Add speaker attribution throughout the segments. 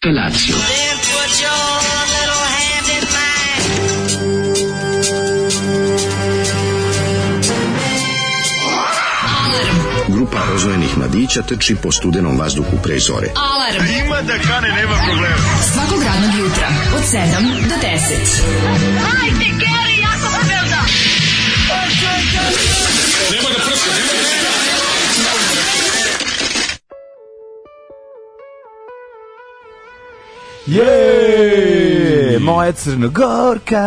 Speaker 1: Felatio.
Speaker 2: Grupa rozvojenih mladića trči po studenom vazduhu pre zore.
Speaker 3: Alarm.
Speaker 4: Ima da kane, nema problema.
Speaker 3: Svakog radnog jutra od 7 do 10.
Speaker 5: Hajde, Geri, jako se velda!
Speaker 6: Jej! Moja crnogorka!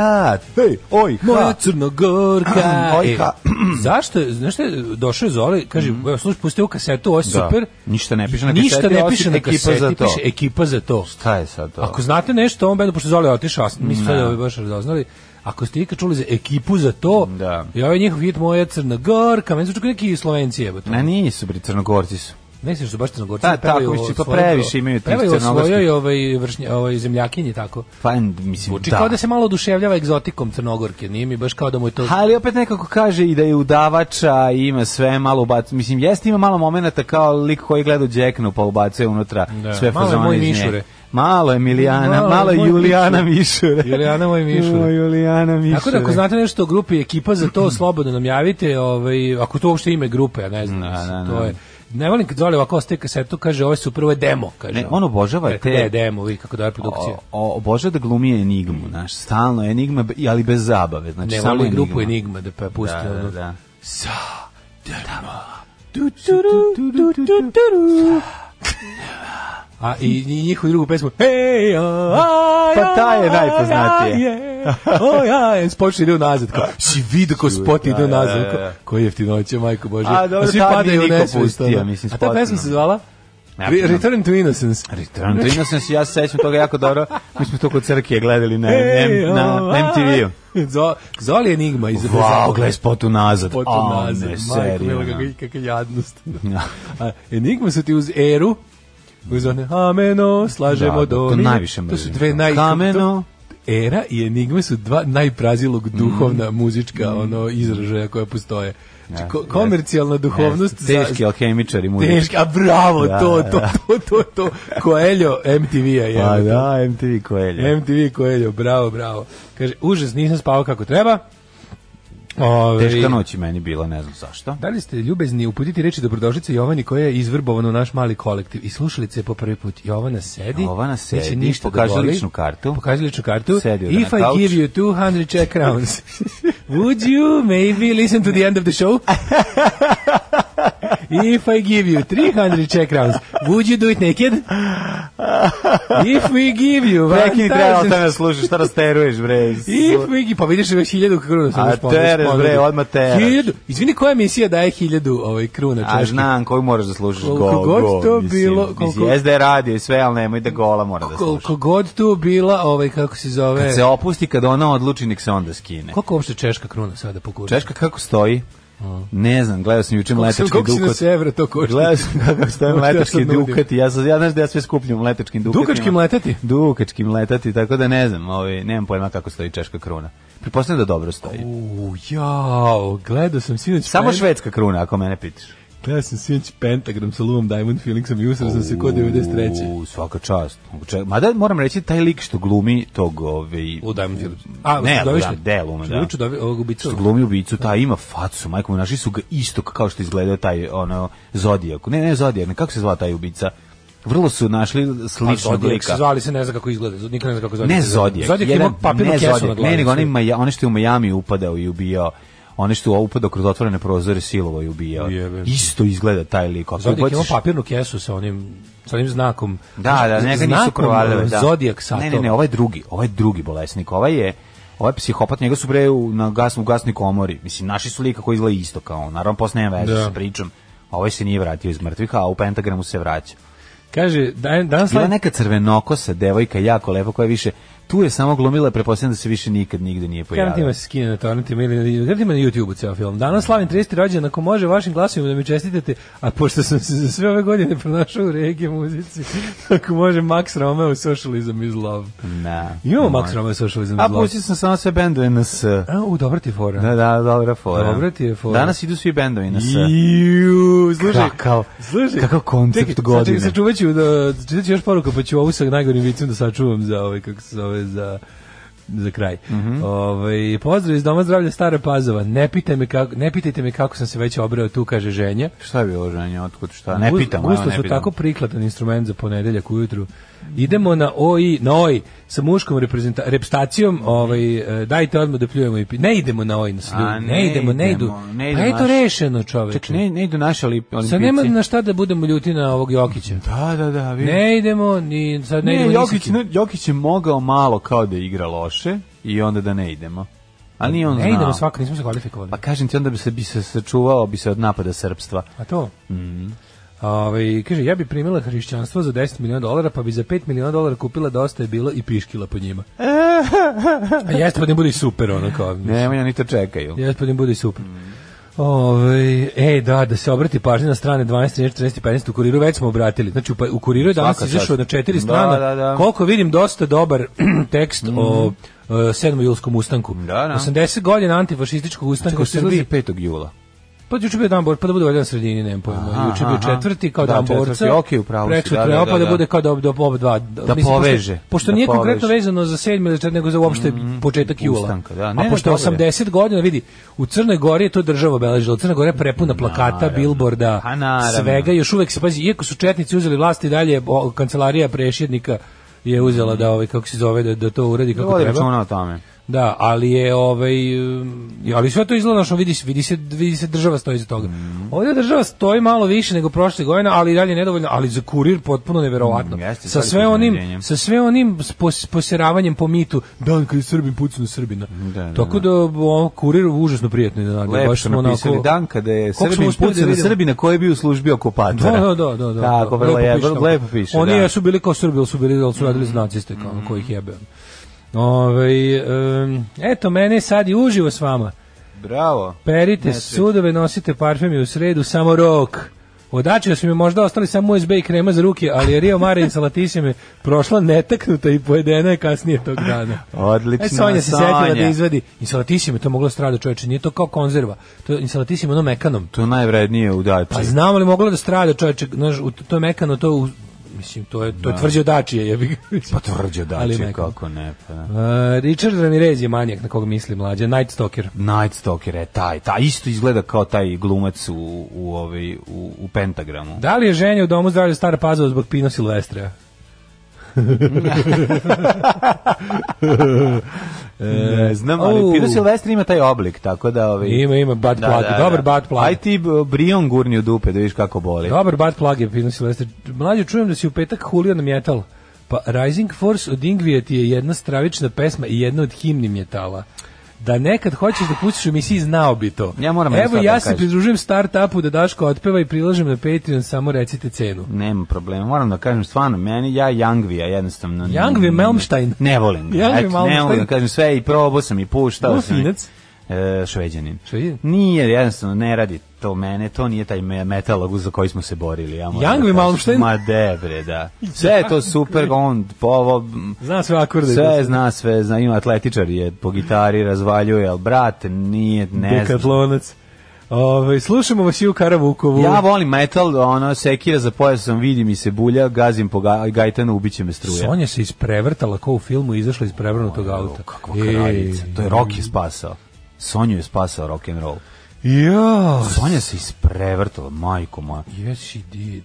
Speaker 6: Hej, oj, ha!
Speaker 7: Moja Crnogorka.
Speaker 6: Oj, ha.
Speaker 7: E, zašto, je- znaš šta, je, došao je Zoli, kaže, mm. slušaj, pusti ovu kasetu, ovo je
Speaker 6: Mhm. Da.
Speaker 7: super.
Speaker 6: Ništa ne piše na
Speaker 7: Ništa
Speaker 6: kaseti,
Speaker 7: ne
Speaker 6: osim
Speaker 7: piše na
Speaker 6: ekipa
Speaker 7: kaseti,
Speaker 6: za to.
Speaker 7: piše ekipa za to.
Speaker 6: Šta je sad to? Da.
Speaker 7: Ako znate nešto o ovom bendu, pošto Zoli je otišao, a mi smo sad ovo baš radoznali, ako ste ikad čuli za ekipu za to,
Speaker 6: Da.
Speaker 7: i ovaj njihov hit Moja Crnogorka, meni zvuči kao neki Slovenci jebote.
Speaker 6: Ne, nisu, bri, crnogorci su.
Speaker 7: Ne sjećaš da baš crnogorci
Speaker 6: Da,
Speaker 7: pevaju
Speaker 6: tako,
Speaker 7: o
Speaker 6: mislim, pa
Speaker 7: svojoj-
Speaker 6: previše imaju tih
Speaker 7: pevaju o
Speaker 6: crnogorskih.
Speaker 7: svojoj ovaj, vršnja, ovaj, zemljakinji, tako.
Speaker 6: Pa, mislim,
Speaker 7: Zvuči
Speaker 6: da.
Speaker 7: kao da se malo oduševljava egzotikom crnogorke, nije mi baš kao da mu je to...
Speaker 6: Ali opet nekako kaže i da je udavača i ima sve malo ubac. Mislim, jeste ima malo momenata kao lik koji gleda u džeknu pa ubacuje unutra
Speaker 7: Da.
Speaker 6: sve
Speaker 7: Malo je
Speaker 6: fazone
Speaker 7: moj
Speaker 6: iz nje.
Speaker 7: Mišure.
Speaker 6: Malo je Milijana,
Speaker 7: Malo
Speaker 6: malo,
Speaker 7: je moj
Speaker 6: je Julijana
Speaker 7: Mišure.
Speaker 6: Mišure.
Speaker 7: Julijana moj Mišure.
Speaker 6: Joj, Julijana Mišure.
Speaker 7: Tako da ako znate nešto o grupi ekipa za to slobodno nam javite, ovaj ako to uopšte ime grupe, ja ne znam,
Speaker 6: Da,
Speaker 7: mislim,
Speaker 6: da,
Speaker 7: to
Speaker 6: da.
Speaker 7: je. Ne volim kad zvali ovako ostaje kasetu, kaže ovo su prvo demo, kaže.
Speaker 6: Ne, on obožava
Speaker 7: Rekao,
Speaker 6: te-
Speaker 7: "E, demo, vi kako dobra produkcija.
Speaker 6: O, o, obožava da glumi enigmu, znaš, stalno je enigma, b- ali bez zabave. Znači,
Speaker 7: ne
Speaker 6: samo
Speaker 7: voli grupu
Speaker 6: enigma.
Speaker 7: Enigma da pa pusti
Speaker 6: Da, da,
Speaker 7: ono.
Speaker 6: da.
Speaker 7: Sa demo. A i, i njihovu drugu pesmu Hey, oh,
Speaker 6: Pa ta je najpoznatija.
Speaker 7: O ja, spot ide unazad. Kao, si vidio ko spot ide
Speaker 6: da,
Speaker 7: unazad.
Speaker 6: da,
Speaker 7: Kao,
Speaker 6: da.
Speaker 7: koji jeftinoće, majko Bože.
Speaker 6: A, Ah, dobro,
Speaker 7: svi
Speaker 6: tad mi
Speaker 7: padaju u
Speaker 6: niko
Speaker 7: nesvest.
Speaker 6: pustio,
Speaker 7: ono.
Speaker 6: mislim,
Speaker 7: A ta
Speaker 6: spot,
Speaker 7: pesma
Speaker 6: ono.
Speaker 7: se zvala?
Speaker 6: Ne
Speaker 7: Re-
Speaker 6: znam.
Speaker 7: Return to Innocence.
Speaker 6: Return
Speaker 7: da-
Speaker 6: to Innocence, ja se sećam toga jako dobro. Mi smo to kod crkije gledali na,
Speaker 7: Hey,
Speaker 6: na, na
Speaker 7: oh,
Speaker 6: MTV-u.
Speaker 7: Zo- Zoli Enigma iz
Speaker 6: Wow, gledaj spotu nazad.
Speaker 7: Potom
Speaker 6: A,
Speaker 7: nazad,
Speaker 6: ne,
Speaker 7: majko,
Speaker 6: serio.
Speaker 7: mila,
Speaker 6: ono.
Speaker 7: kakva- kakva jadnost. A e, Enigma su ti uz eru, uz one ameno, slažemo
Speaker 6: Da, da,
Speaker 7: do...
Speaker 6: to najviše
Speaker 7: To su
Speaker 6: mrzim.
Speaker 7: dve naj...
Speaker 6: Kameno. Mm.
Speaker 7: to- Era i Enigma su dva najprazilog duhovna muzička ono izražaja koja postoje. Znači, ko- komercijalna duhovnost za-
Speaker 6: Teški alhemičari mu.
Speaker 7: Teški, a bravo,
Speaker 6: Da,
Speaker 7: to, to,
Speaker 6: da.
Speaker 7: to, to, to, Coelho MTV-a je.
Speaker 6: Pa da, MTV koelja.
Speaker 7: MTV Coelho, bravo, bravo. Kaže, užas, nisam spavao kako treba. Ove,
Speaker 6: Teška noć je meni bila, ne znam zašto.
Speaker 7: Da li ste ljubezni uputiti reči dobrodošlice Jovani koja je izvrbovana u naš mali kolektiv i slušalice po prvi put. Jovana sedi,
Speaker 6: Jovana
Speaker 7: neće
Speaker 6: sedi,
Speaker 7: ništa da
Speaker 6: pokaže
Speaker 7: boli.
Speaker 6: ličnu kartu.
Speaker 7: Pokaže ličnu kartu.
Speaker 6: Sedi ovde
Speaker 7: If
Speaker 6: na
Speaker 7: I
Speaker 6: kauču.
Speaker 7: give you 200 Czech crowns, would you maybe listen to the end of the show? If I give you 300 Czech crowns, would you do it naked? If we give you
Speaker 6: Prekini trebalo
Speaker 7: 1000
Speaker 6: te nas slušaš, šta rasteruješ, bre?
Speaker 7: If we, pa vidiš već hiljadu kruna sam
Speaker 6: A
Speaker 7: još ponudio,
Speaker 6: teres,
Speaker 7: ponudio.
Speaker 6: bre, odmah teres.
Speaker 7: Hiljadu, izvini, koja emisija daje hiljadu ovaj, kruna
Speaker 6: A
Speaker 7: češki?
Speaker 6: znam koju moraš da slušaš
Speaker 7: Koliko
Speaker 6: gol,
Speaker 7: god
Speaker 6: gol,
Speaker 7: to
Speaker 6: mislim,
Speaker 7: bilo,
Speaker 6: mislim,
Speaker 7: koliko-
Speaker 6: Jezda je radio i sve, ali nemoj da gola mora da slušaš.
Speaker 7: Koliko god tu bila, ovaj, kako se zove,
Speaker 6: Kad se opusti, kad ona odluči, nek se onda skine.
Speaker 7: koliko uopšte češka kruna sada pokuša?
Speaker 6: Češka kako stoji? Ne znam, gledao sam juče
Speaker 7: Koliko se-
Speaker 6: mletački
Speaker 7: koliko si na
Speaker 6: dukat.
Speaker 7: sevra to košta?
Speaker 6: Gledao sam kako stoje
Speaker 7: Možda ja
Speaker 6: mletački
Speaker 7: sad nudim.
Speaker 6: dukat i ja, sam, ja znaš da ja sve skupljam u mletačkim dukatima.
Speaker 7: Dukački mletati?
Speaker 6: Dukački mletati, tako da ne znam, ovaj, nemam pojma kako stoji češka kruna. Pretpostavljam da dobro stoji.
Speaker 7: U, jao, gledao sam sinoć
Speaker 6: Samo
Speaker 7: Pent-
Speaker 6: švedska kruna, ako mene pitaš.
Speaker 7: Gledao sam sinoć Pentagram sa Lumom Diamond Feelingsom i usrao sam se kod 93.
Speaker 6: U, svaka čast. Če- Mada moram reći, taj lik što glumi tog... Ovaj,
Speaker 7: U Diamond Feelings.
Speaker 6: ne,
Speaker 7: Čudovište?
Speaker 6: da, delu, da.
Speaker 7: Čudoviću dovi- ovog ubicu.
Speaker 6: što glumi ubicu, taj ima facu, majko mu, našli su ga istog kao što izgledao taj ono Zodijak. Ne, ne Zodijak, ne, kako se zvao taj ubica? Vrlo su našli sličnog
Speaker 7: Zodijak Pa se
Speaker 6: lika.
Speaker 7: zvali se, ne zna kako izgleda. Niko ne zna kako Zodijak.
Speaker 6: Ne
Speaker 7: izgleda.
Speaker 6: Zodijak.
Speaker 7: Zodijak
Speaker 6: jedan-
Speaker 7: ima papirnu
Speaker 6: ne
Speaker 7: kesu na
Speaker 6: Zodijak,
Speaker 7: glavi.
Speaker 6: Ne, nego onaj, Maja, onaj što je u Majami upadao i ubijao one što je upadao kroz otvorene prozore silovo i ubijao.
Speaker 7: Jebe.
Speaker 6: Isto izgleda taj lik. Ako
Speaker 7: Zodijak ima
Speaker 6: ubaciš-
Speaker 7: papirnu kesu sa onim sa onim znakom.
Speaker 6: Da, da, njega nisu
Speaker 7: Znakom,
Speaker 6: provalile. Da.
Speaker 7: Zodijak Znači,
Speaker 6: Ne,
Speaker 7: sa
Speaker 6: ne, ne, ovaj drugi, ovaj drugi bolesnik, ovaj je ovaj psihopat, njega su bre u, na gas, u gasnoj komori. Mislim, naši su lika koji izgleda isto kao on. Naravno, posle nema veze
Speaker 7: Da.
Speaker 6: sa pričom. A ovaj se nije vratio iz mrtvih, a u pentagramu se vraća.
Speaker 7: Kaže, dan, danas
Speaker 6: Bila je
Speaker 7: live-
Speaker 6: neka crvenokosa devojka, jako lepa, koja je više tu je samo glumila, pretpostavljam da se više nikad nigde nije
Speaker 7: Karantima
Speaker 6: pojavila.
Speaker 7: se skine na torrentima ili na, karantima na YouTube-u ceo film. Danas slavim 30. rođendan, ako može vašim glasovima da mi čestitate, a pošto sam se za sve ove godine pronašao u regije muzici, ako može Max Romeo Socialism is Love.
Speaker 6: Na.
Speaker 7: Imamo Max Romeo Socialism is
Speaker 6: A
Speaker 7: Love.
Speaker 6: pustio sam samo sve bendove na S.
Speaker 7: A, u, dobra ti fora.
Speaker 6: Da, da, dobra fora.
Speaker 7: Dobra ti je fora.
Speaker 6: Danas idu svi bendovi na S.
Speaker 7: Iu, slušaj,
Speaker 6: Kakav-
Speaker 7: slušaj,
Speaker 6: kakav koncept
Speaker 7: čekaj,
Speaker 6: godine.
Speaker 7: Čekaj, sačuvat ću, da, čitaću još poruku, pa ću ovu sa najgorim vicom da sačuvam za ovaj, kako se zove, za za kraj.
Speaker 6: Mhm.
Speaker 7: Ovaj, pozdrav iz Doma zdravlja Stara Pazova. Ne, pitaj me kako, ne pitajte me kako sam se već obrao tu, kaže ženja.
Speaker 6: Šta bi ovo ženje, otkud šta? Pa Ne
Speaker 7: Guz-
Speaker 6: pitam, evo
Speaker 7: Gusto
Speaker 6: ne
Speaker 7: su
Speaker 6: pitam.
Speaker 7: tako prikladan instrument za ponedeljak ujutru. Idemo na OI, na OI, sa muškom reprezenta- repstacijom, ovaj, e, dajte odmah da pljujemo i pi- Ne idemo na OI, nas
Speaker 6: Mhm. A,
Speaker 7: ljudi, ne,
Speaker 6: ne
Speaker 7: idemo, ne idu.
Speaker 6: idemo, ne
Speaker 7: pa
Speaker 6: idu
Speaker 7: je to
Speaker 6: naši.
Speaker 7: rešeno, čoveče.
Speaker 6: Ček, ne, ne idu naši ali olimpijci.
Speaker 7: Sad nema na šta da budemo ljuti na ovog Jokića.
Speaker 6: Da, da, da, vidim.
Speaker 7: Ne idemo, ni, sad ne,
Speaker 6: Ne,
Speaker 7: idemo
Speaker 6: Jokić,
Speaker 7: ni sa kim.
Speaker 6: ne, Jokić je mogao malo kao da igra loše i onda da ne idemo. A nije on
Speaker 7: ne
Speaker 6: znao.
Speaker 7: idemo svako, nismo se kvalifikovali.
Speaker 6: Pa kažem ti, onda bi se, bi se sačuvao bi se od napada srpstva.
Speaker 7: A to? Ovaj, kaže, ja bi primila hrišćanstvo za 10 miliona dolara, pa bi za 5 miliona dolara kupila dosta je bilo i piškila po njima. A jeste, pa ne bude i super, ono kao.
Speaker 6: Nemoj, oni to čekaju.
Speaker 7: Jeste, pa ne bude i super. Ovaj, ej, da, da se obrati pažnja na strane 12, 13, 14, 15, u kuriru već smo obratili. Znači, u pa- u kuriru je danas
Speaker 6: Svaka
Speaker 7: izašao
Speaker 6: čast.
Speaker 7: na četiri
Speaker 6: Da,
Speaker 7: strane.
Speaker 6: da, da.
Speaker 7: Koliko vidim, dosta dobar tekst o e, 7. julskom ustanku.
Speaker 6: Mhm. Da, da.
Speaker 7: 80 godina antifašističkog ustanka
Speaker 6: Tako
Speaker 7: u
Speaker 6: se izlazi
Speaker 7: Srbiji.
Speaker 6: 5. jula.
Speaker 7: Pa juče bio dan borca, pa da bude valjda na sredini, nemam pojma.
Speaker 6: Aha,
Speaker 7: Juče je bio
Speaker 6: aha.
Speaker 7: četvrti kao
Speaker 6: Da,
Speaker 7: dan borca.
Speaker 6: četvrti, okej, u pravu si,
Speaker 7: Preksutra
Speaker 6: da, da,
Speaker 7: je, pa
Speaker 6: da,
Speaker 7: da,
Speaker 6: da.
Speaker 7: bude kao da ob- do oba dva. Da
Speaker 6: poveže,
Speaker 7: Pošto, pošto
Speaker 6: da
Speaker 7: nije konkretno
Speaker 6: poveže. Mm,
Speaker 7: vezano za 7. ili 4. nego za uopšte početak jula.
Speaker 6: Ustanka, da. Ne,
Speaker 7: A
Speaker 6: ne,
Speaker 7: pošto
Speaker 6: dobro je.
Speaker 7: 80 godina, vidi, u Crnoj Gori je to država obeležila. Crna Gora je prepuna plakata, bilborda,
Speaker 6: Pa naravno.
Speaker 7: svega. Još uvek se pazi, iako su četnici uzeli vlast i dalje, o, kancelarija prešjednika je uzela da ovaj kako se zove da, da to uradi kako
Speaker 6: Vodi
Speaker 7: treba.
Speaker 6: računa o tome.
Speaker 7: Da, ali je ovaj um, ali sve to izgleda što vidi se vidi se vidi se država stoji iza toga.
Speaker 6: Mhm.
Speaker 7: Ovdje država stoji malo više nego prošle godine, ali i dalje nedovoljno, ali za kurir potpuno neverovatno.
Speaker 6: Mm, jeste,
Speaker 7: sa
Speaker 6: veliko
Speaker 7: sve onim
Speaker 6: iznenađenje.
Speaker 7: sa sve onim pos- poseravanjem po mitu, dan kad je Srbin pucnu Srbina.
Speaker 6: Da, da,
Speaker 7: Tako da o, kurir užasno prijetno iznenadio,
Speaker 6: Lepo
Speaker 7: baš
Speaker 6: su
Speaker 7: smo
Speaker 6: napisali
Speaker 7: onako-
Speaker 6: dan kada je
Speaker 7: Koliko smo
Speaker 6: Srbin
Speaker 7: uspeli da
Speaker 6: pucao na
Speaker 7: vidimo?
Speaker 6: Srbina koji je bio u službi okupatora.
Speaker 7: Da, da, da, da, da.
Speaker 6: Tako,
Speaker 7: da.
Speaker 6: vrlo je,
Speaker 7: tamo.
Speaker 6: lepo piše.
Speaker 7: Oni
Speaker 6: da. Mhm.
Speaker 7: jesu bili kao Srbi, ali su bili, ali su radili za naciste, kao mm. kojih jebe. Ove, um, eto, mene sad i uživo s vama.
Speaker 6: Bravo.
Speaker 7: Perite sudove, nosite parfemi u sredu, samo rok. Odačio su mi možda ostali samo USB i krema za ruke, ali je Rio Mare insalatisim je prošla netaknuta i pojedena je kasnije tog dana.
Speaker 6: Odlično,
Speaker 7: E, Sonja se setila da
Speaker 6: Sonja.
Speaker 7: izvadi. Insalatisim je to moglo da strada čoveče, nije to kao konzerva. To je insalatisim ono mekanom.
Speaker 6: To je najvrednije u dači.
Speaker 7: Pa znamo li moglo da strada čoveče, znaš, u- to je mekano, to je u- mislim, to je, to je tvrđe odačije, jebi ga.
Speaker 6: Da. Pa tvrđe
Speaker 7: Ali
Speaker 6: dači,
Speaker 7: mekano.
Speaker 6: kako ne. Pa, da.
Speaker 7: E, Richard Ramirez je manijak na koga misli mlađa, Night Stalker.
Speaker 6: Night Stalker je taj, taj isto izgleda kao taj glumac u, u, ovaj, u, u pentagramu.
Speaker 7: Da li je ženja u domu zdravlja Stara Pazova zbog Pino Silvestra?
Speaker 6: E, znam, ali
Speaker 7: Au.
Speaker 6: Pino Silvestri ima taj oblik, tako da... Ovaj,
Speaker 7: Ima, ima, bad plug, dobar bad plug.
Speaker 6: Aj ti b- Brion gurni u dupe, da vidiš kako boli.
Speaker 7: Dobar bad plug je Pino Silvestre. Mlađe, čujem da si u petak hulio na metal. Pa Rising Force od Ingvija ti je jedna stravična pesma i jedna od himni metala. Da nekad hoćeš da pustiš u emisiji, znao bi to.
Speaker 6: Ja moram jednu
Speaker 7: Evo,
Speaker 6: stvar
Speaker 7: ja
Speaker 6: da
Speaker 7: se
Speaker 6: kažem.
Speaker 7: pridružujem startupu da Daško otpeva i prilažem na Patreon, samo recite cenu.
Speaker 6: Nema problema, moram da kažem, stvarno, meni, ja Youngvija jednostavno... n-
Speaker 7: Youngvija
Speaker 6: n-
Speaker 7: Malmsteen.
Speaker 6: Ne volim ga,
Speaker 7: Youngvija
Speaker 6: eto, ne
Speaker 7: Malmsteen.
Speaker 6: volim da kažem sve i probao sam i puštao
Speaker 7: Ovo
Speaker 6: sam. i-
Speaker 7: finac?
Speaker 6: E, šveđanin.
Speaker 7: Šveđanin?
Speaker 6: Nije, jednostavno, ne radi to mene, to nije taj me- metal za koji smo se borili. Ja moram da
Speaker 7: Youngvija
Speaker 6: kažem.
Speaker 7: Malmsteen?
Speaker 6: Ma debre, da. Sve je to super, on povo...
Speaker 7: Zna sve akorde. da
Speaker 6: Sve zna, sve zna, ima atletičar je po gitari, razvaljuje, ali brat nije, ne znam.
Speaker 7: Dekatlonac. Ove, Ovaj, slušamo vas i u Karavukovu.
Speaker 6: Ja volim metal, ono, sekira za pojasom, vidim i se bulja, gazim po ga, gajtanu, ubiće me struja.
Speaker 7: Sonja se isprevrtala kao u filmu, izašla iz prevrnutog auta.
Speaker 6: Kakva
Speaker 7: Ej.
Speaker 6: kraljica. To je Rock je spasao. Sonju je spasao rock and roll.
Speaker 7: Ja.
Speaker 6: Sonja se isprevrtala, majko moja.
Speaker 7: Yes, she did.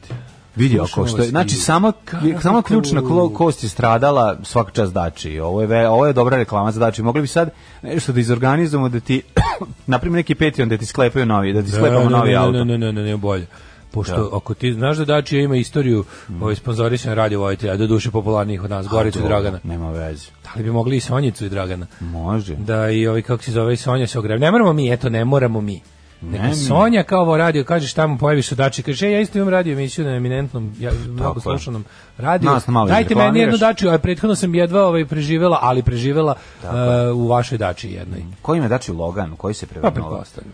Speaker 6: Vidi
Speaker 7: Slušam
Speaker 6: ako što je,
Speaker 7: vas
Speaker 6: znači
Speaker 7: i-
Speaker 6: samo
Speaker 7: Kako
Speaker 6: samo
Speaker 7: to-
Speaker 6: ključna klo- kost je stradala svaka čas dači. Ovo je ve- ovo je dobra reklama za dači. Mogli bi sad nešto da izorganizujemo da ti na primjer neki Patreon da ti sklepaju novi, da ti sklepamo
Speaker 7: ne,
Speaker 6: novi
Speaker 7: ne,
Speaker 6: auto.
Speaker 7: Ne, ne, ne, ne, ne, bolje. Pošto ako ti znaš da Dačija ima istoriju mm. ovaj sponzorisan radio vojitelja, do duše popularnijih od nas, Goricu i
Speaker 6: Dobro,
Speaker 7: Dragana.
Speaker 6: Nema veze.
Speaker 7: Da li bi mogli i Sonjicu Da, i Dragana?
Speaker 6: Može.
Speaker 7: Da i ovi kako se zove i Sonja se ogrev. Ne moramo mi, eto, ne moramo mi. Neka Sonja kao ovo radio, kaže šta mu pojaviš odači, kaže e, ja isto imam radio emisiju na eminentnom, ja, mnogo
Speaker 6: je.
Speaker 7: slušanom radiju,
Speaker 6: Nas malo
Speaker 7: dajte meni
Speaker 6: izreklamiraš.
Speaker 7: jednu dačiju, a prethodno sam jedva ovaj, preživela, ali preživela uh, u vašoj dači jednoj.
Speaker 6: Koji ima dači Logan, koji se
Speaker 7: Pa
Speaker 6: prevrnuo?
Speaker 7: pretpostavljam.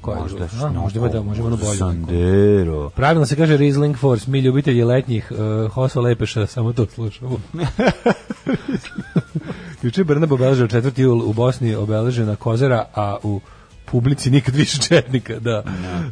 Speaker 7: Koja je
Speaker 6: možda,
Speaker 7: druga?
Speaker 6: što,
Speaker 7: A, možda ima da, možda ima ono bolje.
Speaker 6: Sandero.
Speaker 7: Pravilno se kaže Riesling Force, mi ljubitelji letnjih uh, Hoso Lepeša, samo to slušamo. Juče je Brnab obeležio 4. jul u Bosni obeležena kozera, a u publici nikad više četnika, da.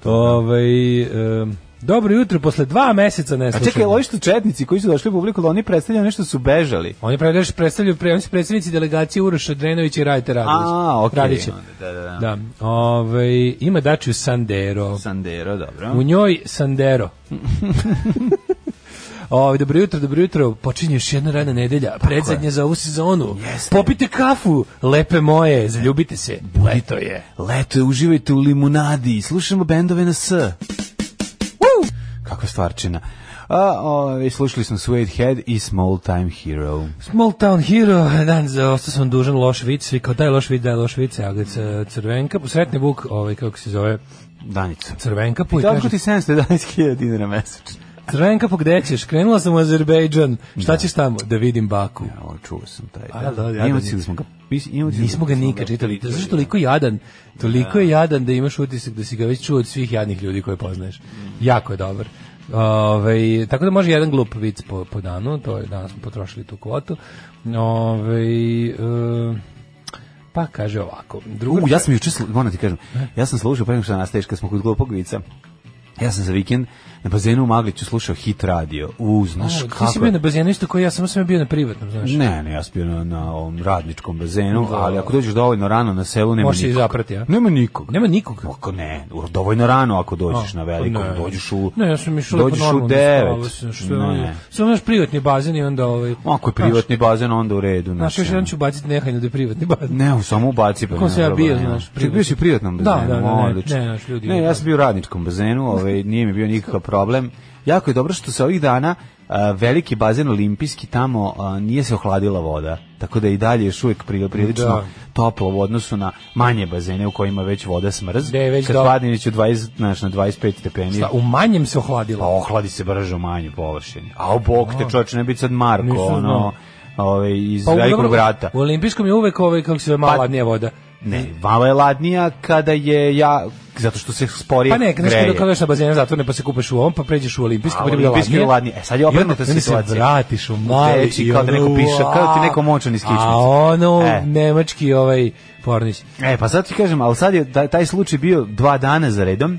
Speaker 7: Ovaj em, dobro jutro, posle dva meseca ne
Speaker 6: A
Speaker 7: slušamo.
Speaker 6: čekaj, ovi što četnici koji su došli u publiku, ali oni predstavljaju nešto su bežali.
Speaker 7: Oni predstavljaju, predstavljaju, pre, oni su predstavnici delegacije Uroša Drenovića i Rajta Radića.
Speaker 6: A, okej,
Speaker 7: Radića.
Speaker 6: onda, da, da, da.
Speaker 7: da. Ovaj, ima dačiju Sandero.
Speaker 6: Sandero, dobro.
Speaker 7: U njoj Sandero. O, dobro jutro, dobro jutro. Počinje još jedna radna nedelja, predzadnja za ovu sezonu. Popite kafu, lepe moje, zaljubite se. Leto je.
Speaker 6: Leto je, uživajte u limunadi, slušamo bendove na S. Woo! Kakva stvarčina. A, o, slušali smo Suede Head i Small Time Hero.
Speaker 7: Small Town Hero, dan za ostao sam dužan loš vic, svi kao daj loš vic, daj loš vic, a crvenka, posretni vuk, ovaj, kako se zove,
Speaker 6: Danica.
Speaker 7: crvenka, puj,
Speaker 6: Tako ti 711.000 dinara mesečno.
Speaker 7: crvenka, po gde ćeš, krenula sam u Azerbejdžan, šta ćeš tamo, da vidim Baku.
Speaker 6: O, čuo sam taj.
Speaker 7: A, da, ja da
Speaker 6: Imali smo ga. mis- da imocili
Speaker 7: Nismo ga
Speaker 6: smo
Speaker 7: nikad čitali. Zato što toliko je jadan, toliko je jadan da imaš utisak da si ga već čuo od svih jadnih ljudi koje poznaješ.
Speaker 6: Mhm.
Speaker 7: Jako je dobar. Ove, tako da može jedan glup vic po, po danu, to je, danas smo potrošili tu kvotu. Ove, e, pa kaže ovako. Drugo,
Speaker 6: U, ja sam juče, slu- moram da ti kažem, ja sam slušao pa pre nego što nastaješ kad smo kod glupog vica. Ja sam za vikend na bazenu u Magliću slušao hit radio. U, znaš
Speaker 7: Ti si
Speaker 6: kako...
Speaker 7: bio
Speaker 6: je-
Speaker 7: na bazenu isto koji ja, samo sam ja bio na privatnom, znaš.
Speaker 6: Ne, ne, ja sam bio na, na ovom radničkom bazenu, ali ako dođeš dovoljno rano na selu, nema
Speaker 7: Možeš Da. i
Speaker 6: nikog.
Speaker 7: zaprati, a?
Speaker 6: Nema nikog.
Speaker 7: Nema nikog.
Speaker 6: Ako ne, u- dovoljno rano ako dođeš
Speaker 7: A, pa
Speaker 6: na velikom,
Speaker 7: ne.
Speaker 6: dođeš u...
Speaker 7: Ne, ja sam išao
Speaker 6: dođeš u devet.
Speaker 7: Ne.
Speaker 6: Ne.
Speaker 7: Samo naš privatni bazen i onda ovaj...
Speaker 6: Ako je privatni bazen, onda u redu.
Speaker 7: Znaš, znaš, još
Speaker 6: ono.
Speaker 7: jedan ću baciti nehajno da je privatni bazen.
Speaker 6: Ne, u samo ubaci pa.
Speaker 7: Kako sam
Speaker 6: nema
Speaker 7: ja bio,
Speaker 6: problema.
Speaker 7: znaš,
Speaker 6: Ček, bio si u privatnom
Speaker 7: Da,
Speaker 6: bazenu.
Speaker 7: da, da, ne,
Speaker 6: odlično.
Speaker 7: ne, znaš, ljudi- da.
Speaker 6: Ne, ja sam bio u radničkom bazenu, ovaj nije mi bio nikakav problem. Jako je dobro što se ovih dana a, veliki bazen olimpijski tamo a, nije se ohladila voda, tako da i dalje još uvijek pri- prilično
Speaker 7: Da.
Speaker 6: toplo u odnosu na manje bazene u kojima već voda smrz.
Speaker 7: Gde Da je već
Speaker 6: Kad
Speaker 7: do-
Speaker 6: padne već u 20, znaš, na 25 stepeni.
Speaker 7: Šta, u manjem se
Speaker 6: Pa
Speaker 7: ohladilo.
Speaker 6: ohladi se brže u manjoj površini. A u bok te čoveče ne biti sad Marko,
Speaker 7: Da. Nisam Pa
Speaker 6: ono, ovaj, iz
Speaker 7: u-
Speaker 6: velikog
Speaker 7: dobro,
Speaker 6: vrata.
Speaker 7: U olimpijskom je uvek ovaj, kako se zove, malo
Speaker 6: Pa-
Speaker 7: hladnija voda.
Speaker 6: Ne, malo je ladnija kada je ja zato što se sporije
Speaker 7: Pa ne, znaš
Speaker 6: greje.
Speaker 7: kada dođeš na bazenu zatvorene pa se kupaš u ovom, pa pređeš u olimpijski,
Speaker 6: A,
Speaker 7: pa ti bude
Speaker 6: olimpijski je
Speaker 7: hladnije.
Speaker 6: hladnije. E, sad je
Speaker 7: I onda-
Speaker 6: obrnuta
Speaker 7: onda
Speaker 6: situacija.
Speaker 7: se vratiš u mali
Speaker 6: Veći,
Speaker 7: i
Speaker 6: kao da
Speaker 7: ono,
Speaker 6: neko piše, kao da ti neko močan iz kičmice.
Speaker 7: A ono,
Speaker 6: E.
Speaker 7: nemački ovaj pornić.
Speaker 6: E, pa sad ti kažem, ali sad je taj, taj slučaj bio dva dana za redom,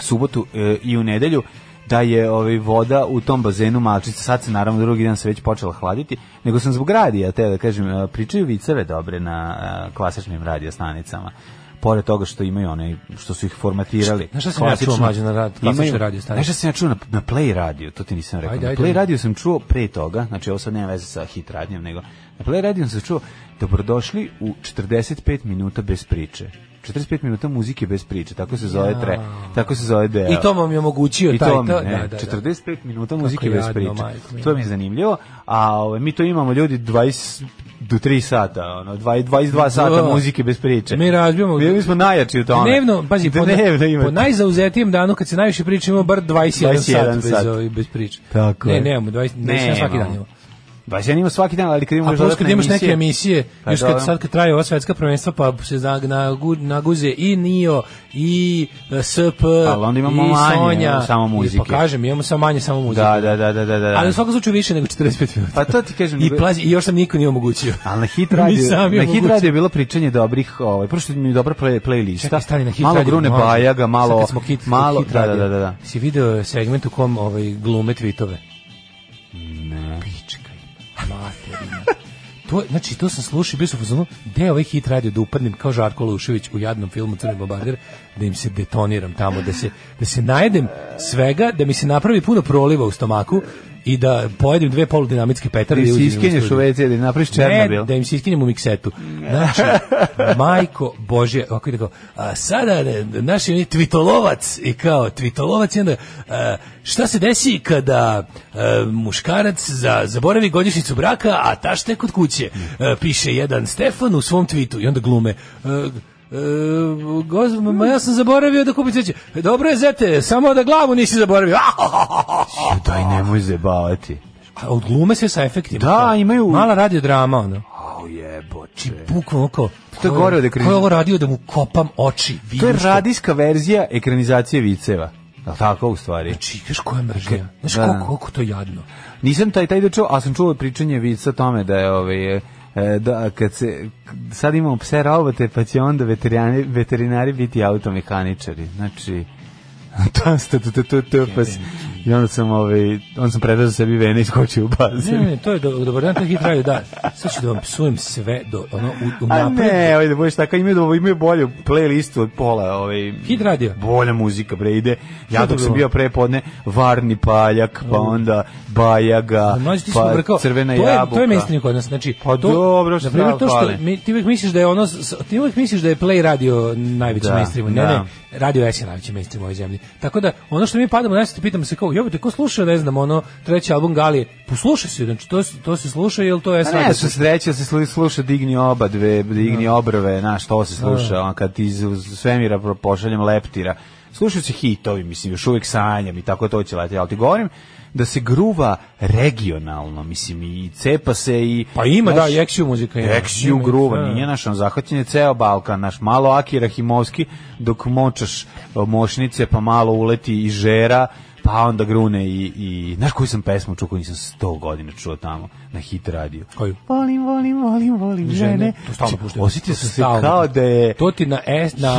Speaker 6: subotu e, i u nedelju, da je ovaj, voda u tom bazenu malčica, sad se naravno drugi dan se već počela hladiti, nego sam zbog radija, te da kažem, e, pričaju viceve dobre na e, klasičnim radiostanicama pored toga što imaju one što su ih formatirali.
Speaker 7: Znaš šta sam ja
Speaker 6: Klasično.
Speaker 7: čuo, mlađe, na rad- klasičnoj
Speaker 6: Imaju-
Speaker 7: radiostanici?
Speaker 6: Znaš šta sam ja čuo na, na Play radio, to ti nisam rekao.
Speaker 7: Ajde,
Speaker 6: na
Speaker 7: ajde.
Speaker 6: Play radio sam čuo pre toga, znači ovo sad nema veze sa hit radnjom, nego na Play radio sam čuo dobrodošli u 45 minuta bez priče. 45 minuta muzike bez priče, tako se zove tre, tako se zove deo.
Speaker 7: I to vam je omogućio
Speaker 6: I
Speaker 7: taj,
Speaker 6: to, mi,
Speaker 7: to-
Speaker 6: ne,
Speaker 7: da, da, da.
Speaker 6: 45 minuta muzike
Speaker 7: jadno,
Speaker 6: bez priče.
Speaker 7: majko mila.
Speaker 6: To mi je zanimljivo, a ovaj, mi to imamo ljudi 20 do 3 sata, ono, 20, 22 sata
Speaker 7: Da.
Speaker 6: muzike bez priče.
Speaker 7: Mi razbijamo-
Speaker 6: Mi, mi smo najjači u tome.
Speaker 7: Dnevno, pazi, po,
Speaker 6: Dnevno
Speaker 7: po
Speaker 6: imate.
Speaker 7: najzauzetijem danu kad se najviše priča imamo bar 21,
Speaker 6: 21
Speaker 7: sat, bez,
Speaker 6: sat.
Speaker 7: ovaj, bez priče.
Speaker 6: Tako
Speaker 7: ne,
Speaker 6: je.
Speaker 7: nemamo, 20, ne, svaki dan
Speaker 6: Nemamo.
Speaker 7: imamo.
Speaker 6: 21 ima svaki dan, ali kad imamo
Speaker 7: A
Speaker 6: još
Speaker 7: plus kad
Speaker 6: dodatne
Speaker 7: imaš neke emisije,
Speaker 6: Pa
Speaker 7: još
Speaker 6: dobro.
Speaker 7: kad, sad kad traje ova svetska prvenstva, pa se zna- nagu- naguze i Nio, i e, SP,
Speaker 6: Ali onda imamo
Speaker 7: i
Speaker 6: manje,
Speaker 7: Sonja.
Speaker 6: samo muzike.
Speaker 7: I, Pa kažem, imamo samo manje, samo muzike.
Speaker 6: Da, da, da, da, da, da.
Speaker 7: Ali u svakom slučaju više nego 45 minuta.
Speaker 6: Pa to ti kažem.
Speaker 7: I, plazi, I još sam niko nije omogućio.
Speaker 6: Ali na hit
Speaker 7: Mi
Speaker 6: radio,
Speaker 7: sami
Speaker 6: na hit
Speaker 7: omogućili.
Speaker 6: radio je bilo pričanje dobrih, ovaj, prošto mi je dobra play, playlista.
Speaker 7: Čekaj, stani na hit
Speaker 6: malo
Speaker 7: radio,
Speaker 6: Grune
Speaker 7: može.
Speaker 6: Bajaga,
Speaker 7: Sad
Speaker 6: malo,
Speaker 7: kad smo hit,
Speaker 6: malo,
Speaker 7: hit
Speaker 6: da, da,
Speaker 7: radio,
Speaker 6: da, da, da.
Speaker 7: Si video segment u kom ovaj, glume tweetove?
Speaker 6: Ne.
Speaker 7: Pička jedna, materina. To, je- znači, to sam slušao, i bio sam u fazonu, gde je ovaj hit radio da upadnem kao Žarko Lušević u jadnom filmu Crni bombarder, da im se detoniram tamo, da se, da se najedem svega, da mi se napravi puno proliva u stomaku i da pojedem dve poludinamitske petarde.
Speaker 6: Ti
Speaker 7: i
Speaker 6: si
Speaker 7: uđem u
Speaker 6: iskenješ u
Speaker 7: studiju.
Speaker 6: WC ili napraviš Černobil.
Speaker 7: Ne, da im se iskinjem u miksetu. Znači, majko Bože, ovako ide kao, a sada ne, naš je onaj tvitolovac i kao tvitolovac i onda, a, šta se desi kada a, muškarac za, zaboravi godišnjicu E, braka, a tašta je kod kuće, A, piše jedan Stefan u svom tvitu i onda glume, a, E, goz, ma ja sam zaboravio da kupim cveće. E, Dobro je, zete, samo da glavu nisi zaboravio.
Speaker 6: Ju, E, Daj, nemoj zebavati.
Speaker 7: A od glume se sa efektima.
Speaker 6: Da, imaju-
Speaker 7: Mala radiodrama, ono.
Speaker 6: Au jeboče.
Speaker 7: Či bukvalno kao...
Speaker 6: To je gore od ekranizacije.
Speaker 7: Ko je ovo radio da mu kopam oči?
Speaker 6: To je
Speaker 7: vidim što-
Speaker 6: radijska verzija ekranizacije viceva. Jel tako u stvari?
Speaker 7: Znači, znaš koja mržnja? Znaš
Speaker 6: Da,
Speaker 7: koliko,
Speaker 6: da.
Speaker 7: koliko to je jadno?
Speaker 6: Nisam taj taj da čuo, ali sam čuo pričanje vica o tome da je ovaj e, da kad se sad imamo pse robote pa će onda veterinari veterinari biti automehaničari. Znači to ste to to to, to pa s- i onda sam ovaj on sam predao sebi vene i skočio u
Speaker 7: Ne,
Speaker 6: bazen.
Speaker 7: ne, to je do, dobar dan, to je hit radio, da. Sad ću da vam psujem sve do, ono, u, u
Speaker 6: A ne, ajde, budeš tako, imaju, da- imaju bolju playlistu od pola, ovaj,
Speaker 7: Hit radio.
Speaker 6: bolja muzika, bre, ide. Ja
Speaker 7: je to
Speaker 6: dok sam
Speaker 7: bilo?
Speaker 6: bio prepodne, varni paljak, pa onda bajaga,
Speaker 7: Mlađi ti si
Speaker 6: pa
Speaker 7: pobrkao.
Speaker 6: crvena
Speaker 7: to je,
Speaker 6: jabuka.
Speaker 7: To je mainstream kod nas. Znači,
Speaker 6: Pa
Speaker 7: to,
Speaker 6: dobro, šta
Speaker 7: na primjer, to što
Speaker 6: fali.
Speaker 7: mi, ti uvijek misliš da je ono, s- ti uvijek misliš da je Play radio najveći
Speaker 6: Da,
Speaker 7: mainstream. Ne,
Speaker 6: da.
Speaker 7: ne, radio S je najveći mainstream u ovoj zemlji. Tako da, ono što mi padamo na se pitamo se kao, jebote, ko sluša, ne znam, ono, treći album Galije, poslušaj se, znači, to, se- to se sluša, jel to je S
Speaker 6: A Pa Ne,
Speaker 7: radio?
Speaker 6: što se reći, se slu- sluša digni oba dve,
Speaker 7: Da.
Speaker 6: digni obrve, znaš, to se sluša, on kad iz iz svemira pro- pošaljem leptira. Slušaju se hitovi, mislim, još uvijek sanjam i tako to će letiti, ali ti govorim da se gruva regionalno, mislim, i cepa se i...
Speaker 7: Pa ima, da,
Speaker 6: znaš,
Speaker 7: i Exiju muzika ima.
Speaker 6: Eksiju
Speaker 7: Ima,
Speaker 6: gruva,
Speaker 7: da.
Speaker 6: nije naš, on zahvaćen je ceo Balkan, naš malo Aki Rahimovski, dok močaš e, mošnice, pa malo uleti i žera, pa onda grune i, i znaš koju sam pesmu čuo, koju nisam sto godina čuo tamo, na hit radiju.
Speaker 7: Koju?
Speaker 6: Volim, volim, volim, volim žene.
Speaker 7: žene. To stalno
Speaker 6: Znači,
Speaker 7: puštaju.
Speaker 6: Osjetio
Speaker 7: To
Speaker 6: sam
Speaker 7: se
Speaker 6: se
Speaker 7: stalno
Speaker 6: kao
Speaker 7: pušta.
Speaker 6: da je...
Speaker 7: To ti na S, na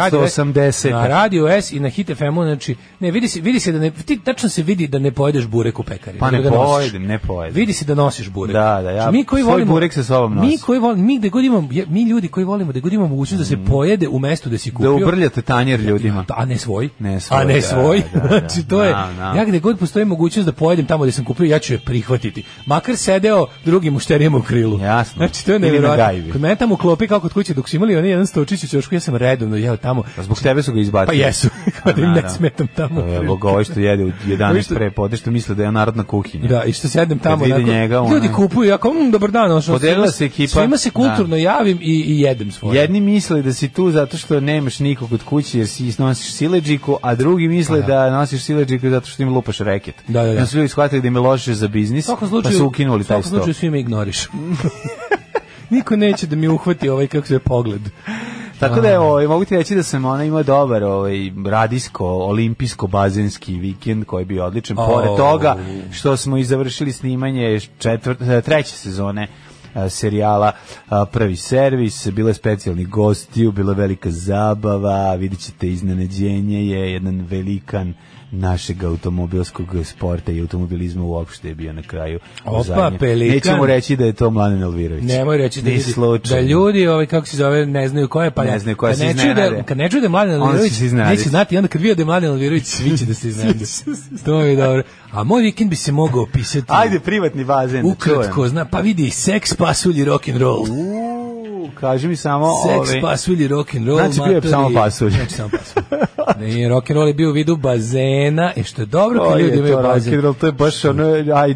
Speaker 6: 1980.
Speaker 7: Na radio S i na Hit FM-u, znači, ne, vidi se, vidi se da ne, ti tačno se vidi da ne pojedeš burek u pekari.
Speaker 6: Pa
Speaker 7: nego
Speaker 6: ne
Speaker 7: ga nosiš.
Speaker 6: pojedem, ne pojedem.
Speaker 7: Vidi se da nosiš burek.
Speaker 6: Da, da, ja
Speaker 7: Znači, mi koji
Speaker 6: svoj
Speaker 7: volimo,
Speaker 6: burek sa sobom
Speaker 7: Mi
Speaker 6: nosim.
Speaker 7: koji volimo, mi gde god imamo, je- mi ljudi koji volimo, da god imamo mogućnost da se pojede u mestu da si
Speaker 6: Mm. Da
Speaker 7: kupio. Da,
Speaker 6: ubrljate tanjer ljudima.
Speaker 7: A ne svoj.
Speaker 6: Ne svoj,
Speaker 7: A ne
Speaker 6: da,
Speaker 7: svoj.
Speaker 6: da, da.
Speaker 7: znači, to je,
Speaker 6: Da, da.
Speaker 7: ja gde god postoji mogućnost da pojedem tamo gde sam kupio, ja ću je prihvatiti. Makar sedeo drugim mušterijama u krilu.
Speaker 6: Jasno.
Speaker 7: Znači, to je
Speaker 6: Ili na
Speaker 7: nevjerojatno.
Speaker 6: gajbi.
Speaker 7: Kod mene tamo u klopi, kao kod kuće, dok su imali oni jedan stočić u čošku, ja sam redovno jeo tamo.
Speaker 6: A Zbog tebe su ga
Speaker 7: Pa
Speaker 6: izbacili.
Speaker 7: jesu, kao da im ne
Speaker 6: naravno.
Speaker 7: smetam tamo.
Speaker 6: Zbog ovo ovaj što jede u 11
Speaker 7: što-
Speaker 6: pre podne, što misle da je narodna kuhinja.
Speaker 7: Da, i što sedem tamo,
Speaker 6: Kad vidi
Speaker 7: onako,
Speaker 6: njega, ona-
Speaker 7: ljudi kupuju, ja kao, mm, dobar dan, ono što-
Speaker 6: Podelila
Speaker 7: svima-
Speaker 6: se ekipa. Da.
Speaker 7: Svima se kulturno javim i, i jedem svoje.
Speaker 6: Jedni misle da si tu zato što nemaš nikog od kuće jer si nosiš sileđiku, a drugi misle da. nosiš sileđiku zato što im lupaš reket.
Speaker 7: Pa Da, da, da.
Speaker 6: I onda su ljudi shvatili da im je loše za biznis,
Speaker 7: U svakom slučaju,
Speaker 6: pa su ukinuli taj
Speaker 7: u svakom
Speaker 6: stop.
Speaker 7: slučaju svi me ignoriš. Niko neće da mi uhvati ovaj kako se zove, pogled.
Speaker 6: Tako da evo, ovaj, mogu ti reći da sam ona imao dobar ovaj, radijsko, olimpijsko, bazenski vikend koji je bio odličan.
Speaker 7: Au.
Speaker 6: Pored toga što smo i završili snimanje četvrt, eh, treće sezone eh, serijala eh, Prvi servis, bilo je specijalni gostiju, bila je velika zabava, vidjet ćete iznenađenje je jedan velikan našeg automobilskog sporta i automobilizma uopšte je bio na kraju. u
Speaker 7: Opa,
Speaker 6: zadnjem.
Speaker 7: pelikan.
Speaker 6: Nećemo reći da je to Mladen Elvirović.
Speaker 7: Nemoj reći da
Speaker 6: Ni
Speaker 7: ljudi, da
Speaker 6: slučajno.
Speaker 7: ljudi ovaj kako se zove ne znaju ko je pa
Speaker 6: Ne znaju ko je,
Speaker 7: kad
Speaker 6: se
Speaker 7: ne čuju da
Speaker 6: iznenade.
Speaker 7: kad ne čuju da je Mladen
Speaker 6: Onda će
Speaker 7: Alvirović
Speaker 6: se iznenaditi.
Speaker 7: neće znati i onda kad vide da je Mladen Alvirović svi će da se iznenade. to je dobro. A moj vikend bi se mogao opisati.
Speaker 6: Ajde, privatni bazen. da čujem.
Speaker 7: ukratko zna pa vidi seks pasulj i rock and roll.
Speaker 6: Uuu, kaži mi samo
Speaker 7: Seks,
Speaker 6: ove,
Speaker 7: pasulj i rock'n'roll.
Speaker 6: ovaj. Znači, bio je
Speaker 7: matori.
Speaker 6: samo pasulj.
Speaker 7: Znači, samo pasulj. Ne, rock'n'roll je bio u vidu bazena, i što je dobro
Speaker 6: To
Speaker 7: kad
Speaker 6: je
Speaker 7: ljudi imaju
Speaker 6: to rock
Speaker 7: bazen.
Speaker 6: and roll, to je baš ono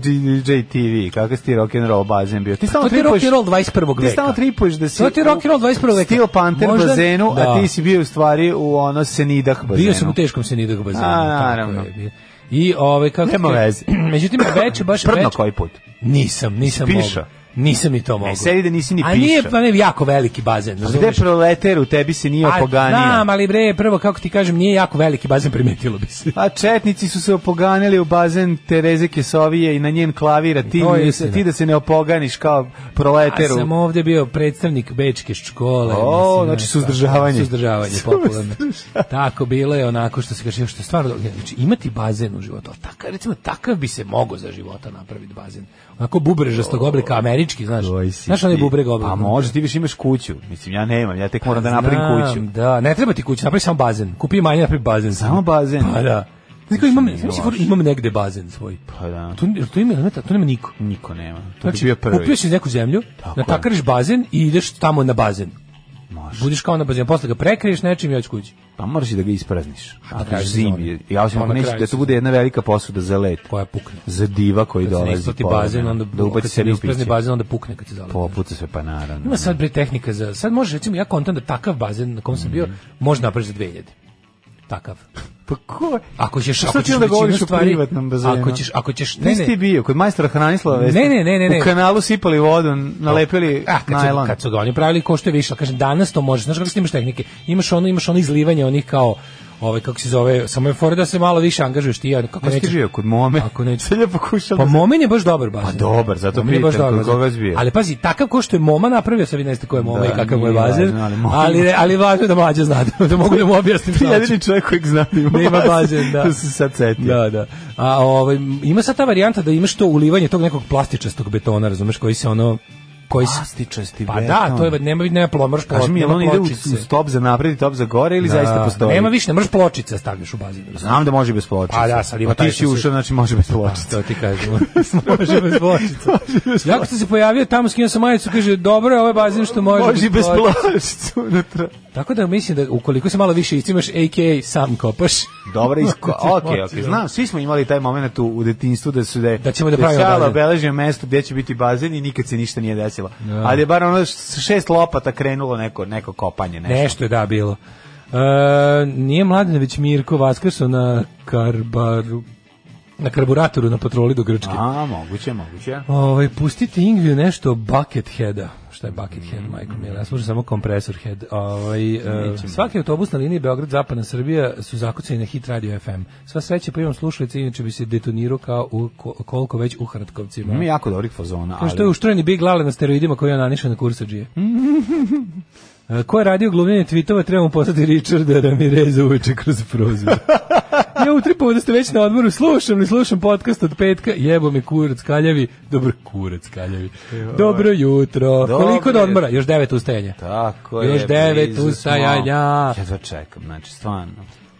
Speaker 6: IGJ TV, kako si ti rock and roll bazen bio. Ti stalno
Speaker 7: Pa To ti je
Speaker 6: tripuješ,
Speaker 7: rock'n'roll 21. veka.
Speaker 6: ti stalno tripuješ da si
Speaker 7: To ti je rock and roll 21. veka.
Speaker 6: Steel Panther
Speaker 7: Možda-
Speaker 6: bazenu,
Speaker 7: da.
Speaker 6: a ti si bio u stvari u ono Senidah bazenu.
Speaker 7: Bio sam u teškom da senidogu bazenu.
Speaker 6: A,
Speaker 7: tako
Speaker 6: naravno.
Speaker 7: je bio. I ovaj kako
Speaker 6: Nema
Speaker 7: ti-
Speaker 6: veze.
Speaker 7: Međutim veče baš
Speaker 6: Prdno
Speaker 7: veče.
Speaker 6: koji put.
Speaker 7: Nisam, nisam
Speaker 6: Jesi
Speaker 7: mogao.
Speaker 6: pišao?
Speaker 7: Nisam ni to mogao.
Speaker 6: sedi da nisi ni
Speaker 7: A nije,
Speaker 6: pišao.
Speaker 7: pa ne, jako veliki bazen.
Speaker 6: Gde
Speaker 7: razumeš?
Speaker 6: proleter u tebi se nije
Speaker 7: A,
Speaker 6: opoganio?
Speaker 7: Znam, ali bre, prvo kako ti kažem, nije jako veliki bazen, primetilo bi se.
Speaker 6: A četnici su se opoganili u bazen Tereze Kesovije i na njen klavir, a ti,
Speaker 7: To je istina.
Speaker 6: ti da se ne opoganiš kao
Speaker 7: Ja
Speaker 6: proleteru.
Speaker 7: sam ovdje bio predstavnik Bečke škole.
Speaker 6: O,
Speaker 7: mislim,
Speaker 6: znači
Speaker 7: ne,
Speaker 6: suzdržavanje.
Speaker 7: tako, Suzdržavanje, popularno.
Speaker 6: Suzdržavanje.
Speaker 7: Tako, bilo je onako što se kaže, što je stvarno, znači imati bazen u životu, ali takav, recimo takav bi se mogao za života napraviti bazen. Onako bubrežastog oblika, američki, znaš.
Speaker 6: Oj, si
Speaker 7: Znaš onaj
Speaker 6: ti.
Speaker 7: bubreg oblika.
Speaker 6: A može, ti više imaš kuću. Mislim, ja nemam, ja tek moram da napravim
Speaker 7: Znam,
Speaker 6: kuću.
Speaker 7: Da, ne treba ti kuću, napravi samo bazen. Kupi manje, napravi bazen.
Speaker 6: Samo bazen?
Speaker 7: Pa da. Znači, imam,
Speaker 6: Nije
Speaker 7: znači,
Speaker 6: loše.
Speaker 7: imam negde bazen svoj.
Speaker 6: Pa da.
Speaker 7: To, to, ima, to nema niko.
Speaker 6: Niko nema. To bi
Speaker 7: Znači,
Speaker 6: bio prvi.
Speaker 7: kupio si neku zemlju,
Speaker 6: Tako je.
Speaker 7: natakariš bazen i ideš tamo na bazen.
Speaker 6: Može.
Speaker 7: Budiš kao na bazenu, posle ga prekriješ nečim i hoćeš kući.
Speaker 6: Pa moraš i da ga isprazniš.
Speaker 7: A,
Speaker 6: Da
Speaker 7: na kraju
Speaker 6: kažeš zimi.
Speaker 7: sezone.
Speaker 6: Ja osim
Speaker 7: Pa
Speaker 6: ako
Speaker 7: na
Speaker 6: neće
Speaker 7: kraju
Speaker 6: da to bude
Speaker 7: sezone.
Speaker 6: jedna velika posuda za let.
Speaker 7: Koja pukne.
Speaker 6: Za diva koji
Speaker 7: Kad se ne
Speaker 6: dolazi.
Speaker 7: isplati
Speaker 6: povremeno.
Speaker 7: bazen, onda
Speaker 6: da ubaci
Speaker 7: kad se ne
Speaker 6: sebi u
Speaker 7: isprazni
Speaker 6: piće.
Speaker 7: bazen, onda pukne kad se zalepi.
Speaker 6: Popuca se pa naravno.
Speaker 7: Ima sad bre tehnika za sad može recimo ja kontam da takav bazen na kom sam
Speaker 6: Mhm.
Speaker 7: bio može napraviti za 2000. Takav.
Speaker 6: Pa ko?
Speaker 7: Ako ćeš,
Speaker 6: Šta
Speaker 7: ako
Speaker 6: ti
Speaker 7: ćeš
Speaker 6: onda
Speaker 7: većinu
Speaker 6: govoriš o
Speaker 7: stvari-
Speaker 6: privatnom bazenu?
Speaker 7: Ako ćeš, ako ćeš, ne,
Speaker 6: Nisi ti
Speaker 7: ne,
Speaker 6: bio kod majstora Hranislava Vesića?
Speaker 7: Ne, ne, ne, ne, ne.
Speaker 6: U kanalu sipali vodu, nalepili
Speaker 7: A, Ah, kad
Speaker 6: najlon.
Speaker 7: Su, kad su ga oni pravili, ko što je više, kažem, danas to možeš, znaš kako ti imaš tehnike, imaš ono, imaš ono izlivanje onih kao, ovaj, kako se zove, samo je fora da se malo više angažuješ ti, ja, kako
Speaker 6: Znaš Pa ti
Speaker 7: nećeš,
Speaker 6: živio kod mome?
Speaker 7: Ako nećeš-
Speaker 6: Sad je pokušao
Speaker 7: Pa
Speaker 6: da...
Speaker 7: Momin je baš dobar bazen.
Speaker 6: Pa dobar, zato
Speaker 7: Momin je baš
Speaker 6: pitam
Speaker 7: dobar
Speaker 6: kod koga
Speaker 7: bazen.
Speaker 6: zbija.
Speaker 7: Ali pazi, takav ko što je Moma napravio, sad vi ne znate ko je Moma
Speaker 6: Da,
Speaker 7: i kakav mu je
Speaker 6: nije
Speaker 7: bazen,
Speaker 6: važno, ali
Speaker 7: ali,
Speaker 6: Moma-
Speaker 7: ali, važno je da mlađa zna, da, da mogu da mu objasnim.
Speaker 6: Ti
Speaker 7: šta hoću.
Speaker 6: jedini čovjek kojeg znam da ima
Speaker 7: Da ima
Speaker 6: bazen.
Speaker 7: bazen, da.
Speaker 6: To se sad setio.
Speaker 7: Da, da. A ovaj ima sad ta varijanta da imaš to ulivanje tog nekog plastičastog betona, razumeš, koji se ono koji se
Speaker 6: Plastičasti
Speaker 7: Pa
Speaker 6: beton.
Speaker 7: da, to je nema nema plomrš pločice. Da.
Speaker 6: Kaži mi, jel on ide u, u stop za napred i top za gore ili zaista postoji?
Speaker 7: Nema više, ne možeš pločice da stavljaš u bazin. razumeš?
Speaker 6: Znam da može bez pločice.
Speaker 7: Pa da, sad ima
Speaker 6: Pa
Speaker 7: taj
Speaker 6: Ti si
Speaker 7: što se- Da.
Speaker 6: ušao, znači može bez pločice.
Speaker 7: to ti kažemo. Može bez pločica. Jako što se pojavio tamo, skinuo sam majicu, kaže, dobro je ovaj bazin što može,
Speaker 6: Može i bez
Speaker 7: pločice.
Speaker 6: pločice unutra.
Speaker 7: Tako da mislim da ukoliko se malo više istimaš, a.k.a. sam kopaš.
Speaker 6: Dobro, isko, ok, ok,
Speaker 7: Moći, da.
Speaker 6: znam, svi smo imali taj moment u, u detinstvu da su da, je-
Speaker 7: Da ćemo da
Speaker 6: je
Speaker 7: pravimo
Speaker 6: Sala
Speaker 7: bazen.
Speaker 6: obeležio mesto gdje će biti bazen i nikad se ništa nije desilo.
Speaker 7: Da.
Speaker 6: Ali je bar ono s šest lopata krenulo neko, neko kopanje, nešto.
Speaker 7: Nešto je da bilo. E, nije Mladenović Mirko Vaskrso na karbaru na karburatoru na patroli do Grčke.
Speaker 6: A, moguće, moguće.
Speaker 7: Ovaj pustite Ingviju nešto o Bucketheada. Šta je Buckethead, Michael Miller? Ja slušam samo Compressor Head. Ovaj e, svaki autobus na liniji Beograd Zapadna Srbija su zakucani na Hit Radio FM. Sva sreća pa imam slušalice, inače bi se detonirao kao u ko- koliko već u Hratkovcima.
Speaker 6: Ima jako dobrih fazona,
Speaker 7: Kao
Speaker 6: ali...
Speaker 7: što je uštrojeni Big Lale na steroidima koji je naniša na kursađije. E, Ko je radio glumljenje tweetova, trebamo poslati Richarda Ramireza uveče kroz prozor. ja utripovo da ste već na odmoru, slušam i slušam podcast od petka, jebo mi kurac kaljavi, dobro kurac kaljavi. Dobro jutro,
Speaker 6: Dobro
Speaker 7: koliko do
Speaker 6: je.
Speaker 7: odmora? Još devet ustajanja.
Speaker 6: Tako je.
Speaker 7: Još devet
Speaker 6: blizu smo.
Speaker 7: ustajanja.
Speaker 6: Jedva čekam, znači, stvarno.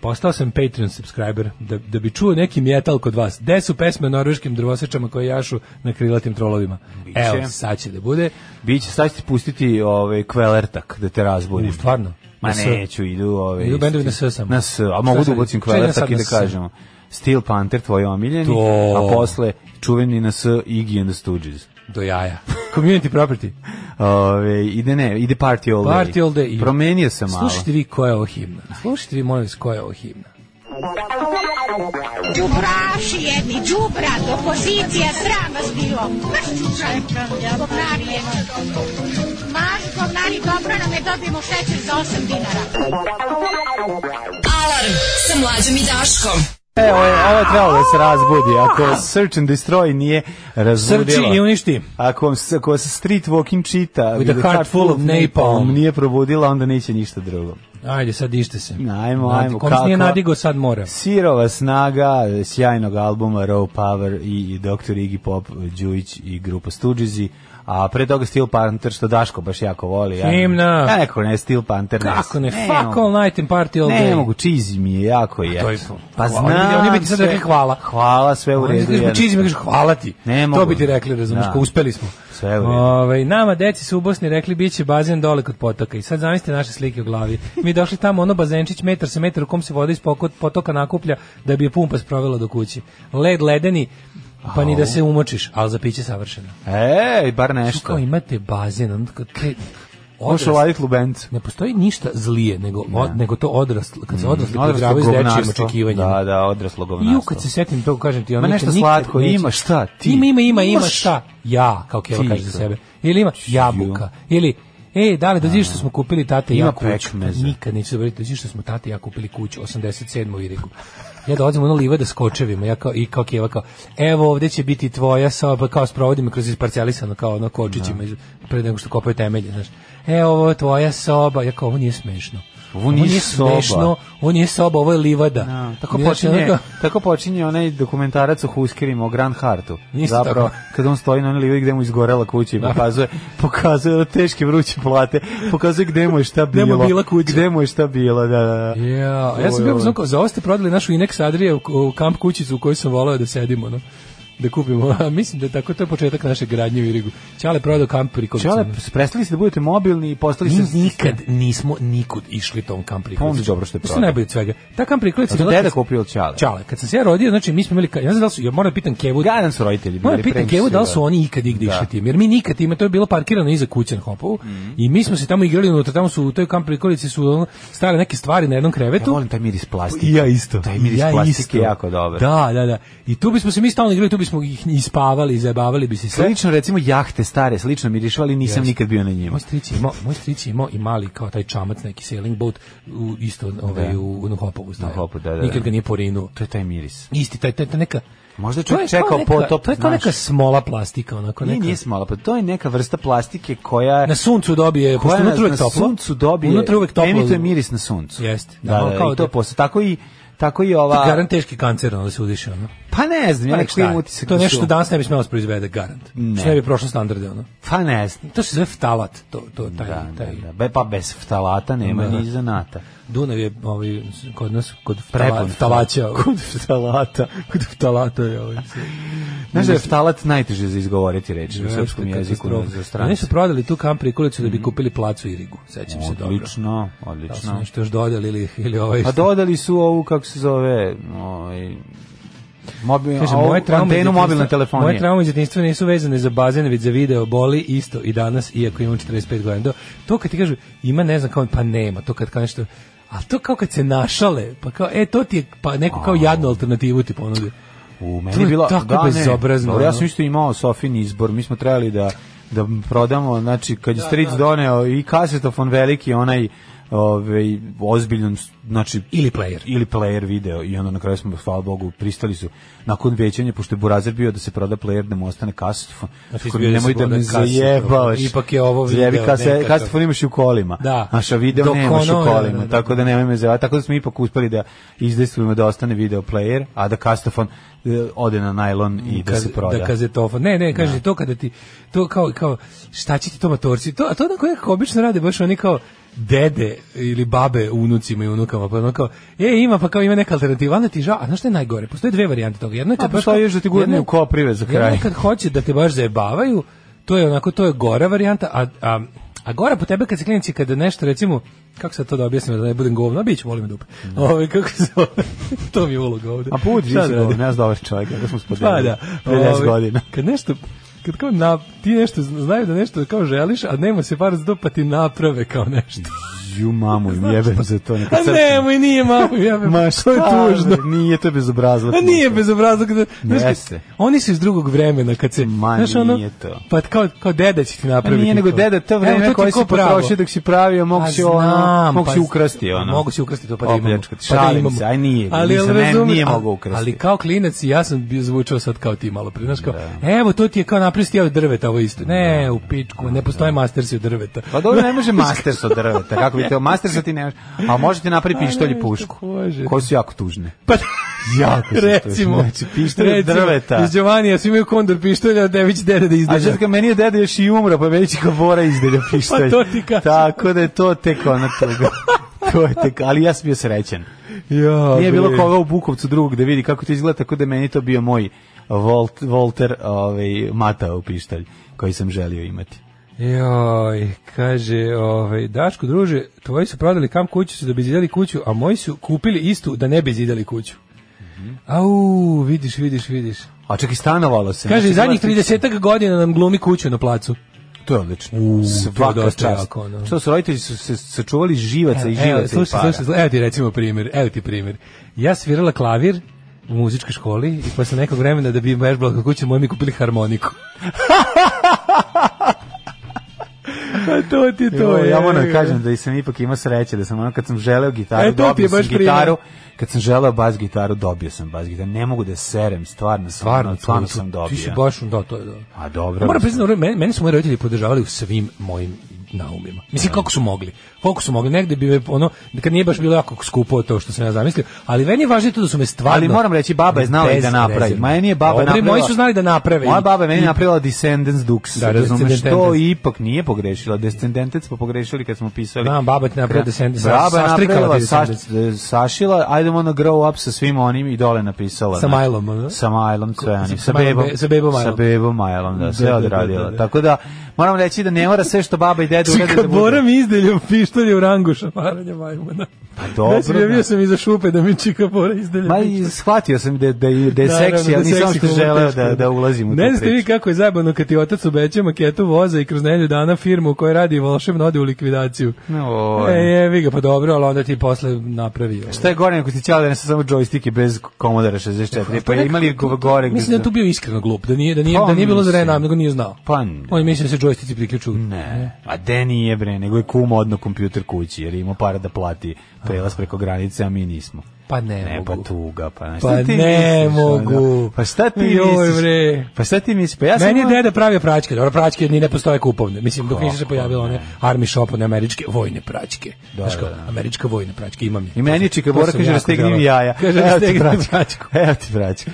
Speaker 7: Postao sam Patreon subscriber da, da bi čuo neki metal kod vas. Gde su pesme o norveškim drvosečama koje jašu na krilatim trolovima?
Speaker 6: Biće.
Speaker 7: Evo, sad će da bude.
Speaker 6: Biće, sad ću ti pustiti ovaj, kvelertak da te razbudim.
Speaker 7: U, stvarno.
Speaker 6: Ma
Speaker 7: Da se-
Speaker 6: neću, idu ove...
Speaker 7: Idu bendovi na
Speaker 6: isti-
Speaker 7: S samo.
Speaker 6: Na S, a
Speaker 7: Šta
Speaker 6: mogu da
Speaker 7: sad?
Speaker 6: ubacim
Speaker 7: Čekaj, ja sad
Speaker 6: kvadratak i
Speaker 7: na
Speaker 6: da
Speaker 7: S.
Speaker 6: kažemo. Steel Panther, tvoji omiljeni,
Speaker 7: To.
Speaker 6: a posle čuveni na S Iggy and the Stooges.
Speaker 7: Do jaja. Community property.
Speaker 6: Ove, ide ne, ide Party All Day.
Speaker 7: Party all day. I-
Speaker 6: Promenio sam malo.
Speaker 7: Slušajte vi koja je ovo himna. Slušajte vi, molim vas, koja je ovo himna.
Speaker 5: Đubraši jedni, đubra, opozicija, sram vas bilo. Baš čučajka, govnari jedni. Maš, govnari, dobro nam je, dobijemo šećer za 8 dinara.
Speaker 3: Alarm sa mlađom i Daškom.
Speaker 6: E, ovo je, ovo je trebalo da se razbudi. Ako Search and Destroy nije razbudilo.
Speaker 7: Srči i uništi.
Speaker 6: Ako vam se, ako vas Street Walking čita
Speaker 7: With a heart full of napalm.
Speaker 6: nije probudila, onda neće ništa drugo.
Speaker 7: Ajde, sad dište se.
Speaker 6: Ajmo,
Speaker 7: Nadi-
Speaker 6: ajmo,
Speaker 7: Kom se nije
Speaker 6: kako?
Speaker 7: nadigo, sad mora.
Speaker 6: Sirova snaga eh, sjajnog albuma Raw Power i, i Dr. Iggy Pop, eh, Đujić i grupa Stoogesy, a pre toga Steel Panther, što Daško baš jako voli. Ja,
Speaker 7: Himna.
Speaker 6: Ja neko ne, Steel Panther. ne.
Speaker 7: Kako ne,
Speaker 6: mogu.
Speaker 7: fuck all night and party all
Speaker 6: Ne,
Speaker 7: day.
Speaker 6: mogu, cheesy mi je, jako je.
Speaker 7: to je to.
Speaker 6: Pa
Speaker 7: Hvala.
Speaker 6: znam
Speaker 7: Oni- oni bi ti sad
Speaker 6: sve.
Speaker 7: rekli hvala.
Speaker 6: Hvala, sve u
Speaker 7: Oni
Speaker 6: redu.
Speaker 7: kažu,
Speaker 6: je.
Speaker 7: čizim, kažu, hvala ti.
Speaker 6: Ne
Speaker 7: to
Speaker 6: mogu.
Speaker 7: bi ti rekli, razumiješ,
Speaker 6: Da.
Speaker 7: ko uspeli smo.
Speaker 6: Sve u redu.
Speaker 7: Ovaj, nama deci su u Bosni rekli, bit će bazen dole kod potoka. I sad zamislite naše slike u glavi. Mi došli tamo, ono bazenčić, metar sa metar u kom se voda iz poko- potoka nakuplja, da bi je pumpa sprovela do kući. Led ledeni, pa ni da se umočiš, ali za piće savršeno.
Speaker 6: Ej, bar
Speaker 7: Što? Kao
Speaker 6: nešto.
Speaker 7: imate bazen, ono kad te...
Speaker 6: Možeš
Speaker 7: odrasli-
Speaker 6: ovadit lubencu.
Speaker 7: Ne postoji ništa zlije nego, od, nego to odraslo, kad se odrasli mm,
Speaker 6: Odraslo
Speaker 7: podravaju s dečijim
Speaker 6: govnarstvo.
Speaker 7: očekivanjem.
Speaker 6: Da, da, odraslo govnarstvo.
Speaker 7: I u kad se setim to kažem ti, ono
Speaker 6: Ma
Speaker 7: nikad-
Speaker 6: nešto
Speaker 7: nikad
Speaker 6: slatko,
Speaker 7: neće-
Speaker 6: ima šta, ti.
Speaker 7: Ima, ima, ima, ima
Speaker 6: Imaš.
Speaker 7: šta. Ja, kao Keva
Speaker 6: Ti
Speaker 7: kaže za
Speaker 6: to.
Speaker 7: sebe. Ili ima jabuka, ili E, da li dođi što smo kupili tate i ja
Speaker 6: Ima
Speaker 7: kuću? Pa
Speaker 6: pekmeza.
Speaker 7: Nikad neću zaboraviti dođi što smo tate i ja kupili kuću 87. u Irigu. Ja dolazim u ono livada s kočevima, ja kao, i kao Keva kao, evo ovde će biti tvoja soba, kao sprovodim me kroz isparcialisano, kao ono
Speaker 6: Da.
Speaker 7: kočićima, iz- pre nego što kopaju temelje, znaš. E, ovo je tvoja soba, ja kao, ovo nije smešno.
Speaker 6: Ovo nije soba.
Speaker 7: smešno, ovo nije soba, ovo je livada.
Speaker 6: Da, tako
Speaker 7: Znači, ono
Speaker 6: počinje,
Speaker 7: kao-
Speaker 6: tako počinje onaj dokumentarac o Huskerima, o Grand Hartu.
Speaker 7: Isto
Speaker 6: Zapravo,
Speaker 7: tako. Da.
Speaker 6: kad on stoji na onoj livi gde mu izgorela kuća i pokazuje, pokazuje da teške vruće plate, pokazuje gde mu je šta bilo.
Speaker 7: Gde mu je bila kuća.
Speaker 6: Gde mu je šta bilo, da, da, da.
Speaker 7: Ja, ja
Speaker 6: Ovo je
Speaker 7: sam bio
Speaker 6: ovo.
Speaker 7: znam kao, za ovo ste prodali našu Inex Adria u, u kamp kućicu u kojoj sam volao da sedimo, no. da kupimo. A mislim da je tako to je početak naše gradnje u Irigu. Ćale prodao kamp
Speaker 6: Čale,
Speaker 7: prikovicama.
Speaker 6: prestali ste da budete mobilni i postali ste...
Speaker 7: Mi nikad nismo nikud išli tom kamp
Speaker 6: Pa onda
Speaker 7: prikolicama.
Speaker 6: je dobro što je
Speaker 7: Što je
Speaker 6: prodao.
Speaker 7: najbolje od svega? Ta kamp prikolica...
Speaker 6: A to
Speaker 7: je bila-
Speaker 6: deda kupio od Ćale?
Speaker 7: Ćale. Kad sam se ja rodio, znači mi smo imali... ka- Ja ne znam da li su... Ja moram da pitam Kevu...
Speaker 6: Gadan su roditelji bili.
Speaker 7: Moram pitam
Speaker 6: previše
Speaker 7: Kevu da Mhm. li su
Speaker 6: sigurno.
Speaker 7: oni ikad igde išli tim, jer mi nikad time, to je bilo parkirano iza Kućenhopovu i mi smo se tamo igrali unutra, tamo su u toj kamp prikolici su ono, stare neke stvari na jednom krevetu.
Speaker 6: Ja volim taj miris plastike.
Speaker 7: I ja isto.
Speaker 6: Taj miris
Speaker 7: ja
Speaker 6: plastike
Speaker 7: isto.
Speaker 6: je jako dobar.
Speaker 7: Da, da, da. I tu bismo se mi stalno igrali, tu bismo ih ispavali, zabavali bi se sve.
Speaker 6: Slično recimo jahte stare, slično mirišu, ali nisam
Speaker 7: Jeste.
Speaker 6: nikad bio na njima.
Speaker 7: Moj stric je imao, moj stric je imao i mali kao taj čamac neki sailing boat u isto ovaj
Speaker 6: Da.
Speaker 7: u, u Hopovu stavio.
Speaker 6: Hopu, da, da, da.
Speaker 7: Nikad ga nije porinuo.
Speaker 6: To je taj miris.
Speaker 7: Isti taj taj, taj neka
Speaker 6: Možda je
Speaker 7: to je
Speaker 6: čovjek čekao
Speaker 7: kao neka-
Speaker 6: potop,
Speaker 7: To je kao
Speaker 6: znaš.
Speaker 7: neka smola plastika, onako
Speaker 6: Nije,
Speaker 7: neka.
Speaker 6: nije smala, pa to je neka vrsta plastike koja
Speaker 7: Na suncu dobije,
Speaker 6: Pa koja
Speaker 7: pošto
Speaker 6: na,
Speaker 7: unutra uvek
Speaker 6: na
Speaker 7: toplo.
Speaker 6: suncu dobije,
Speaker 7: Unutra uvek toplo.
Speaker 6: emituje miris na suncu.
Speaker 7: Jeste.
Speaker 6: Da, da,
Speaker 7: Ono
Speaker 6: kao
Speaker 7: kao
Speaker 6: i to
Speaker 7: da-
Speaker 6: posle. Tako i, tako i ova...
Speaker 7: Garant teški kancer, ono da se udiše, ono.
Speaker 6: Pa ne znam, ja
Speaker 7: Pa
Speaker 6: nekako
Speaker 7: šta je?
Speaker 6: imam utisak.
Speaker 7: To je
Speaker 6: da
Speaker 7: nešto
Speaker 6: su-
Speaker 7: što danas ne bi smelo se proizvede, garant.
Speaker 6: Ne.
Speaker 7: Što ne bi prošlo standarde, ono.
Speaker 6: Pa ne znam.
Speaker 7: To se zove ftalat, to, to, taj,
Speaker 6: Da, da,
Speaker 7: taj.
Speaker 6: da. Be, pa bez ftalata nema
Speaker 7: Da.
Speaker 6: ni zanata.
Speaker 7: Dunav je ovaj, kod nas, kod
Speaker 6: Prepun
Speaker 7: ftala- ftalaća. ovaj.
Speaker 6: Kod ftalata.
Speaker 7: Kod ftalata je ovaj. sve.
Speaker 6: Znaš da je ftalat najteže za izgovoriti reči u
Speaker 7: Jeste,
Speaker 6: srpskom jeziku
Speaker 7: katastrofa.
Speaker 6: za
Speaker 7: Oni
Speaker 6: stranice.
Speaker 7: su prodali tu kamp prikolicu da bi kupili placu i rigu, sećam se dobro.
Speaker 6: Odlično, Pa
Speaker 7: Da li su
Speaker 6: odlično.
Speaker 7: nešto još dodali ili, ili ovaj...
Speaker 6: A dodali su ovu, kako se zove, ovaj, mobil,
Speaker 7: Kaže,
Speaker 6: ovu
Speaker 7: moje traume iz
Speaker 6: antenu
Speaker 7: djetinjstva-
Speaker 6: mobilne telefonije.
Speaker 7: Moje traume iz djetinjstva nisu vezane za bazen, već za video boli isto i danas, iako imam 45 godina. Do, to kad ti kažu, ima ne znam kao, pa nema, to kad kao nešto, a to kao kad se našale, pa kao, e, to ti je, pa neko kao jadnu alternativu ti ponudi.
Speaker 6: U,
Speaker 7: To
Speaker 6: meni
Speaker 7: je
Speaker 6: je bilo
Speaker 7: tako
Speaker 6: da, ne,
Speaker 7: bezobrazno,
Speaker 6: dobro, Ja sam
Speaker 7: ono.
Speaker 6: isto imao Sofin izbor, mi smo trebali da da prodamo, znači kad je Stric doneo i kasetofon veliki onaj ovaj ozbiljan znači
Speaker 7: Ili player.
Speaker 6: ili player video i onda na kraju smo hvala Bogu pristali su nakon većanja pošto je Burazer bio da se proda player da mu ostane kasetofon
Speaker 7: Znači,
Speaker 6: Tako,
Speaker 7: izbio da
Speaker 6: nemoj
Speaker 7: se
Speaker 6: da me
Speaker 7: proda kasetofon.
Speaker 6: zajebaš
Speaker 7: Ipak je ovo
Speaker 6: Zajebi
Speaker 7: video,
Speaker 6: kase-
Speaker 7: nekakav.
Speaker 6: kasetofon imaš i u kolima
Speaker 7: Da.
Speaker 6: naša video
Speaker 7: Dok
Speaker 6: nemaš
Speaker 7: ono,
Speaker 6: u
Speaker 7: da,
Speaker 6: kolima
Speaker 7: da, da, da.
Speaker 6: tako da nemoj me zajebati. tako da smo ipak uspeli da izdejstvujemo da ostane video player a da kasetofon e, ode na najlon i da
Speaker 7: Kaz-
Speaker 6: se proda Da.
Speaker 7: Da kazetofon. Ne, ne, kaže to kada ti to kao kao šta će ti to matorci? To a to onako nekako obično rade baš oni kao dede ili babe unucima i unukama pa ono kao e ima pa kao ima neka alternativa onda ti žao a znaš šta je najgore postoje dve varijante toga jedna je
Speaker 6: A,
Speaker 7: kad baš
Speaker 6: postoji
Speaker 7: kao-
Speaker 6: još da ti gurne
Speaker 7: jedna je-
Speaker 6: u koprive za kraj.
Speaker 7: jedna je kad hoće da te baš zajebavaju to je onako to je gora varijanta a, a A gora po tebe kad se klinici kada nešto recimo kako se to da objasnim da ne budem govno, a bit ću, volim dupe. Ovaj kako se zove? to mi je uloga ovde.
Speaker 6: Da. a put
Speaker 7: Šta da
Speaker 6: više
Speaker 7: radim?
Speaker 6: ne znam dobar čovjek kako smo spodelili
Speaker 7: Pa da.
Speaker 6: pre 10
Speaker 7: Ovaj,
Speaker 6: godina
Speaker 7: Kad nešto kad kao na, ti nešto zna- znaju da nešto kao želiš, a nema se par za to, pa ti naprave kao nešto.
Speaker 6: Mm, ju mamu im jebem za to neka
Speaker 7: A Pa nemoj, nije malo, ja me,
Speaker 6: Ma
Speaker 7: to
Speaker 6: što
Speaker 7: je tužno.
Speaker 6: Nije to bezobrazno.
Speaker 7: A Pa nije bez obraza. Kada, znaš, kad-
Speaker 6: Jeste.
Speaker 7: Oni su iz drugog vremena, kad se,
Speaker 6: Ma,
Speaker 7: znaš ono,
Speaker 6: nije to.
Speaker 7: pa kao, kao deda će ti
Speaker 6: Pa
Speaker 7: napraviti.
Speaker 6: nije nego
Speaker 7: to.
Speaker 6: deda to
Speaker 7: Evo,
Speaker 6: vreme
Speaker 7: ti
Speaker 6: koje
Speaker 7: ko
Speaker 6: si
Speaker 7: pravo.
Speaker 6: potrošio dok si pravio, mogu
Speaker 7: Pa
Speaker 6: si ono,
Speaker 7: znam,
Speaker 6: mogu
Speaker 7: pa
Speaker 6: si
Speaker 7: z-
Speaker 6: ukrasti ono.
Speaker 7: Mogu si ukrasti to pa da imamo.
Speaker 6: Opljačkati,
Speaker 7: Pa da
Speaker 6: šalim
Speaker 7: imamo.
Speaker 6: se, aj nije,
Speaker 7: Ali,
Speaker 6: nisam,
Speaker 7: ali
Speaker 6: meni
Speaker 7: razumem,
Speaker 6: nije
Speaker 7: a-
Speaker 6: mogu ukrasti.
Speaker 7: Ali kao klinac i ja sam bio zvučao sad kao ti malo pre, znaš kao,
Speaker 6: Da.
Speaker 7: evo to ti je kao napristi ja od drveta ovo isto. Ne, u pičku, ne postoje mastersi od drveta.
Speaker 6: Da. Pa dobro, ne može masters od drveta, kako bi teo, mastersa ti ne može, a možete napraviti pištolj i
Speaker 7: nešto
Speaker 6: pušku,
Speaker 7: može.
Speaker 6: koje su jako tužne.
Speaker 7: Pa
Speaker 6: Jako su tužne.
Speaker 7: recimo,
Speaker 6: Znači, pištolj od
Speaker 7: recimo,
Speaker 6: drveta.
Speaker 7: Iz Giovanija svi imaju kondor pištolja, a Dević dede da
Speaker 6: A
Speaker 7: izdeže.
Speaker 6: sad kad meni je deda još i umro, pa već ga Bora izdelja pištolj.
Speaker 7: to ti kažem.
Speaker 6: Tako da je to tek ona tuga. to je tek, ali ja sam bio srećan.
Speaker 7: Ja,
Speaker 6: Nije bilo
Speaker 7: bre.
Speaker 6: koga u Bukovcu drugog da vidi kako to izgleda, tako da je meni to bio moj Volt, Volter ovaj, matao pištolj koji sam želio imati.
Speaker 7: Joj, kaže, ovaj, Daško, druže, tvoji su prodali kam kuću su da bi zidali kuću, a moji su kupili istu da ne bi zidali kuću.
Speaker 6: Mhm.
Speaker 7: Au, vidiš, vidiš, vidiš.
Speaker 6: A čak i stanovalo se.
Speaker 7: Kaže,
Speaker 6: Znači,
Speaker 7: zadnjih
Speaker 6: gledaj,
Speaker 7: 30 godina nam glumi kuću na placu.
Speaker 6: To je odlično.
Speaker 7: to je
Speaker 6: Svaka
Speaker 7: dosta
Speaker 6: čast.
Speaker 7: jako, ono.
Speaker 6: Što su roditelji su se sačuvali živaca i živaca
Speaker 7: evo,
Speaker 6: i
Speaker 7: slušaj,
Speaker 6: para.
Speaker 7: slušaj, slušaj, evo ti recimo primjer, evo ti primjer. Ja svirala klavir u muzičkoj školi i posle nekog vremena da bi vežbala kako kuću, moji mi kupili harmoniku. Pa to ti to
Speaker 6: Jo,
Speaker 7: je.
Speaker 6: ja moram da kažem da sam ipak imao sreće, da sam ono kad sam želeo gitaru,
Speaker 7: E, to ti je
Speaker 6: dobio sam
Speaker 7: baš primjer.
Speaker 6: gitaru, kad sam želeo bas gitaru, dobio sam bas gitaru, ne mogu da serem, stvarno, stvarno, stvarno
Speaker 7: to-
Speaker 6: sam
Speaker 7: Ti si
Speaker 6: dobio.
Speaker 7: baš, da, to je da.
Speaker 6: A dobro.
Speaker 7: Moram
Speaker 6: mislim.
Speaker 7: priznati, meni, meni su moji roditelji podržavali u svim mojim na umima.
Speaker 6: Da.
Speaker 7: Mislim, kako su mogli? Koliko su mogli? Negde bi me, ono, kad nije baš bilo jako skupo to što sam ja zamislio, ali meni je važnije to da su me stvarno...
Speaker 6: Ali moram reći, baba je znala i da napravi.
Speaker 7: bezrezervno.
Speaker 6: Ma nije baba
Speaker 7: Dobri,
Speaker 6: napravila.
Speaker 7: Moji su znali da naprave.
Speaker 6: Moja
Speaker 7: i-
Speaker 6: baba je meni
Speaker 7: i-
Speaker 6: napravila Descendants Dux.
Speaker 7: Da,
Speaker 6: Da, razumeš,
Speaker 7: Descendentes.
Speaker 6: to ipak nije pogrešila. Descendentes smo pogrešili kad smo pisali.
Speaker 7: Da, baba ti napravila Descendentes,
Speaker 6: Baba je
Speaker 7: saštrikala
Speaker 6: napravila,
Speaker 7: Descendentes.
Speaker 6: saš- e, sašila, ajdemo ono grow up sa svim onim i dole napisala.
Speaker 7: Sa
Speaker 6: znaš.
Speaker 7: Majlom, ono?
Speaker 6: Sa Majlom Cvejani.
Speaker 7: sa
Speaker 6: Sa
Speaker 7: Majlom
Speaker 6: bebom.
Speaker 7: Be- sa bebom Majlom.
Speaker 6: Sa bebom Majlom, da, sve
Speaker 7: da, da,
Speaker 6: odradila.
Speaker 7: da, da.
Speaker 6: Tako da, moram reći da ne mora sve što baba i deda urede da
Speaker 7: Čika,
Speaker 6: bude.
Speaker 7: Bora mi izdelio pištolje u rangu šamaranja majmuna.
Speaker 6: Pa dobro,
Speaker 7: Znači, ja bio
Speaker 6: da.
Speaker 7: sam iza šupe da mi Čika Bora izdelio
Speaker 6: Ma
Speaker 7: pištolje.
Speaker 6: i shvatio sam da, da, je- da je
Speaker 7: Naravno,
Speaker 6: seksi, ali
Speaker 7: da
Speaker 6: nisam
Speaker 7: seksi
Speaker 6: što
Speaker 7: komu je
Speaker 6: želeo
Speaker 7: teško.
Speaker 6: da, da ulazim u
Speaker 7: Ne
Speaker 6: tu
Speaker 7: znate vi
Speaker 6: priču.
Speaker 7: kako je zajebano kad ti otac obeća maketu voza i kroz nedelju dana firmu u kojoj radi volšebno ode u likvidaciju.
Speaker 6: No,
Speaker 7: e, je, vi ga, pa dobro, ali onda ti posle napravi. ovo.
Speaker 6: Šta je gore nego ti ćale da ne samo džojstike bez Commodore 64? Pa ima li go- gore? gde
Speaker 7: Mislim da je
Speaker 6: za-
Speaker 7: tu bio iskreno glup, da nije, da nije,
Speaker 6: Pa,
Speaker 7: da nije bilo za
Speaker 6: mislim.
Speaker 7: renam, nego nije znao.
Speaker 6: Pa,
Speaker 7: On je mislio da se džojstici priključuju.
Speaker 6: Ne, a de nije bre, nego je kum odno kompjuter kući, jer ima para da plati prelaz preko granice, a mi nismo.
Speaker 7: Pa ne,
Speaker 6: Ne,
Speaker 7: mogu.
Speaker 6: pa tuga, pa,
Speaker 7: Pa
Speaker 6: šta ti
Speaker 7: ne
Speaker 6: misliš, ono?
Speaker 7: mogu.
Speaker 6: Pa šta ti
Speaker 7: Joj,
Speaker 6: misliš?
Speaker 7: bre.
Speaker 6: Pa šta ti misliš? Pa ja sam...
Speaker 7: Meni je
Speaker 6: ono-
Speaker 7: deda pravio praćke, dobro praćke ni ne postoje kupovne. Mislim dok nisu se pojavile one army shop one američke vojne praćke. Da, Znaš kao, američka vojna praćka imam. je.
Speaker 6: I meni je Čika
Speaker 7: To
Speaker 6: Bora
Speaker 7: sam
Speaker 6: kaže
Speaker 7: jako
Speaker 6: rastegni mi
Speaker 7: želeo.
Speaker 6: jaja.
Speaker 7: Kaže da
Speaker 6: Evo ti
Speaker 7: rastegni mi
Speaker 6: praćku.
Speaker 7: praćku.
Speaker 6: Evo ti praćku.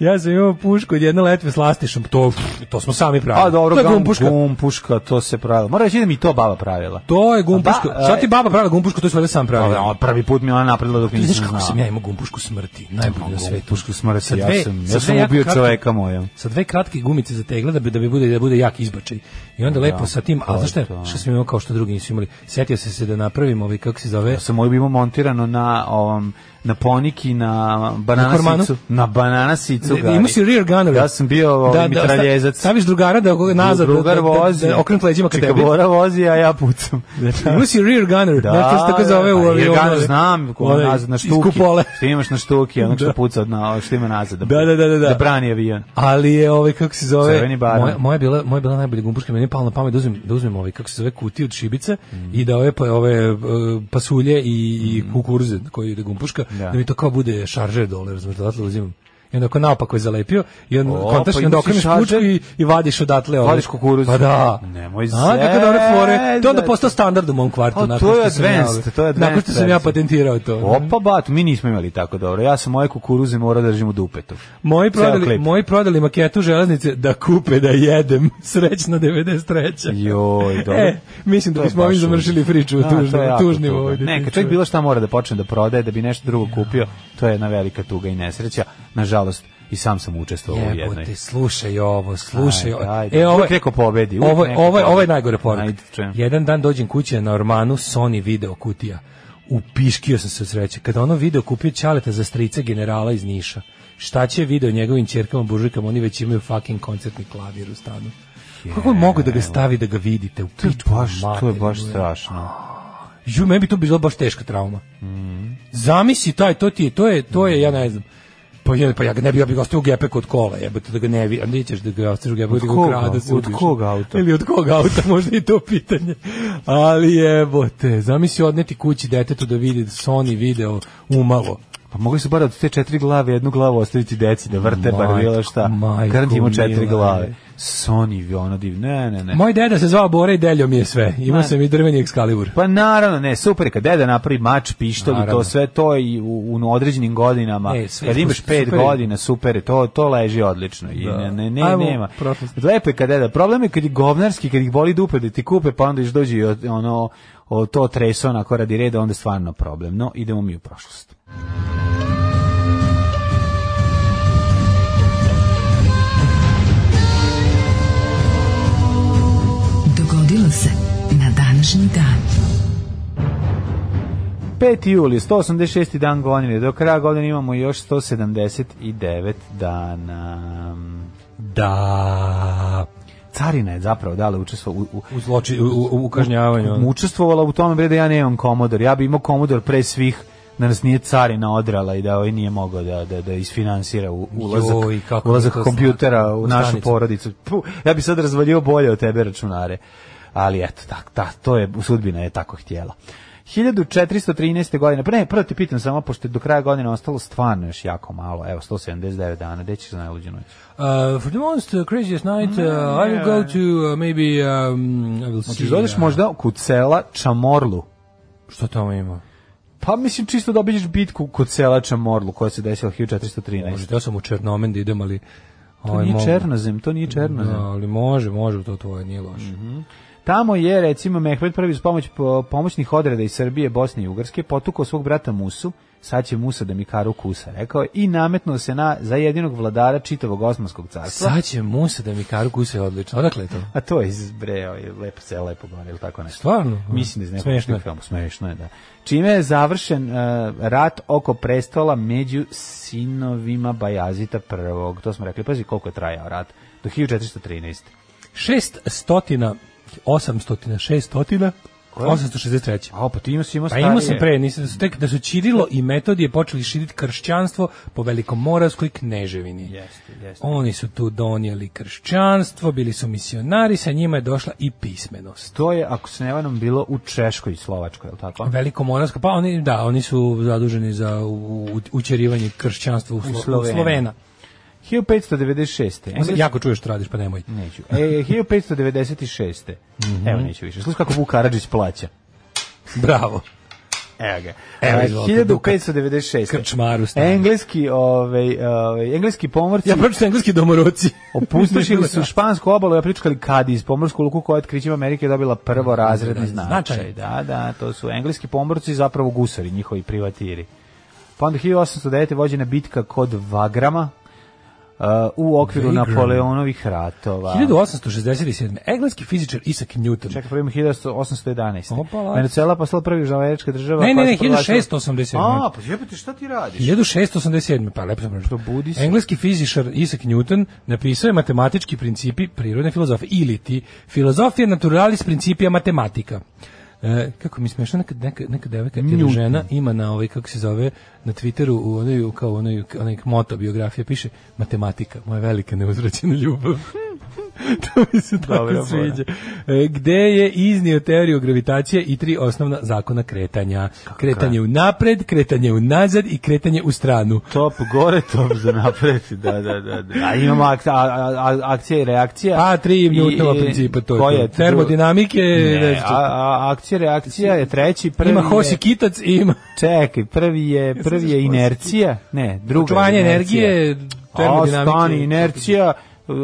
Speaker 7: Ja sam imao pušku od jedne letve s lastišom, to, to smo sami pravili.
Speaker 6: A Pa dobro,
Speaker 7: to je
Speaker 6: gum-
Speaker 7: gumpuška.
Speaker 6: gumpuška, to se pravilo. Mora reći da mi to baba pravila.
Speaker 7: To je gumpuška.
Speaker 6: Ba-
Speaker 7: Šta ti baba pravila gumpušku, to su valjda sam
Speaker 6: da, e- Pa,
Speaker 7: pravila.
Speaker 6: ono, prvi put mi je ona napredila dok
Speaker 7: Ti
Speaker 6: nisam
Speaker 7: znaš
Speaker 6: znao.
Speaker 7: kako sam ja imao gumpušku smrti, najbolju na svetu.
Speaker 6: Pušku da. smrti,
Speaker 7: Sa
Speaker 6: ja
Speaker 7: dve-
Speaker 6: sam,
Speaker 7: sa
Speaker 6: ja sam
Speaker 7: dve
Speaker 6: ubio
Speaker 7: jako kratke-
Speaker 6: čoveka moja.
Speaker 7: sa dve kratke gumice za tegle da bi da bi bude da bude jak izbačaj. I
Speaker 6: Da,
Speaker 7: onda lepo sa tim, a znaš šta, je- šta sam imao kao što drugi nisu imali. Setio sam se da napravim ovaj kako se zove,
Speaker 6: Ja sam moj imao montirano na ovom na poniki na
Speaker 7: Na kormanu?
Speaker 6: banana sicu na banana sicu
Speaker 7: Da, Ima si rear gunner. Da,
Speaker 6: ja sam bio ovaj mitraljezac
Speaker 7: sta- Staviš drugara da ga nazad, da,
Speaker 6: drugar
Speaker 7: da,
Speaker 6: vozi
Speaker 7: da, da okrenut leđima ka
Speaker 6: Čika
Speaker 7: tebi.
Speaker 6: Bora vozi a ja pucam
Speaker 7: Ima si rear gunner, da, nešto što tako zove u
Speaker 6: da,
Speaker 7: avionu.
Speaker 6: jer ga
Speaker 7: ovaj,
Speaker 6: znam ko
Speaker 7: onaj,
Speaker 6: nazad na
Speaker 7: iz
Speaker 6: štuki
Speaker 7: kupole.
Speaker 6: što imaš na štuki onog
Speaker 7: Da.
Speaker 6: što puca od na što ima nazad
Speaker 7: Da, da, da, da, da.
Speaker 6: da brani avion
Speaker 7: Ali je ovaj kako se zove
Speaker 6: Crveni baron.
Speaker 7: moja, moja je bila moja je bila najbolja gumbuška meni je palo na pamet da uzmem da uzmem ovaj kako se zove kutiju od šibica
Speaker 6: Mhm.
Speaker 7: i da ove pa ove e, pasulje i, i kukuruze koji ide gumbuška da.
Speaker 6: Da.
Speaker 7: mi to kao bude šaržer dole razumeš da odatle uzimam. I onda ako naopako je zalepio, i on
Speaker 6: O,
Speaker 7: kontaš,
Speaker 6: pa
Speaker 7: i onda
Speaker 6: imaš i
Speaker 7: okreniš
Speaker 6: šaržer.
Speaker 7: pučku i, i vadiš odatle. ovaj.
Speaker 6: Vadiš kukuruz.
Speaker 7: Pa da.
Speaker 6: Nemoj
Speaker 7: A, kako dobre fore. To je onda
Speaker 6: zezat.
Speaker 7: postao standard u mom kvartu.
Speaker 6: O,
Speaker 7: nakon
Speaker 6: to je
Speaker 7: što sam ja,
Speaker 6: advanced,
Speaker 7: ovaj,
Speaker 6: to je
Speaker 7: Nakon što
Speaker 6: advanced
Speaker 7: sam ja
Speaker 6: verzija.
Speaker 7: patentirao to.
Speaker 6: Opa, bat, mi nismo imali tako dobro. Ja sam moje kukuruze morao da držim u dupetu.
Speaker 7: Moji
Speaker 6: Ceo
Speaker 7: prodali,
Speaker 6: klip.
Speaker 7: moji prodali maketu železnice da kupe da jedem. Srećna 93.
Speaker 6: Joj, dobro.
Speaker 7: E, mislim da
Speaker 6: To je
Speaker 7: bismo ovim
Speaker 6: baš
Speaker 7: završili
Speaker 6: užas.
Speaker 7: priču o
Speaker 6: Da, to
Speaker 7: tužnim,
Speaker 6: je jako
Speaker 7: tužnim
Speaker 6: tuga.
Speaker 7: ovdje.
Speaker 6: Ne, kad čovjek bilo šta mora da počne da prodaje, da bi nešto drugo kupio, to je jedna velika tuga i nesreća. Nažalost, i sam sam učestvovao u jednoj.
Speaker 7: Jebote, slušaj ovo, slušaj
Speaker 6: Ajde,
Speaker 7: ovo. E,
Speaker 6: ajde.
Speaker 7: ovo,
Speaker 6: Uvijek neko pobedi, uvijek
Speaker 7: Ovo, je-
Speaker 6: neko
Speaker 7: ovo, je- ovo je
Speaker 6: pobedi.
Speaker 7: najgore poruka.
Speaker 6: Ajde, čujem.
Speaker 7: Jedan dan dođem kući na Ormanu Sony video kutija. Upiškio sam se od sreće. Kada ono video kupio Ćaleta za strica generala iz Niša. Šta će video njegovim ćerkama, buržujkama, oni već imaju fucking koncertni klavir u stanu. Kako je mogu da ga stavi da ga vidite u
Speaker 6: To je
Speaker 7: pičku
Speaker 6: baš, to je
Speaker 7: materinu,
Speaker 6: baš
Speaker 7: je.
Speaker 6: strašno.
Speaker 7: Ju, meni bi to bila baš teška trauma. Zamisli taj, to ti je, to je, to je, ja ne znam. Pa ja, pa ja ga ne bi, ja bi ga ostavio u gepek od kola, jebote, da ga ne vi, a nećeš da ga ostaviš u gepek, da ga
Speaker 6: koga?
Speaker 7: ukrade se
Speaker 6: Od
Speaker 7: ubiješ.
Speaker 6: kog auta?
Speaker 7: Ili od kog auta, možda i to pitanje. Ali jebote, zamisli odneti kući detetu da vidi Sony video umalo.
Speaker 6: Pa mogli su bar od te četiri glave jednu glavu ostaviti deci da vrte
Speaker 7: Majko,
Speaker 6: bar bilo šta.
Speaker 7: majko
Speaker 6: Garanti imao
Speaker 7: mila,
Speaker 6: četiri
Speaker 7: ej.
Speaker 6: glave. Sony, ono divno. Ne, ne, ne.
Speaker 7: Moj deda se zvao Bore i delio mi je sve. Imao sam i drveni Excalibur.
Speaker 6: Pa naravno, ne, super je kad deda napravi mač, pištolj i
Speaker 7: Naravno.
Speaker 6: to sve to i u, u određenim godinama.
Speaker 7: E, sve
Speaker 6: kad
Speaker 7: je
Speaker 6: imaš
Speaker 7: super.
Speaker 6: pet
Speaker 7: Super je.
Speaker 6: godina, super je, to, to leži odlično. I
Speaker 7: Da.
Speaker 6: ne, ne, ne,
Speaker 7: Ajmo,
Speaker 6: nema.
Speaker 7: prošlost.
Speaker 6: Lepo je kad deda. Problem je kad je govnarski, kad ih boli dupe da ti kupe, pa onda iš dođe i od- ono, o, to treso onako radi reda, onda je stvarno problem. No, idemo mi u prošlost.
Speaker 3: Dogodilo se na današnji dan.
Speaker 6: 5. juli, 186. dan godine. Do kraja godine imamo još 179 dana.
Speaker 7: Da.
Speaker 6: Carina je zapravo dala učestvo u, u,
Speaker 7: U zloči, u, u, u kažnjavanju. ono.
Speaker 6: mu učestvovala u tome bre da ja nemam komodor. Ja bi imao komodor pre svih da nas nije carina odrala i da ovaj nije mogao da, da, da isfinansira u- ulazak,
Speaker 7: Joj, kako
Speaker 6: ulazak
Speaker 7: mi je to
Speaker 6: kompjutera
Speaker 7: slatko.
Speaker 6: u našu
Speaker 7: Stanicu.
Speaker 6: porodicu. Puh, ja bi sad razvalio bolje od tebe računare. Ali eto, tak, tak, to je, sudbina je tako htjela. 1413. godine, pa ne, prvo te pitam samo, pošto je do kraja godine ostalo stvarno još jako malo, evo, 179 dana, gde ćeš za najluđu noć?
Speaker 7: Uh, for the most uh, craziest night, uh, I will go to uh, maybe, um, I will see...
Speaker 6: Hoćeš da odeš
Speaker 7: uh,
Speaker 6: možda kod sela Čamorlu?
Speaker 7: Što tamo ima?
Speaker 6: Pa mislim čisto da obiđeš bitku kod sela Čamorlu koja se desila 1413.
Speaker 7: Može, ja Znači, sam u Černomen da idem, ali... ovaj,
Speaker 6: To nije Černozem, to nije Černozem.
Speaker 7: Da, ali može, može, to tvoje nije loše.
Speaker 6: Mhm.
Speaker 7: Mm -hmm.
Speaker 6: Tamo je recimo Mehmed prvi uz pomoć po- pomoćnih odreda iz Srbije, Bosne i Ugarske potukao svog brata Musu, sad će Musa da mi karu kusa, rekao je, i nametnuo se na za jedinog vladara čitavog Osmanskog carstva.
Speaker 7: Sad će Musa da mi karu kuse odlično. Odakle je to?
Speaker 6: A Pa to je iz Breo, je lepo se lepo gore, ili tako nešto.
Speaker 7: Stvarno?
Speaker 6: Mislim da iz nekog
Speaker 7: Smešno je.
Speaker 6: filma, smešno je, da. Čime je završen e, rat oko prestola među sinovima Bajazita prvog. To smo rekli, pazi koliko je trajao rat. Do 1413.
Speaker 7: Šest stotina, osam stotina, šest stotina,
Speaker 6: Koje?
Speaker 7: 863.
Speaker 6: A, pa ti imao si imao
Speaker 7: Pa imao sam
Speaker 6: starije.
Speaker 7: pre, nisam, da su tek da su Ćirilo i Metodije počeli širiti kršćanstvo po Velikomoravskoj kneževini.
Speaker 6: Jeste, jeste.
Speaker 7: Oni su tu donijeli kršćanstvo, bili su misionari, sa njima je došla i pismenost.
Speaker 6: To je, ako se ne varam, bilo u Češkoj i Slovačkoj, je li tako?
Speaker 7: Velikomoravska, pa oni, da, oni su zaduženi za u- u- učerivanje kršćanstva u, Slo, u
Speaker 6: Slovena.
Speaker 7: Slovena.
Speaker 6: 1596.
Speaker 7: Onda
Speaker 6: Engleski-
Speaker 7: Jako čuješ što radiš, pa nemoj.
Speaker 6: E, da- Neću. E, 1596.
Speaker 7: Mhm.
Speaker 6: Evo neću više. Slušaj kako Vuk Karadžić plaća.
Speaker 7: Bravo.
Speaker 6: Evo ga. Ovaj,
Speaker 7: Evo,
Speaker 6: A,
Speaker 7: izvolite,
Speaker 6: 1596.
Speaker 7: Krčmaru stavim.
Speaker 6: Engleski, ovaj, ovaj, engleski pomorci
Speaker 7: Ja pročitam engleski domoroci.
Speaker 6: opustošili su špansku obalu i opričkali Kadiz, pomorsku luku koja je otkrićima Amerike dobila prvorazredni
Speaker 7: Značaj.
Speaker 6: značaj. Da, da, to su engleski pomorci i zapravo gusari, njihovi privatiri. Pa onda 1809. vođena bitka kod Vagrama uh, u okviru
Speaker 7: Vagram.
Speaker 6: Napoleonovih ratova.
Speaker 7: 1867. Engleski fizičar Isaac Newton.
Speaker 6: Čekaj, pravimo 1811.
Speaker 7: Opala.
Speaker 6: Venezuela postala prvi južnoamerička država.
Speaker 7: Ne, ne,
Speaker 6: koja
Speaker 7: ne,
Speaker 6: se proglasila-
Speaker 7: 1687.
Speaker 6: pa A, pa jebote, šta ti radiš?
Speaker 7: 1687. Pa lepo sam pročitao.
Speaker 6: Probudi se.
Speaker 7: Engleski fizičar Isaac Newton napisao je matematički principi prirodne filozofije ili ti filozofija naturalis principia matematika. E, kako mi je smešno neka neka neka devojka ili žena ima na ovaj kako se zove na Twitteru u onoj u kao onoj onaj moto biografija piše matematika moja velika neuzvraćena ljubav to mi se tako
Speaker 6: Dobra fora.
Speaker 7: sviđa. E, Gde je iznio teoriju gravitacije i tri osnovna zakona kretanja. Kretanje u napred, kretanje u nazad i kretanje u stranu.
Speaker 6: Top gore, top za napred. Da, da, da. da. A imamo ak- a, a, a, akcija i reakcija.
Speaker 7: A, Pa, tri
Speaker 6: I-
Speaker 7: Newtonova
Speaker 6: i-
Speaker 7: principa, to je
Speaker 6: koja
Speaker 7: to.
Speaker 6: tu-
Speaker 7: Termodinamike,
Speaker 6: Ne,
Speaker 7: ne znam
Speaker 6: a,
Speaker 7: šta.
Speaker 6: a, akcija i reakcija je treći. Prvi
Speaker 7: Ima
Speaker 6: je-
Speaker 7: Hosi Kitac i ima
Speaker 6: Čekaj, prvi je, prvi je inercija. Ne, druga je
Speaker 7: čuvanje
Speaker 6: inercija.
Speaker 7: energije,
Speaker 6: A,
Speaker 7: termodinamike.
Speaker 6: stani, inercija, uh,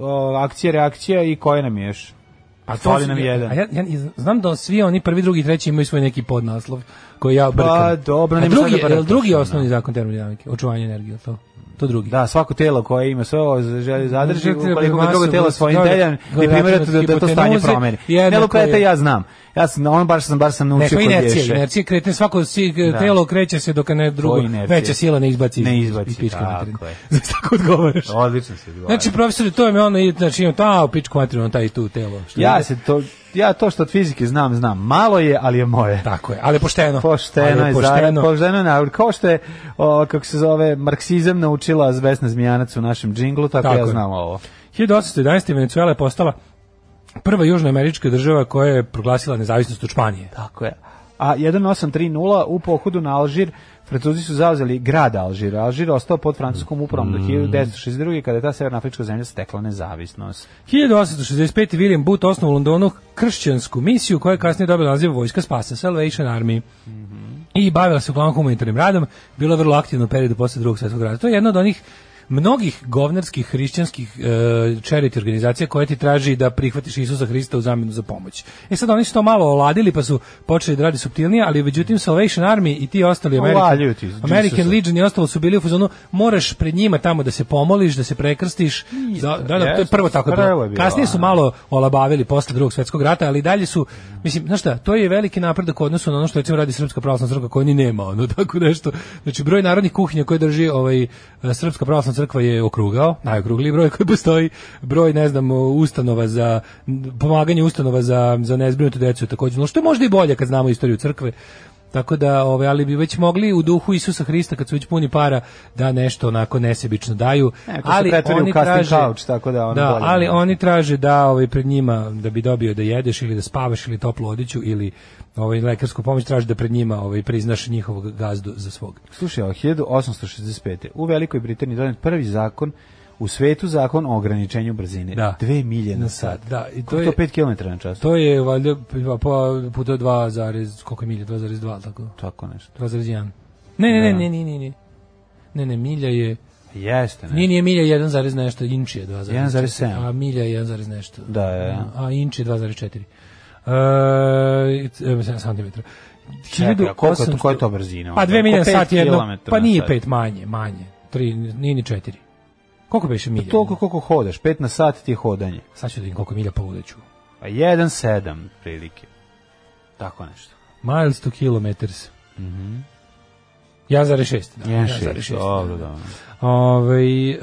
Speaker 6: o, akcija, reakcija i koja nam je još?
Speaker 7: A Pa to
Speaker 6: Fali
Speaker 7: su-
Speaker 6: nam jedan.
Speaker 7: A ja, ja znam da svi oni prvi, drugi, i treći imaju svoj neki podnaslov koji ja brkam.
Speaker 6: Pa, dobro,
Speaker 7: A
Speaker 6: nema
Speaker 7: drugi,
Speaker 6: sad da brkaš,
Speaker 7: jel drugi
Speaker 6: da.
Speaker 7: osnovni zakon termodinamike, očuvanje energije, to, to drugi.
Speaker 6: Da, svako telo koje ima sve ovo želi zadrži,
Speaker 7: Želi
Speaker 6: ukoliko ga
Speaker 7: masu,
Speaker 6: drugo telo
Speaker 7: masu,
Speaker 6: svojim
Speaker 7: dobro,
Speaker 6: deljem, ne
Speaker 7: dobro,
Speaker 6: primjerate da,
Speaker 7: računati
Speaker 6: da to stanje
Speaker 7: hipotenuze,
Speaker 6: promeni. Ne
Speaker 7: jednako
Speaker 6: lupete,
Speaker 7: je-
Speaker 6: ja znam. Ja sam, ono baš sam, baš sam naučio
Speaker 7: Neko
Speaker 6: kod
Speaker 7: inercija,
Speaker 6: dješe.
Speaker 7: inercija krete, svako si,
Speaker 6: Da.
Speaker 7: telo kreće se dok ne drugo,
Speaker 6: To je inercija.
Speaker 7: veća sila ne izbaci. iz-
Speaker 6: Ne izbaci,
Speaker 7: iz pičke
Speaker 6: tako
Speaker 7: materine.
Speaker 6: je.
Speaker 7: Znači, tako odgovaraš.
Speaker 6: Odlično si odgovarao.
Speaker 7: Znači, profesor, to je mi ono, i- znači, imam ta, u pičku materinu, taj tu telo. Što
Speaker 6: ja
Speaker 7: je-
Speaker 6: se to, ja to što od fizike znam, znam. Malo je, ali je moje.
Speaker 7: Tako je, ali pošteno.
Speaker 6: Pošteno
Speaker 7: Ali
Speaker 6: je, pošteno. pošteno je, nauk. kao što je, o, kako se zove, marksizam naučila Vesna Zmijanac u našem džinglu, tako,
Speaker 7: Tako
Speaker 6: ja
Speaker 7: je.
Speaker 6: znam ovo.
Speaker 7: 1811. Venezuela je postala prva južnoamerička država koja je proglasila nezavisnost od Španije.
Speaker 6: Tako je. A 1830 u pohodu na Alžir Francuzi su zauzeli grad Alžir. Alžir ostao pod francuskom upravom
Speaker 7: Mm.
Speaker 6: do 1962. kada je ta severnoafrička zemlja stekla nezavisnost.
Speaker 7: 1865. William Booth osnovao u Londonu kršćansku misiju koja je kasnije dobila naziv Vojska spasa, Salvation Army. I bavila se uglavnom humanitarnim radom, bila je vrlo aktivna u periodu posle drugog svjetskog rata. To je jedna od onih mnogih govnarskih hrišćanskih e, charity organizacija koja ti traži da prihvatiš Isusa Hrista u zamjenu za pomoć. E sad oni su to malo oladili pa su počeli da radi suptilnije, ali međutim Salvation Army i ti ostali
Speaker 6: Ovaljuju
Speaker 7: American,
Speaker 6: ti, Jesusa.
Speaker 7: American Legion i ostalo su bili u fazonu moraš pred njima tamo da se pomoliš, da se prekrstiš. Za, da, da, to je
Speaker 6: Jeste,
Speaker 7: prvo tako
Speaker 6: prvo je
Speaker 7: bilo.
Speaker 6: bilo,
Speaker 7: Kasnije su
Speaker 6: a.
Speaker 7: malo olabavili posle drugog svjetskog rata, ali i dalje su, mislim, znaš šta, to je veliki napredak u odnosu na ono što recimo radi Srpska pravoslavna crkva koja ni nema, ono tako nešto. Znači, broj narodnih kuhinja koje drži ovaj, eh, Srpska pravoslavna crkva je okrugao, najokrugliji broj koji postoji, broj, ne znam, ustanova za, pomaganje ustanova za, za nezbrinutu decu je takođe, no što je možda i bolje kad znamo istoriju crkve Tako da, ovaj, ali bi već mogli u duhu Isusa Hrista, kad su već puni para, da nešto onako nesebično daju.
Speaker 6: E, to se
Speaker 7: ali
Speaker 6: pretvori u
Speaker 7: oni
Speaker 6: casting
Speaker 7: traže,
Speaker 6: couch, tako da ono bolje
Speaker 7: ali
Speaker 6: ne.
Speaker 7: oni traže da ovaj, pred njima, da bi dobio da jedeš ili da spavaš ili toplu odeću ili ovaj, lekarsku pomoć, traže da pred njima ovaj, priznaš njihovog gazdu za svog.
Speaker 6: Slušaj, evo, 1865. U Velikoj Britaniji donet prvi zakon u svetu zakon o ograničenju brzine.
Speaker 7: Da.
Speaker 6: Dve milje na
Speaker 7: Na
Speaker 6: sat.
Speaker 7: sat, da, i to
Speaker 6: Koliko
Speaker 7: je-
Speaker 6: to 5 km na čas.
Speaker 7: To je valjda pa, pa, puta 2, zarez, koliko je milje, 2,2, ali tako?
Speaker 6: Tako nešto. Da.
Speaker 7: 2,1. Ne, ne, ne, ne, ne, ne, ne. Ne, ne, milja je...
Speaker 6: Jeste, ne.
Speaker 7: Nije, nije milja 1, zarez nešto, inč je 2,4.
Speaker 6: 1,7.
Speaker 7: A milja je 1, zarez nešto.
Speaker 6: Da, da, da.
Speaker 7: A inč je 2,4. E, santimetra.
Speaker 6: Čekaj, a koliko je to-
Speaker 7: 1800
Speaker 6: koja je to brzina?
Speaker 7: Pa 2
Speaker 6: Oko
Speaker 7: milja na
Speaker 6: pet
Speaker 7: sat jedno.
Speaker 6: kilometara
Speaker 7: Pa
Speaker 6: na
Speaker 7: nije
Speaker 6: sat.
Speaker 7: 5 manje, manje. 3, nije ni 4. Koliko beše milja?
Speaker 6: Pa Toliko koliko hodaš, 5 na sat ti je hodanje.
Speaker 7: Sad ću da vidim koliko je milja po udeću.
Speaker 6: Pa 1,7 prilike. Tako nešto.
Speaker 7: Miles to kilometers. Mhm. 1,6. Da,
Speaker 6: 1,6. Dobro, da.
Speaker 7: Ove, e,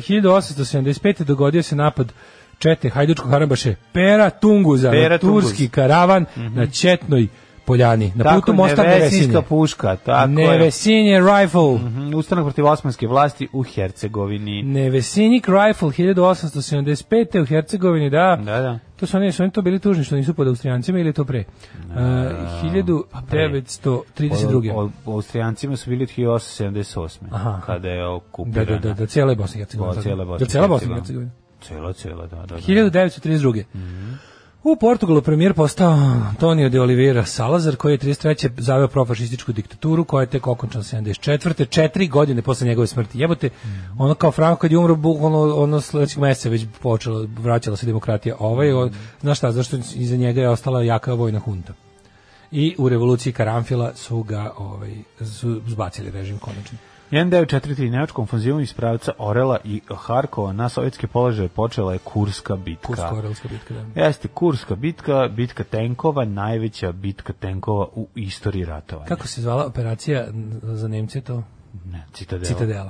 Speaker 7: 1875. dogodio se napad čete Hajdučkog harambaše Pera Tunguza
Speaker 6: Pera
Speaker 7: na turski
Speaker 6: Tunguz. Mhm.
Speaker 7: karavan na Četnoj poljani. Na
Speaker 6: Tako,
Speaker 7: putu mosta Nevesinje.
Speaker 6: nevesinjska puška, tako je.
Speaker 7: Nevesinje rifle.
Speaker 6: Mhm, Ustanak protiv osmanske vlasti u Hercegovini.
Speaker 7: Nevesinjik rifle 1875. u Hercegovini, da.
Speaker 6: Da, da.
Speaker 7: To su oni, su oni to bili tužni što nisu pod Austrijancima ili je to pre? E,
Speaker 6: pa
Speaker 7: 1932.
Speaker 6: O, o, Austrijancima su bili od 1878.
Speaker 7: Aha.
Speaker 6: kada je
Speaker 7: Da,
Speaker 6: okupirana.
Speaker 7: da, da, da, cijela je Bosna i Hercegovina.
Speaker 6: Da, cijela je Bosna
Speaker 7: Da, cijela
Speaker 6: i
Speaker 7: Bosna i
Speaker 6: Hercegovina.
Speaker 7: Hercegovina.
Speaker 6: Cijela, cijela, da, da. da.
Speaker 7: 1932. U Portugalu premijer postao Antonio de Oliveira Salazar, koji je 33. zaveo profašističku diktaturu, koja je tek okončana 74. Četiri godine posle njegove smrti. Jebote, ono kao Franko kad je umro, bukvalno ono sledećeg meseca je već počela, vraćala se demokratija. Ovaj, on, znaš šta, zašto iza njega je ostala jaka vojna hunta. I u revoluciji Karamfila su ga ovaj, su zbacili režim konačno.
Speaker 6: 1943. Nemačkom fanzivom iz pravca Orela i Harkova na sovjetske položaje počela je Kurska bitka.
Speaker 7: Kursko-Orelska bitka. Da.
Speaker 6: Jeste, Kurska bitka, bitka tenkova, najveća bitka tenkova u istoriji ratovanja.
Speaker 7: Kako se zvala operacija n- za Nemce to?
Speaker 6: Ne, citadela.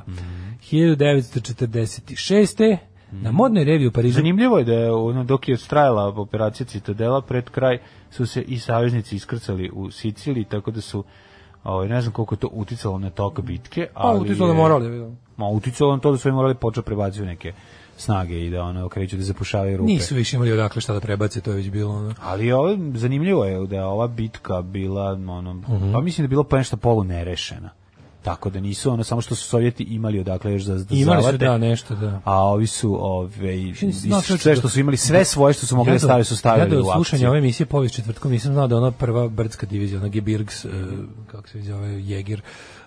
Speaker 6: Mhm.
Speaker 7: Citadela. 1946. Na modnoj reviji u Parizu
Speaker 6: Zanimljivo je da je, ono, dok je strajala operacija Citadela, pred kraj su se i saveznici iskrcali u Siciliji, tako da su, ovaj, ne znam koliko je to uticalo na tok bitke,
Speaker 7: Pa
Speaker 6: ali...
Speaker 7: utisno da
Speaker 6: je-
Speaker 7: morali.
Speaker 6: Ma, uticalo na to da su im morali početi prebacuju neke snage i da ono kreću da zapušavaju rupe.
Speaker 7: Nisu više imali odakle šta da prebace, to je već bilo ono.
Speaker 6: Ali ovo, zanimljivo je da je ova bitka bila, ono,
Speaker 7: Mhm.
Speaker 6: pa mislim da je bilo pa nešto polu nerešena. Tako da nisu, ono, samo što su Sovjeti imali odakle još za, da
Speaker 7: Imali su
Speaker 6: zavate,
Speaker 7: da nešto, da.
Speaker 6: a ovi su, ove, i-
Speaker 7: Više nisam znao
Speaker 6: i sve što su imali, sve svoje što su mogli da stave su stavili
Speaker 7: ja do
Speaker 6: u akciju.
Speaker 7: slušanja ove emisije povijest četvrtkom nisam znao da ona prva brdska divizija, ona Gebirgs, e, kako se zove, Jegir,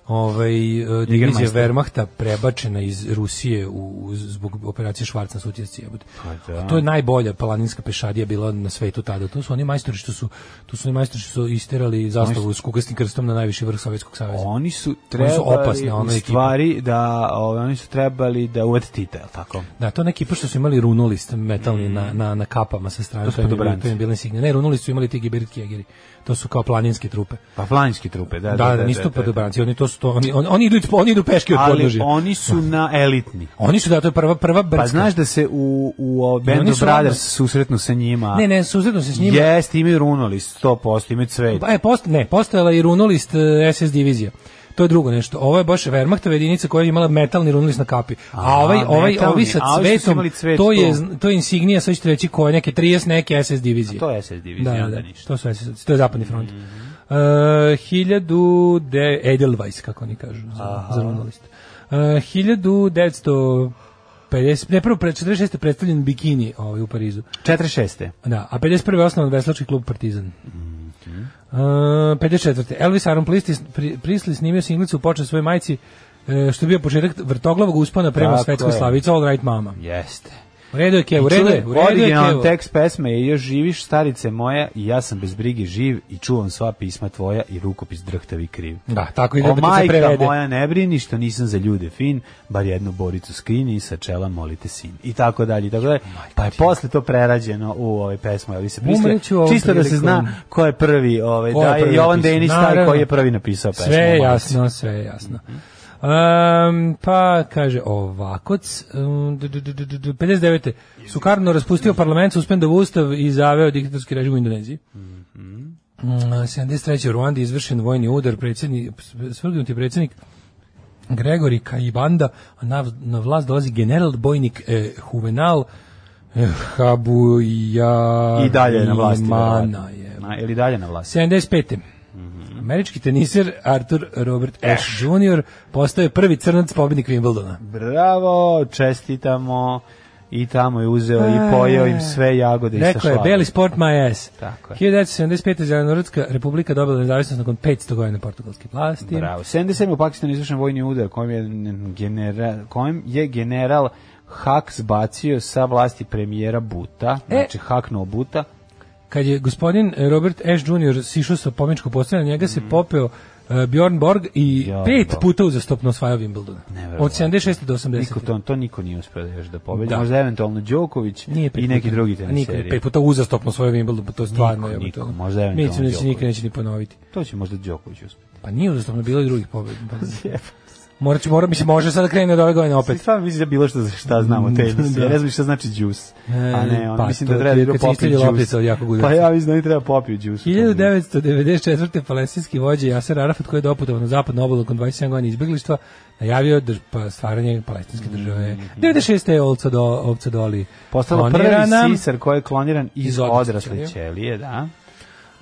Speaker 7: ovaj, e, divizija
Speaker 6: Jägermeister.
Speaker 7: Wehrmachta prebačena iz Rusije u, u- zbog operacije Švarc na Sutjesci. jebote.
Speaker 6: Pa da.
Speaker 7: A To je najbolja planinska pešadija bila na svetu tada. To su oni majstori što su, to su oni majstori što su isterali zastavu s kugasnim krstom na najviši vrh Sovjetskog saveza.
Speaker 6: Oni su
Speaker 7: Oni
Speaker 6: trebali
Speaker 7: su opasni, ona
Speaker 6: u
Speaker 7: ekipa.
Speaker 6: stvari da ove, oni su trebali da uvede Tita, je li tako?
Speaker 7: Da, to neki pa što su imali runolist metalni
Speaker 6: Mm.
Speaker 7: na, na, na kapama sa strane. To, je
Speaker 6: Gospodobranci.
Speaker 7: to im bila insignija. Ne, runolist su imali ti giberitki jegeri. To su kao planinske trupe.
Speaker 6: Pa planinski trupe, da,
Speaker 7: Da, da, nisu to padobranci, oni to su to, oni, oni, oni, idu, ispo- oni idu peške od
Speaker 6: Ali
Speaker 7: podnožja.
Speaker 6: oni su na elitni.
Speaker 7: Oni su da, to je prva, prva brdska.
Speaker 6: Pa znaš da se u, u o, Band
Speaker 7: oni
Speaker 6: of
Speaker 7: su odmah-
Speaker 6: Brothers susretnu sa njima.
Speaker 7: Ne, ne, suzetno se s njima.
Speaker 6: Jeste, imaju runolist, 100%, imaju cvet.
Speaker 7: Pa, E, post, ne, postojala je i runolist e, SS divizija. To je drugo nešto. Ovo je baš Wehrmachtova jedinica koja je imala metalni runolist na kapi. A ovaj,
Speaker 6: A,
Speaker 7: ovaj,
Speaker 6: metalni,
Speaker 7: ovi sa
Speaker 6: a ovi što su imali
Speaker 7: cvetom,
Speaker 6: cvet,
Speaker 7: to je,
Speaker 6: to.
Speaker 7: zn- to je insignija, sad ćete reći, koje neke 30 neke SS divizije.
Speaker 6: To je SS divizija,
Speaker 7: da,
Speaker 6: onda
Speaker 7: da,
Speaker 6: ništa. Mhm.
Speaker 7: to, su SS, to je zapadni front. Mm -hmm. uh, 1000 de, Edelweiss, kako oni kažu, za, za runolist. Uh, 1950, ne, prvo, pre, 46. predstavljen bikini ovaj, u Parizu.
Speaker 6: 46.
Speaker 7: Da, a 51. je osnovan veslački klub Partizan.
Speaker 6: Mhm.
Speaker 7: Uh, 54. Elvis Aron Prisley, pri- Prisley snimio singlicu počeo svoje majci e, što je bio početak vrtoglavog uspona prema
Speaker 6: Tako
Speaker 7: svetskoj
Speaker 6: je.
Speaker 7: slavici All Right Mama.
Speaker 6: Jeste.
Speaker 7: U redu je Kevo, E, u redu je, u redu je
Speaker 6: Originalan
Speaker 7: Kevo.
Speaker 6: tekst pesme je još živiš starice moja i ja sam bez brige živ i čuvam sva pisma tvoja i rukopis drhtavi kriv.
Speaker 7: Da, tako ide
Speaker 6: o
Speaker 7: da se
Speaker 6: majka
Speaker 7: prevede.
Speaker 6: moja ne brini što nisam za ljude fin, bar jednu boricu skrini i sa čela molite sin. I tako dalje, i tako dalje. Pa je posle to prerađeno u ovoj pesmu, ali se prisle,
Speaker 7: Umreću ovom
Speaker 6: čisto da se
Speaker 7: prilikom.
Speaker 6: zna ko je prvi, ovaj,
Speaker 7: Ko
Speaker 6: da
Speaker 7: je
Speaker 6: je
Speaker 7: prvi
Speaker 6: Jovan
Speaker 7: napisao?
Speaker 6: Denić taj
Speaker 7: Naravno.
Speaker 6: koji je prvi napisao pesmu.
Speaker 7: Sve je
Speaker 6: Molite
Speaker 7: jasno, sve je jasno. Um, pa kaže ovakoc um, d- d- d- d- d- 59. da Sukarno raspustio parlament, suspendovo ustav i zaveo diktatorski režim u Indoneziji. Mm, 73. u Ruandi izvršen vojni udar, predsjednik, svrgnuti predsjednik Gregori Kajibanda, a na, na vlast dolazi general bojnik eh, Juvenal eh, Habuja
Speaker 6: I dalje je na vlasti. da.
Speaker 7: Imana
Speaker 6: verovatno.
Speaker 7: je.
Speaker 6: Na, ili dalje na vlasti.
Speaker 7: 75. Američki teniser Arthur Robert
Speaker 6: Eh.
Speaker 7: Ashe Jr. postao je prvi crnac pobjednik Wimbledona.
Speaker 6: Bravo, čestitamo. I tamo je uzeo i pojeo im sve jagode i sa
Speaker 7: E. Rekao je,
Speaker 6: šlagom.
Speaker 7: Beli Sport My Ass.
Speaker 6: Da, Tako je.
Speaker 7: 1975. Zelenorodska republika dobila nezavisnost nakon 500 godina portugalske vlasti.
Speaker 6: Bravo. 77. u Pakistanu izvršen vojni udar kojim je general, kojim je general Hak zbacio sa vlasti premijera Buta,
Speaker 7: E.
Speaker 6: znači haknuo Buta.
Speaker 7: Kad je gospodin e, Robert Ash Jr. sišao sa pomničkog postavljanja, njega se popeo e, Bjorn Borg
Speaker 6: Mm.
Speaker 7: i
Speaker 6: Bjorn
Speaker 7: pet
Speaker 6: Borg.
Speaker 7: puta uzastopno osvajao Wimbledon.
Speaker 6: Neverovatno.
Speaker 7: Od 76. do 80.
Speaker 6: Niko to, to niko nije uspeo još da pobedi.
Speaker 7: Da.
Speaker 6: Možda eventualno Đoković
Speaker 7: Nije pet
Speaker 6: i neki
Speaker 7: puta.
Speaker 6: drugi
Speaker 7: A niko je
Speaker 6: teniseri.
Speaker 7: Pet puta uzastopno osvojio Wimbledon, pa to je stvarno
Speaker 6: Niko,
Speaker 7: je.
Speaker 6: niko,
Speaker 7: to-
Speaker 6: možda eventualno
Speaker 7: Mislim da se
Speaker 6: Djokovic.
Speaker 7: nikad neće ni ponoviti.
Speaker 6: To će možda Đoković uspeti.
Speaker 7: Pa nije uzastopno, bilo je drugih pobjeda. Morat će, mora, mislim, može sad da krene od ove godine
Speaker 6: Opet.
Speaker 7: opet.
Speaker 6: Stvarno mislim da bilo što za šta znamo o tenisu.
Speaker 7: Da. E,
Speaker 6: Ja ne znam šta znači džus. A ne, on
Speaker 7: pa
Speaker 6: mislim
Speaker 7: to
Speaker 6: da treba
Speaker 7: ti
Speaker 6: da
Speaker 7: je
Speaker 6: idu
Speaker 7: kad se
Speaker 6: popiju
Speaker 7: istelji loptica od jakog
Speaker 6: džus.
Speaker 7: udarca.
Speaker 6: Pa ja mislim da oni treba popiju džus.
Speaker 7: 1994. palestinski vođa Jaser Arafat koji je doputovao na zapadnu obalu nakon 27 godina izbjeglištva najavio drž, pa, stvaranje palestinske države. 96. je Olca do, Ovca Doli
Speaker 6: Postalo prvi
Speaker 7: klonirana,
Speaker 6: sisar koji je kloniran iz,
Speaker 7: Iz odrasle
Speaker 6: odrasle ćelije, da.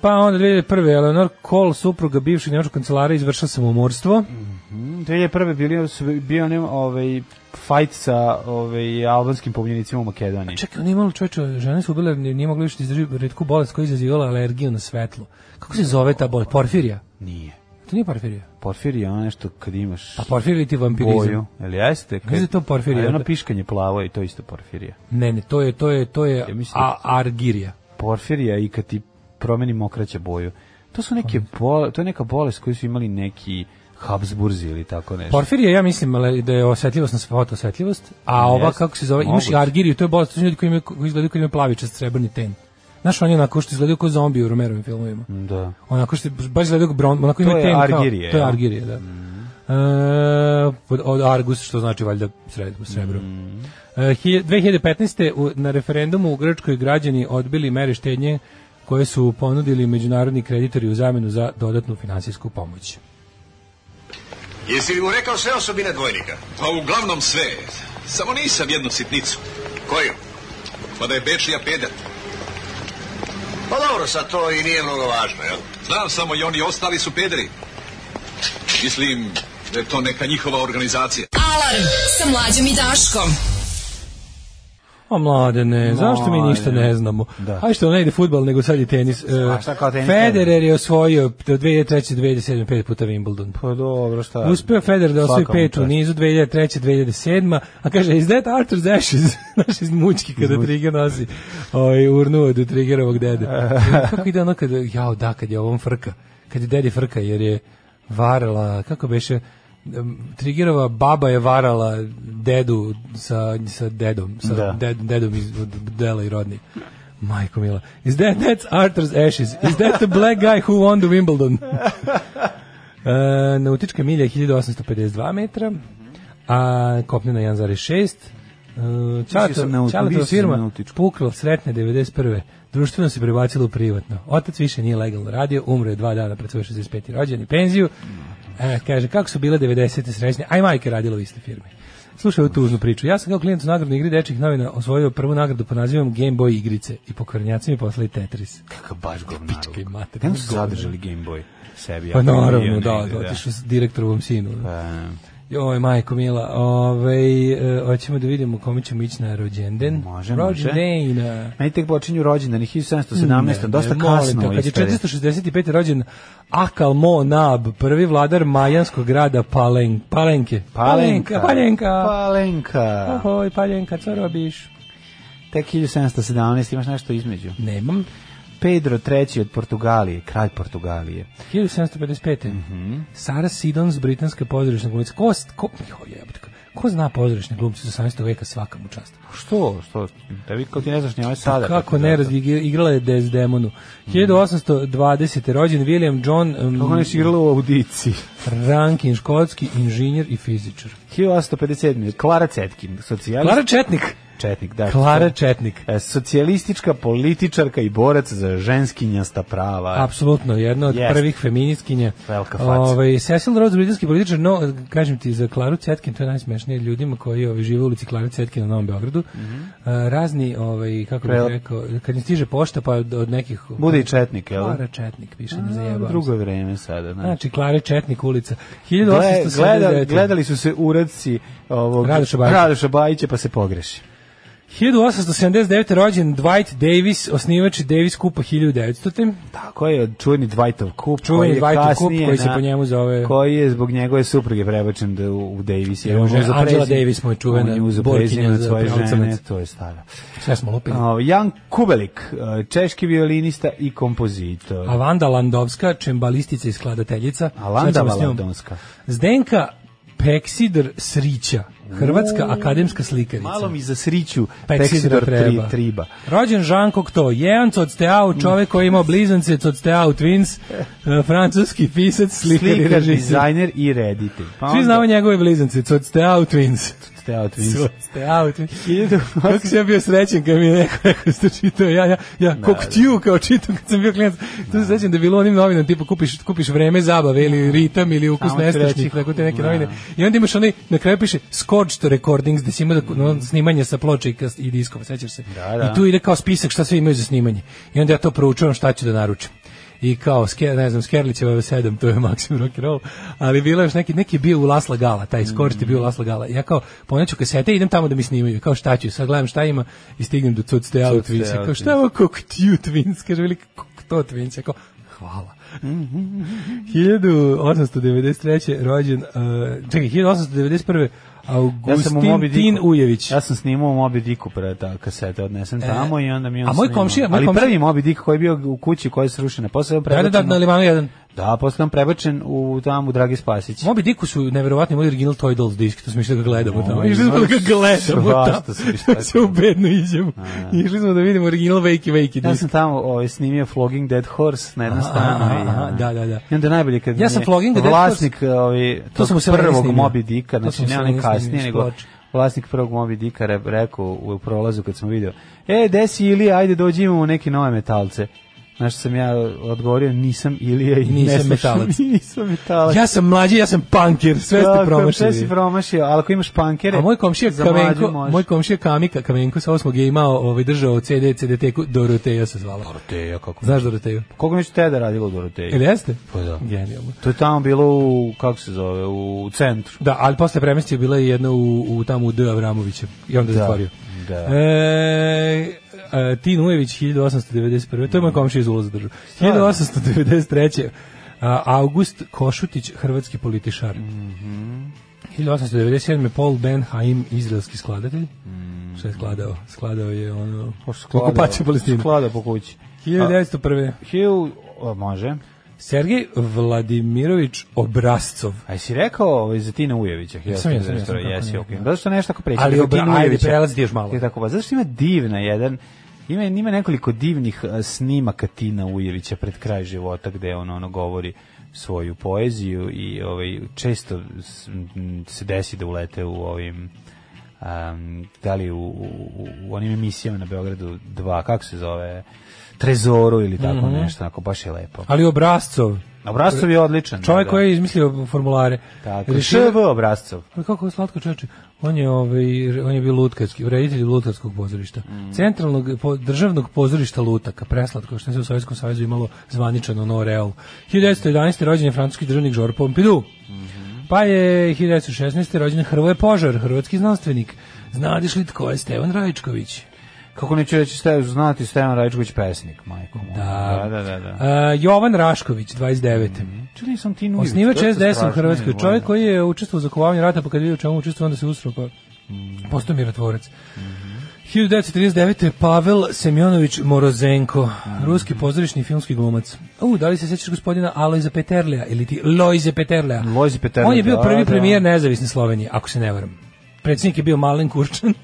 Speaker 7: Pa onda 2001. Eleanor Cole, supruga bivšeg nemačkog kancelara, izvršila samomorstvo.
Speaker 6: Mm, 2001. bili su bio onim ovaj fight sa ovaj albanskim pobunjenicima u Makedoniji.
Speaker 7: Čekaj, ona je imala čoveče, žene su ubile, nije mogla više da izdrži redku bolest koja je izazivala alergiju na svetlo. Kako se zove ta bolest? Porfirija?
Speaker 6: Nije.
Speaker 7: To nije porfirija.
Speaker 6: Porfir je ono nešto kad imaš
Speaker 7: A porfirija ili ti vampirizam?
Speaker 6: boju. Jel jeste?
Speaker 7: Mislim da je to porfirija.
Speaker 6: A ono piškanje plavo i to isto porfirija.
Speaker 7: Ne, ne, to je, to je, to je
Speaker 6: Ja mislim da-
Speaker 7: a, argirija.
Speaker 6: Porfirija i kad ti promeni mokraća boju. To su neke bole, to je neka bolest koju su imali neki Habsburzi ili tako nešto.
Speaker 7: Porfirija, ja mislim ale, da je osjetljivost na svota osjetljivost, a ova,
Speaker 6: Jeste,
Speaker 7: kako se zove, imaš i
Speaker 6: moguće.
Speaker 7: argiriju, to je bolest, to su ljudi koji, imaju, koji izgledaju koji imaju plavičast, srebrni ten. Znaš, on je onako što izgledaju kao zombi u Romerovim filmovima.
Speaker 6: Da.
Speaker 7: Onako što baš izgledaju kao bron, onako
Speaker 6: To
Speaker 7: ima
Speaker 6: je
Speaker 7: ten kao...
Speaker 6: argirije,
Speaker 7: To je
Speaker 6: jel? Mm.
Speaker 7: argirije, da. E, pod- od Argus, što znači valjda sred, srebro.
Speaker 6: Mm.
Speaker 7: E, hilj- 2015. U, na referendumu u Grčkoj građani odbili mere štednje koje su ponudili međunarodni kreditori u zamenu za dodatnu finansijsku pomoć.
Speaker 1: Jesi li mu rekao sve osobine dvojnika?
Speaker 4: Pa uglavnom sve. Samo nisam jednu sitnicu.
Speaker 1: Koju?
Speaker 4: Pa da je Bečija pedat.
Speaker 1: Pa dobro, sad to i nije mnogo važno, jel?
Speaker 4: Znam samo i oni ostali su pederi. Mislim da je to neka njihova organizacija.
Speaker 3: Alarm sa mlađom i Daškom.
Speaker 7: O mladene, zašto mi ništa ne znamo?
Speaker 6: Da.
Speaker 7: Aj što ne ide fudbal, nego sad i tenis. E,
Speaker 6: šta kao tenis?
Speaker 7: Federer je osvojio do 2003. 2007. pet puta Wimbledon.
Speaker 6: Pa dobro, šta?
Speaker 7: Uspeo Federer da osvoji
Speaker 6: Svaka mu
Speaker 7: pet u
Speaker 6: čast.
Speaker 7: nizu 2003. 2007. A kaže, is that Arthur's ashes? Znaš, iz mučki kada Trigger nosi ovaj, urnu od Triggerovog dede. kako ide ono kada, jao da, kad je ovom frka. Kad je dedi frka, jer je varala, kako beše, em, Triggerova baba je varala dedu sa, sa dedom, sa
Speaker 6: Da.
Speaker 7: ded, dedom iz od dela i rodni. Majko mila. Is that that's Arthur's ashes? Is that the black guy who won the Wimbledon? E, nautička milja je 1852 metra, a kopnena 1,6. E,
Speaker 6: Mislio sam na
Speaker 7: Čalatova-
Speaker 6: aut-
Speaker 7: Čalatova
Speaker 6: mislio sam na
Speaker 7: firma
Speaker 6: nautičku.
Speaker 7: Pukla sretne 91. Društveno se prebacilo u privatno. Otac više nije legalno radio, umro je dva dana pred svoj 65. rođeni penziju. E, kaže, kako su bile 90. srećne, a i majke radila u iste firme. Slušaj ovu tužnu priču. Ja sam kao klijent u nagradnoj igri dečih novina osvojio prvu nagradu pod nazivom Game Boy igrice i pokvarnjaci mi poslali Tetris.
Speaker 6: Kakav baš govnaruk.
Speaker 7: Pičke mater,
Speaker 6: Kako su
Speaker 7: govnar.
Speaker 6: zadržali Game Boy sebi?
Speaker 7: Pa
Speaker 6: ako je bio
Speaker 7: naravno, da,
Speaker 6: negde,
Speaker 7: da, otišao s direktorovom sinu.
Speaker 6: E,
Speaker 7: Joj, majko mila, ovaj, e, hoćemo da vidimo kome ćemo ići na rođenden.
Speaker 6: Može, može.
Speaker 7: Rođendena.
Speaker 6: Meni tek počinju rođendani 1717, dosta
Speaker 7: Ne, molim te,
Speaker 6: kasno.
Speaker 7: Kad je
Speaker 6: ispred.
Speaker 7: 465. rođen Akalmo Nab, prvi vladar majanskog grada Palen, Palenke.
Speaker 6: Palenka.
Speaker 7: Palenka.
Speaker 6: Palenka.
Speaker 7: Ahoj, Palenka, co robiš?
Speaker 6: Tek 1717, imaš nešto između.
Speaker 7: Nemam.
Speaker 6: Pedro III od Portugalije, kralj Portugalije.
Speaker 7: 1755.
Speaker 6: Mhm.
Speaker 7: Sara Sidons, britanska pozorišna glumica. Ko, s- ko, jo, jebote, ko zna pozorišne glumce za 18. veka svaka mu čast?
Speaker 6: Što? Što? Da vi kao ti ne znaš ni ovaj sada.
Speaker 7: Kako ne,
Speaker 6: razviješ?
Speaker 7: razvig- igrala je Desdemonu. 1820. rođen William John um,
Speaker 6: Mm. Kako ne si igrala u audiciji?
Speaker 7: Rankin, škotski inženjer i fizičar.
Speaker 6: 1857. Klara Cetkin, socijalist.
Speaker 7: Klara Četnik.
Speaker 6: Četnik, da.
Speaker 7: Klara Četnik.
Speaker 6: E, Socijalistička političarka i borac za ženskinjasta prava.
Speaker 7: Apsolutno, jedna od
Speaker 6: Jest.
Speaker 7: prvih feministkinja.
Speaker 6: Velika faca.
Speaker 7: Ovaj Cecil Rhodes, britanski političar, no kažem ti za Klaru Cetkin, to je najsmešnije ljudima koji ovaj žive u ulici Klare Cetkin na Novom Beogradu.
Speaker 6: Mhm.
Speaker 7: A, razni, ovaj kako bih
Speaker 6: Prel-
Speaker 7: rekao, kad im stiže pošta pa od, od nekih
Speaker 6: Bude i Četnik, jel?
Speaker 7: Klara Četnik, piše ne zajebam. se.
Speaker 6: Drugo vreme sada, znači.
Speaker 7: Znači, Klare Četnik ulica.
Speaker 6: Gle,
Speaker 7: 1879.
Speaker 6: gleda, gledali su se uradci ovog
Speaker 7: Radoša Bajića.
Speaker 6: Radoša Bajića, pa se pogreši.
Speaker 7: 1879. rođen Dwight Davis, osnivač Davis kupa 1900.
Speaker 6: Tako je, čuveni Dwightov kup.
Speaker 7: Čuveni
Speaker 6: koji je
Speaker 7: Dwightov kup
Speaker 6: kasnije
Speaker 7: koji se
Speaker 6: na-
Speaker 7: po njemu zove-
Speaker 6: Koji je zbog njegove supruge prebačen da u, u Davis. jer
Speaker 7: Ne
Speaker 6: on
Speaker 7: može,
Speaker 6: je uzeo
Speaker 7: Angela
Speaker 6: prezime-
Speaker 7: Davis mu je čuvena
Speaker 6: On je uzeo
Speaker 7: borkinja
Speaker 6: prezime od
Speaker 7: za
Speaker 6: svoje žene,
Speaker 7: pravocrnac.
Speaker 6: to je stara.
Speaker 7: Sve smo lupili.
Speaker 6: O, Jan Kubelik, e, češki violinista i kompozitor.
Speaker 7: A Vanda Landovska, čembalistica i skladateljica.
Speaker 6: A Landa
Speaker 7: Sad ćemo s njom.
Speaker 6: Valadonska.
Speaker 7: Zdenka Peksidr Srića, hrvatska akademska slikarica.
Speaker 6: Malo mi za sriću
Speaker 7: Peksidra
Speaker 6: Peksidor tri,
Speaker 7: treba.
Speaker 6: triba.
Speaker 7: Rođen Jean Cocteau, jedan Cocteau, čovek koji je imao blizance Cocteau Twins, eh, francuski pisac, slikar i
Speaker 6: Slikar,
Speaker 7: režisir.
Speaker 6: dizajner i reditelj. Pa
Speaker 7: Svi
Speaker 6: onda-
Speaker 7: znamo njegove blizance, Cocteau Twins.
Speaker 6: Teo Twins.
Speaker 7: Cocteau Twins. Kako sam ja bio srećen kad mi je neko rekao ste čitao, ja, ja, ja Cocteau kao čitam kad sam bio klijent. To se sećam da je bilo u onim novinama, tipa kupiš, kupiš vreme zabave ili ritam ili ukus
Speaker 6: Samo ti reći,
Speaker 7: nestašnih, tako te neke
Speaker 6: da.
Speaker 7: novine. I onda imaš onaj, na kraju piše Scorched Recordings, gde si ima da, no, snimanje sa ploče i, kas- i diskova, sećaš se.
Speaker 6: Da, da.
Speaker 7: I tu ide kao spisak šta sve imaju za snimanje. I onda ja to proučavam šta ću da naručim. I kao, ske, ne znam, Skerlićeva 7, to je maksimum rock and roll, ali bilo je još neki, neki je bio u Lasla Gala, taj Scorched je bio
Speaker 6: Mm.
Speaker 7: u Lasla Gala. I Ja kao, poneću kasete i idem tamo da mi snimaju. Kao šta ću, sad gledam šta ima i stignem do Cuts the Out Twins. Ja Kao šta je ovo Cocteau Twins? Kaže, veliki Cocteau Twins. Ja kao, hvala. 1893. rođen, uh, čekaj, 1891.
Speaker 6: Ja
Speaker 7: Augustin
Speaker 6: sam u Moby
Speaker 7: Tin
Speaker 6: Dicku.
Speaker 7: Ujević. E,
Speaker 6: Ja sam snimao u Moby Dicku pre ta kasete, odnesem tamo i onda mi on
Speaker 7: a moj
Speaker 6: snimao.
Speaker 7: komšija- moj
Speaker 6: Ali
Speaker 7: komšija-
Speaker 6: prvi Moby Dick koji je bio u kući koja je srušena, posle je on
Speaker 7: Da, da,
Speaker 6: prebačen.
Speaker 7: da, na Limanu 1.
Speaker 6: u- Da, posle je on prebačen u tamo u Dragi Spasić.
Speaker 7: Moby Dicku su neverovatni imali original Toy Dolls disk, to smo išli da ga gledamo tamo.
Speaker 6: No,
Speaker 7: Išli smo da ga
Speaker 6: znaš,
Speaker 7: gledamo tamo.
Speaker 6: svašta su išli, šta
Speaker 7: Da se u bednu iđemo. Išli smo da vidimo original Wakey Wakey
Speaker 6: Ja
Speaker 7: disk.
Speaker 6: sam tamo ovaj, snimio Flogging Dead Horse na jednom
Speaker 7: Aha,
Speaker 6: stanu.
Speaker 7: aha,
Speaker 6: i,
Speaker 7: aha,
Speaker 6: ono.
Speaker 7: da, da, da.
Speaker 6: I onda je najbolje kad
Speaker 7: Ja
Speaker 6: mi
Speaker 7: sam
Speaker 6: je
Speaker 7: Flogging Dead Horse-
Speaker 6: vlasnik, Ovaj,
Speaker 7: To sam u
Speaker 6: tog
Speaker 7: Severinu
Speaker 6: prvog
Speaker 7: snimio.
Speaker 6: Moby Dicka,
Speaker 7: To sam
Speaker 6: znači
Speaker 7: u
Speaker 6: ne onaj
Speaker 7: Severinu
Speaker 6: kasnije,
Speaker 7: snimio,
Speaker 6: nego
Speaker 7: isploče.
Speaker 6: vlasnik prvog Moby Dicka re, rekao u prolazu kad sam video, e, gde si Ilija, ajde dođi imamo neke nove metalce. Znaš što sam ja odgovorio, nisam Ilija i
Speaker 7: Nisam
Speaker 6: ne slušam-
Speaker 7: metalac.
Speaker 6: nisam metalac.
Speaker 7: Ja sam mlađi, ja sam punker, sve ste
Speaker 6: Tako, Sve si
Speaker 7: promašili.
Speaker 6: promašio, ali ako imaš pankere,
Speaker 7: A moj komšija
Speaker 6: za mlađu
Speaker 7: Kamenko,
Speaker 6: možeš.
Speaker 7: moj komšija Kamika Kamenko sa osmog je imao, ovaj držao CD CD-teku Doroteja E, se zvala.
Speaker 6: Doroteja, kako?
Speaker 7: Znaš Doroteju?
Speaker 6: Koga mi ću te da radilo u Doroteji?
Speaker 7: Ili jeste?
Speaker 6: Pa da.
Speaker 7: Genijalno.
Speaker 6: To je tamo bilo u, kako se zove, u centru.
Speaker 7: Da, ali posle premestio bila je jedna u, u tamo u D. Avramovića i onda je
Speaker 6: Da,
Speaker 7: zatvorio.
Speaker 6: da.
Speaker 7: E, e, Tin Ujević 1891. To je moj komšija iz ulaza držu. 1893. A, August Košutić, hrvatski političar. Mm
Speaker 6: Mhm.
Speaker 7: 1897. Paul Ben Haim, izraelski skladatelj.
Speaker 6: Mhm.
Speaker 7: Šta je skladao? Skladao je ono...
Speaker 6: Pa
Speaker 7: Okupaciju Palestine.
Speaker 6: Sklada po kući.
Speaker 7: 1901.
Speaker 6: Hill, o, može.
Speaker 7: Sergej Vladimirović Obrazcov.
Speaker 6: A jesi rekao ovaj, za Tina Ujevića? Hill,
Speaker 7: Jesam, jesam, jesam, kako
Speaker 6: Jesi,
Speaker 7: ne.
Speaker 6: ok. Zato što nešto ako preći.
Speaker 7: Ali
Speaker 6: preko
Speaker 7: obra-
Speaker 6: Tina
Speaker 7: ajde,
Speaker 6: Ujevića.
Speaker 7: prelazi još malo.
Speaker 6: Je tako, pa zato što ima divna jedan, Ima, ima nekoliko divnih eh, snimaka Tina Ujevića pred kraj života gde on ono govori svoju poeziju i ovaj često s- m, se desi da ulete u ovim um, da li u, u, u- u onim emisijama na Beogradu 2, kako se zove Trezoru ili tako
Speaker 7: Mhm.
Speaker 6: nešto, onako baš je lepo.
Speaker 7: Ali Obrazcov.
Speaker 6: Obrazcov je odličan.
Speaker 7: Čovjek
Speaker 6: da, da.
Speaker 7: koji je izmislio formulare.
Speaker 6: Tako,
Speaker 7: Rešio-
Speaker 6: ŠV obrazcov.
Speaker 7: Ali kako je slatko čoveče. On je ovaj on je bio lutkarski, reditelj lutkarskog pozorišta.
Speaker 6: Mm.
Speaker 7: Centralnog po- državnog pozorišta Lutaka, preslatko što se u Sovjetskom savezu imalo zvaničan honoreal. 1911. rođen je francuski državnik Georges Pompidou.
Speaker 6: Mhm.
Speaker 7: Pa je 1916. rođen Hrvoje Požar, hrvatski znanstvenik. Znadiš li tko je Stevan E, Rajčković?
Speaker 6: Kako neću reći ste, znati Stevan Rajčković pesnik, majko moja.
Speaker 7: Da.
Speaker 6: da, da. da.
Speaker 7: A, Jovan Rašković, 29.
Speaker 6: Čuli nisam ti nujević.
Speaker 7: Osnivač SDS u Hrvatskoj, čovjek koji je učestvovao u zakovavanju rata, pa kad je vidio u čemu učestvovao, onda se usro, pa
Speaker 6: Mhm.
Speaker 7: postao mirotvorac. 1939. Pavel Semjonović Morozenko,
Speaker 6: Mhm.
Speaker 7: ruski pozorišni i filmski glumac. U, da li se sećaš gospodina Alojza Peterlea ili ti Lojze Peterlea?
Speaker 6: Lojze Peterlea,
Speaker 7: On je bio
Speaker 6: da,
Speaker 7: prvi
Speaker 6: da.
Speaker 7: premijer nezavisne Slovenije, ako se ne varam. Predsjednik je bio Malen Kurčan,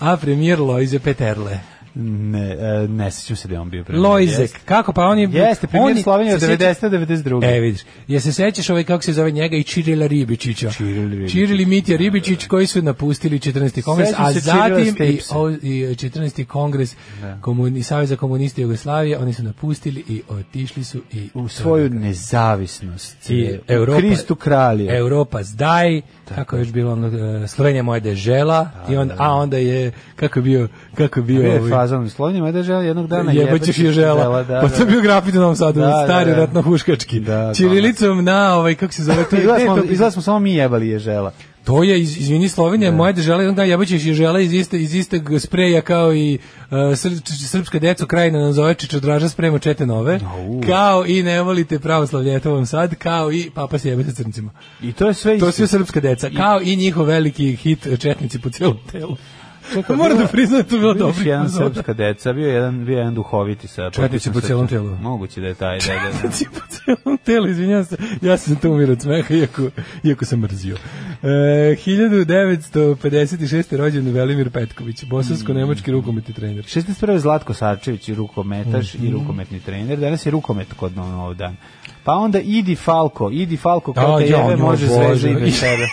Speaker 7: a premijer Lojze Peterle.
Speaker 6: Ne, e, ne sećam se da je on bio premijer.
Speaker 7: Lojzek,
Speaker 6: Jeste.
Speaker 7: kako pa on je...
Speaker 6: Jeste, premijer
Speaker 7: on je-
Speaker 6: Slovenije od
Speaker 7: se sjeća-
Speaker 6: 90. 92.
Speaker 7: E, vidiš. Je se sećaš ovaj, kako se zove njega, i Čirila Ribičića.
Speaker 6: Čiril Ribičić. Da,
Speaker 7: Čiril i Mitja Ribičić, koji su napustili 14. kongres,
Speaker 6: Sećam
Speaker 7: a
Speaker 6: se Čirila
Speaker 7: zatim i,
Speaker 6: Stepsa. Da.
Speaker 7: o- i 14. kongres komuni, Saveza komunista Jugoslavije, oni su napustili i otišli su i... da.
Speaker 6: U svoju nezavisnost.
Speaker 7: I E,
Speaker 6: U
Speaker 7: Europa,
Speaker 6: Kristu kralje.
Speaker 7: Europa zdaj, kako je još bilo ono, e, Slovenija moja dežela, i onda, a onda je, kako je bio, kako je bio,
Speaker 6: Da, Bio je
Speaker 7: ovaj-
Speaker 6: fazon u Sloveniji, mada žela jednog dana
Speaker 7: jebaćeš je žela.
Speaker 6: Da,
Speaker 7: Pa to je bio grafit u Novom Sadu,
Speaker 6: Da,
Speaker 7: stari
Speaker 6: da, da.
Speaker 7: ratno huškački.
Speaker 6: Da,
Speaker 7: Čirilicom na, ovaj, kako se zove, to je,
Speaker 6: Izgleda
Speaker 7: gde je
Speaker 6: smo,
Speaker 7: to,
Speaker 6: izgleda smo Da. samo mi jebali je žela.
Speaker 7: to je, iz, izvini, Slovenija, je moja država, jedan dan jebaćeš je žela iz, iste, iz istog spreja kao i uh, sr, srpska deco krajina nam zove Čičodraža sprema čete nove, kao i ne volite pravoslavlje, to vam sad, kao i papa se jebe sa crncima.
Speaker 6: I to je sve
Speaker 7: To
Speaker 6: isto.
Speaker 7: su srpska deca, kao i njihov veliki hit Četnici po cijelom telu.
Speaker 6: Čekaj,
Speaker 7: Moram
Speaker 6: bilo-
Speaker 7: da priznam, to je bilo
Speaker 6: Bio
Speaker 7: dobro.
Speaker 6: je jedan srpska deca, bio je jedan, bio je jedan duhoviti sa...
Speaker 7: Četnici po celom tijelu.
Speaker 6: Moguće da je taj da, da, da.
Speaker 7: Četnici po celom telu, izvinjavam se. Ja sam to umirio od smeha, iako, iako sam mrzio. E, 1956. rođen Velimir Petković, bosansko-nemački rukometni trener.
Speaker 6: 61. je Zlatko Sarčević, i rukometaš
Speaker 7: Mhm.
Speaker 6: i rukometni trener. Danas je rukomet kod na ovog dan. Pa onda Idi Falko, Idi Falko
Speaker 7: A,
Speaker 6: kao te
Speaker 7: Da, ja,
Speaker 6: jebe
Speaker 7: njoj
Speaker 6: može
Speaker 7: Bože.
Speaker 6: zvezda i bez tebe.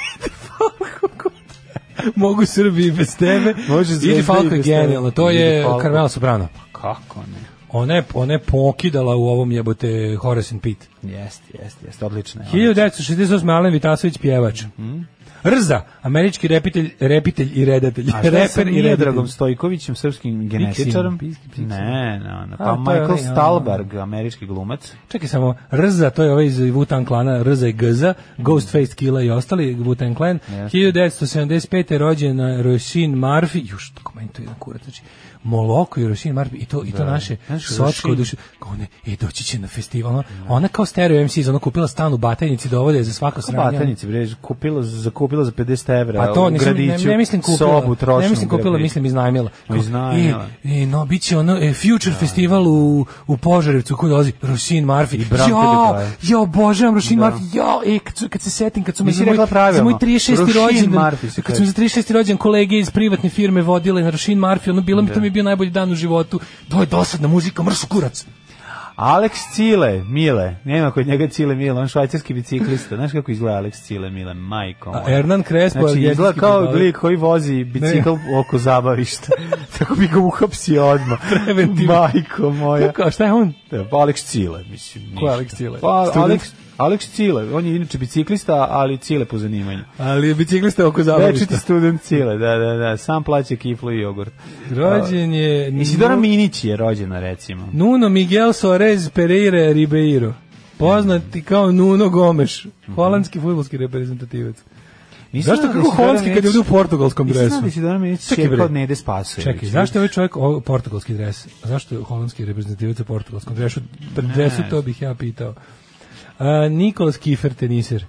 Speaker 7: Mogu Srbi i bez tebe.
Speaker 6: Može
Speaker 7: Ili
Speaker 6: Zvezda i
Speaker 7: Falko je
Speaker 6: bez tebe.
Speaker 7: genijalno, to
Speaker 6: Idi
Speaker 7: je
Speaker 6: Falko.
Speaker 7: Carmela Soprano.
Speaker 6: Kako ne?
Speaker 7: Ona je, ona je pokidala u ovom jebote Horace and Pete.
Speaker 6: Jeste, jeste, jeste, odlično je.
Speaker 7: 1968. Alen Vitasović, pjevač.
Speaker 6: Mhm.
Speaker 7: Rza, američki repitelj, repitelj i redatelj.
Speaker 6: A šta je sa
Speaker 7: Reper i redatelj.
Speaker 6: Mijedragom Stojkovićem, srpskim genetičarom?
Speaker 7: Pixim, Pixim.
Speaker 6: Ne, ne, ne.
Speaker 7: A,
Speaker 6: Pa
Speaker 7: to je
Speaker 6: Michael
Speaker 7: onaj, a.
Speaker 6: Stalberg, američki glumac.
Speaker 7: Čekaj samo, Rza, to je ovaj iz Wutan klana, Rza i Gza, Ghostface Killa i ostali, Wutan klan. 1975. je rođen uh, Roisin Murphy, juš, kako meni to je jedan kurac, znači, Moloko i Roisin Murphy, i to, i to naše
Speaker 6: Da, Znaš,
Speaker 7: sočko
Speaker 6: Roisin-
Speaker 7: duše, kao ne, e, doći će na festival, ona, ona kao stereo MC, ona kupila stan u Batajnici, dovode je za svako sranje. ono.
Speaker 6: Batajnici, bre, kupila, zakupila za 50 evra
Speaker 7: Pa to
Speaker 6: u
Speaker 7: nisam, ne,
Speaker 6: gradiću.
Speaker 7: ne mislim kupila.
Speaker 6: Sobu trošnu.
Speaker 7: ne mislim
Speaker 6: u
Speaker 7: kupila,
Speaker 6: gradiću.
Speaker 7: mislim iznajmila. Kao,
Speaker 6: Iznajmila. Da.
Speaker 7: E, e, no, bit će ono, e, Future Festival u, u Požarevcu, koji dolazi Rosin Marfi. I
Speaker 6: Branko
Speaker 7: jo,
Speaker 6: Ljubajev.
Speaker 7: jo, obožavam Rosin Marfi. Jo, e, kad, su- kad se setim, kad su me
Speaker 6: Nisi
Speaker 7: za moj,
Speaker 6: rekla
Speaker 7: za
Speaker 6: pravilno.
Speaker 7: moj 36.
Speaker 6: Roisin
Speaker 7: rođendan,
Speaker 6: Marfi se
Speaker 7: kad su me
Speaker 6: kaže.
Speaker 7: za 36. rođendan kolege iz privatne firme vodile na Rosin Marfi, ono
Speaker 6: Da.
Speaker 7: bilo mi, to mi je bio najbolji dan u životu. To je dosadna muzika, mršu kurac.
Speaker 6: Alex Cile, Mile. Nema kod njega Cile Mile, on švajcarski biciklista. Znaš kako izgleda Alex Cile Mile, majko
Speaker 7: A
Speaker 6: moja.
Speaker 7: Hernan Pa Crespo,
Speaker 6: Znači,
Speaker 7: argentinski
Speaker 6: izgleda kao
Speaker 7: fudbaler.
Speaker 6: glik koji vozi bicikl oko zabavišta. Tako bi ga uhapsio odmah.
Speaker 7: Preventivno.
Speaker 6: Majko moja.
Speaker 7: Kako, šta je on?
Speaker 6: Da, pa Alex Cile, mislim. Ništa.
Speaker 7: Ko je Alex Cile?
Speaker 6: Pa,
Speaker 7: Student?
Speaker 6: Alex, Alex Cile, on je inače biciklista, ali Cile po zanimanju.
Speaker 7: Ali je biciklista oko zabavišta.
Speaker 6: Večiti student Cile, da, da, da, sam plaća kiflu i jogurt.
Speaker 7: Rođen je...
Speaker 6: Mm-hmm. Isidora
Speaker 7: Nuno-
Speaker 6: Minić je rođena, recimo.
Speaker 7: Nuno Miguel Suarez Pereira Ribeiro. Poznati kao Nuno Gomes, holandski fudbalski reprezentativac.
Speaker 6: Nisam
Speaker 7: Zašto
Speaker 6: znao
Speaker 7: kako
Speaker 6: da Isidora
Speaker 7: holandski kad je
Speaker 6: Minić-
Speaker 7: ovdje u portugalskom
Speaker 6: Nisam
Speaker 7: dresu?
Speaker 6: znao da Isidora Minić
Speaker 7: Čekaj,
Speaker 6: čeka
Speaker 7: bre.
Speaker 6: od Nede Spasojević.
Speaker 7: Čekaj, zašto je ovaj čovjek ovo, portugalski dres? A Zašto je holandski reprezentativac u portugalskom dresu? dresu to bih ja pitao. A, Nikolas Kifer teniser.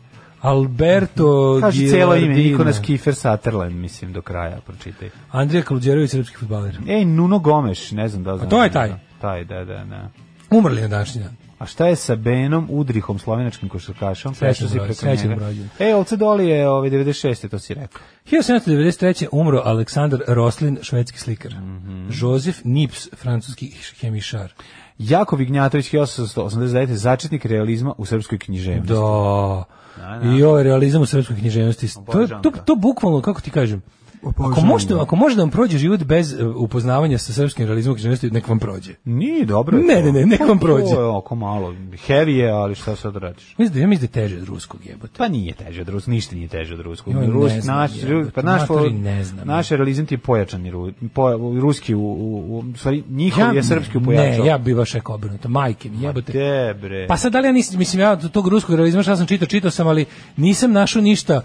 Speaker 7: Alberto
Speaker 6: Kaži celo ime,
Speaker 7: Gilardina.
Speaker 6: Nikonas Kifer Sutherland, mislim, do kraja, pročitaj.
Speaker 7: Andrija Kaludjerović, srpski fudbaler.
Speaker 6: Ej, Nuno Gomes, ne znam da li znam.
Speaker 7: to je taj.
Speaker 6: Taj, da, da, da.
Speaker 7: Umrli na današnji dan.
Speaker 6: A šta je sa Benom Udrihom, slovenačkim košarkašom?
Speaker 7: Srećan
Speaker 6: Prešao si
Speaker 7: broj,
Speaker 6: preko
Speaker 7: srećan
Speaker 6: njega.
Speaker 7: broj.
Speaker 6: E, ovce doli je ovaj, 96. to si rekao.
Speaker 7: 1793. umro Aleksandar Roslin, švedski slikar.
Speaker 6: Mhm.
Speaker 7: Jozef Nips, francuski hemišar.
Speaker 6: Jako Vignjatović 1889. začetnik realizma u srpskoj književnosti.
Speaker 7: Da.
Speaker 6: Da,
Speaker 7: I ovo je realizam u srpskoj književnosti. To, to, to bukvalno, kako ti kažem, Ako možete, ako može da vam prođe život bez e, upoznavanja sa srpskim realizmom i književnosti, nek vam prođe.
Speaker 6: Nije dobro. je
Speaker 7: Ne,
Speaker 6: to.
Speaker 7: ne, ne, nek vam
Speaker 6: Pa to
Speaker 7: prođe.
Speaker 6: je oko malo heavy je, ali šta sad radiš?
Speaker 7: Mislim da ja mislim da je teže od ruskog jebote.
Speaker 6: Pa nije teže od ruskog, ništa nije teže od ruskog.
Speaker 7: Joj, ne
Speaker 6: Rus,
Speaker 7: znam,
Speaker 6: naš,
Speaker 7: jebote,
Speaker 6: pa naš,
Speaker 7: matori, ne znam.
Speaker 6: naš realizam ti je pojačan, i ru, po, ruski, u, u, u, stvari, njihov je srpski u pojačao. Pa
Speaker 7: Ne, ja bi baš rekao obrnuto. Majke mi jebote.
Speaker 6: Te, bre.
Speaker 7: Pa sad da li ja nisam, mislim ja od tog ruskog realizma šta sam čitao, čitao sam, ali nisam našao ništa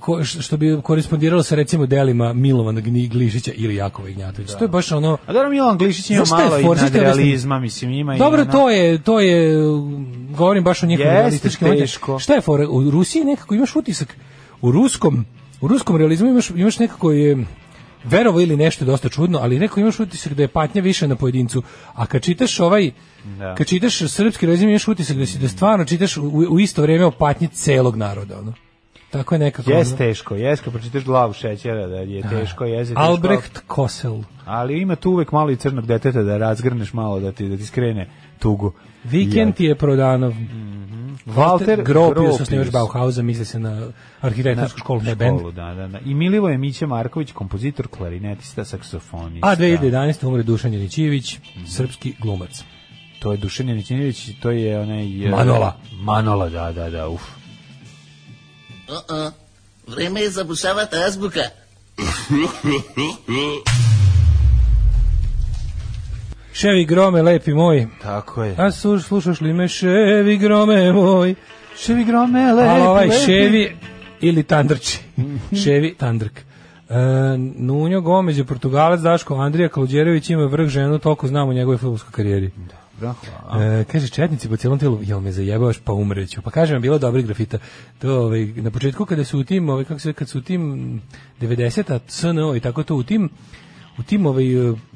Speaker 7: ko- š- što bi korespondiralo sa recimo delima Milovana Gni- Glišića ili Jakova Ignjatovića. To je baš ono...
Speaker 6: A dobro, Milan Glišić ima
Speaker 7: Znaš šta je
Speaker 6: malo i
Speaker 7: for? Znaš šta je
Speaker 6: nadrealizma, mislim, ima i
Speaker 7: Dobro,
Speaker 6: ono-
Speaker 7: to je, to je, govorim baš o njihovim
Speaker 6: Jeste
Speaker 7: realističkim momentima.
Speaker 6: teško.
Speaker 7: Šta je fora? U Rusiji nekako imaš utisak, u ruskom, u ruskom realizmu imaš, imaš nekako je, verovo ili nešto je dosta čudno, ali nekako imaš utisak da je patnja više na pojedincu. A kad čitaš ovaj,
Speaker 6: Da.
Speaker 7: kad čitaš srpski realizam imaš utisak da, si, da stvarno čitaš u, u isto vrijeme o patnji celog naroda. Ono. Tako je nekako.
Speaker 6: Jes
Speaker 7: ono.
Speaker 6: teško, jes kad pročitaš glavu šećera da je teško, jes je teško.
Speaker 7: Albrecht Kosel.
Speaker 6: Ali ima tu uvek malo i crnog deteta da razgrneš malo, da ti, da ti skrene tugu.
Speaker 7: Vikend je Prodanov.
Speaker 6: Walter
Speaker 7: Gropius,
Speaker 6: Gropius.
Speaker 7: osnivač Bauhausa, misli se na arhitektonsku školu, ne bend.
Speaker 6: Školu, da, da, da. I Milivoje Miće Marković, kompozitor, klarinetista, saksofonista.
Speaker 7: A da 2011. umre Dušan Jelićević, srpski glumac.
Speaker 6: To je Dušan Janićinović, to je onaj... e,
Speaker 7: Manola.
Speaker 6: Manola, da, da, da, uf.
Speaker 8: Vreme je zabušavati azbuka.
Speaker 7: Ševi grome, lepi moj.
Speaker 6: Tako je.
Speaker 7: A suš, slušaš li me, ševi grome moj.
Speaker 6: Ševi grome, lepi,
Speaker 7: Ali ovaj
Speaker 6: lepi.
Speaker 7: ševi ili tandrči. ševi tandrk. E, Nunjo Gomez je Portugalac, Daško Andrija Kaludjerović ima vrh ženu, toliko znam o njegovoj futbolskoj karijeri.
Speaker 6: Dobro, hvala.
Speaker 7: E, kaže četnici po celom telu, jel me zajebavaš pa umreću. Pa kažem, bilo je dobrih grafita. To, ovaj, na početku kada su u tim, ovaj, kako se, zove, kad su u tim 90-a, CNO i tako to, u tim u tim ovaj,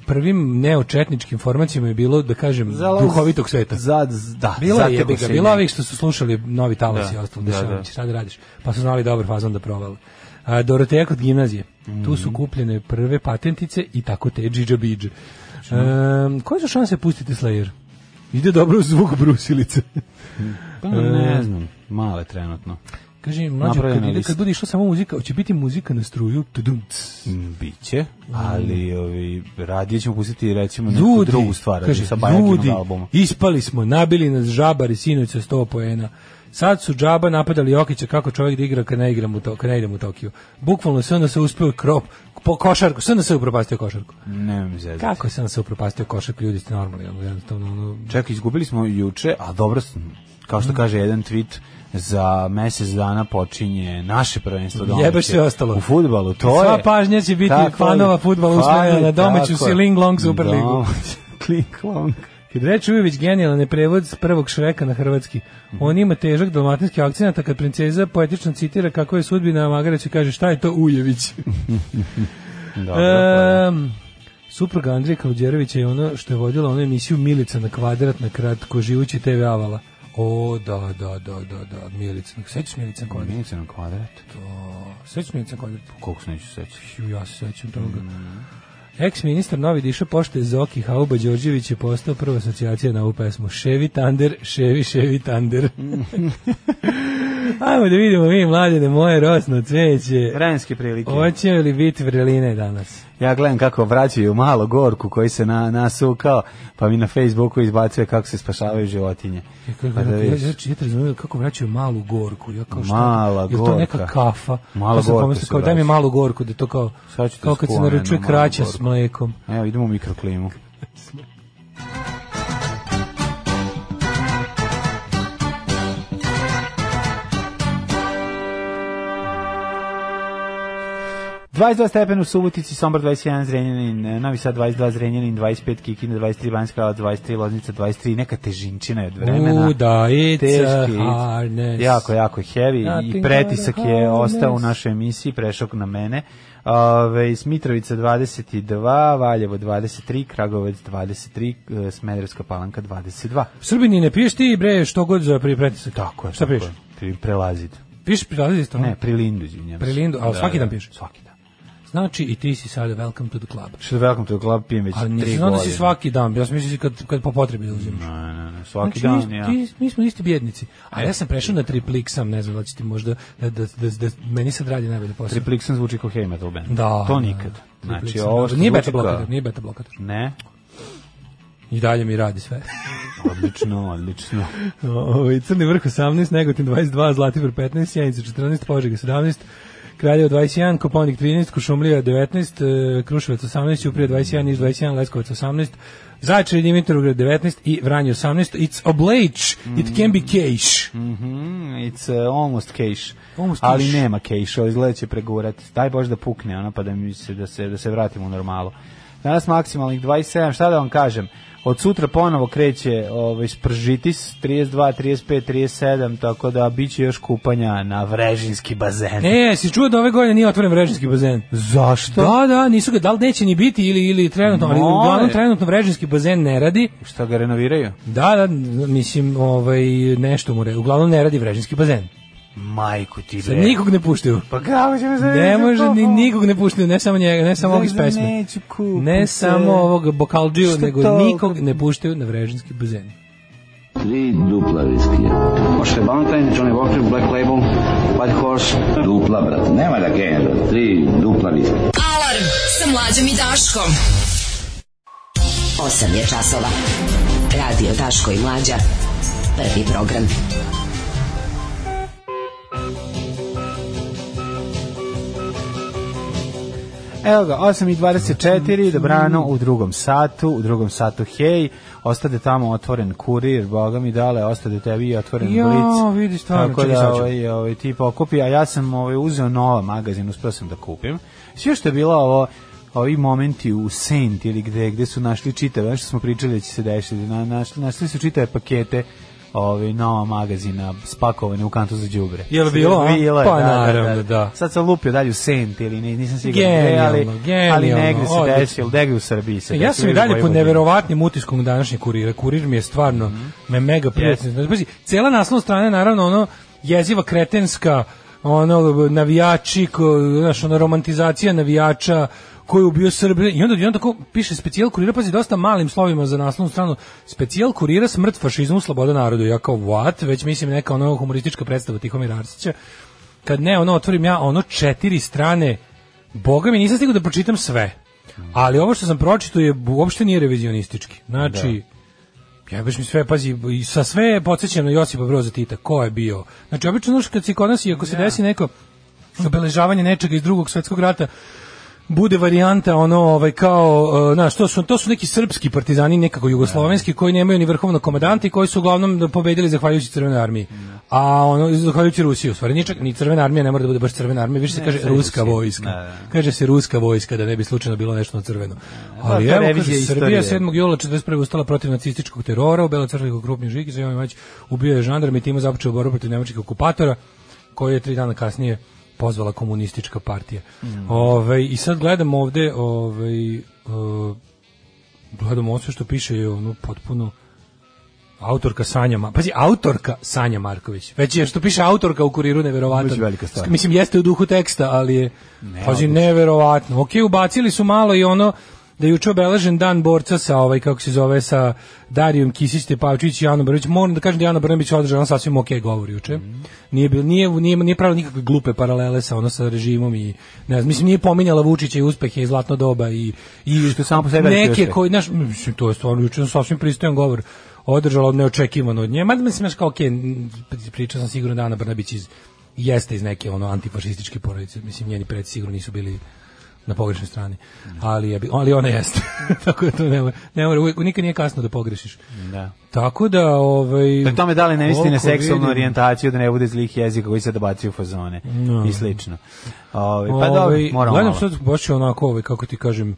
Speaker 7: prvim neočetničkim formacijama je bilo, da kažem,
Speaker 6: Zalaz-
Speaker 7: duhovitog sveta.
Speaker 6: Za, z- da,
Speaker 7: Bilo
Speaker 6: za
Speaker 7: je jebi ga, bilo ovih što su slušali novi talas
Speaker 6: Da,
Speaker 7: i ostalo,
Speaker 6: da,
Speaker 7: da,
Speaker 6: da.
Speaker 7: da. šta da radiš, pa su znali dobar fazon da provale. A, Doroteja kod gimnazije, tu
Speaker 6: Mhm.
Speaker 7: su kupljene prve patentice i tako te džidža bidže. Um, koje su šanse pustiti Slayer? Ide dobro zvuk brusilice.
Speaker 6: Pa ne znam, male trenutno.
Speaker 7: Kaže, mlađo,
Speaker 6: Napravljena
Speaker 7: kad, ide,
Speaker 6: lista.
Speaker 7: kad bude išla samo muzika, hoće biti muzika na struju, tudum, ts.
Speaker 6: Mm, Biće, ali ovi, radije ćemo pustiti recimo neku
Speaker 7: Ljudi,
Speaker 6: drugu stvar ali
Speaker 7: kaže,
Speaker 6: sa Bajakinog
Speaker 7: ljudi,
Speaker 6: albuma.
Speaker 7: ispali smo, nabili nas žabari sinoć sa 100 poena. Sad su džaba napadali Jokića kako čovjek da igra kad ne igram u to, kad ne idem u Tokio. Bukvalno sve se uspeo krop po košarku, sve se upropastio košarku.
Speaker 6: Ne mi zezati.
Speaker 7: Kako se se upropastio košarku, ljudi ste normalni, ono, jednostavno ono,
Speaker 6: Čekaj, izgubili smo juče, a dobro, s- kao
Speaker 7: Mm.
Speaker 6: što kaže jedan tweet, za mesec dana počinje naše prvenstvo domaće.
Speaker 7: Jebeš sve ostalo.
Speaker 6: U futbalu, to
Speaker 7: Sva
Speaker 6: je...
Speaker 7: pažnja će biti fanova fudbala usmerena na domaću Siling Long Superligu.
Speaker 6: Kling Long.
Speaker 7: Kad reče Ujević genijalan je prevod s prvog šreka na hrvatski.
Speaker 6: Mhm.
Speaker 7: On ima težak dalmatinski akcent, a kad princeza poetično citira kako je sudbina Magareća, kaže šta je to Ujević?
Speaker 6: Dobro, pa-
Speaker 7: Ehm, supruga Andrija Kaludjerovića je ono što je vodila onu emisiju Milica na kvadrat na kratko živući TV Avala. O, da, da, da, da, da, Milica. Sećaš Milica na kvadrat?
Speaker 6: Minice pa- na kvadrat.
Speaker 7: Sećaš Milica na kvadrat?
Speaker 6: Koliko se neću seći.
Speaker 7: Ju, ja se sećam toga. Ex-ministar Novi Diša pošte Zoki Hauba Đorđević je postao prva asocijacija na ovu pesmu. Ševi Tander, Ševi, Ševi Tander. Ajmo da vidimo mi, mladene, moje rosno cveće.
Speaker 6: Vremenske prilike.
Speaker 7: Hoće li biti vreline danas?
Speaker 6: Ja gledam kako vraćaju malo gorku koji se na, nasukao, pa mi na Facebooku izbacuje kako se spašavaju životinje. Pa da
Speaker 7: ja,
Speaker 6: vidiš.
Speaker 7: ja, ja te razumijem kako vraćaju malu gorku. Ja kao šta,
Speaker 6: Mala
Speaker 7: je to neka
Speaker 6: gorka.
Speaker 7: kafa?
Speaker 6: Mala
Speaker 7: Ja sam
Speaker 6: gorka
Speaker 7: pomislio
Speaker 6: se
Speaker 7: kao daj mi
Speaker 6: vraća.
Speaker 7: malu gorku, da to kao,
Speaker 6: Sad ću te
Speaker 7: kao kad se
Speaker 6: sklone na
Speaker 7: naručuje
Speaker 6: malu
Speaker 7: kraća s
Speaker 6: gorku.
Speaker 7: mlekom.
Speaker 6: Evo, idemo u mikroklimu. ...22 stepen u Subotici, Sombor 21, Zrenjanin, eh, Novi Sad 22, Zrenjanin 25, Kikinda 23, Banjska Kraljevac 23, Loznica 23, neka težinčina je od vremena.
Speaker 7: U, da, it's a
Speaker 6: Teški,
Speaker 7: harness.
Speaker 6: jako, jako heavy i
Speaker 7: Nothing
Speaker 6: pretisak
Speaker 7: but a
Speaker 6: je ostao u
Speaker 7: harness.
Speaker 6: našoj emisiji, prešao na mene. Ove, Smitrovica 22, Valjevo 23, Kragovec
Speaker 7: e,
Speaker 6: 23, eh, Smederevska palanka 22.
Speaker 7: Srbini, ne piješ ti, bre, što god za prije pretisak.
Speaker 6: Tako je.
Speaker 7: Šta piješ?
Speaker 6: Pri, prelazit.
Speaker 7: Piješ prelazit isto?
Speaker 6: Ne, pri Lindu, izvinjam. se. Da,
Speaker 7: Pri Lindu, ali svaki dan piješ?
Speaker 6: Svaki dan.
Speaker 7: Znači i ti si sada welcome to the club.
Speaker 6: Što da welcome to the club pijem već
Speaker 7: Ali
Speaker 6: 3
Speaker 7: nisam
Speaker 6: godine.
Speaker 7: znao da si svaki dan, ja sam mislio da si kad, kad po potrebi da uzimaš.
Speaker 6: Ne, ne, ne, svaki
Speaker 7: Znači,
Speaker 6: dan,
Speaker 7: mi,
Speaker 6: ja.
Speaker 7: ti, mi smo isti bjednici. A ja sam prešao na triplik sam, ne znam da li će ti možda, da, da, da, da meni sad radi najbolje posao.
Speaker 6: Triplixen zvuči kao heavy metal band.
Speaker 7: Da.
Speaker 6: To
Speaker 7: da,
Speaker 6: nikad.
Speaker 7: triplik
Speaker 6: Znači,
Speaker 7: sam,
Speaker 6: ovo
Speaker 7: da.
Speaker 6: što
Speaker 7: Nije
Speaker 6: zvuči
Speaker 7: beta
Speaker 6: kao-
Speaker 7: blokator, nije beta blokator.
Speaker 6: Ne,
Speaker 7: I dalje mi radi sve.
Speaker 6: odlično, odlično.
Speaker 7: Ovaj Crni vrh 18, Negotin 22, Zlatibor 15, Sjenica 14, Požega 17, Kraljevo 21, Koponik 13, Kušumlija 19, eh, Kruševac 18, Uprije 21, Niš 21, Leskovac 18, Zaječar i Dimitrovgrad 19 i Vranje 18. It's oblage, it can be cash.
Speaker 6: Mhm, it's uh, almost cash.
Speaker 7: Almost
Speaker 6: ali
Speaker 7: cash.
Speaker 6: nema cash, ali izgleda će pregurati. Daj Bože da pukne ona pa da mi se da se da se vratimo u normalu. Danas maksimalnih 27, šta da vam kažem? Od sutra ponovo kreće ovaj spržitis 32, 35, 37, tako da biće još kupanja na Vrežinski bazen.
Speaker 7: E, si čuo da ove godine nije otvoren vrežinski bazen?
Speaker 6: Zašto?
Speaker 7: Da, da, nisu ga, da li neće ni biti ili, ili trenutno, ali
Speaker 6: More.
Speaker 7: uglavnom trenutno vrežinski bazen ne radi.
Speaker 6: Šta ga renoviraju?
Speaker 7: Da, da, mislim, ovaj, nešto mu re, uglavnom ne radi vrežinski bazen.
Speaker 6: Majku ti
Speaker 7: Sam
Speaker 6: bre.
Speaker 7: nikog ne puštaju.
Speaker 6: Pa kako ćemo se...
Speaker 7: Ne može, ni, nikog ne puštaju, ne samo njega, ne samo ovog iz
Speaker 6: Daj da
Speaker 7: pesme.
Speaker 6: neću kupiti
Speaker 7: Ne
Speaker 6: se.
Speaker 7: samo ovog bokalđiju,
Speaker 6: Što
Speaker 7: nego
Speaker 6: to?
Speaker 7: nikog ne puštaju na vrežinski bazen.
Speaker 9: Tri dupla viskija. Možete Valentine, Johnny Walker, Black Label, White Horse. Dupla, brate, nema da genja, brate. Tri dupla viskija.
Speaker 3: Alarm sa mlađom i Daškom. 8 je časova. Radio Daško i Mlađa. Prvi program.
Speaker 6: Evo ga, 8.24, dobrano u drugom satu, u drugom satu hej, ostade tamo otvoren kurir, boga mi dale, ostade tebi i otvoren
Speaker 7: Jo,
Speaker 6: blic.
Speaker 7: vidi, stvarno,
Speaker 6: Tako
Speaker 7: čekaj,
Speaker 6: da,
Speaker 7: sad ću.
Speaker 6: ovaj, ovaj, ti pokupi, a ja sam ovaj, uzeo nova magazin, uspio sam da kupim. Sve što je bilo ovo, ovi momenti u Saint ili gde, gde su našli čitave, ono što smo pričali da će se desiti, na, našli, našli su čitave pakete ovaj, nova magazina spakovane u kantu za đubre.
Speaker 7: Jel bilo, a?
Speaker 6: Bilo je,
Speaker 7: Pa
Speaker 6: da, da,
Speaker 7: naravno, da.
Speaker 6: Sad sam lupio dalje u Saint ili ne- nisam siguran gde, ali,
Speaker 7: Genijalno,
Speaker 6: ali
Speaker 7: genijalno,
Speaker 6: negde se
Speaker 7: odlično. E,
Speaker 6: desilo, negde u Srbiji se
Speaker 7: Ja sam i
Speaker 6: desilo, u
Speaker 7: dalje pod
Speaker 6: Vojvodini.
Speaker 7: neverovatnim utiskom današnjeg kurira. Kurir mi je stvarno me mega prijatno. Yes. Pazi, cela naslovna strana je naravno ono jeziva kretenska, ono navijači, ko- znaš, ono romantizacija navijača koji je ubio Srbe i onda i onda tako piše specijal kurira, pazi dosta malim slovima za naslovnu stranu. Specijal kurira smrt fašizmu sloboda narodu. Ja kao what, već mislim neka ono humoristička predstava Tihomira Arsića. Kad ne, ono otvorim ja ono četiri strane. Boga mi nisam stigao da pročitam sve. Ali ovo što sam pročitao je uopšte nije revizionistički. Znači, ja baš mi sve, pazi, i sa sve podsjećam na Josipa Broza Tita, ko je bio. Znači, obično znaš, kad se kod nas i ako
Speaker 6: Da.
Speaker 7: se desi neko obeležavanje nečega iz drugog svetskog rata, bude varijanta ono ovaj kao e, znaš to su to su neki srpski partizani nekako jugoslovenski
Speaker 6: Da.
Speaker 7: koji nemaju ni vrhovnog komandanta i koji su uglavnom pobedili zahvaljujući crvenoj armiji.
Speaker 6: Da.
Speaker 7: A ono zahvaljujući Rusiji, u stvari ni čak- ni crvena armija ne mora da bude baš crvena armija, više se kaže ruska
Speaker 6: Da,
Speaker 7: vojska. Kaže se ruska vojska da ne bi slučajno bilo nešto na crveno. Ali
Speaker 6: Da, to je
Speaker 7: evo kaže,
Speaker 6: revizija
Speaker 7: Srbija
Speaker 6: istorije.
Speaker 8: 7.
Speaker 7: 7. jula 41. ustala protiv nacističkog terora, u Belocrkvi krupni Žigić, Jovan Mać ubio je žandarme i time započeo borbu protiv nemačkih okupatora, koji je tri dana kasnije pozvala komunistička partija. Ovaj, I sad gledam ovde, ovaj, uh, gledam ovo sve što piše je ono potpuno autorka Sanja Ma Pazi, autorka Sanja Marković. Već je što piše autorka u kuriru neverovatno.
Speaker 6: Već velika stvar.
Speaker 7: Mislim jeste u duhu teksta, ali je pazi neverovatno. Okej, ubacili su malo i ono da je juče obeležen dan borca sa ovaj kako se zove sa Darijom Kisić Stepavčić i Anom Brnabić. Moram da kažem da je Ana Brnabić održala sasvim okej govor juče.
Speaker 6: Mhm.
Speaker 7: Nije bil nije nije nije pravila nikakve glupe paralele sa ono sa režimom i ne znam, mislim nije pominjala Vučića i uspehe i zlatno doba i i
Speaker 6: Što je samo po sebi veliki
Speaker 7: neke
Speaker 6: uspeh.
Speaker 7: koji naš mislim to je stvarno juče sasvim pristojan govor održala neočekivano od nje. Ma mislim znaš, kao okej, okay, pričao sam sigurno da Ana Brnabić iz jeste iz neke ono antifašističke porodice. Mislim njeni preci sigurno nisu bili na pogrešnoj strani. Ali je bi- ali ona jeste. Tako da to ne mora, ne mora uvijek, nikad nije kasno da pogrešiš.
Speaker 6: Da.
Speaker 7: Tako da ovaj
Speaker 6: Pri tome da dali ne misli na
Speaker 7: koliko
Speaker 6: seksualnu
Speaker 7: vidim-
Speaker 6: orijentaciju, da ne bude zlih jezika koji se da baci u fazone i slično. Ovaj, pa dobro,
Speaker 7: Ovaj,
Speaker 6: moramo
Speaker 7: Gledam
Speaker 6: malo.
Speaker 7: sad baš je onako, ovaj, kako ti kažem,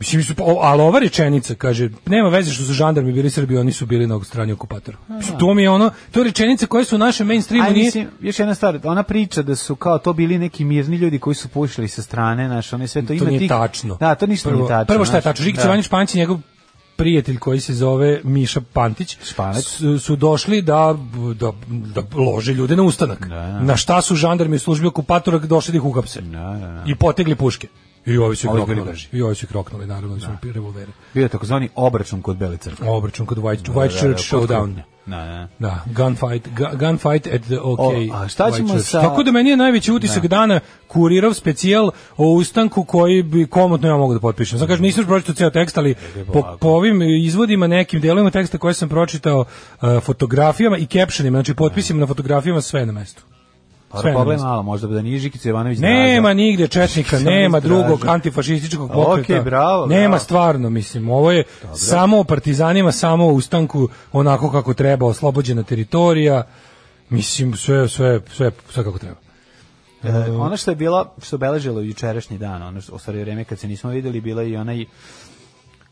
Speaker 7: Mislim, su, o, ali ova rečenica, kaže, nema veze što su žandarmi bili Srbi, oni su bili na strani okupatora. Mislim, to mi je ono, to je rečenica koja su u našem mainstreamu
Speaker 6: da. Aj,
Speaker 7: nije...
Speaker 6: mislim, još jedna stvar, ona priča da su kao to bili neki mirni ljudi koji su pušili sa strane, znaš, one sve to,
Speaker 7: to
Speaker 6: ima
Speaker 7: nije
Speaker 6: tih...
Speaker 7: tačno.
Speaker 6: Da, to ništa
Speaker 7: prvo,
Speaker 6: nije tačno.
Speaker 7: Prvo šta je
Speaker 6: znaš.
Speaker 7: tačno, Žikić
Speaker 6: Da.
Speaker 7: da. Ivanjić Panć i njegov prijatelj koji se zove Miša Pantić
Speaker 6: Španac.
Speaker 7: su, su došli da, da, da lože ljude na ustanak.
Speaker 6: Da.
Speaker 7: Na šta su žandarmi u službi okupatora došli da ih uhapse. I potegli puške. I ovi su ih
Speaker 6: Ovi Da. koji
Speaker 7: kroknuli.
Speaker 6: drži.
Speaker 7: I ovi su ih kroknuli, naravno, ovi su imali revolvere.
Speaker 6: Bio je takozvani obračun kod Bele crkve.
Speaker 7: Obračun kod White, White
Speaker 6: Da, da,
Speaker 7: Ovaj Church
Speaker 6: da, kod
Speaker 7: Showdown.
Speaker 6: Krupnje. Da, da.
Speaker 7: Da, gunfight, gu- gunfight at the OK.
Speaker 6: O, a šta ćemo
Speaker 7: White Church.
Speaker 6: sa-
Speaker 7: Tako da meni je najveći utisak dana kurirov specijal o ustanku koji bi komotno ja mogu da potpišem. Sad kažem,
Speaker 6: Mhm.
Speaker 7: nisam još pročitao ceo tekst, ali po, po ovim izvodima, nekim delovima teksta koje sam pročitao, e, fotografijama i captionima, znači potpisima na fotografijama, sve je na mestu.
Speaker 6: Pa
Speaker 7: Sve na
Speaker 6: pogledaj
Speaker 7: mestu.
Speaker 6: malo, možda bi da nije Žikica Jovanović
Speaker 7: Nema nigde četnika,
Speaker 6: Samo
Speaker 7: nema
Speaker 6: istražno.
Speaker 7: drugog antifašističkog
Speaker 6: A,
Speaker 7: pokreta.
Speaker 6: okej, bravo,
Speaker 7: nema
Speaker 6: bravo.
Speaker 7: stvarno, mislim, ovo je samo o partizanima, samo o ustanku onako kako treba, oslobođena teritorija. Mislim sve sve sve sve kako treba.
Speaker 6: E, ono što je bila, što je obeležilo jučerašnji dan, ono što, u stvari vreme kad se nismo videli, bila je i onaj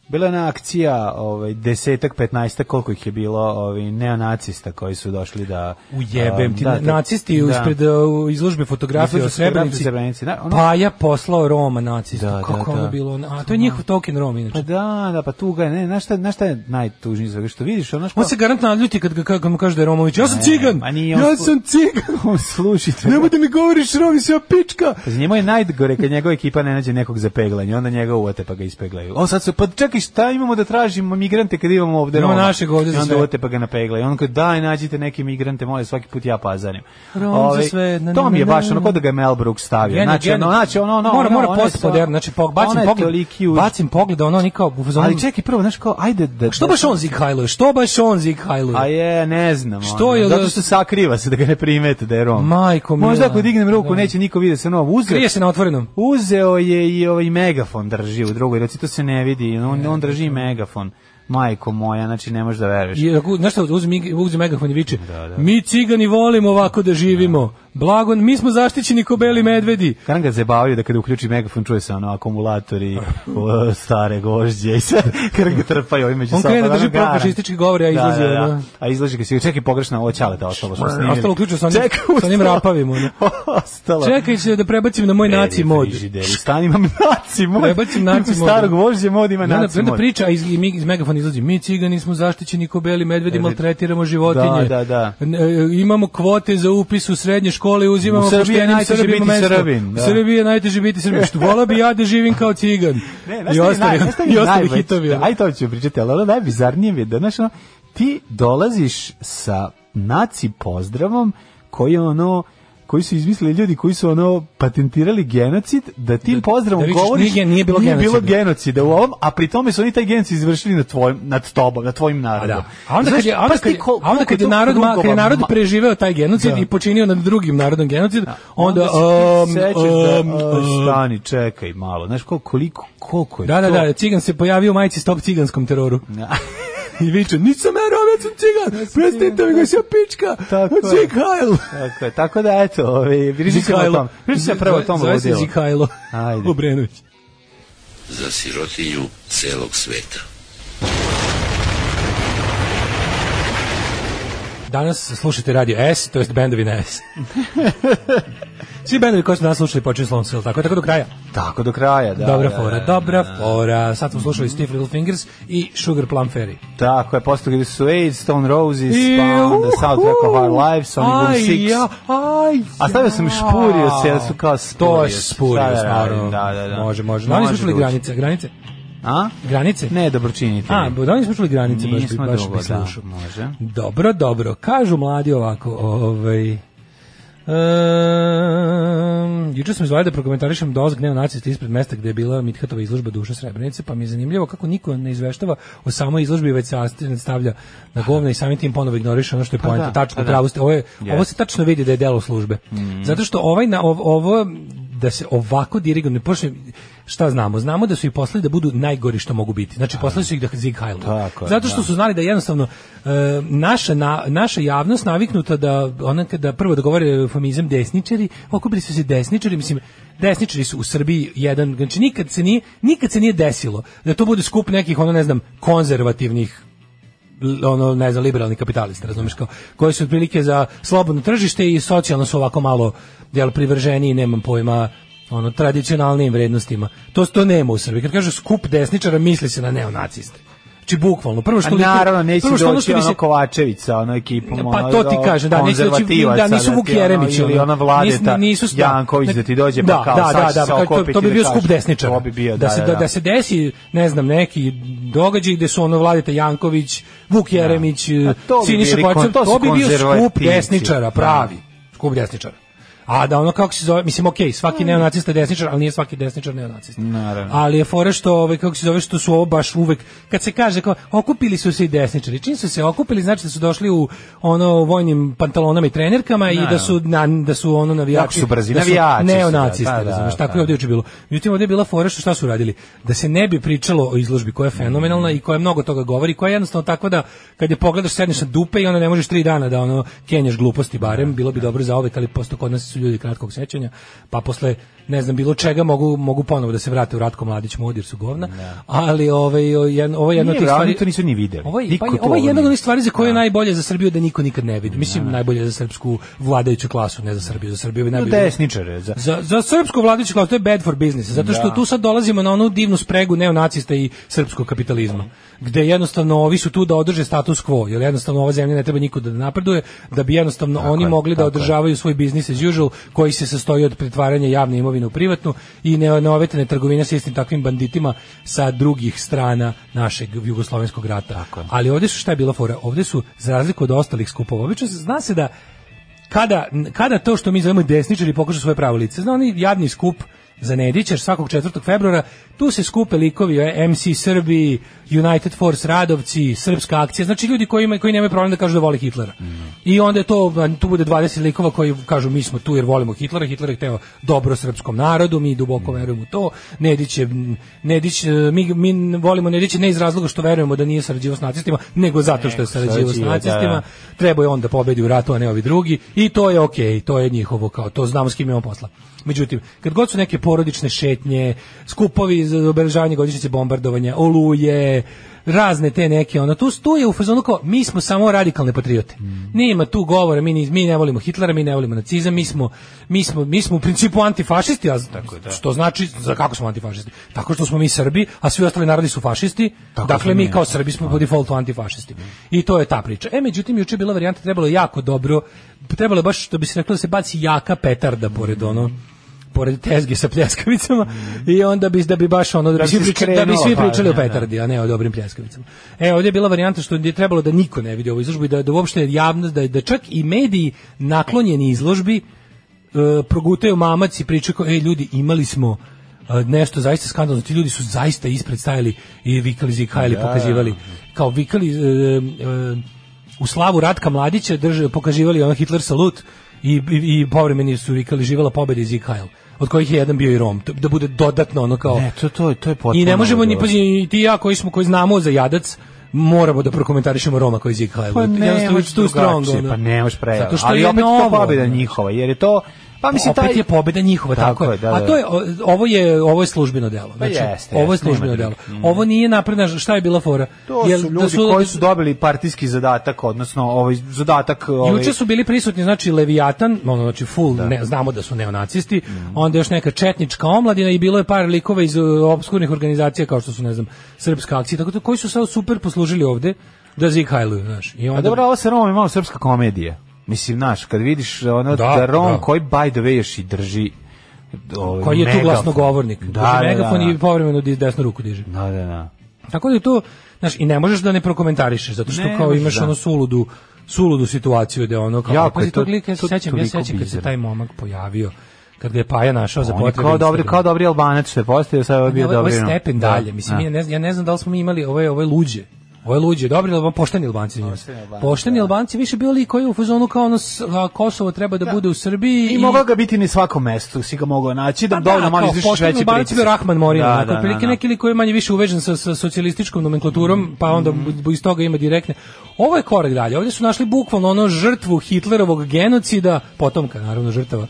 Speaker 6: Bila je na akcija ovaj, desetak, petnaestak, koliko ih je bilo ovaj, neonacista koji su došli da...
Speaker 7: Ujebem
Speaker 6: a,
Speaker 7: ti,
Speaker 6: da, da,
Speaker 7: nacisti
Speaker 6: da.
Speaker 7: ispred uh, izložbe fotografije
Speaker 6: Izložbe
Speaker 7: o Srebrenici.
Speaker 6: fotografije o Srebrenici, da, ono-
Speaker 7: Paja poslao Roma nacistu.
Speaker 6: Da, da,
Speaker 7: Kako
Speaker 6: da.
Speaker 7: ono bilo? ono- A to je njihov token Rom, inače.
Speaker 6: Pa da, da, pa tuga, je, ne, znaš šta, znaš šta je najtužnije za što vidiš, ono što...
Speaker 7: On se garant naljuti kad, ga, kad mu kaže da je Romović. Ja sam cigan!
Speaker 6: a Pa nije on
Speaker 7: Ja
Speaker 6: slu-
Speaker 7: sam cigan!
Speaker 6: on sluši to.
Speaker 7: Nemoj da mi govoriš Romi, si ja pička!
Speaker 6: Pa njemu je najgore kad njegova ekipa ne nađe nekog za peglanje, onda njega uvate pa ga ispeglaju. O sad su, pa čekaj šta imamo da tražimo migrante kad imamo ovde
Speaker 7: Imamo
Speaker 6: Roma?
Speaker 7: našeg ovde za
Speaker 6: I onda
Speaker 7: sve.
Speaker 6: uvate pa ga napeglaju. On kaže daj nađite neke migrante, molim svaki put ja pazarim.
Speaker 7: Rom za
Speaker 6: Ovaj,
Speaker 7: sve, na,
Speaker 6: To mi je
Speaker 7: na, na,
Speaker 6: baš ono
Speaker 7: na.
Speaker 6: kod da ga je Mel Brooks stavio.
Speaker 7: Genij,
Speaker 6: znači, ono,
Speaker 7: genij.
Speaker 6: znači, ono, ono,
Speaker 7: mora,
Speaker 6: ono,
Speaker 7: mora
Speaker 6: ono je
Speaker 7: postmodern,
Speaker 6: to-
Speaker 7: znači po, bacim
Speaker 6: ono je
Speaker 7: pogled,
Speaker 6: toliki už-
Speaker 7: bacim pogled, ono nikao, u fazonu-
Speaker 6: Ali čekaj, prvo, znaš kao, ajde da...
Speaker 7: što
Speaker 6: da-
Speaker 7: baš on zikhajluje, što baš on zikhajluje?
Speaker 6: A je, ne znam.
Speaker 7: Što
Speaker 6: ono,
Speaker 7: je-
Speaker 6: Zato što sakriva se da ga ne primete da je Rom.
Speaker 7: Majko mila.
Speaker 6: Možda ako dignem ruku,
Speaker 7: Da.
Speaker 6: neće niko vidjeti se novo uzeo.
Speaker 7: Krije se na otvorenom.
Speaker 6: Uzeo je i ovaj megafon drži u drugoj ruci, to se ne vidi, on, on drži megafon. Majko moja, znači ne možeš da veruješ.
Speaker 7: I ako, znaš šta, uzme, mig- uzme megafon i viče,
Speaker 6: Da,
Speaker 7: mi cigani volimo ovako da živimo, blago, mi smo zaštićeni ko beli medvedi.
Speaker 6: Karan ga zabavio da kada uključi megafon čuje se ono akumulator i o, stare gožđe i sve. Karan ga trpaju ovi među
Speaker 7: On
Speaker 6: sobom.
Speaker 7: krene da
Speaker 6: ono,
Speaker 7: drži
Speaker 6: garan.
Speaker 7: profašistički govor, a izlazi,
Speaker 6: Da, da, da.
Speaker 7: ono.
Speaker 6: A izlazi ga se, čekaj pogrešno, ovo ćale ta ostalo što snimili.
Speaker 7: Ostalo uključio sa onim-
Speaker 6: Čekaj,
Speaker 7: sa onim
Speaker 6: ostalo.
Speaker 7: rapavima, ono.
Speaker 6: ostalo.
Speaker 7: Čekaj se da prebacim na moj naci mod.
Speaker 6: Frižideri, stani, imam naci mod.
Speaker 7: Prebacim naci
Speaker 6: Ima
Speaker 7: mod.
Speaker 6: Starog vožđe mod ima
Speaker 7: I onda,
Speaker 6: Pa naci
Speaker 7: onda
Speaker 6: mod.
Speaker 7: priča a iz, i mi- iz megafona izlazi, mi cigani smo zaštićeni ko beli medvedi, maltretiramo životinje.
Speaker 6: Da, da, da.
Speaker 7: N- e, imamo kvote za upis u srednje škole i
Speaker 6: U
Speaker 7: uzimamo
Speaker 6: Srbiji je
Speaker 7: poštenim
Speaker 6: najteže
Speaker 7: Srbima
Speaker 6: biti
Speaker 7: mesto.
Speaker 6: Srbin, da.
Speaker 7: U Srbiji je najteže biti Srbin. Što vola bi ja da živim kao cigan.
Speaker 6: Ne, znaš šta mi
Speaker 7: I
Speaker 6: je
Speaker 7: ostali,
Speaker 6: naj- znaš šta mi
Speaker 7: i
Speaker 6: je
Speaker 7: ostali
Speaker 6: najveće?
Speaker 7: hitovi.
Speaker 6: Da,
Speaker 7: ono.
Speaker 6: Aj to ću pričati, ali ono najbizarnije mi je da, znaš, ono, ti dolaziš sa naci pozdravom koji je ono koji su izmislili ljudi koji su ono patentirali genocid da tim pozdravom
Speaker 7: da vičeš,
Speaker 6: govoriš
Speaker 7: nije gen- nije bilo genocida.
Speaker 6: genocida u ovom a pri tome su oni taj genocid izvršili nad tvojim nad tobom nad tvojim narodom
Speaker 7: Da. A onda kad je, a onda
Speaker 6: Znaš,
Speaker 7: kad,
Speaker 6: pazi ti kol-
Speaker 7: a onda kad je
Speaker 6: koliko
Speaker 7: narod, ma,
Speaker 6: krugova
Speaker 7: kad je narod
Speaker 6: ma-
Speaker 7: preživeo taj genocid
Speaker 6: Da.
Speaker 7: i počinio nad drugim narodom genocid, onda...
Speaker 6: onda se ti
Speaker 7: um,
Speaker 6: sećaš da,
Speaker 7: um,
Speaker 6: "A,
Speaker 7: um,
Speaker 6: stani čekaj malo znaš kol- koliko koliko je
Speaker 7: Da, da,
Speaker 6: to
Speaker 7: da, cigan se pojavio u majici stop ciganskom teroru.
Speaker 6: Da.
Speaker 7: I viče, nisam ja Rom, ja sam cigan, prestanite mi ga se pička,
Speaker 6: Tako je.
Speaker 7: Zikajl.
Speaker 6: Tako, je, tako da, eto, ovaj, pričat ćemo o tom. Pričat ćemo prvo o tom
Speaker 7: Zove se
Speaker 6: ludilu.
Speaker 7: Zikajlo
Speaker 6: Ajde.
Speaker 7: Obrenović.
Speaker 2: Za sirotinju celog sveta.
Speaker 7: Danas slušate radio S, to jest bendovi na S. Svi bendovi koji su danas slušali počinju slom sil, tako, tako do kraja.
Speaker 6: Tako, do kraja, da.
Speaker 7: dobra
Speaker 6: da,
Speaker 7: fora,
Speaker 6: da.
Speaker 7: dobra fora. Sad smo slušali Steve Little Fingers i Sugar Plum Fairy.
Speaker 6: Tako je, posle bili su AIDS, Stone Roses,
Speaker 7: I,
Speaker 6: pa onda "Ovaj
Speaker 7: uhu.
Speaker 6: Soundtrack of Our Lives, Sonic Boom
Speaker 7: Aj,
Speaker 6: 6.
Speaker 7: ja, aj,
Speaker 6: A stavio sam
Speaker 7: ja.
Speaker 6: špurio se, jer su kao
Speaker 7: To
Speaker 6: spurio
Speaker 7: je
Speaker 6: se.
Speaker 7: spurio,
Speaker 6: Da, da,
Speaker 7: naravno.
Speaker 6: da, da, da.
Speaker 7: Može, može. Da li
Speaker 6: Može
Speaker 7: smo čuli
Speaker 6: doći.
Speaker 7: granice, granice?
Speaker 6: A?
Speaker 7: Granice?
Speaker 6: Ne, dobročinitelji.
Speaker 7: A, bo- da li smo čuli granice? Baš bi,
Speaker 6: Nismo
Speaker 7: baš
Speaker 6: dugo,
Speaker 7: bi
Speaker 6: da,
Speaker 7: slušao.
Speaker 6: može.
Speaker 7: Dobro, dobro. Kažu mladi ovako, ovaj... Um, juče sam izvalio da prokomentarišem dolazak neonacista ispred mesta gde je bila Mithatova izložba Duša Srebrenice, pa mi je zanimljivo kako niko ne izveštava o samoj izložbi, već se Astrid stavlja na govna i samim tim ponovo ignoriše ono što je
Speaker 6: Pa
Speaker 7: poenta.
Speaker 6: da,
Speaker 7: tačno,
Speaker 6: pa da. Mhm.
Speaker 7: pravo ste. Ovo, je,
Speaker 6: Jeste.
Speaker 7: ovo se tačno vidi da je delo službe. Zato što ovaj na, ov- ovo da se ovako dirigom ne pošle šta znamo znamo da su i poslali da budu najgori što mogu biti znači poslali su ih da zig
Speaker 6: Tako je,
Speaker 7: zato što
Speaker 6: da.
Speaker 7: su znali da jednostavno e, naša na, naša javnost naviknuta da ona kada prvo da govore eufemizam desničari okupili su se desničari mislim desničari su u Srbiji jedan znači nikad se nije nikad se nije desilo da to bude skup nekih ono ne znam konzervativnih l- ono ne znam liberalni kapitalista razumeš kao koji su otprilike za slobodno tržište i socijalno su ovako malo jel privrženi nemam pojma ono tradicionalnim vrednostima to to nema u Srbiji kad kaže skup desničara misli se na neonaciste znači bukvalno prvo što
Speaker 6: A
Speaker 7: likuje-
Speaker 6: naravno, neće
Speaker 7: prvo što ono
Speaker 6: doći
Speaker 7: što mi
Speaker 6: ono
Speaker 7: se-
Speaker 6: Kovačević sa ono ekipom.
Speaker 7: pa
Speaker 6: ono,
Speaker 7: to ti kažem, da, neće doći, da,
Speaker 6: konzervativaca,
Speaker 7: nisu Vuk
Speaker 6: ti ono,
Speaker 7: Jeremić,
Speaker 6: ili ona Vladeta,
Speaker 7: sta-
Speaker 6: Janković da ti dođe,
Speaker 7: da,
Speaker 6: pa kao,
Speaker 7: da,
Speaker 6: sad
Speaker 7: da,
Speaker 6: će
Speaker 7: da,
Speaker 6: se
Speaker 7: pa to,
Speaker 6: okupiti
Speaker 7: to bi
Speaker 6: da
Speaker 7: bio
Speaker 6: kažeš,
Speaker 7: skup desničara.
Speaker 6: to bi bio, da,
Speaker 7: se,
Speaker 6: da,
Speaker 7: da,
Speaker 6: da.
Speaker 7: se desi, ne znam, neki događaj gde su ono Vladeta Janković, Vuk Jeremić,
Speaker 6: Da.
Speaker 7: e,
Speaker 6: A to bi
Speaker 7: Siniša
Speaker 6: bili
Speaker 7: Kovačev,
Speaker 6: kon- to su
Speaker 7: to bi bio skup
Speaker 6: konzervativci.
Speaker 7: desničara,
Speaker 6: Da.
Speaker 7: pravi, skup desničara. A da ono kako se zove, mislim okej, svaki neonacista je desničar, ali nije svaki desničar neonacista.
Speaker 6: Da. Naravno.
Speaker 7: Ali je fora što ovaj kako se zove što su ovo baš uvek kad se kaže kao okupili su se i desničari. Čim su se okupili znači da su došli u ono vojnim pantalonama i trenerkama i da su na, da su ono navijači
Speaker 6: Jako su brzi,
Speaker 7: da
Speaker 6: navijači su, da,
Speaker 7: neonacisti,
Speaker 6: da, da,
Speaker 7: razumeš,
Speaker 6: da.
Speaker 7: tako je ovdje juče bilo. Međutim ovdje je bila fora što šta su radili? Da se ne bi pričalo o izložbi koja je fenomenalna i koja mnogo toga govori, koja je jednostavno tako da kad je pogledaš sedneš na dupe i onda ne možeš tri dana da
Speaker 6: Da,
Speaker 7: ono kenješ gluposti barem, bilo bi dobro za ove, ali posto kod nas su ljudi kratkog sećanja, pa posle ne znam bilo čega mogu mogu ponovo da se vrate u Ratko Mladić mod jer su govna. Ali ovaj o, jedan ovo je jedno od
Speaker 6: Da. Nije
Speaker 7: tih
Speaker 6: vrag,
Speaker 7: stvari
Speaker 6: to nisu ni videli.
Speaker 7: Ovo je,
Speaker 6: Niko
Speaker 7: pa, je-
Speaker 6: to
Speaker 7: ovo je jedna od
Speaker 6: nije.
Speaker 7: onih stvari za koje je najbolje za Srbiju da niko nikad ne vidi. Mislim najbolje za srpsku vladajuću klasu, ne za Srbiju, za Srbiju bi
Speaker 6: No, da
Speaker 7: najbolje.
Speaker 6: desničare. Za,
Speaker 7: Za, za srpsku vladajuću klasu to je bad for business, zato što tu sad dolazimo na onu divnu spregu neonacista i srpskog kapitalizma, gde jednostavno ovi su tu da održe status quo, jer jednostavno ova zemlja ne treba nikuda da napreduje, da bi jednostavno oni
Speaker 6: je,
Speaker 7: mogli da
Speaker 6: tako je.
Speaker 7: održavaju svoj biznis as usual, koji se sastoji od pretvaranja javne imovine u privatnu i ne- neovetene trgovine sa istim takvim banditima sa drugih strana našeg jugoslovenskog rata. Ali ovdje su šta je bila fora? Ovdje su, za razliku od ostalih skupova, obično se zna se da kada, kada to što mi zovemo desničari pokažu svoje pravo lice, zna oni jadni skup za Nedićer svakog 4. februara, tu se skupe likovi e, MC Srbi, United Force Radovci, Srpska akcija, znači ljudi koji, imaju, koji nemaju problem da kažu da vole Hitlera. I onda je to, a, tu bude 20 likova koji kažu mi smo tu jer volimo Hitlera, Hitler je hteo dobro srpskom narodu, mi duboko verujemo u to, Nedić je, Nedić, e, mi, mi volimo Nedića ne iz razloga što verujemo da nije sarađivao s nacistima, nego zato što je sarađivao s
Speaker 6: sarađivao, da,
Speaker 7: nacistima,
Speaker 6: da.
Speaker 7: treba je on da pobedi u ratu, a ne ovi drugi i to je okej, to je njihovo kao, to znamo s kim imamo posla. Međutim, kad god su neke porodične šetnje, skupovi za obeležavanje godišnjice bombardovanja, oluje, razne te neke, ono, tu, tu je u fazonu kao, mi smo samo radikalne patriote. Nema tu govora, mi, ni- mi ne volimo Hitlera, mi ne volimo nacizam, mi smo, mi smo, mi smo u principu antifašisti, a, što znači, za kako smo antifašisti? Tako što smo mi Srbi, a svi ostali narodi su fašisti, dakle mi kao Srbi smo po defaultu antifašisti. I to je ta priča. E, međutim, juče je bila varijanta, trebalo je jako dobro, trebalo je baš, što bi se reklo, da se baci jaka petarda pored ono, pored tezge sa pljeskavicama i onda bi da bi baš ono da bi,
Speaker 6: bi
Speaker 7: svi,
Speaker 6: se
Speaker 7: pričali, da
Speaker 6: skrenulo
Speaker 7: bi svi
Speaker 6: pažnja,
Speaker 7: pričali o
Speaker 6: da.
Speaker 7: petardi, a ne o dobrim pljeskavicama. E, ovdje je bila varijanta što je trebalo da niko ne vidi ovu izložbu i da, da uopšte javnost, da, da čak i mediji naklonjeni izložbi e, progutaju mamac i pričaju kao, ej ljudi, imali smo e, nešto zaista skandalno, ti ljudi su zaista ispred stajali i vikali, zikajali, pokazivali. Kao vikali e, e, u slavu Ratka Mladića drže, pokazivali ono Hitler salut i, i, i povremeni su vikali živela pobeda i zikajal, od kojih je jedan bio i Rom. To- Da bude dodatno ono kao...
Speaker 6: ne, to, to, je- to je potpuno.
Speaker 7: I ne možemo ni
Speaker 6: ludilo.
Speaker 7: pazi ni ti i ja koji smo koji znamo za jadac moramo da prokomentarišemo Roma koji zika Hajlu.
Speaker 6: Pa ne,
Speaker 7: Jednostavno,
Speaker 6: možeš
Speaker 7: it's too strong,
Speaker 6: drugačije,
Speaker 7: ono.
Speaker 6: Pa ne možeš previše.
Speaker 7: Zato što
Speaker 6: Ali
Speaker 7: je
Speaker 6: opet
Speaker 7: novo,
Speaker 6: to pobjeda
Speaker 7: ono.
Speaker 6: njihova, jer je to... Pa mislim,
Speaker 7: opet
Speaker 6: taj...
Speaker 7: je pobeda njihova tako, je.
Speaker 6: da, da.
Speaker 7: A to je o- ovo je ovo je službeno delo. Znači,
Speaker 6: jeste,
Speaker 7: ovo je
Speaker 6: jeste, nema
Speaker 7: službeno delo.
Speaker 6: druge. Mm.
Speaker 7: Ovo nije napredna šta je bila fora.
Speaker 6: To
Speaker 7: Jel-
Speaker 6: su
Speaker 7: da
Speaker 6: ljudi koji su dobili partijski zadatak, odnosno ovaj zadatak... Ovaj,
Speaker 7: Juče su bili prisutni znači Leviatan, ono znači full ne, znamo da su neonacisti,
Speaker 6: Mhm.
Speaker 7: onda još neka četnička omladina i bilo je par likova iz uh, obskurnih organizacija kao što su ne znam Srpska akcija, tako da koji su sad super poslužili ovde da zikajluju, znaš. I
Speaker 6: A Pa
Speaker 7: onda
Speaker 6: dobro, ovo sa Romom je malo srpska komedija. Mislim, znaš, kad vidiš ono da,
Speaker 7: Da,
Speaker 6: Rom
Speaker 7: da.
Speaker 6: koji by the way još i drži ovaj,
Speaker 7: koji je tu
Speaker 6: megafon.
Speaker 7: glasnogovornik.
Speaker 6: Da,
Speaker 7: Da,
Speaker 6: da,
Speaker 7: megafon
Speaker 6: da, da.
Speaker 7: i povremeno di- desnu ruku diže.
Speaker 6: Da, da, da.
Speaker 7: Tako da je to, znaš, i ne možeš da ne prokomentarišeš, zato što
Speaker 6: Ne
Speaker 7: kao
Speaker 6: možeš,
Speaker 7: imaš
Speaker 6: da.
Speaker 7: onu suludu, suludu situaciju gde ono kao,
Speaker 6: Jako
Speaker 7: ja, pazi
Speaker 6: je to-
Speaker 7: tog lika, ja se
Speaker 6: to
Speaker 7: sećam, ja se
Speaker 6: toliko
Speaker 7: sećam kad se
Speaker 6: bizarno.
Speaker 7: taj momak pojavio, kad ga je Paja našao za
Speaker 6: On je
Speaker 7: potrebe.
Speaker 6: kao dobri, kao
Speaker 7: Instagrama.
Speaker 6: dobri albanac što je postavio, sad je bio
Speaker 7: Ovo je- ovo
Speaker 6: dobri.
Speaker 7: je
Speaker 6: Rom.
Speaker 7: Ovaj- stepen
Speaker 6: Da,
Speaker 7: dalje, mislim,
Speaker 6: da.
Speaker 7: ja ne, znam- ja ne znam da li smo mi imali, ovo je, ovo je luđe. Ovo je luđe, dobro, ali ovo pošteni Albanci. njima.
Speaker 6: da.
Speaker 7: Pošteni Albanci više bili koji u fazonu kao ono, s- a Kosovo treba da, bude u Srbiji.
Speaker 6: I mogao ga biti na svakom mestu, si ga mogao naći, da
Speaker 7: Pa
Speaker 6: dovoljno malo
Speaker 7: kao
Speaker 6: izvršiš
Speaker 7: pošteni
Speaker 6: veći
Speaker 7: Albanac je
Speaker 6: pritisak.
Speaker 7: bio Rahman Morin,
Speaker 6: Da,
Speaker 7: onako,
Speaker 6: da,
Speaker 7: otprilike
Speaker 6: da, da.
Speaker 7: neki li koji je manje više uvežen sa, sa socijalističkom nomenklaturom, pa
Speaker 6: Mhm.
Speaker 7: onda bu- iz toga ima direktne. Ovo je korak dalje. Ovdje su našli bukvalno ono žrtvu Hitlerovog genocida, potomka naravno žrtava.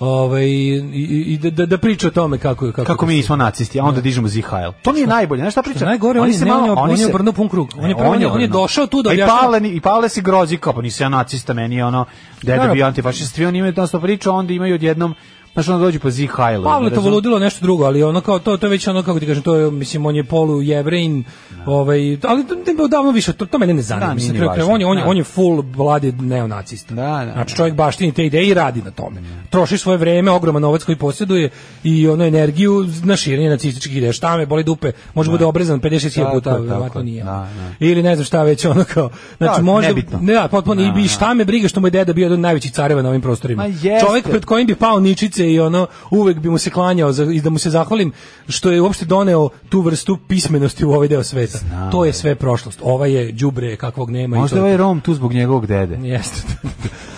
Speaker 7: Ovaj i, i- i da- da, da priča o tome kako je- kako,
Speaker 6: Kako mi nismo nacisti, a onda
Speaker 7: Da.
Speaker 6: dižemo Zihajl. To mi je najbolje, znaš šta priča?
Speaker 7: Što je najgore, on je- ne, on je- on je
Speaker 6: se-
Speaker 7: obrnuo pun krug. On je
Speaker 6: Ne,
Speaker 7: prvo- on je- on je
Speaker 6: obrnuo.
Speaker 7: došao tu da
Speaker 6: A I
Speaker 7: objašnjava-
Speaker 6: pale, ni- i pale si grozi, kao pa nisi ja nacista, meni je ono, deda
Speaker 7: Naravno.
Speaker 6: bio antifašist, svi oni imaju tamo priču, a onda imaju odjednom, znaš, onda dođu po Zihajlu.
Speaker 7: Pavle to voludilo nešto drugo, ali ono kao to to je već ono kako ti kažem, to je mislim on je polu jevrejin, ovaj, ali to ne davno više, to, to mene ne zanima.
Speaker 6: Da, nije
Speaker 7: mislim,
Speaker 6: ni
Speaker 7: kraju krajeva,
Speaker 6: važno.
Speaker 7: on je on je
Speaker 6: Da.
Speaker 7: on je full bladi neonacista.
Speaker 6: Da, da.
Speaker 7: Znači čovjek baštini te ideje i radi na tome. Troši svoje vreme, ogroman novac koji posjeduje i ono energiju na širenje nacističkih ideja. Šta me boli dupe, može bude obrezan 56
Speaker 6: Da,
Speaker 7: puta,
Speaker 6: da, tako
Speaker 7: verovatno
Speaker 6: je.
Speaker 7: nije.
Speaker 6: Da,
Speaker 7: Ili ne znam šta već ono kao. Znači
Speaker 6: Da,
Speaker 7: možda
Speaker 6: nebitno.
Speaker 7: ne, da, potpuno i bi- šta me briga što mu je deda bio jedan od najvećih careva na ovim prostorima.
Speaker 6: Ma jeste.
Speaker 7: Čovjek pred kojim bi pao ničice i ono uvek bi mu se klanjao za, i da mu se zahvalim što je uopšte doneo tu vrstu pismenosti u ovaj deo sveta. to je sve prošlost. Ova je đubre kakvog nema i
Speaker 6: Možda
Speaker 7: to je
Speaker 6: ovaj Rom tu zbog njegovog dede.
Speaker 7: Jeste.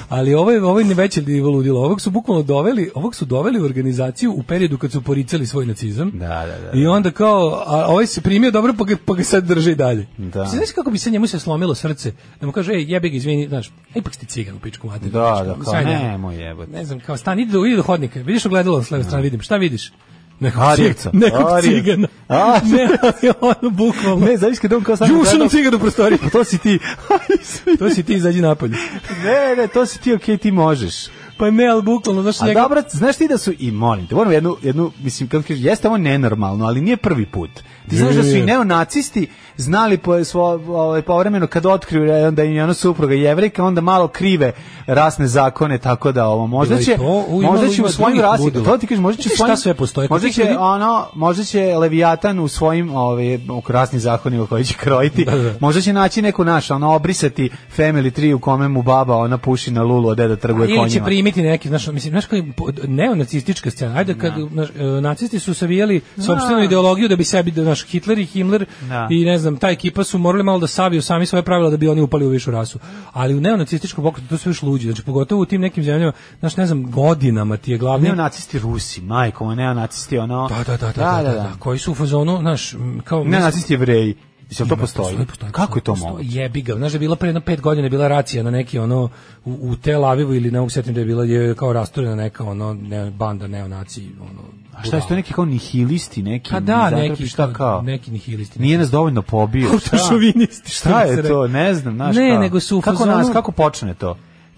Speaker 7: ali ovo je ovo je veće nivo ludilo. Ovog su bukvalno doveli, ovog su doveli u organizaciju u periodu kad su poricali svoj nacizam.
Speaker 6: Da, da, da.
Speaker 7: I onda kao a ovaj se primio dobro pa ga, pa ga sad drži i dalje.
Speaker 6: Da.
Speaker 7: Znaš kako bi se njemu se slomilo srce da mu kaže ej jebi ga izvini, znaš, a ipak ste cigan u pičku materinu.
Speaker 6: Da,
Speaker 7: znaš,
Speaker 6: da,
Speaker 7: kao,
Speaker 6: kao,
Speaker 7: sjajno.
Speaker 6: nemoj jebote.
Speaker 7: Ne znam, kao stan, idi do, idi do hodnika. Vidiš ogledalo s leve strane, vidim. Šta vidiš? Nekog
Speaker 6: Arijevca.
Speaker 7: cig- Nekog
Speaker 6: Arijev.
Speaker 7: cigana.
Speaker 6: A.
Speaker 7: ne, ali ono bukvalno.
Speaker 6: Ne, znaš kad on kao sad...
Speaker 7: Ju,
Speaker 6: gledao-
Speaker 7: sam cigan u prostoriji.
Speaker 6: Pa to si ti.
Speaker 7: to si ti, izađi napolje.
Speaker 6: ne, ne, to si ti, okej, ti možeš.
Speaker 7: Pa ne, ali bukvalno, znaš,
Speaker 6: A
Speaker 7: njega...
Speaker 6: dobro, znaš ti da su, i molim te, moram jednu, jednu mislim, kako kažeš, jeste ovo nenormalno, ali nije prvi put. Ti znaš da su i
Speaker 7: Nije.
Speaker 6: neonacisti znali po, svo, ovaj, povremeno kad otkriju e, onda im je ono supruga jevrika, onda malo krive rasne zakone, tako da ovo možda
Speaker 7: Bilo i
Speaker 6: će,
Speaker 7: to, u, ima-
Speaker 6: možda će
Speaker 7: ima
Speaker 6: u svojim
Speaker 7: drugih
Speaker 6: rasi,
Speaker 7: ludila.
Speaker 6: to ti kažeš, možda će
Speaker 7: Znaš
Speaker 6: u svojim,
Speaker 7: šta sve postoje? Kod
Speaker 6: možda
Speaker 7: tih
Speaker 6: će,
Speaker 7: ljudi-
Speaker 6: ono, možda će Leviatan u svojim ovaj, u rasnim zakonima koji će krojiti,
Speaker 7: Da, da.
Speaker 6: možda će naći neku naš, ono, obrisati Family 3 u kome mu baba, ona puši na lulu, a deda trguje konjima.
Speaker 7: Ili će primiti neki, znaš, mislim, znaš koji neonacistička scena, ajde kad znaš, e, nacisti su savijali sopstvenu ideologiju da bi sebi, da, znaš, Hitler i Himmler
Speaker 6: Da.
Speaker 7: i ne znam, ta ekipa su morali malo da saviju sami svoje pravila da bi oni upali u višu rasu. Ali u neonacističkom pokretu to su još luđi, znači pogotovo u tim nekim zemljama, znaš, ne znam, godinama ti je glavni
Speaker 6: neonacisti Rusi, majko, moja, neonacisti ono...
Speaker 7: Da, da, da, da, da, da, da, koji su u fazonu, znaš, m, kao...
Speaker 6: Neonacisti jevreji. Mislim, to
Speaker 7: Ima,
Speaker 6: postoji. Kako je to moguće?
Speaker 7: Jebi ga. Znaš da je bila pre jedno pet godina je bila racija na neki ono u, u Tel Avivu ili ne mogu se setim da je bila je kao rasturena neka ono ne, banda neonaci ono.
Speaker 6: A šta je to neki kao nihilisti, neki...
Speaker 7: Pa da,
Speaker 6: misantropi,
Speaker 7: neki
Speaker 6: šta kao?
Speaker 7: neki nihilisti.
Speaker 6: Nije nas dovoljno pobio. šta?
Speaker 7: Autošovinisti, što
Speaker 6: Šta
Speaker 7: bi se
Speaker 6: je
Speaker 7: reklo.
Speaker 6: to? Ne znam, znaš
Speaker 7: Ne,
Speaker 6: kao.
Speaker 7: nego su u
Speaker 6: Kako
Speaker 7: fazonu-
Speaker 6: nas, kako počne to?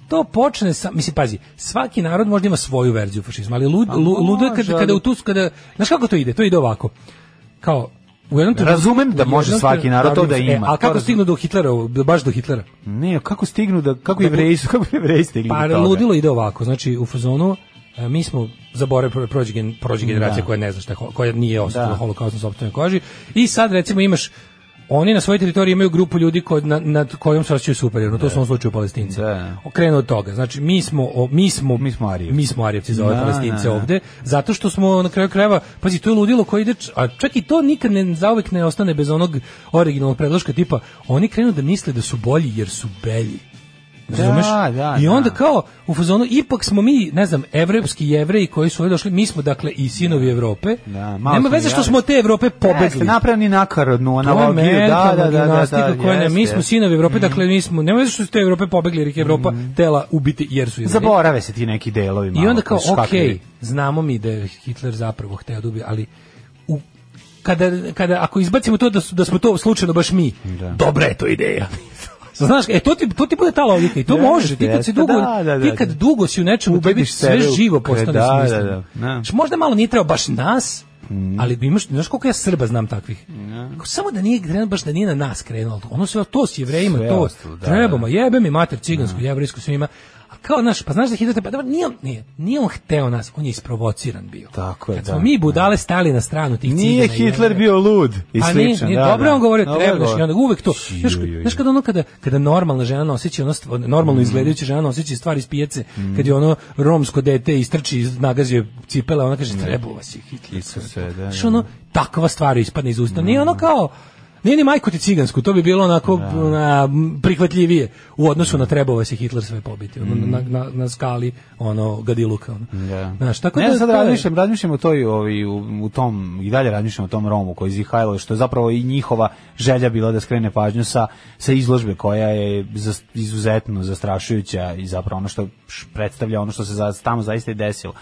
Speaker 7: to počne sa mislim pazi svaki narod možda ima svoju verziju fašizma ali lud, lu- ludo je
Speaker 6: Pa može,
Speaker 7: kada
Speaker 6: ali-
Speaker 7: kada u tu kada znaš kako to ide to ide ovako kao u jednom trenutku-
Speaker 6: Razumem da
Speaker 7: u
Speaker 6: može
Speaker 7: jednom
Speaker 6: svaki narod to da
Speaker 7: trenutku- e,
Speaker 6: ima,
Speaker 7: ali
Speaker 6: to
Speaker 7: kako
Speaker 6: razumem.
Speaker 7: stignu do Hitlera baš do Hitlera
Speaker 6: Ne, kako stignu da... Kako
Speaker 7: Da bu-
Speaker 6: jevreji su, kako jevreji stigli
Speaker 7: Pa
Speaker 6: do toga?
Speaker 7: ludilo ide ovako, znači u fazonu e, mi smo zaboravili prođe, gen, prođe generacija koja ne zna šta je hol- koja nije ostala
Speaker 6: Da.
Speaker 7: da. holokaust na sopstvenoj koži i sad recimo imaš Oni na svojoj teritoriji imaju grupu ljudi ko, na, nad kojom se osjećaju superiorno, to su u ovom slučaju Palestinci.
Speaker 6: Da.
Speaker 7: Okrenu od toga. Znači, mi smo, o, mi smo,
Speaker 6: Mi smo Arijevci.
Speaker 7: mi smo Arijevci za ove
Speaker 6: Da,
Speaker 7: Palestince
Speaker 6: da, da.
Speaker 7: ovde, zato što smo na kraju krajeva, pazi, to je ludilo koje ide, č- a čak i to nikad ne, zauvek ne ostane bez onog originalnog predloška tipa, oni krenu da misle da su bolji jer su belji. Razumeš?
Speaker 6: da,
Speaker 7: I onda
Speaker 6: da.
Speaker 7: kao u fazonu ipak smo mi, ne znam, evropski jevreji koji su ovdje došli, mi smo dakle i sinovi Evrope.
Speaker 6: Da, malo
Speaker 7: Nema
Speaker 6: smo
Speaker 7: veze što
Speaker 6: jadni.
Speaker 7: smo te Evrope
Speaker 6: Jeste,
Speaker 7: pobegli.
Speaker 6: napravljeni nakarodnu
Speaker 7: To je
Speaker 6: analogiju. Da,
Speaker 7: mentalna
Speaker 6: da, da, da,
Speaker 7: gimnastika
Speaker 6: da,
Speaker 7: koja ne, mi
Speaker 6: jeste.
Speaker 7: smo sinovi Evrope, dakle mi smo, nema veze što su te Evrope pobegli jer ih je Evropa
Speaker 6: Mhm.
Speaker 7: tela ubiti jer su jevreji.
Speaker 6: Zaborave se ti neki delovi.
Speaker 7: I
Speaker 6: malo,
Speaker 7: onda kao,
Speaker 6: koji su
Speaker 7: ok,
Speaker 6: škakljivi.
Speaker 7: znamo mi da je Hitler zapravo hteo da ubije, ali u, kada, kada, ako izbacimo to da, su, da smo to slučajno baš mi,
Speaker 6: Da.
Speaker 7: dobra je to ideja. Znaš, e, to ti, to ti bude ta logika i to
Speaker 6: Jeste,
Speaker 7: može, ti kad, si
Speaker 6: jeste,
Speaker 7: dugo,
Speaker 6: da, da,
Speaker 7: ti
Speaker 6: da,
Speaker 7: kad
Speaker 6: da.
Speaker 7: dugo si u nečemu, tebi
Speaker 6: Ubediš
Speaker 7: sve
Speaker 6: sebe u
Speaker 7: živo
Speaker 6: kre-
Speaker 7: postane
Speaker 6: da,
Speaker 7: smisleno.
Speaker 6: da, Mm. da, da.
Speaker 7: Znaš, možda malo nije treba baš nas, ali bi imaš, znaš koliko ja Srba znam takvih. Samo da nije krenuo, baš da nije na nas krenulo. Ono sve to s jevrejima,
Speaker 6: Sve
Speaker 7: to.
Speaker 6: ostalo, da,
Speaker 7: trebamo,
Speaker 6: da.
Speaker 7: pa jebe mi mater cigansku, jevrijsku sve ima. A kao naš, pa znaš da Hitler, pa dobro, nije on, nije, nije on hteo nas, on je isprovociran bio.
Speaker 6: Tako je,
Speaker 7: Kad
Speaker 6: da.
Speaker 7: smo mi budale stali na stranu tih cigana.
Speaker 6: Nije
Speaker 7: i
Speaker 6: Hitler
Speaker 7: Jevreja.
Speaker 6: bio lud i
Speaker 7: Pa nije,
Speaker 6: slično.
Speaker 7: nije,
Speaker 6: da,
Speaker 7: dobro
Speaker 6: da.
Speaker 7: on govori,
Speaker 6: Dobro
Speaker 7: treba
Speaker 6: govori.
Speaker 7: i onda uvek to.
Speaker 6: Ju,
Speaker 7: Znaš,
Speaker 6: ju, ju.
Speaker 7: znaš kada ono kada, kada normalna žena noseći ono, stvo- normalno izgledajuća žena noseći stvari iz pijace, kad je ono romsko dete istrči, iz- nagazi joj cipela, ona kaže, treba vas je Hitler.
Speaker 6: Isuse, da, da. Mm.
Speaker 7: Znaš, ono, takva stvar ispadne iz usta. Nije ono kao, nije ni majku ti cigansku, to bi bilo onako
Speaker 6: Da.
Speaker 7: na, m, prihvatljivije u odnosu na trebao se Hitler sve pobiti, ono, na, na, na skali ono, gadiluka. Ono.
Speaker 6: Mm. Da.
Speaker 7: Znaš, tako
Speaker 6: ne,
Speaker 7: da,
Speaker 6: sad
Speaker 7: to je-
Speaker 6: razmišljam, razmišljam o toj, ovi, u, u tom, i dalje razmišljam o tom Romu koji zihajlo, što je zapravo i njihova želja bila da skrene pažnju sa, sa izložbe koja je zas- izuzetno zastrašujuća i zapravo ono što š- predstavlja ono što se za, tamo zaista i desilo.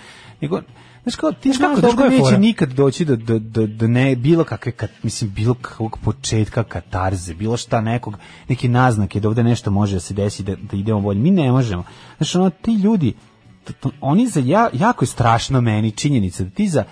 Speaker 6: Nego, Znaš kao, ti znaš
Speaker 7: kako,
Speaker 6: da
Speaker 7: znaš
Speaker 6: ovde
Speaker 7: koja je
Speaker 6: neće
Speaker 7: fora?
Speaker 6: nikad doći do, do, do, do ne, bilo kakve, kat, mislim, bilo kakvog početka katarze, bilo šta nekog, neke naznake da ovde nešto može da se desi, da, da idemo bolje. Mi ne možemo. Znaš, ono, ti ljudi, t- t- oni za, ja, jako je strašno meni činjenica da ti za,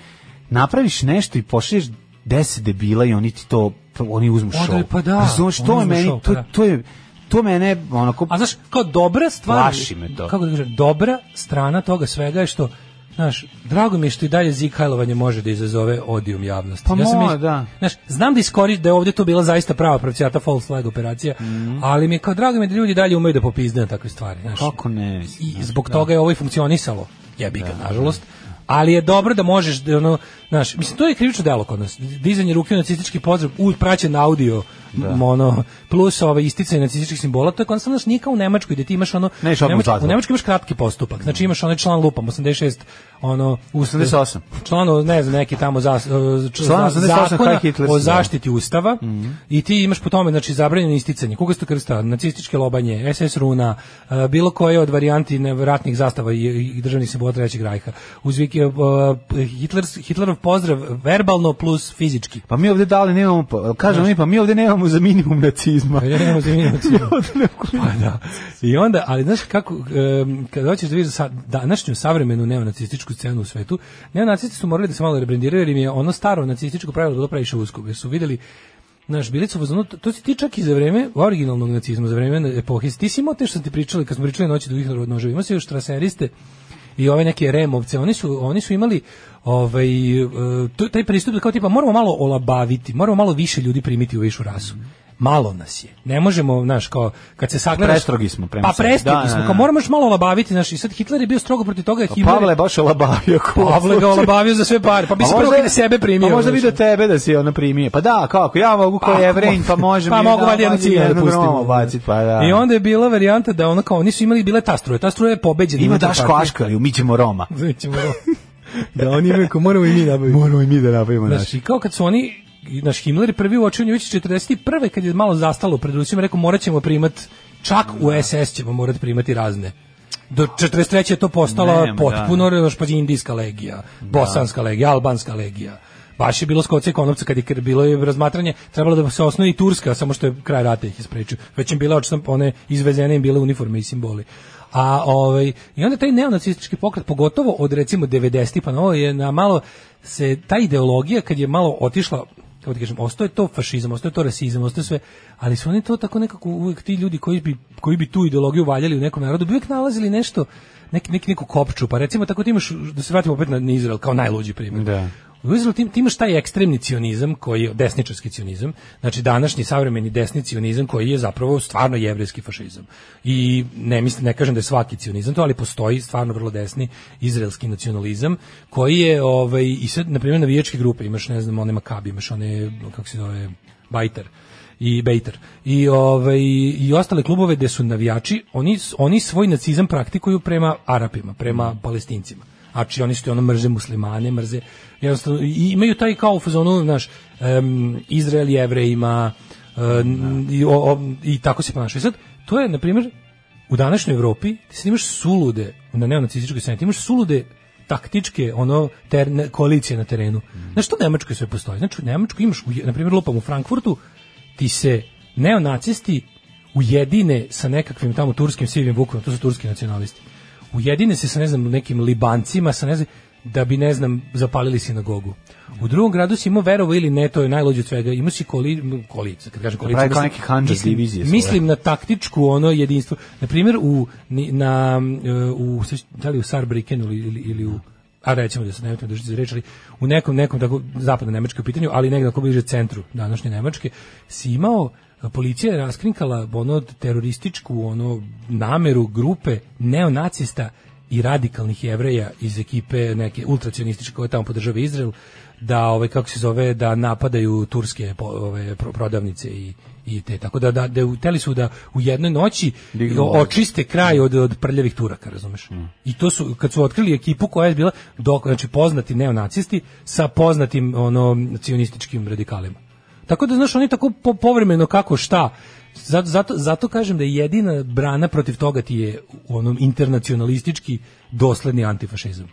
Speaker 6: napraviš nešto i pošliješ deset debila i oni ti to, oni uzmu
Speaker 7: Onda
Speaker 6: šou.
Speaker 7: je- pa da,
Speaker 6: Razumeš,
Speaker 7: oni
Speaker 6: to je
Speaker 7: uzmu
Speaker 6: meni,
Speaker 7: šou, pa
Speaker 6: to,
Speaker 7: da.
Speaker 6: to je, to mene, onako,
Speaker 7: A znaš, kao dobra stvar...
Speaker 6: Plaši me to.
Speaker 7: Kako da kažem, dobra strana toga svega je što Znaš, drago mi je što i dalje zikajlovanje može da izazove odijum javnosti.
Speaker 6: Pa
Speaker 7: sam
Speaker 6: mora,
Speaker 7: mis-
Speaker 6: da.
Speaker 7: Znaš, znam da iskoriš da je ovdje to bila zaista prava pravcijata false flag operacija,
Speaker 6: Mhm.
Speaker 7: ali mi je kao drago mi je da ljudi dalje umeju da popizde na takve stvari. Znaš,
Speaker 6: kako ne, Da,
Speaker 7: i zbog toga je ovo i funkcionisalo. Jebi ga, nažalost. Ali je dobro da možeš da ono Znaš, mislim, to je krivično delo kod nas. Dizanje ruke u nacistički pozdrav, u, praćen audio,
Speaker 6: Da.
Speaker 7: m, ono, plus ove isticanje nacističkih simbola, to je kod nas, znaš, nije kao u Nemačkoj, gde ti imaš ono,
Speaker 6: Ne, šakom Da.
Speaker 7: u Nemačkoj-
Speaker 6: zatvor.
Speaker 7: u Nemačkoj imaš kratki postupak, znači imaš onaj član lupam, 86, ono,
Speaker 6: 88.
Speaker 7: član, ne znam, neki tamo zas,
Speaker 6: Član
Speaker 7: član
Speaker 6: 88
Speaker 7: zakona
Speaker 6: Heil Hitler
Speaker 7: o
Speaker 6: se zove.
Speaker 7: zaštiti ustava i ti imaš po tome znači zabranjeno isticanje kugasto krsta, nacističke lobanje, SS runa, e, bilo koje od varijanti nevratnih zastava i, i državnih simbola trećeg rajha. Uz viki, e, e, Hitler, Hitlerov pozdrav verbalno plus fizički.
Speaker 6: Pa mi ovde dali nemamo, pa, kažemo mi, pa mi ovde nemamo za minimum nacizma.
Speaker 7: Pa ja nemam za minimum nacizma. Pa da. I onda, ali znaš kako, em, kada hoćeš da vidiš sa, današnju savremenu neonacističku scenu u svetu, neonacisti su morali da se malo rebrendiraju jer im je ono staro nacističko pravilo da bilo previše usko, jer su videli Naš bili su u fazonu, to, to si ti čak i za vreme originalnog nacizma, za vreme epohe. Ti si imao te što ste pričali, kad smo pričali noći do Hitlerova noževa, imao si još traseriste i ove neke removce, oni su, oni su imali ovaj, e, to- taj pristup da kao tipa moramo malo olabaviti, moramo malo više ljudi primiti u višu rasu. Malo nas je. Ne možemo, znaš, kao kad se sagledaš...
Speaker 6: Prestrogi smo prema
Speaker 7: Pa
Speaker 6: sebi.
Speaker 7: prestrogi
Speaker 6: Da, da,
Speaker 7: smo,
Speaker 6: da.
Speaker 7: kao moramo još malo olabaviti, znaš, i sad Hitler je bio strogo protiv toga.
Speaker 6: Pa
Speaker 7: Himmler-
Speaker 6: Pavle je baš olabavio. ko-
Speaker 7: Pavle ga olabavio za sve pare, pa bi se prvo kad je sebe primio.
Speaker 6: Pa možda
Speaker 7: znaš.
Speaker 6: bi do tebe da si ona primio. Pa da, kako, ja mogu
Speaker 7: Pa,
Speaker 6: kao
Speaker 7: ako
Speaker 6: jevrein,
Speaker 7: može-
Speaker 6: pa možem.
Speaker 7: Pa
Speaker 6: i
Speaker 7: mogu
Speaker 6: da,
Speaker 7: valjda jednu
Speaker 6: i
Speaker 7: cigaru
Speaker 6: jednu
Speaker 7: pustimo.
Speaker 6: gromu bacit, pa da.
Speaker 7: I onda je bila varijanta da ono kao, oni su imali bile ta struja, ta struja je pobeđena.
Speaker 6: Ima
Speaker 7: unutar
Speaker 6: Daško
Speaker 7: partije.
Speaker 6: Aškariju, mi ćemo Roma.
Speaker 7: Znači, ćemo ovo. da oni imaju, kao, moramo i mi nabaviti.
Speaker 6: Moramo i mi da napravimo naš.
Speaker 7: Znači, kao kad su oni i naš Himmler je prvi uočio Njučić 41. kad je malo zastalo pred Rusima, rekao morat ćemo primat, čak u SS ćemo morati primati razne. Do 43. je to postala
Speaker 6: Nema,
Speaker 7: potpuno,
Speaker 6: da.
Speaker 7: da. pa indijska legija, bosanska legija, albanska legija. Baš je bilo skoce i konopca kad je kre- bilo je razmatranje, trebalo da se osnovi i Turska, samo što je kraj rata ih isprečio. Već im bila očito one izvezene im bile uniforme i simboli. A ovaj i onda taj neonacistički pokret pogotovo od recimo 90 pa na ovo je na malo se ta ideologija kad je malo otišla kako ti kažem, ostaje to fašizam, ostaje to rasizam, ostaje sve, ali su oni to tako nekako uvek ti ljudi koji bi, koji bi tu ideologiju valjali u nekom narodu, bi uvek nalazili nešto, nek, nek, neku kopču, pa recimo tako ti imaš, da se vratimo opet na, na Izrael kao najluđi primjer.
Speaker 6: Da.
Speaker 7: U Izraelu ti, ti imaš taj ekstremni cionizam, koji je desničarski cionizam, znači današnji savremeni desni cionizam koji je zapravo stvarno jevrejski fašizam. I ne mislim, ne kažem da je svaki cionizam to, ali postoji stvarno vrlo desni izraelski nacionalizam koji je ovaj i sad na primjer navijačke grupe imaš ne znam one Makabi, imaš one kako se zove Bajter i Bejter i ovaj i ostale klubove gde su navijači, oni oni svoj nacizam praktikuju prema Arapima, prema Palestincima. Znači oni su ti ono mrze muslimane, mrze jednostavno i imaju taj kao u fazonu, znaš, em, Izrael jevrejima em, i, o- o- i tako se ponašaju. Sad, to je, na primjer, u današnjoj Evropi ti sad imaš sulude na neonacističkoj sceni, ti imaš sulude taktičke ono ter, ne- koalicije na terenu.
Speaker 6: Mm.
Speaker 7: Znaš, to u Nemačkoj sve postoji. Znači, u Nemačkoj imaš, u je- na primjer, lupam u Frankfurtu, ti se neonacisti ujedine sa nekakvim tamo turskim sivim vukovima, to su turski nacionalisti, ujedine se sa ne znam nekim libancima, sa ne znam, da bi ne znam zapalili sinagogu. U drugom gradu si imao verovo ili ne, to je najlođe od svega, imao si koli, kolica, kad kažem kolica,
Speaker 6: Da Pravi kao neki handžas divizije svoje.
Speaker 7: mislim na taktičku ono jedinstvo. Na primjer u ni- na e, u sad ću- da li u Sarbrikenu ili, ili, ili u a recimo da se nemojte držati za reč, ali u nekom, nekom tako zapadno nemačkoj pitanju, ali negdje ako bliže centru današnje Nemačke, si imao e, policija je raskrinkala ono terorističku ono nameru grupe neonacista i radikalnih jevreja iz ekipe neke ultracionističke koje tamo podržava Izrael da ovaj kako se zove da napadaju turske po- ove pro- prodavnice i i te tako da da, da uteli su da u jednoj noći
Speaker 6: Dignu
Speaker 7: o- očiste kraj od od prljavih turaka razumeš i to su kad su otkrili ekipu koja je bila dok znači poznati neonacisti sa poznatim ono cionističkim radikalima tako da znaš oni tako po, povremeno kako šta zato, zato, zato kažem da je jedina brana protiv toga ti je u onom internacionalistički dosledni antifašizam.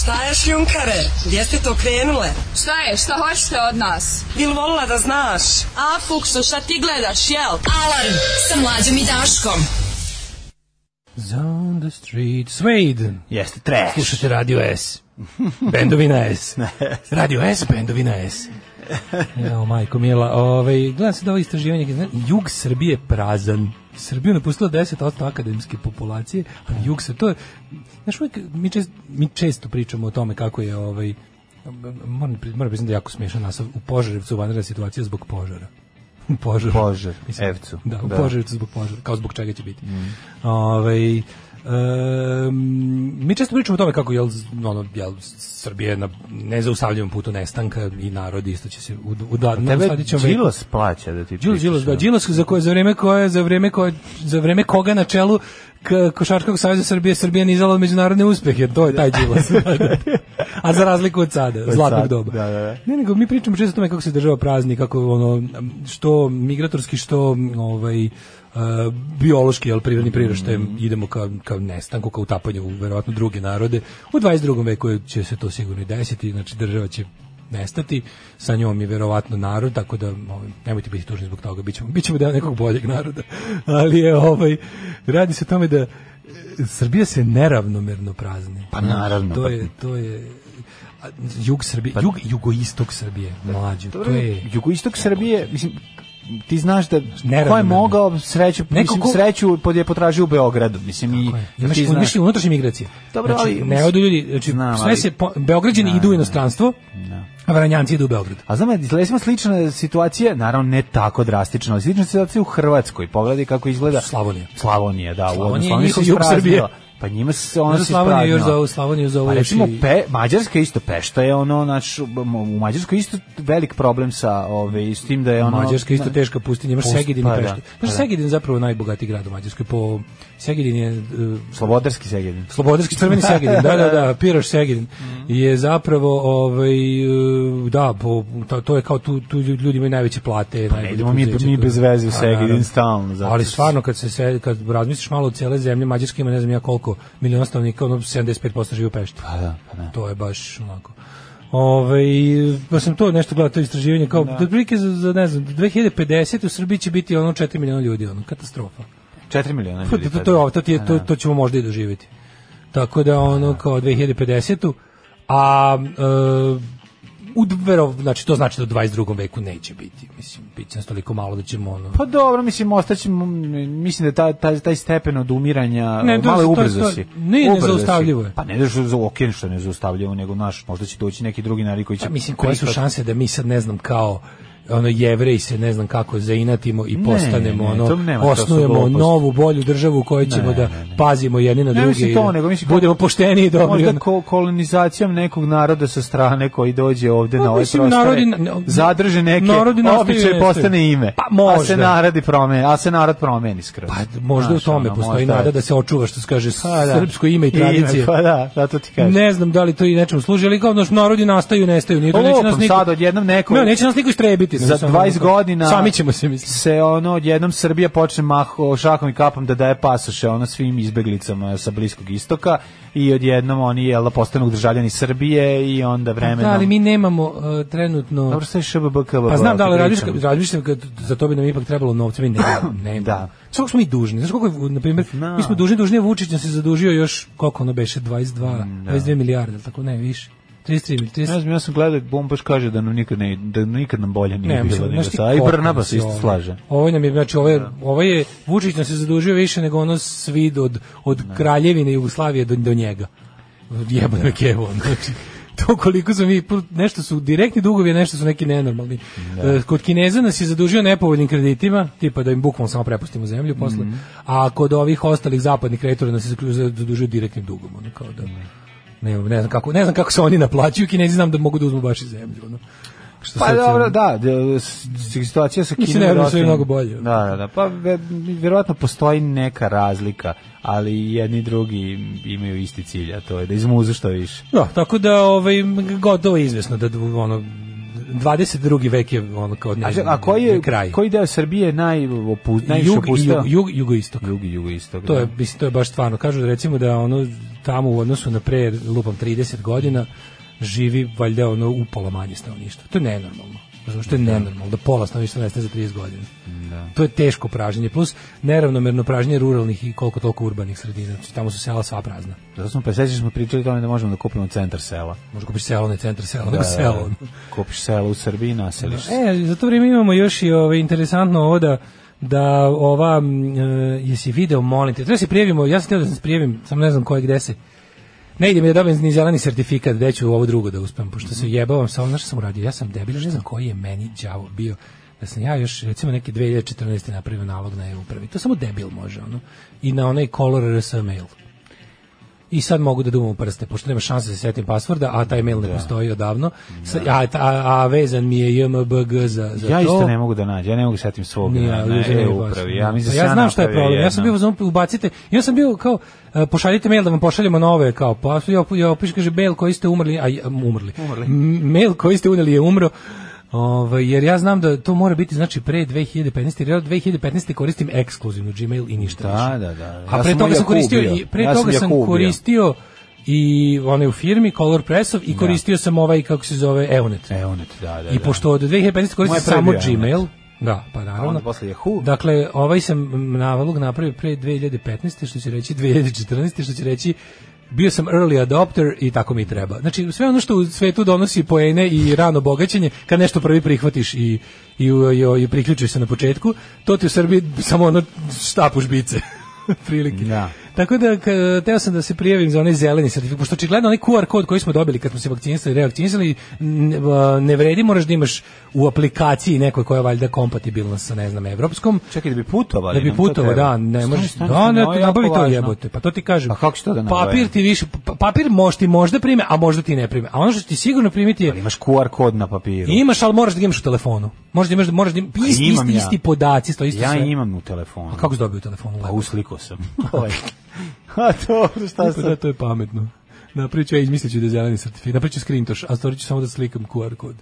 Speaker 10: Šta je šljunkare? Gdje ste to krenule?
Speaker 11: Šta je? Šta hoćete od nas?
Speaker 10: Bil volila da znaš?
Speaker 11: A, Fuksu, šta ti gledaš, jel? Alarm sa mlađom i Daškom.
Speaker 7: Down the street, Sweden.
Speaker 6: Jeste, trash.
Speaker 7: Slušajte Radio S. Bendovi na S. Radio S, bendovi na S. Evo, majko mila, ovaj, gledam se da ovo istraživanje, zna- jug Srbije je prazan. Srbiju je napustilo 10% akademske populacije, ali jug se, to je, znaš, uvijek, mi, čest, mi često pričamo o tome kako je, ovaj, moram, pri- moram priznati da je jako smiješan nasav, u Požarevcu vanredna situacija zbog požara. U požaru.
Speaker 6: Požar,
Speaker 7: Mislim,
Speaker 6: Evcu.
Speaker 7: Da, u
Speaker 6: Da. Mm.
Speaker 7: Požarevcu zbog požara, kao zbog čega će biti. Ovaj, Um, mi često pričamo o tome kako je ono, jel, Srbija na nezaustavljivom putu nestanka i narod isto će se u, u da,
Speaker 6: Tebe
Speaker 7: u sledećem veku-
Speaker 6: Đilas plaća da ti
Speaker 7: Đilas,
Speaker 6: pričaš,
Speaker 7: Đilas, da,
Speaker 6: ono.
Speaker 7: Đilas za koje za vreme koje za vreme koje za vreme koga na čelu k- košarkaškog saveza Srbije Srbija nizala u međunarodne uspehe, to je taj Đilas. Da, da. A za razliku od sada,
Speaker 6: Od
Speaker 7: zlatnog
Speaker 6: sad,
Speaker 7: doba.
Speaker 6: da, da, da.
Speaker 7: Ne, nego mi pričamo često o tome kako se država prazni, kako ono što migratorski, što ovaj e, biološki, jel, prirodni priraštaj,
Speaker 6: Mm.
Speaker 7: idemo ka, ka nestanku, ka utapanju u verovatno druge narode. U 22. veku će se to sigurno i desiti, znači država će nestati, sa njom je verovatno narod, tako da ovaj, nemojte biti tužni zbog toga, bit ćemo, bit ćemo deo nekog boljeg naroda, ali je ovaj, radi se o tome da e, Srbija se neravnomerno prazni.
Speaker 6: Pa naravno,
Speaker 7: To
Speaker 6: pa-
Speaker 7: je, to je a, jug Srbije, jug, jugoistok Srbije, mlađo, to
Speaker 6: Da. Dobro,
Speaker 7: je...
Speaker 6: jugoistok Srbije, mislim, ti znaš da ko je
Speaker 7: Neravnomerno.
Speaker 6: mogao sreću,
Speaker 7: Neko
Speaker 6: mislim,
Speaker 7: ko-
Speaker 6: sreću pod je potražio u Beogradu, mislim, i, da
Speaker 7: Imaš,
Speaker 6: ti znaš.
Speaker 7: imaš i unutrašnje migracije.
Speaker 6: Dobro,
Speaker 7: znači,
Speaker 6: ali-
Speaker 7: ne odu ljudi, znači,
Speaker 6: Znam,
Speaker 7: sve
Speaker 6: ali- Da.
Speaker 7: se, po, Beograđani idu u inostranstvo, a Varanjanci idu u Beograd.
Speaker 6: A znam, izlesimo slična situacija, naravno ne tako drastično, ali slična situacija u Hrvatskoj. Pogledaj kako izgleda
Speaker 7: Slavonija.
Speaker 6: Slavonija, da, u
Speaker 7: Slavonija
Speaker 6: odnosu
Speaker 7: i
Speaker 6: ona se
Speaker 7: njihov jug
Speaker 6: ispraznila.
Speaker 7: Srbije.
Speaker 6: Pa njima se ona
Speaker 7: Za
Speaker 6: se
Speaker 7: Slavoniju još
Speaker 6: ispraznila.
Speaker 7: zovu, Slavoniju zovu
Speaker 6: Pa
Speaker 7: još
Speaker 6: recimo,
Speaker 7: i-
Speaker 6: pe, Mađarska je isto Pešta je ono, znači, u Mađarskoj je isto velik problem sa, ove, s tim da je ono...
Speaker 7: Mađarska je isto
Speaker 6: na-
Speaker 7: teška pustinja, imaš
Speaker 6: Pust-
Speaker 7: Segedin i
Speaker 6: pa da,
Speaker 7: Peštu.
Speaker 6: pa
Speaker 7: Znaš,
Speaker 6: da.
Speaker 7: Segedin je zapravo najbogatiji grad u Mađarskoj. Po, Segedin je... e,
Speaker 6: Slobodarski Segedin.
Speaker 7: Slobodarski crveni Segedin, da, da, da, Piroš Segedin
Speaker 6: Mhm.
Speaker 7: je zapravo, ovaj, e, da, po, to, to je kao tu, tu ljudi imaju najveće plate. Pa
Speaker 6: ne idemo mi- mi bez veze u Segedin stalno, zato
Speaker 7: Da, Ali
Speaker 6: što-
Speaker 7: stvarno, kad, se, se, kad razmisliš malo od cele zemlje, Mađarska ima ne znam ja koliko miliona stanovnika, ono 75% živi u Pešti.
Speaker 6: Pa da, pa da.
Speaker 7: To je baš onako. Ove, ja sam to nešto gledao, to istraživanje, kao, da. prilike za, za, ne znam, 2050 u Srbiji će biti ono 4 miliona ljudi, ono, katastrofa.
Speaker 6: 4 miliona
Speaker 7: Pa,
Speaker 6: ljudi.
Speaker 7: to,
Speaker 6: pa
Speaker 7: to, je
Speaker 6: da.
Speaker 7: ovo, to, ti je, to, to ćemo možda i doživjeti. Tako da ono kao 2050. A e, u dvero, znači to znači da u 22. veku neće biti. Mislim, bit će nas toliko malo da ćemo ono...
Speaker 6: Pa dobro, mislim, ostaćemo, mislim da taj, taj, taj stepen odumiranja,
Speaker 7: Ne,
Speaker 6: ne,
Speaker 7: to-
Speaker 6: malo je
Speaker 7: to-
Speaker 6: ubrzo
Speaker 7: to-
Speaker 6: si.
Speaker 7: nije
Speaker 6: Ubrzo si.
Speaker 7: nezaustavljivo je.
Speaker 6: Pa ne daš za okej što je nezaustavljivo, nego naš, možda će doći neki drugi narod koji će...
Speaker 7: Pa, mislim, koje su
Speaker 6: prihvat-
Speaker 7: šanse da mi sad ne znam kao ono jevreji se ne znam kako zainatimo i
Speaker 6: Ne,
Speaker 7: postanemo
Speaker 6: ne, to
Speaker 7: ono
Speaker 6: nema, to su
Speaker 7: osnujemo
Speaker 6: gluposti.
Speaker 7: novu bolju državu u kojoj ćemo da pazimo jedni na
Speaker 6: Ne
Speaker 7: druge
Speaker 6: mislim
Speaker 7: i
Speaker 6: to,
Speaker 7: da
Speaker 6: nego mislim... ko-
Speaker 7: budemo pošteni i dobri
Speaker 6: Možda ko, kolonizacijom nekog naroda sa strane koji dođe ovde
Speaker 7: Pa,
Speaker 6: na ove
Speaker 7: mislim,
Speaker 6: prostore,
Speaker 7: narodi na-
Speaker 6: zadrže neke
Speaker 7: narodi nastaju
Speaker 6: običaje,
Speaker 7: nešto.
Speaker 6: postane ime.
Speaker 7: Pa, možda.
Speaker 6: A se narodi promeni, a se narod promeni skroz.
Speaker 7: Pa možda
Speaker 6: Znaš,
Speaker 7: u tome
Speaker 6: ono,
Speaker 7: postoji
Speaker 6: možda je-
Speaker 7: nada da se očuva što se kaže
Speaker 6: Pa, da.
Speaker 7: srpsko ime i tradicija.
Speaker 6: pa da, zato ti kažem.
Speaker 7: Ne znam da li to i nečemu služi, ali kao naš narodi nastaju, nestaju, nije to
Speaker 6: Pa
Speaker 7: neće nas
Speaker 6: lupam
Speaker 7: niko.
Speaker 6: sad odjednom neko-
Speaker 7: Ne, neće nas niko istrebiti. nego
Speaker 6: za
Speaker 7: samo
Speaker 6: 20
Speaker 7: onako-
Speaker 6: godina
Speaker 7: Sami ćemo se misliti.
Speaker 6: se ono odjednom Srbija počne maho šakom i kapom da daje pasoše ono svim izbeglicama sa bliskog istoka i odjednom oni jel da postanu državljani Srbije i onda
Speaker 7: Da,
Speaker 6: vremenom
Speaker 7: ali mi nemamo uh, trenutno
Speaker 6: Dobro, sve ŠBB, KBB,
Speaker 7: Pa znam da
Speaker 6: ti
Speaker 7: ali radiš
Speaker 6: pričam.
Speaker 7: razmišljam kad za to bi nam ipak trebalo novca mi ne ne.
Speaker 6: Da.
Speaker 7: Samo smo mi dužni. Znaš koliko je, na primjer,
Speaker 6: Znam.
Speaker 7: mi smo dužni, dužni je Vučić nam se zadužio još koliko ono beše
Speaker 6: Da.
Speaker 7: 22, 22 milijarde, jel tako ne, više. 33 mil- 30
Speaker 6: Ne znam, ja sam gledao, Bom baš kaže da nam nikad, ne, da nikad nam bolje nije
Speaker 7: Ne,
Speaker 6: bilo
Speaker 7: mislim,
Speaker 6: nego
Speaker 7: znaš ti
Speaker 6: sad. A i
Speaker 7: koliko
Speaker 6: Brnaba
Speaker 7: nas
Speaker 6: se
Speaker 7: je
Speaker 6: isto
Speaker 7: ovo?
Speaker 6: slaže. Da.
Speaker 7: Ovo nam je, znači, ovo je, ovo je Vučić nam se zadužio više nego ono svid od, od kraljevine Jugoslavije do, do njega.
Speaker 6: Da.
Speaker 7: Jebano je kevo, ono, znači, to koliko su mi, nešto su direktni dugovi, a nešto su neki nenormalni.
Speaker 6: Da.
Speaker 7: E, Kod Kineza nas je zadužio nepovoljnim kreditima, tipa da im bukvalno samo prepustimo zemlju posle,
Speaker 6: Mhm.
Speaker 7: a kod ovih ostalih zapadnih kreditora nas je zaklju- zadužio direktnim dugom, ono, kao da... Ne, ne, znam kako, ne znam kako se oni naplaćuju, Kinezi znam da mogu da uzmu baš i zemlju. Ono. Što
Speaker 6: Pa
Speaker 7: sad se-
Speaker 6: dobro, da, da, s- situacija sa
Speaker 7: Mislim,
Speaker 6: Kinom...
Speaker 7: ne,
Speaker 6: je
Speaker 7: mislim, je
Speaker 6: relativno-
Speaker 7: mnogo bolje.
Speaker 6: Da, da, da, pa ve, verovatno postoji neka razlika, ali jedni i drugi imaju isti cilj, a to je da izmuzu što više.
Speaker 7: Da, tako da ovaj gotovo je izvesno da dv- ono 22. vek je ono kao ne,
Speaker 6: A, če- a koji, je,
Speaker 7: kraj.
Speaker 6: koji deo Srbije je naj, opu, najviše
Speaker 7: jug,
Speaker 6: opustao?
Speaker 7: jug, jug, jugoistok.
Speaker 6: Jug i jugoistok.
Speaker 7: To
Speaker 6: da.
Speaker 7: je mislim to je baš stvarno. Kažu da recimo da ono tamo u odnosu na pre lupam 30 godina živi valjda ono upola manje stanovništva. To je nenormalno. Razumeš, to je nenormalno da pola stanovništva nestane za 30 godina.
Speaker 6: Da.
Speaker 7: To je teško pražnjenje plus neravnomerno pražnjenje ruralnih i koliko toliko urbanih sredina. Znači, tamo su sela sva prazna.
Speaker 6: Zato smo, pa sveći smo pričali o tome da možemo da kupimo centar sela.
Speaker 7: Možda kupiš selo, ne centar sela,
Speaker 6: Da,
Speaker 7: nego Da, selo.
Speaker 6: Kupiš selo u Srbiji i naseliš. se.
Speaker 7: E, za to vrijeme imamo još i ove, interesantno ovo da da ova, m, e, jesi video, molim te, treba se prijavimo, ja sam htio da se prijavim, samo ne znam koje gde se. Ne ide mi da dobijem ni zeleni sertifikat, gde ću ovo drugo da uspem, pošto
Speaker 6: Mhm.
Speaker 7: se jebavam sa ovom, znaš šta sam uradio, ja sam debil, još ne znam koji je meni đavo bio, da sam ja još recimo neke 2014. napravio nalog na e-upravi, to samo debil može, ono, i na onaj color RS mail. i sad mogu da dumam u prste, pošto nema šanse da se setim pasvorda, a taj
Speaker 6: Da.
Speaker 7: mail ne postoji odavno, Sa- a, a, a vezan mi je JMBG za, za
Speaker 6: Ja
Speaker 7: to.
Speaker 6: isto ne mogu da nađem, ja ne mogu da setim svog
Speaker 7: Nije,
Speaker 6: na,
Speaker 7: ali
Speaker 6: na
Speaker 7: za njega
Speaker 6: e-upravi.
Speaker 7: baš.
Speaker 6: Ja, mislim,
Speaker 7: Pa
Speaker 6: da
Speaker 7: ja
Speaker 6: sam
Speaker 7: znam šta je
Speaker 6: napravio
Speaker 7: problem. Ja sam
Speaker 6: jedno.
Speaker 7: bio uzmem, ubacite, ja sam bio kao e, pošaljite mail da vam pošaljemo nove kao pa ja ja piše kaže mail koji ste umrli, a ja- umrli.
Speaker 6: Umrli.
Speaker 7: M- Mail koji ste uneli je umro. Ovaj jer ja znam da to mora biti znači pre 2015. jer ja od 2015. koristim ekskluzivno Gmail i ništa
Speaker 6: Da,
Speaker 7: više.
Speaker 6: da, da. Ja
Speaker 7: A pre
Speaker 6: sam
Speaker 7: toga sam
Speaker 6: Jakub
Speaker 7: koristio
Speaker 6: bio.
Speaker 7: i pre
Speaker 6: Ja sam
Speaker 7: toga sam
Speaker 6: Jakub bio.
Speaker 7: koristio i one u firmi Color Pressov
Speaker 6: Da.
Speaker 7: i koristio sam ovaj kako se zove Eunet.
Speaker 6: Eunet, da, da.
Speaker 7: I pošto od 2015 koristim
Speaker 6: Moje prvi
Speaker 7: samo
Speaker 6: bio Eunet.
Speaker 7: Gmail, da, pa
Speaker 6: A onda
Speaker 7: naravno.
Speaker 6: posle Yahoo.
Speaker 7: Dakle, ovaj sam navalog napravio pre 2015. što će reći 2014. što će reći bio sam early adopter i tako mi treba. Znači, sve ono što u svetu donosi poene i rano bogaćenje, kad nešto prvi prihvatiš i, i, i, i priključiš se na početku, to ti u Srbiji samo ono štapu žbice. prilike.
Speaker 6: Da.
Speaker 7: Tako da k- teo sam da se prijavim za onaj zeleni sertifikat, pošto očigledno onaj QR kod koji smo dobili kad smo se vakcinisali i revakcinisali n- v- ne vredi, moraš da imaš u aplikaciji nekoj koja je valjda kompatibilna sa ne znam evropskom.
Speaker 6: Čekaj, da bi putovali.
Speaker 7: Da bi
Speaker 6: nam to
Speaker 7: putovo,
Speaker 6: treba.
Speaker 7: da, ne
Speaker 6: Stani,
Speaker 7: možeš.
Speaker 6: stani,
Speaker 7: Da,
Speaker 6: stani,
Speaker 7: ne,
Speaker 6: ovo je
Speaker 7: nabavi
Speaker 6: jako
Speaker 7: to
Speaker 6: važno.
Speaker 7: jebote. Pa to ti kažem.
Speaker 6: A kako ću to da nabavim?
Speaker 7: Papir ti više, pa- papir može ti možda prime, a možda ti ne prime. A ono što će ti sigurno primiti je
Speaker 6: Ali Imaš QR kod na papiru.
Speaker 7: imaš, ali moraš da ga imaš u telefonu. Možeš da imaš, moraš da im-
Speaker 6: Pa
Speaker 7: isti,
Speaker 6: imam
Speaker 7: isti,
Speaker 6: ja.
Speaker 7: isti podaci, to isto
Speaker 6: Ja
Speaker 7: sve.
Speaker 6: imam u telefonu.
Speaker 7: A kako si dobio u telefonu?
Speaker 6: Pa
Speaker 7: Lepo.
Speaker 6: uslikao sam. A to, šta
Speaker 7: Pa da, to je pametno. Napravit ću, ja izmislit ću da je zeleni sertifikat. Napravit ću screentoš, a stvorit ću samo da slikam QR kod.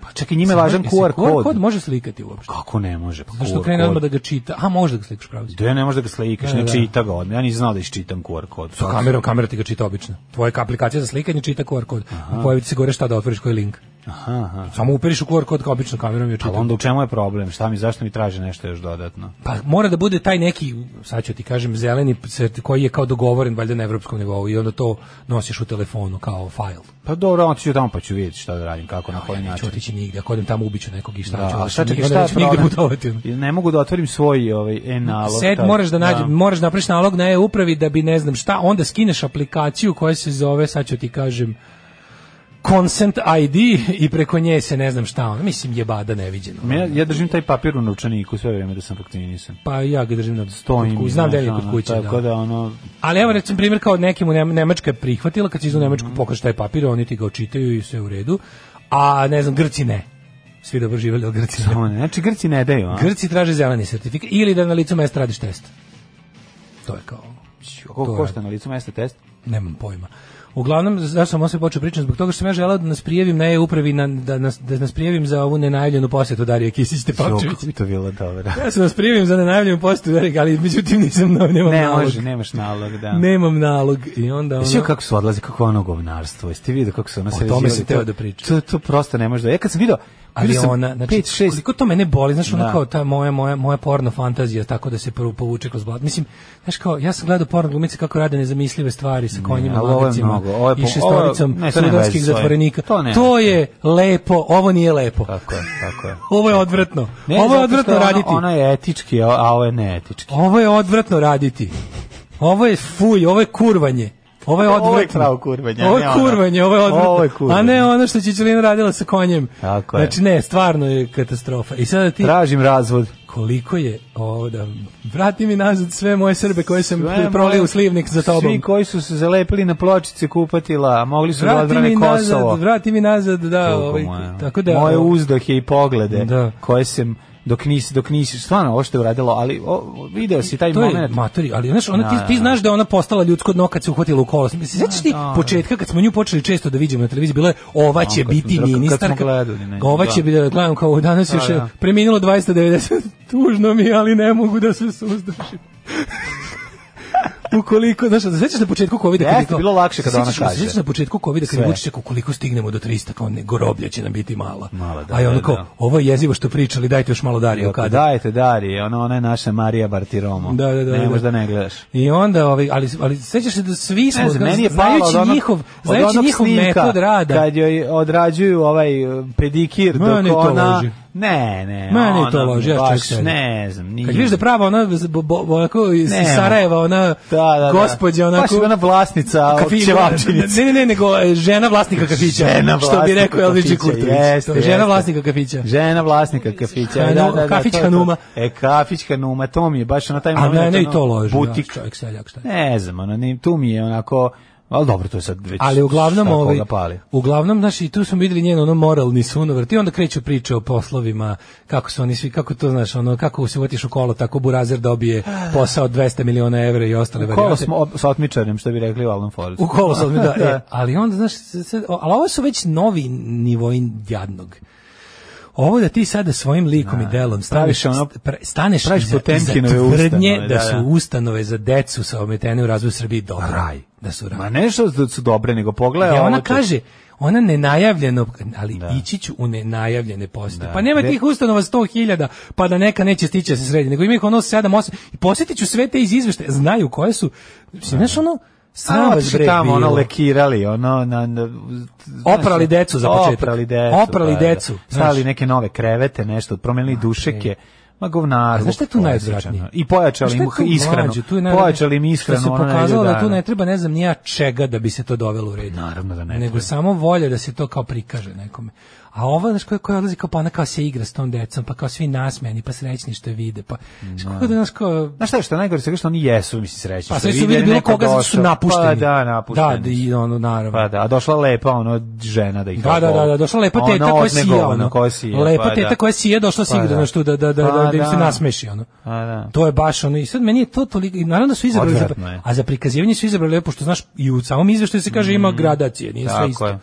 Speaker 6: Pa čekaj, njime je važan
Speaker 7: Jesi
Speaker 6: QR
Speaker 7: QR
Speaker 6: kod.
Speaker 7: može slikati uopšte.
Speaker 6: Kako ne može? Pa
Speaker 7: Zašto
Speaker 6: QR
Speaker 7: krene
Speaker 6: kod.
Speaker 7: odmah da ga čita? A, može da ga slikaš pravo.
Speaker 6: Da ja ne možeš da ga slikaš,
Speaker 7: Da,
Speaker 6: ne
Speaker 7: da.
Speaker 6: čita ga odmah. Ja nisam znao da iščitam QR kod.
Speaker 7: Sa kamerom, kamera ti ga čita obično. Tvoja aplikacija za slikanje čita QR kod. Pojavi ti se gore šta da otvoriš koji link.
Speaker 6: Aha, aha.
Speaker 7: Samo upiriš u QR kod kao obično kamerom i je čita.
Speaker 6: Ali Pa onda u čemu je problem? Šta mi, zašto mi traže nešto još dodatno?
Speaker 7: Pa mora da bude taj neki, sad ću ti kažem, zeleni serti- koji je kao dogovoren valjda na evropskom nivou i onda to nosiš u telefonu kao fajl.
Speaker 6: Pa dobro, onda ću tamo pa ću vidjeti šta da radim, kako, na koji
Speaker 7: Neću
Speaker 6: način.
Speaker 7: otići nigde, ako odem tamo ubiću nekog i šta
Speaker 6: Da,
Speaker 7: ću.
Speaker 6: a
Speaker 7: onda
Speaker 6: šta
Speaker 7: ću
Speaker 6: čekaj,
Speaker 7: nigde-
Speaker 6: šta je
Speaker 7: neću nigde
Speaker 6: problem?
Speaker 7: putovati.
Speaker 6: Jer Ne mogu da otvorim svoj ovaj, e-nalog.
Speaker 7: Set
Speaker 6: taj.
Speaker 7: moraš da nađe, moraš da napraviš nalog na e-upravi da bi ne znam šta, onda skineš aplikaciju koja se zove, sad ću ti kažem, Consent ID i preko nje se ne znam šta, ono, mislim jebada neviđeno.
Speaker 6: Ja, ja držim taj papir u novčaniku sve vrijeme da sam vakcinisan.
Speaker 7: Pa ja ga držim na
Speaker 6: Stojim.
Speaker 7: kod ku- znam da je
Speaker 6: znaš,
Speaker 7: kod
Speaker 6: ono,
Speaker 7: kuće.
Speaker 6: Tako
Speaker 7: Da.
Speaker 6: da, ono,
Speaker 7: Ali evo recimo primjer kao nekim u Nema- Nemačka je prihvatila, kad si izu Nemačku
Speaker 6: Mhm.
Speaker 7: pokaže taj papir, oni ti ga očitaju i sve u redu, a ne znam, Grci ne. Svi dobro živjeli, ali Grci ne.
Speaker 6: samo ne. Znači, Grci ne daju, a?
Speaker 7: Grci traže zeleni sertifikat ili da na licu mesta radiš test. To je kao to
Speaker 6: Koliko
Speaker 7: je.
Speaker 6: košta na licu mesta test?
Speaker 7: Nemam pojma. Uglavnom, zašto sam ovo sve počeo pričati? Zbog toga što sam ja želao da nas prijavim na e-upravi, na, da, nas, da nas prijavim za ovu nenajavljenu posjetu Darija Kisić
Speaker 6: Jo,
Speaker 7: Tepavčević.
Speaker 6: kako bi to bilo dobro.
Speaker 7: Ja sam nas prijavim za nenajavljenu posjetu Darija, ali međutim nisam, na- nemam
Speaker 6: Ne
Speaker 7: nalog.
Speaker 6: može, nemaš nalog, da.
Speaker 7: Nemam nalog i onda
Speaker 6: Jesi vidio
Speaker 7: ono...
Speaker 6: kako su odlazi, kako je ono govnarstvo? Jeste vidio kako su ono se
Speaker 7: tome
Speaker 6: razvijali?
Speaker 7: sam teo
Speaker 6: To-
Speaker 7: da pričam.
Speaker 6: To, to prosto ne može da... Ja kad sam vidio...
Speaker 7: Ali
Speaker 6: vidio sam
Speaker 7: ona, znači,
Speaker 6: pet, šest-
Speaker 7: koliko to mene boli, znaš, ono
Speaker 6: Da.
Speaker 7: kao ta moja, moja, moja porno fantazija, tako da se prvo povuče kroz blad. Mislim, znaš kao, ja sam gledao porno glumice kako rade nezamislive stvari sa konjima,
Speaker 6: ali ovo je
Speaker 7: lavicima
Speaker 6: mnogo, ovo je po-
Speaker 7: i šestoricom
Speaker 6: ovo- ne, to nema
Speaker 7: sudanskih
Speaker 6: veze s ovim.
Speaker 7: zatvorenika.
Speaker 6: To nema.
Speaker 7: je lepo, ovo nije lepo.
Speaker 6: Tako je, tako je.
Speaker 7: Ovo je odvratno.
Speaker 6: Ne,
Speaker 7: ovo je
Speaker 6: zato što
Speaker 7: odvratno
Speaker 6: ono-
Speaker 7: raditi.
Speaker 6: Ono je etički, a a ovo je neetički.
Speaker 7: Ovo je odvratno raditi. Ovo je fuj, ovo je kurvanje. Ovo je
Speaker 6: Ovo je
Speaker 7: odvratno.
Speaker 6: pravo kurvanje, a
Speaker 7: Ovo
Speaker 6: ne
Speaker 7: je
Speaker 6: ono.
Speaker 7: kurvanje, ovo je odvratno.
Speaker 6: Ovo je kurvanje.
Speaker 7: A ne ono što Čičelina radila sa konjem.
Speaker 6: Tako je.
Speaker 7: znači ne, stvarno je katastrofa. I sada ti
Speaker 6: Tražim razvod.
Speaker 7: koliko je ovo da vrati mi nazad sve moje Srbe koje sam
Speaker 6: Sve
Speaker 7: prolio
Speaker 6: moje-
Speaker 7: u slivnik za tobom.
Speaker 6: Svi koji su se zalepili na pločice kupatila, a mogli su da
Speaker 7: vrati
Speaker 6: odbrane
Speaker 7: mi nazad,
Speaker 6: Kosovo.
Speaker 7: vrati mi nazad, da,
Speaker 6: Bogu
Speaker 7: ovaj,
Speaker 6: moja.
Speaker 7: tako da
Speaker 6: moje uzdohe i poglede
Speaker 7: Da.
Speaker 6: koje sam dok nisi dok nisi stvarno ovo što je uradilo ali o, video si taj
Speaker 7: to je
Speaker 6: moment
Speaker 7: matori, ali znaš, ona,
Speaker 6: Da,
Speaker 7: ti,
Speaker 6: da,
Speaker 7: ti
Speaker 6: da.
Speaker 7: znaš da je ona postala ljudsko dno kad se uhvatila u kolo. Se Sećaš ti
Speaker 6: da.
Speaker 7: početka kad smo nju počeli često da viđemo na televiziji, bilo je ova će
Speaker 6: kad
Speaker 7: biti
Speaker 6: smo- kad smo
Speaker 7: ministarka.
Speaker 6: gledali, ne,
Speaker 7: ova
Speaker 6: da.
Speaker 7: će biti, da gledam kao danas još je
Speaker 6: da.
Speaker 7: preminulo 290. Tužno mi, je, ali ne mogu da se suzdržim. ukoliko, znaš, da sećaš na početku COVID-a kad je
Speaker 6: Jeste,
Speaker 7: kao-
Speaker 6: bilo lakše kad ona
Speaker 7: sećaš-
Speaker 6: kaže.
Speaker 7: Sećaš na početku COVID-a kad je
Speaker 6: Sve.
Speaker 7: Vučić rekao, ukoliko stignemo do 300, kao ne, groblja će nam biti mala.
Speaker 6: Mala, da,
Speaker 7: A je ono
Speaker 6: da,
Speaker 7: kao,
Speaker 6: da.
Speaker 7: ovo je jezivo što pričali, dajte još malo Darija
Speaker 6: kada
Speaker 7: kada.
Speaker 6: dajete Dari ona ona je naša Marija Bartiromo
Speaker 7: Da, da, da,
Speaker 6: ne
Speaker 7: da.
Speaker 6: možda ne gledaš
Speaker 7: I onda, ovaj, ali, ali sećaš se da svi smo,
Speaker 6: Ne znam, meni je palo
Speaker 7: znajući
Speaker 6: od onog,
Speaker 7: njihov,
Speaker 6: od
Speaker 7: znajući
Speaker 6: onog
Speaker 7: njihov
Speaker 6: snimka
Speaker 7: metod rada,
Speaker 6: kad joj odrađuju ovaj eh, pedikir dok
Speaker 7: Meni to
Speaker 6: ona
Speaker 7: loži.
Speaker 6: Ne, ne.
Speaker 7: Ma ne,
Speaker 6: ona
Speaker 7: to loži, ja
Speaker 6: baš
Speaker 7: čak sebi.
Speaker 6: Ne znam, nije.
Speaker 7: Kad vidiš da prava ona bo, bo, onako iz
Speaker 6: Nema.
Speaker 7: Sarajeva, ona
Speaker 6: Da, da, da.
Speaker 7: gospođa onako...
Speaker 6: Baš je ona vlasnica od
Speaker 7: Kafić-
Speaker 6: ćevapčinice.
Speaker 7: Ne, ne, ne, nego e, žena vlasnika kafića,
Speaker 6: Žena
Speaker 7: što bi
Speaker 6: vlasnika
Speaker 7: rekao Elvić
Speaker 6: kafića,
Speaker 7: Kurtović.
Speaker 6: jeste,
Speaker 7: To je žena
Speaker 6: jeste.
Speaker 7: vlasnika kafića.
Speaker 6: Žena vlasnika kafića.
Speaker 7: Hanu-
Speaker 6: da, da, da,
Speaker 7: kafić
Speaker 6: to je to.
Speaker 7: Hanuma.
Speaker 6: E, kafić Hanuma, to mi je baš na taj
Speaker 7: A
Speaker 6: moment.
Speaker 7: mene i
Speaker 6: ono,
Speaker 7: to loži.
Speaker 6: Butik.
Speaker 7: Da, čovjek seljak, šta je.
Speaker 6: Ne znam, ono, ni- tu mi je onako... Ali dobro, to je sad već...
Speaker 7: Ali uglavnom
Speaker 6: šta koga
Speaker 7: ovaj
Speaker 6: pali.
Speaker 7: uglavnom znaš i tu smo videli njen ono moralni sunovrat i onda kreću priče o poslovima kako su oni svi kako to znaš ono kako se uvatiš u kolo tako burazer dobije posao od 200 miliona evra i ostale
Speaker 6: Kolo
Speaker 7: varijante.
Speaker 6: smo ob- sa otmičarem, što bi rekli u Alan Forest.
Speaker 7: U kolo sad mi da. E, ali onda, znaš, sad- sad- ali ovo su već novi nivoi jadnog. Ovo da ti sada svojim likom i delom staviš,
Speaker 6: Da, Praviš ono-
Speaker 7: st- pre- staneš
Speaker 6: praviš
Speaker 7: iza-
Speaker 6: Potemkinove
Speaker 7: iza tvrdnje
Speaker 6: ustanove,
Speaker 7: da,
Speaker 6: da,
Speaker 7: su
Speaker 6: da.
Speaker 7: ustanove za decu sa ometene u razvoju Srbije dobro.
Speaker 6: Raj.
Speaker 7: Da su raj.
Speaker 6: Ma nešto da su dobre, nego pogledaj.
Speaker 7: Ja,
Speaker 6: ovo
Speaker 7: ona
Speaker 6: to-
Speaker 7: kaže, ona nenajavljeno, ali ići ću u nenajavljene poste.
Speaker 6: Da.
Speaker 7: Pa nema
Speaker 6: Gde-
Speaker 7: tih ustanova 100.000, pa da neka neće stići da se sredi, nego ima ih ono 7, 8. I posjetit ću sve te iz izveštaja, znaju koje su. Mislim, Znaš ono,
Speaker 6: Da. A,
Speaker 7: sram vas
Speaker 6: otišli
Speaker 7: bre
Speaker 6: tamo ono
Speaker 7: bilo.
Speaker 6: lekirali, ono na, na
Speaker 7: Oprali decu za početak.
Speaker 6: Oprali decu. da,
Speaker 7: Oprali decu, znaš.
Speaker 6: Stavili neke nove krevete, nešto, promenili dušeke. Ma govnar.
Speaker 7: A znaš šta je tu najodvratnije?
Speaker 6: I pojačali
Speaker 7: Znaš šta
Speaker 6: im
Speaker 7: je tu
Speaker 6: ishranu.
Speaker 7: mlađe? Tu je najodvratnije
Speaker 6: Pojačali im ishranu.
Speaker 7: Što se
Speaker 6: ono na
Speaker 7: pokazalo
Speaker 6: nedelju
Speaker 7: da tu
Speaker 6: dana.
Speaker 7: ne treba ne znam nija čega da bi se to dovelo u red.
Speaker 6: Naravno da ne
Speaker 7: Nego
Speaker 6: treba.
Speaker 7: samo volja da se to kao prikaže nekome. A ova, znaš, koja, koja odlazi kao pa ona kao se igra s tom decom, pa kao svi nasmeni, pa srećni što je vide, pa... Znaš, kako da, znaš, kao...
Speaker 6: Znaš šta je što je najgore svega što oni jesu, mislim, srećni.
Speaker 7: Pa
Speaker 6: što
Speaker 7: sve su
Speaker 6: vide
Speaker 7: vidjeli bilo
Speaker 6: neko
Speaker 7: koga zato što su
Speaker 6: došao.
Speaker 7: napušteni.
Speaker 6: Pa da, napušteni.
Speaker 7: Da, da, i ono, naravno.
Speaker 6: Pa da, a došla lepa ono žena da ih
Speaker 7: Da, da, da, da, došla lepa
Speaker 6: Ono,
Speaker 7: teta koja sija,
Speaker 6: odnegovana,
Speaker 7: ono.
Speaker 6: koja sija,
Speaker 7: lepa
Speaker 6: pa
Speaker 7: teta
Speaker 6: da.
Speaker 7: koja sija došla
Speaker 6: Pa
Speaker 7: si igra,
Speaker 6: da.
Speaker 7: znaš, tu da, da, da,
Speaker 6: Pa
Speaker 7: da, da, im se
Speaker 6: da.
Speaker 7: nasmeši, ono.
Speaker 6: Pa da.
Speaker 7: To je baš ono, i sad meni je to toliko, i naravno da su izabrali, za,
Speaker 6: Odvratno je.
Speaker 7: a za prikazivanje su izabrali lepo, što znaš, i u samom izveštaju se kaže ima gradacije, nije sve
Speaker 6: Mm, tako
Speaker 7: isto.
Speaker 6: je.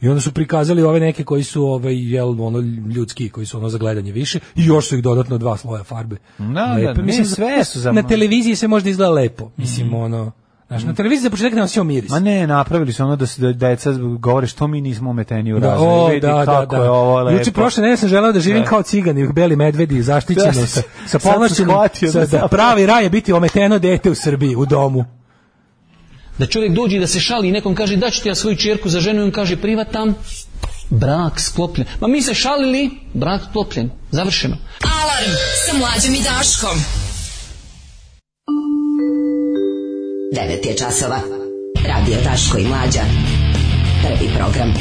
Speaker 7: I onda su prikazali ove neke koji su ovaj jel ono ljudski koji su ono za gledanje više i još su ih dodatno dva sloja farbe.
Speaker 6: Da,
Speaker 7: Lepe.
Speaker 6: da, ne,
Speaker 7: mislim
Speaker 6: sve su za- Mm.
Speaker 7: na televiziji se možda izgleda lepo. Mislim ono, znaš, na televiziji za početak nema sve miris.
Speaker 6: Ma ne, napravili su ono da se da deca govore što mi nismo ometeni u
Speaker 7: Da,
Speaker 6: razvoju.
Speaker 7: o,
Speaker 6: Vidi
Speaker 7: da, da,
Speaker 6: kako
Speaker 7: da.
Speaker 6: je ovo lepo.
Speaker 7: Juče prošle nedelje sam želeo da živim kao cigan i u beli medvedi zaštićeno
Speaker 6: Da,
Speaker 7: sa sa
Speaker 6: sad sam
Speaker 7: povlašćenim
Speaker 6: shvatio
Speaker 7: sa,
Speaker 6: da
Speaker 7: da
Speaker 6: zapravo-
Speaker 7: pravi raj je biti ometeno dete u Srbiji u domu.
Speaker 12: Da čovjek dođe i da se šali i nekom kaže da ću ti ja svoju čerku za ženu i on kaže privatan, brak sklopljen. Ma mi se šalili, brak sklopljen, završeno.
Speaker 11: Alarm sa mlađom i Daškom.
Speaker 3: 9 je časova. Radio Daško i Mlađa. Prvi program.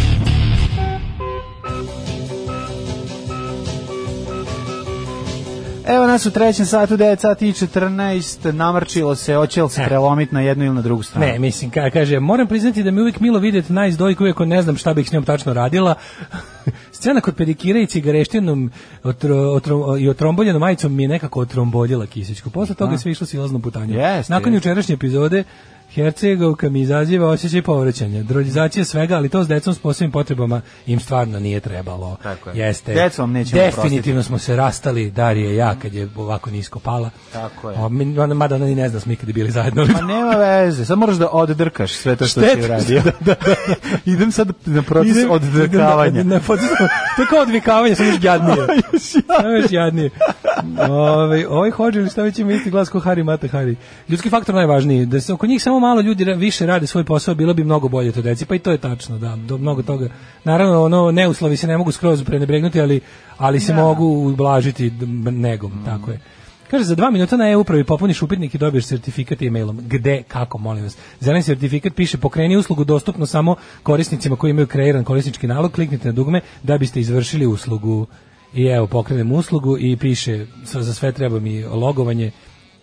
Speaker 6: Evo nas u trećem satu, 9 sati i 14, namrčilo se, hoće li se prelomiti na jednu ili na drugu stranu?
Speaker 7: E. Ne, mislim ka, kaže moram priznati da mi je uvijek milo vidjeti nice dojku iako ne znam šta bih s njom tačno radila. Scena kod pedikira i cigareštinom otro, otro, i otromboljenom majicom mi je nekako otromboljila kisićku. Posle toga je sve išlo silazno putanje.
Speaker 6: Da. Jeste,
Speaker 7: Nakon
Speaker 6: jeste.
Speaker 7: jučerašnje epizode Hercegovka mi izaziva osjećaj povraćanja. Drolizacija svega, ali to s decom s posebnim potrebama im stvarno nije trebalo.
Speaker 6: Tako je.
Speaker 7: Jeste.
Speaker 6: Decu vam nećemo
Speaker 7: Definitivno smo se rastali, Darija i ja, kad je ovako nisko pala.
Speaker 6: Tako je.
Speaker 7: O, mi- ona- mada ona ni ne zna da smo ikada bili zajedno. ali
Speaker 6: Pa nema veze, sad moraš da oddrkaš sve to što
Speaker 7: Šteta.
Speaker 6: si uradio. Idem sad na proces
Speaker 7: Da, Idem-
Speaker 6: oddrkavanja.
Speaker 7: idem Na, na proces, to je kao odvikavanje, samo još jadnije. Samo još jadnije. Ove, ovaj hođe ili šta već ima isti glas ko Hari Mata Hari. Ljudski faktor najvažniji. Da se oko njih samo malo ljudi ra- više radi svoj posao, bilo bi mnogo bolje to deci. Pa i to je tačno, da. Do mnogo toga. Naravno, ono, neuslovi se ne mogu skroz prenebregnuti, ali, ali se mogu ublažiti d- m- negom. Tako je. Kaže, za dva minuta na e-upravi popuniš upitnik i dobiješ certifikat e-mailom. Gde, kako, molim vas. Zeleni certifikat piše pokreni uslugu dostupno samo korisnicima koji imaju kreiran korisnički nalog. Kliknite na dugme da biste izvršili uslugu. I evo, pokrenem uslugu i piše, sa- za sve treba mi logovanje,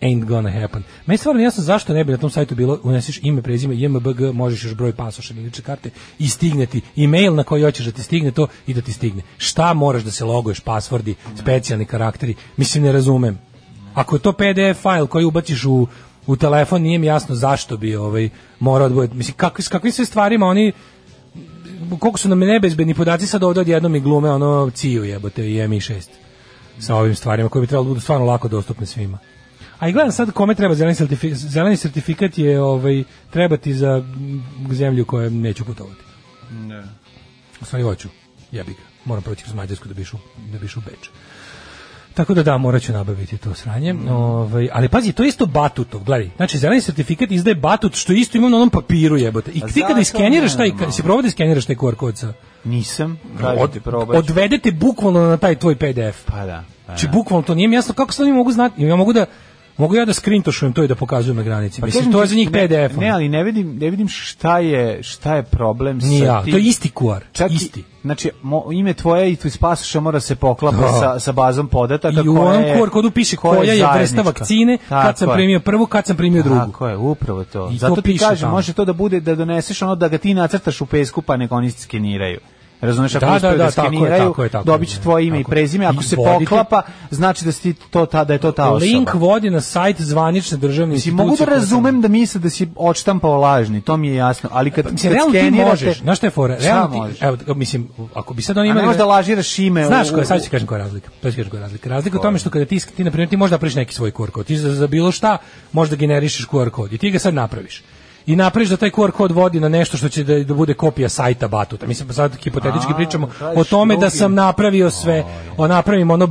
Speaker 7: ain't gonna happen. Meni je stvarno jasno zašto ne bi na tom sajtu bilo, uneseš ime, prezime, JMBG, možeš još broj pasoša ili lične karte i stigne ti e-mail na koji hoćeš da ti stigne to i da ti stigne. Šta moraš da se loguješ, pasvordi, specijalni karakteri, mislim ne razumem. Ako je to PDF fajl koji ubaciš u, u telefon, nije mi jasno zašto bi ovaj morao da bude. Mislim, kako, s kakvim sve stvarima oni koliko su nam nebezbedni podaci sad ovdje odjednom i glume ono ciju jebote i MI6 sa ovim stvarima koje bi trebalo da budu stvarno lako dostupne svima. A i gledam sad kome treba zeleni certifikat. Zeleni certifikat je ovaj, trebati za mm, zemlju koju neću putovati. U stvari hoću. Jebi ga. Moram proći kroz Mađarsku da bišu, da bišu Beč. Tako da da, morat ću nabaviti to sranje.
Speaker 6: Mm.
Speaker 7: Ovaj, ali pazi, to je isto batutov, gledaj. Znači, zeleni sertifikat izdaje batut, što isto ima na onom papiru jebote. I
Speaker 6: A
Speaker 7: ti kada
Speaker 6: zato
Speaker 7: iskeniraš taj,
Speaker 6: nemam.
Speaker 7: si probao da iskeniraš taj QR kod sa?
Speaker 6: Nisam, kažete,
Speaker 7: Od-
Speaker 6: probat ću.
Speaker 7: Odvedete bukvalno na taj tvoj PDF.
Speaker 6: Pa da. Pa
Speaker 7: Znači,
Speaker 6: da.
Speaker 7: bukvalno to nije mi jasno kako sad oni mogu znati. Ja mogu da Mogu ja da skrintošujem to i da pokazujem na granici.
Speaker 6: Pa
Speaker 7: Mislim,
Speaker 6: kažem
Speaker 7: to je
Speaker 6: ti,
Speaker 7: za njih
Speaker 6: ne-
Speaker 7: PDF.
Speaker 6: Ne, ali ne vidim, ne vidim šta je, šta je problem
Speaker 7: Nije
Speaker 6: sa
Speaker 7: ja,
Speaker 6: tim.
Speaker 7: to je isti QR,
Speaker 6: Čak i-
Speaker 7: isti.
Speaker 6: znači, mo- ime tvoje i tvoj spasuša mora se poklapa
Speaker 7: Da.
Speaker 6: sa, sa bazom podataka.
Speaker 7: I u
Speaker 6: koja
Speaker 7: onom
Speaker 6: je-
Speaker 7: QR kodu piše koja je vrsta
Speaker 6: zajednička.
Speaker 7: vakcine, kad sam
Speaker 6: Tako je.
Speaker 7: primio prvu, kad sam primio drugu.
Speaker 6: Tako je, upravo to.
Speaker 7: I
Speaker 6: Zato
Speaker 7: to
Speaker 6: ti
Speaker 7: piše
Speaker 6: kažem,
Speaker 7: tamo.
Speaker 6: može to da bude da doneseš ono da ga ti nacrtaš u pesku pa nek oni skeniraju. Razumeš, ako
Speaker 7: Da, da,
Speaker 6: uspeju
Speaker 7: da,
Speaker 6: da,
Speaker 7: tako je,
Speaker 6: skeniraju,
Speaker 7: tako je, tako je,
Speaker 6: dobit će
Speaker 7: da,
Speaker 6: tvoje ime i
Speaker 7: tako je.
Speaker 6: prezime. Ako
Speaker 7: I
Speaker 6: se
Speaker 7: vodite-
Speaker 6: poklapa, znači da, si ti to ta, da je to ta osoba.
Speaker 7: Link vodi na sajt zvanične državne
Speaker 6: Mislim,
Speaker 7: institucije.
Speaker 6: mogu da
Speaker 7: koja-
Speaker 6: razumem da misle da si odštampao lažni, to mi je jasno, ali kad,
Speaker 7: Pa, Mislim,
Speaker 6: kad
Speaker 7: realno ti
Speaker 6: skenirate-
Speaker 7: možeš, znaš šta je fora?
Speaker 6: Šta
Speaker 7: Realno ti-
Speaker 6: možeš?
Speaker 7: evo, mislim, ako bi sad oni
Speaker 6: A
Speaker 7: imali...
Speaker 6: ne možeš da lažiraš ime.
Speaker 7: Znaš
Speaker 6: u-
Speaker 7: koja, sad ću ti kažem koja je razlika. Sad ću ti kažem koja je razlika. Razlika u tome što kada ti, sk- ti na primjer, ti možeš da napraviš neki svoj QR kod. Ti za, za bilo šta možeš da generišeš QR kod i ti ga sad napraviš. I napraviš da taj QR kod vodi na nešto što će da, da bude kopija sajta Batuta. Mislim, sad hipotetički
Speaker 6: A,
Speaker 7: pričamo
Speaker 6: praviš
Speaker 7: o tome da
Speaker 6: drugi.
Speaker 7: sam napravio sve. O, napravim ono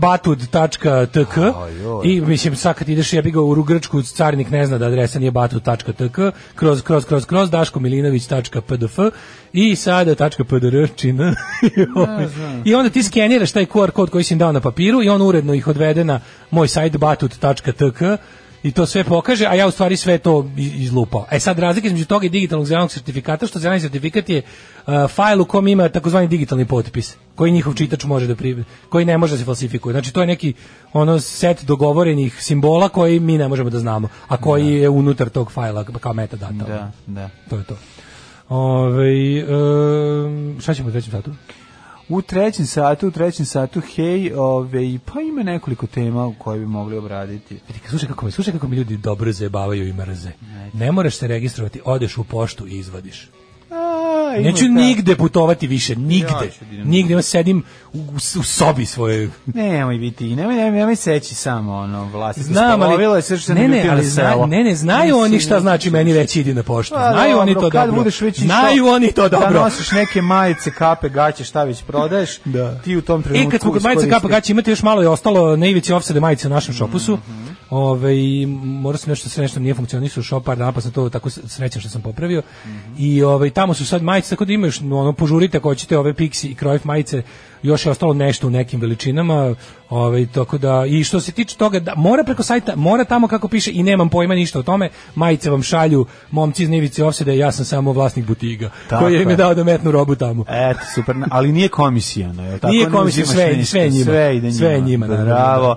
Speaker 7: batut.tk
Speaker 6: Ajoj.
Speaker 7: i mislim, sad kad ideš jebi ga u Grčku, carinik ne zna da adresa nije batut.tk, kroz, kroz, kroz, kroz, Daško Milinović.pdf i sada tačka .pdr čina. Ovaj, I onda ti skeniraš taj QR kod koji si im dao na papiru i on uredno ih odvede na moj sajt batut.tk i to sve pokaže, a ja u stvari sve to i- izlupao. E sad razlika između toga i digitalnog zelenog sertifikata, što zeleni sertifikat je uh, fajl u kom ima takozvani digitalni potpis, koji njihov čitač može da pri, koji ne može da se falsifikuje. Znači to je neki ono set dogovorenih simbola koji mi ne možemo da znamo, a koji je unutar tog fajla kao metadata.
Speaker 6: Da, da.
Speaker 7: To je to. Ovaj em, šta ćemo u trećem satu?
Speaker 6: U trećem satu, u trećem satu, hej, ove, pa ima nekoliko tema koje bi mogli obraditi.
Speaker 7: Vidi, Slušaj kako, me, slušaj kako mi ljudi dobro zajebavaju i mrze. Ne moraš se registrovati, odeš u poštu i izvadiš.
Speaker 6: A, ima
Speaker 7: Neću
Speaker 6: ta-
Speaker 7: nigde putovati više,
Speaker 6: Ja
Speaker 7: nigde.
Speaker 6: ću da idem.
Speaker 7: Nigde, ja sedim u, u sobi svoje.
Speaker 6: Nemoj biti, nemoj, nemoj, nemoj seći samo, ono, vlasnici.
Speaker 7: Znam,
Speaker 6: Spalovilo je
Speaker 7: ali...
Speaker 6: sve što se
Speaker 7: Ne, ne,
Speaker 6: naljutio
Speaker 7: ali
Speaker 6: na
Speaker 7: zna-
Speaker 6: selo.
Speaker 7: ne, ne, znaju
Speaker 6: Mislim,
Speaker 7: oni šta znači meni reći idi na poštu. Znaju oni to
Speaker 6: kad
Speaker 7: Pa, dobro.
Speaker 6: budeš već išao
Speaker 7: Znaju oni to
Speaker 6: Da
Speaker 7: dobro.
Speaker 6: nosiš neke majice, kape, gaće, šta već prodaješ,
Speaker 7: Da.
Speaker 6: ti u tom trenutku
Speaker 7: E, kad smo kod majica kapa
Speaker 6: iskoristi-
Speaker 7: gaća, imate još malo je ostalo na ivici ofsade majice u našem šopusu.
Speaker 6: Mhm.
Speaker 7: Ove, i morao sam nešto, sve nešto mi nije funkcionisao šop par dana, pa sam to tako s- srećan što sam popravio.
Speaker 6: Mhm.
Speaker 7: I ove, tamo su sad majice, tako da imaš, no, ono, požurite ako hoćete ove Pixi i Cruyff majice, još je ostalo nešto u nekim veličinama. Ove, tako da, I što se tiče toga, da, mora preko sajta, mora tamo kako piše i nemam pojma ništa o tome, majice vam šalju, momci iz Nivici ofsade, ja sam samo vlasnik butiga,
Speaker 6: Tako
Speaker 7: koji je mi
Speaker 6: je.
Speaker 7: dao da metnu robu tamo.
Speaker 6: Eto, super, ali nije komisijano, je li tako?
Speaker 7: Nije
Speaker 6: Ne
Speaker 7: komisija,
Speaker 6: uzimaš
Speaker 7: sve-
Speaker 6: ništa,
Speaker 7: sve njima.
Speaker 6: Sve ide njima.
Speaker 7: Sve njima, naravno. da,
Speaker 6: Bravo.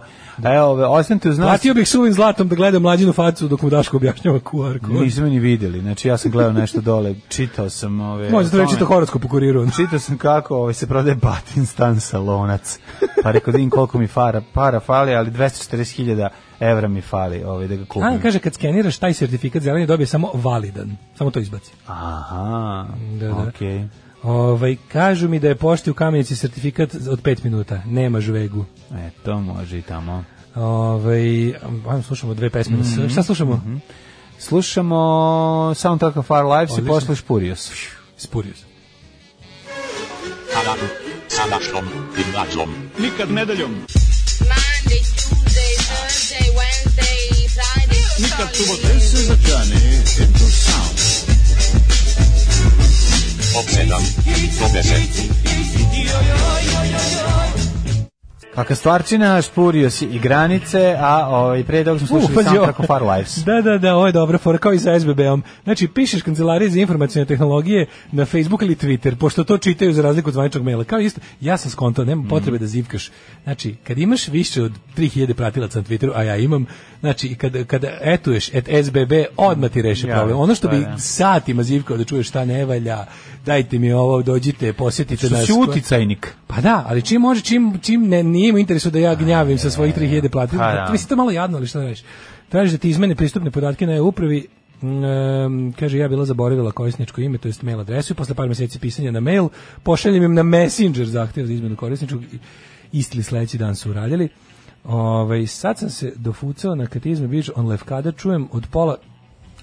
Speaker 6: Evo, ove, ostanite uz nas.
Speaker 7: Platio bih suvim zlatom da gledam mlađinu facu dok mu Daško objašnjava QR kod.
Speaker 6: Nismo ni vidjeli, znači ja sam gledao nešto dole, čitao sam ove...
Speaker 7: Možda to
Speaker 6: o
Speaker 7: je
Speaker 6: tome.
Speaker 7: čito horodsko pokurirao.
Speaker 6: Čitao sam kako ovaj, se prodaje batin stan salonac. Pa rekao da im koliko mi fara, para fali, ali 240.000 evra mi fali ovaj, da ga kupim.
Speaker 7: A, kaže, kad skeniraš taj sertifikat zeleni dobije samo validan. Samo to izbaci.
Speaker 6: Aha,
Speaker 7: Da, da.
Speaker 6: okej.
Speaker 7: Ovaj, kažu mi da je pošti u kamenici sertifikat od 5 minuta. Nema žvegu.
Speaker 6: Eto, može i tamo.
Speaker 7: Ovaj, ajmo slušamo dve pesme. Šta slušamo?
Speaker 6: Slušamo soundtrack of our lives i
Speaker 7: Odlično.
Speaker 6: posle Špurios.
Speaker 7: Spurio sam.
Speaker 4: Nikad nedeljom,
Speaker 13: Monday, Tuesday, Thursday, Wednesday, Friday.
Speaker 4: nikad subotom. This is a journey into sound.
Speaker 6: Kaka stvarčina, Špurios i granice, a ovaj, pre toga smo slušali
Speaker 7: pazi ovo.
Speaker 6: soundtrack of our lives.
Speaker 7: Da, da, da, ovo je dobro, fora kao i sa SBB-om. Znači, pišeš Kancelarije za informacijone tehnologije na Facebook ili Twitter, pošto to čitaju za razliku od zvaničnog maila. Kao isto, ja sam skonto,
Speaker 6: Mhm.
Speaker 7: nema potrebe da zivkaš. Znači, kad imaš više od 3000 pratilaca na Twitteru, a ja imam, znači, i kada, kada etuješ et SBB, odmah ti reše
Speaker 6: Ja,
Speaker 7: problem. Ono što
Speaker 6: to je,
Speaker 7: bi
Speaker 6: da.
Speaker 7: satima zivkao da čuješ šta ne valja, dajte mi ovo, dođite, posjetite
Speaker 6: Što
Speaker 7: nas.
Speaker 6: si uticajnik.
Speaker 7: Pa da, ali čim može, čim, čim ne, nije mu interesu da ja gnjavim sa svojih 3000 plati.
Speaker 6: Pa da.
Speaker 7: Mislim, to je malo jadno, ali šta da radiš? Tražiš da ti izmene pristupne podatke na e-upravi, Mm, kaže ja bila zaboravila korisničko ime, to jest mail adresu i posle par mjeseci pisanja na mail pošaljem im na Messenger zahtjev za izmenu korisničkog i isti sledeći dan su uradili. Ovaj sad sam se dofucao na katizme bič on levkada čujem od pola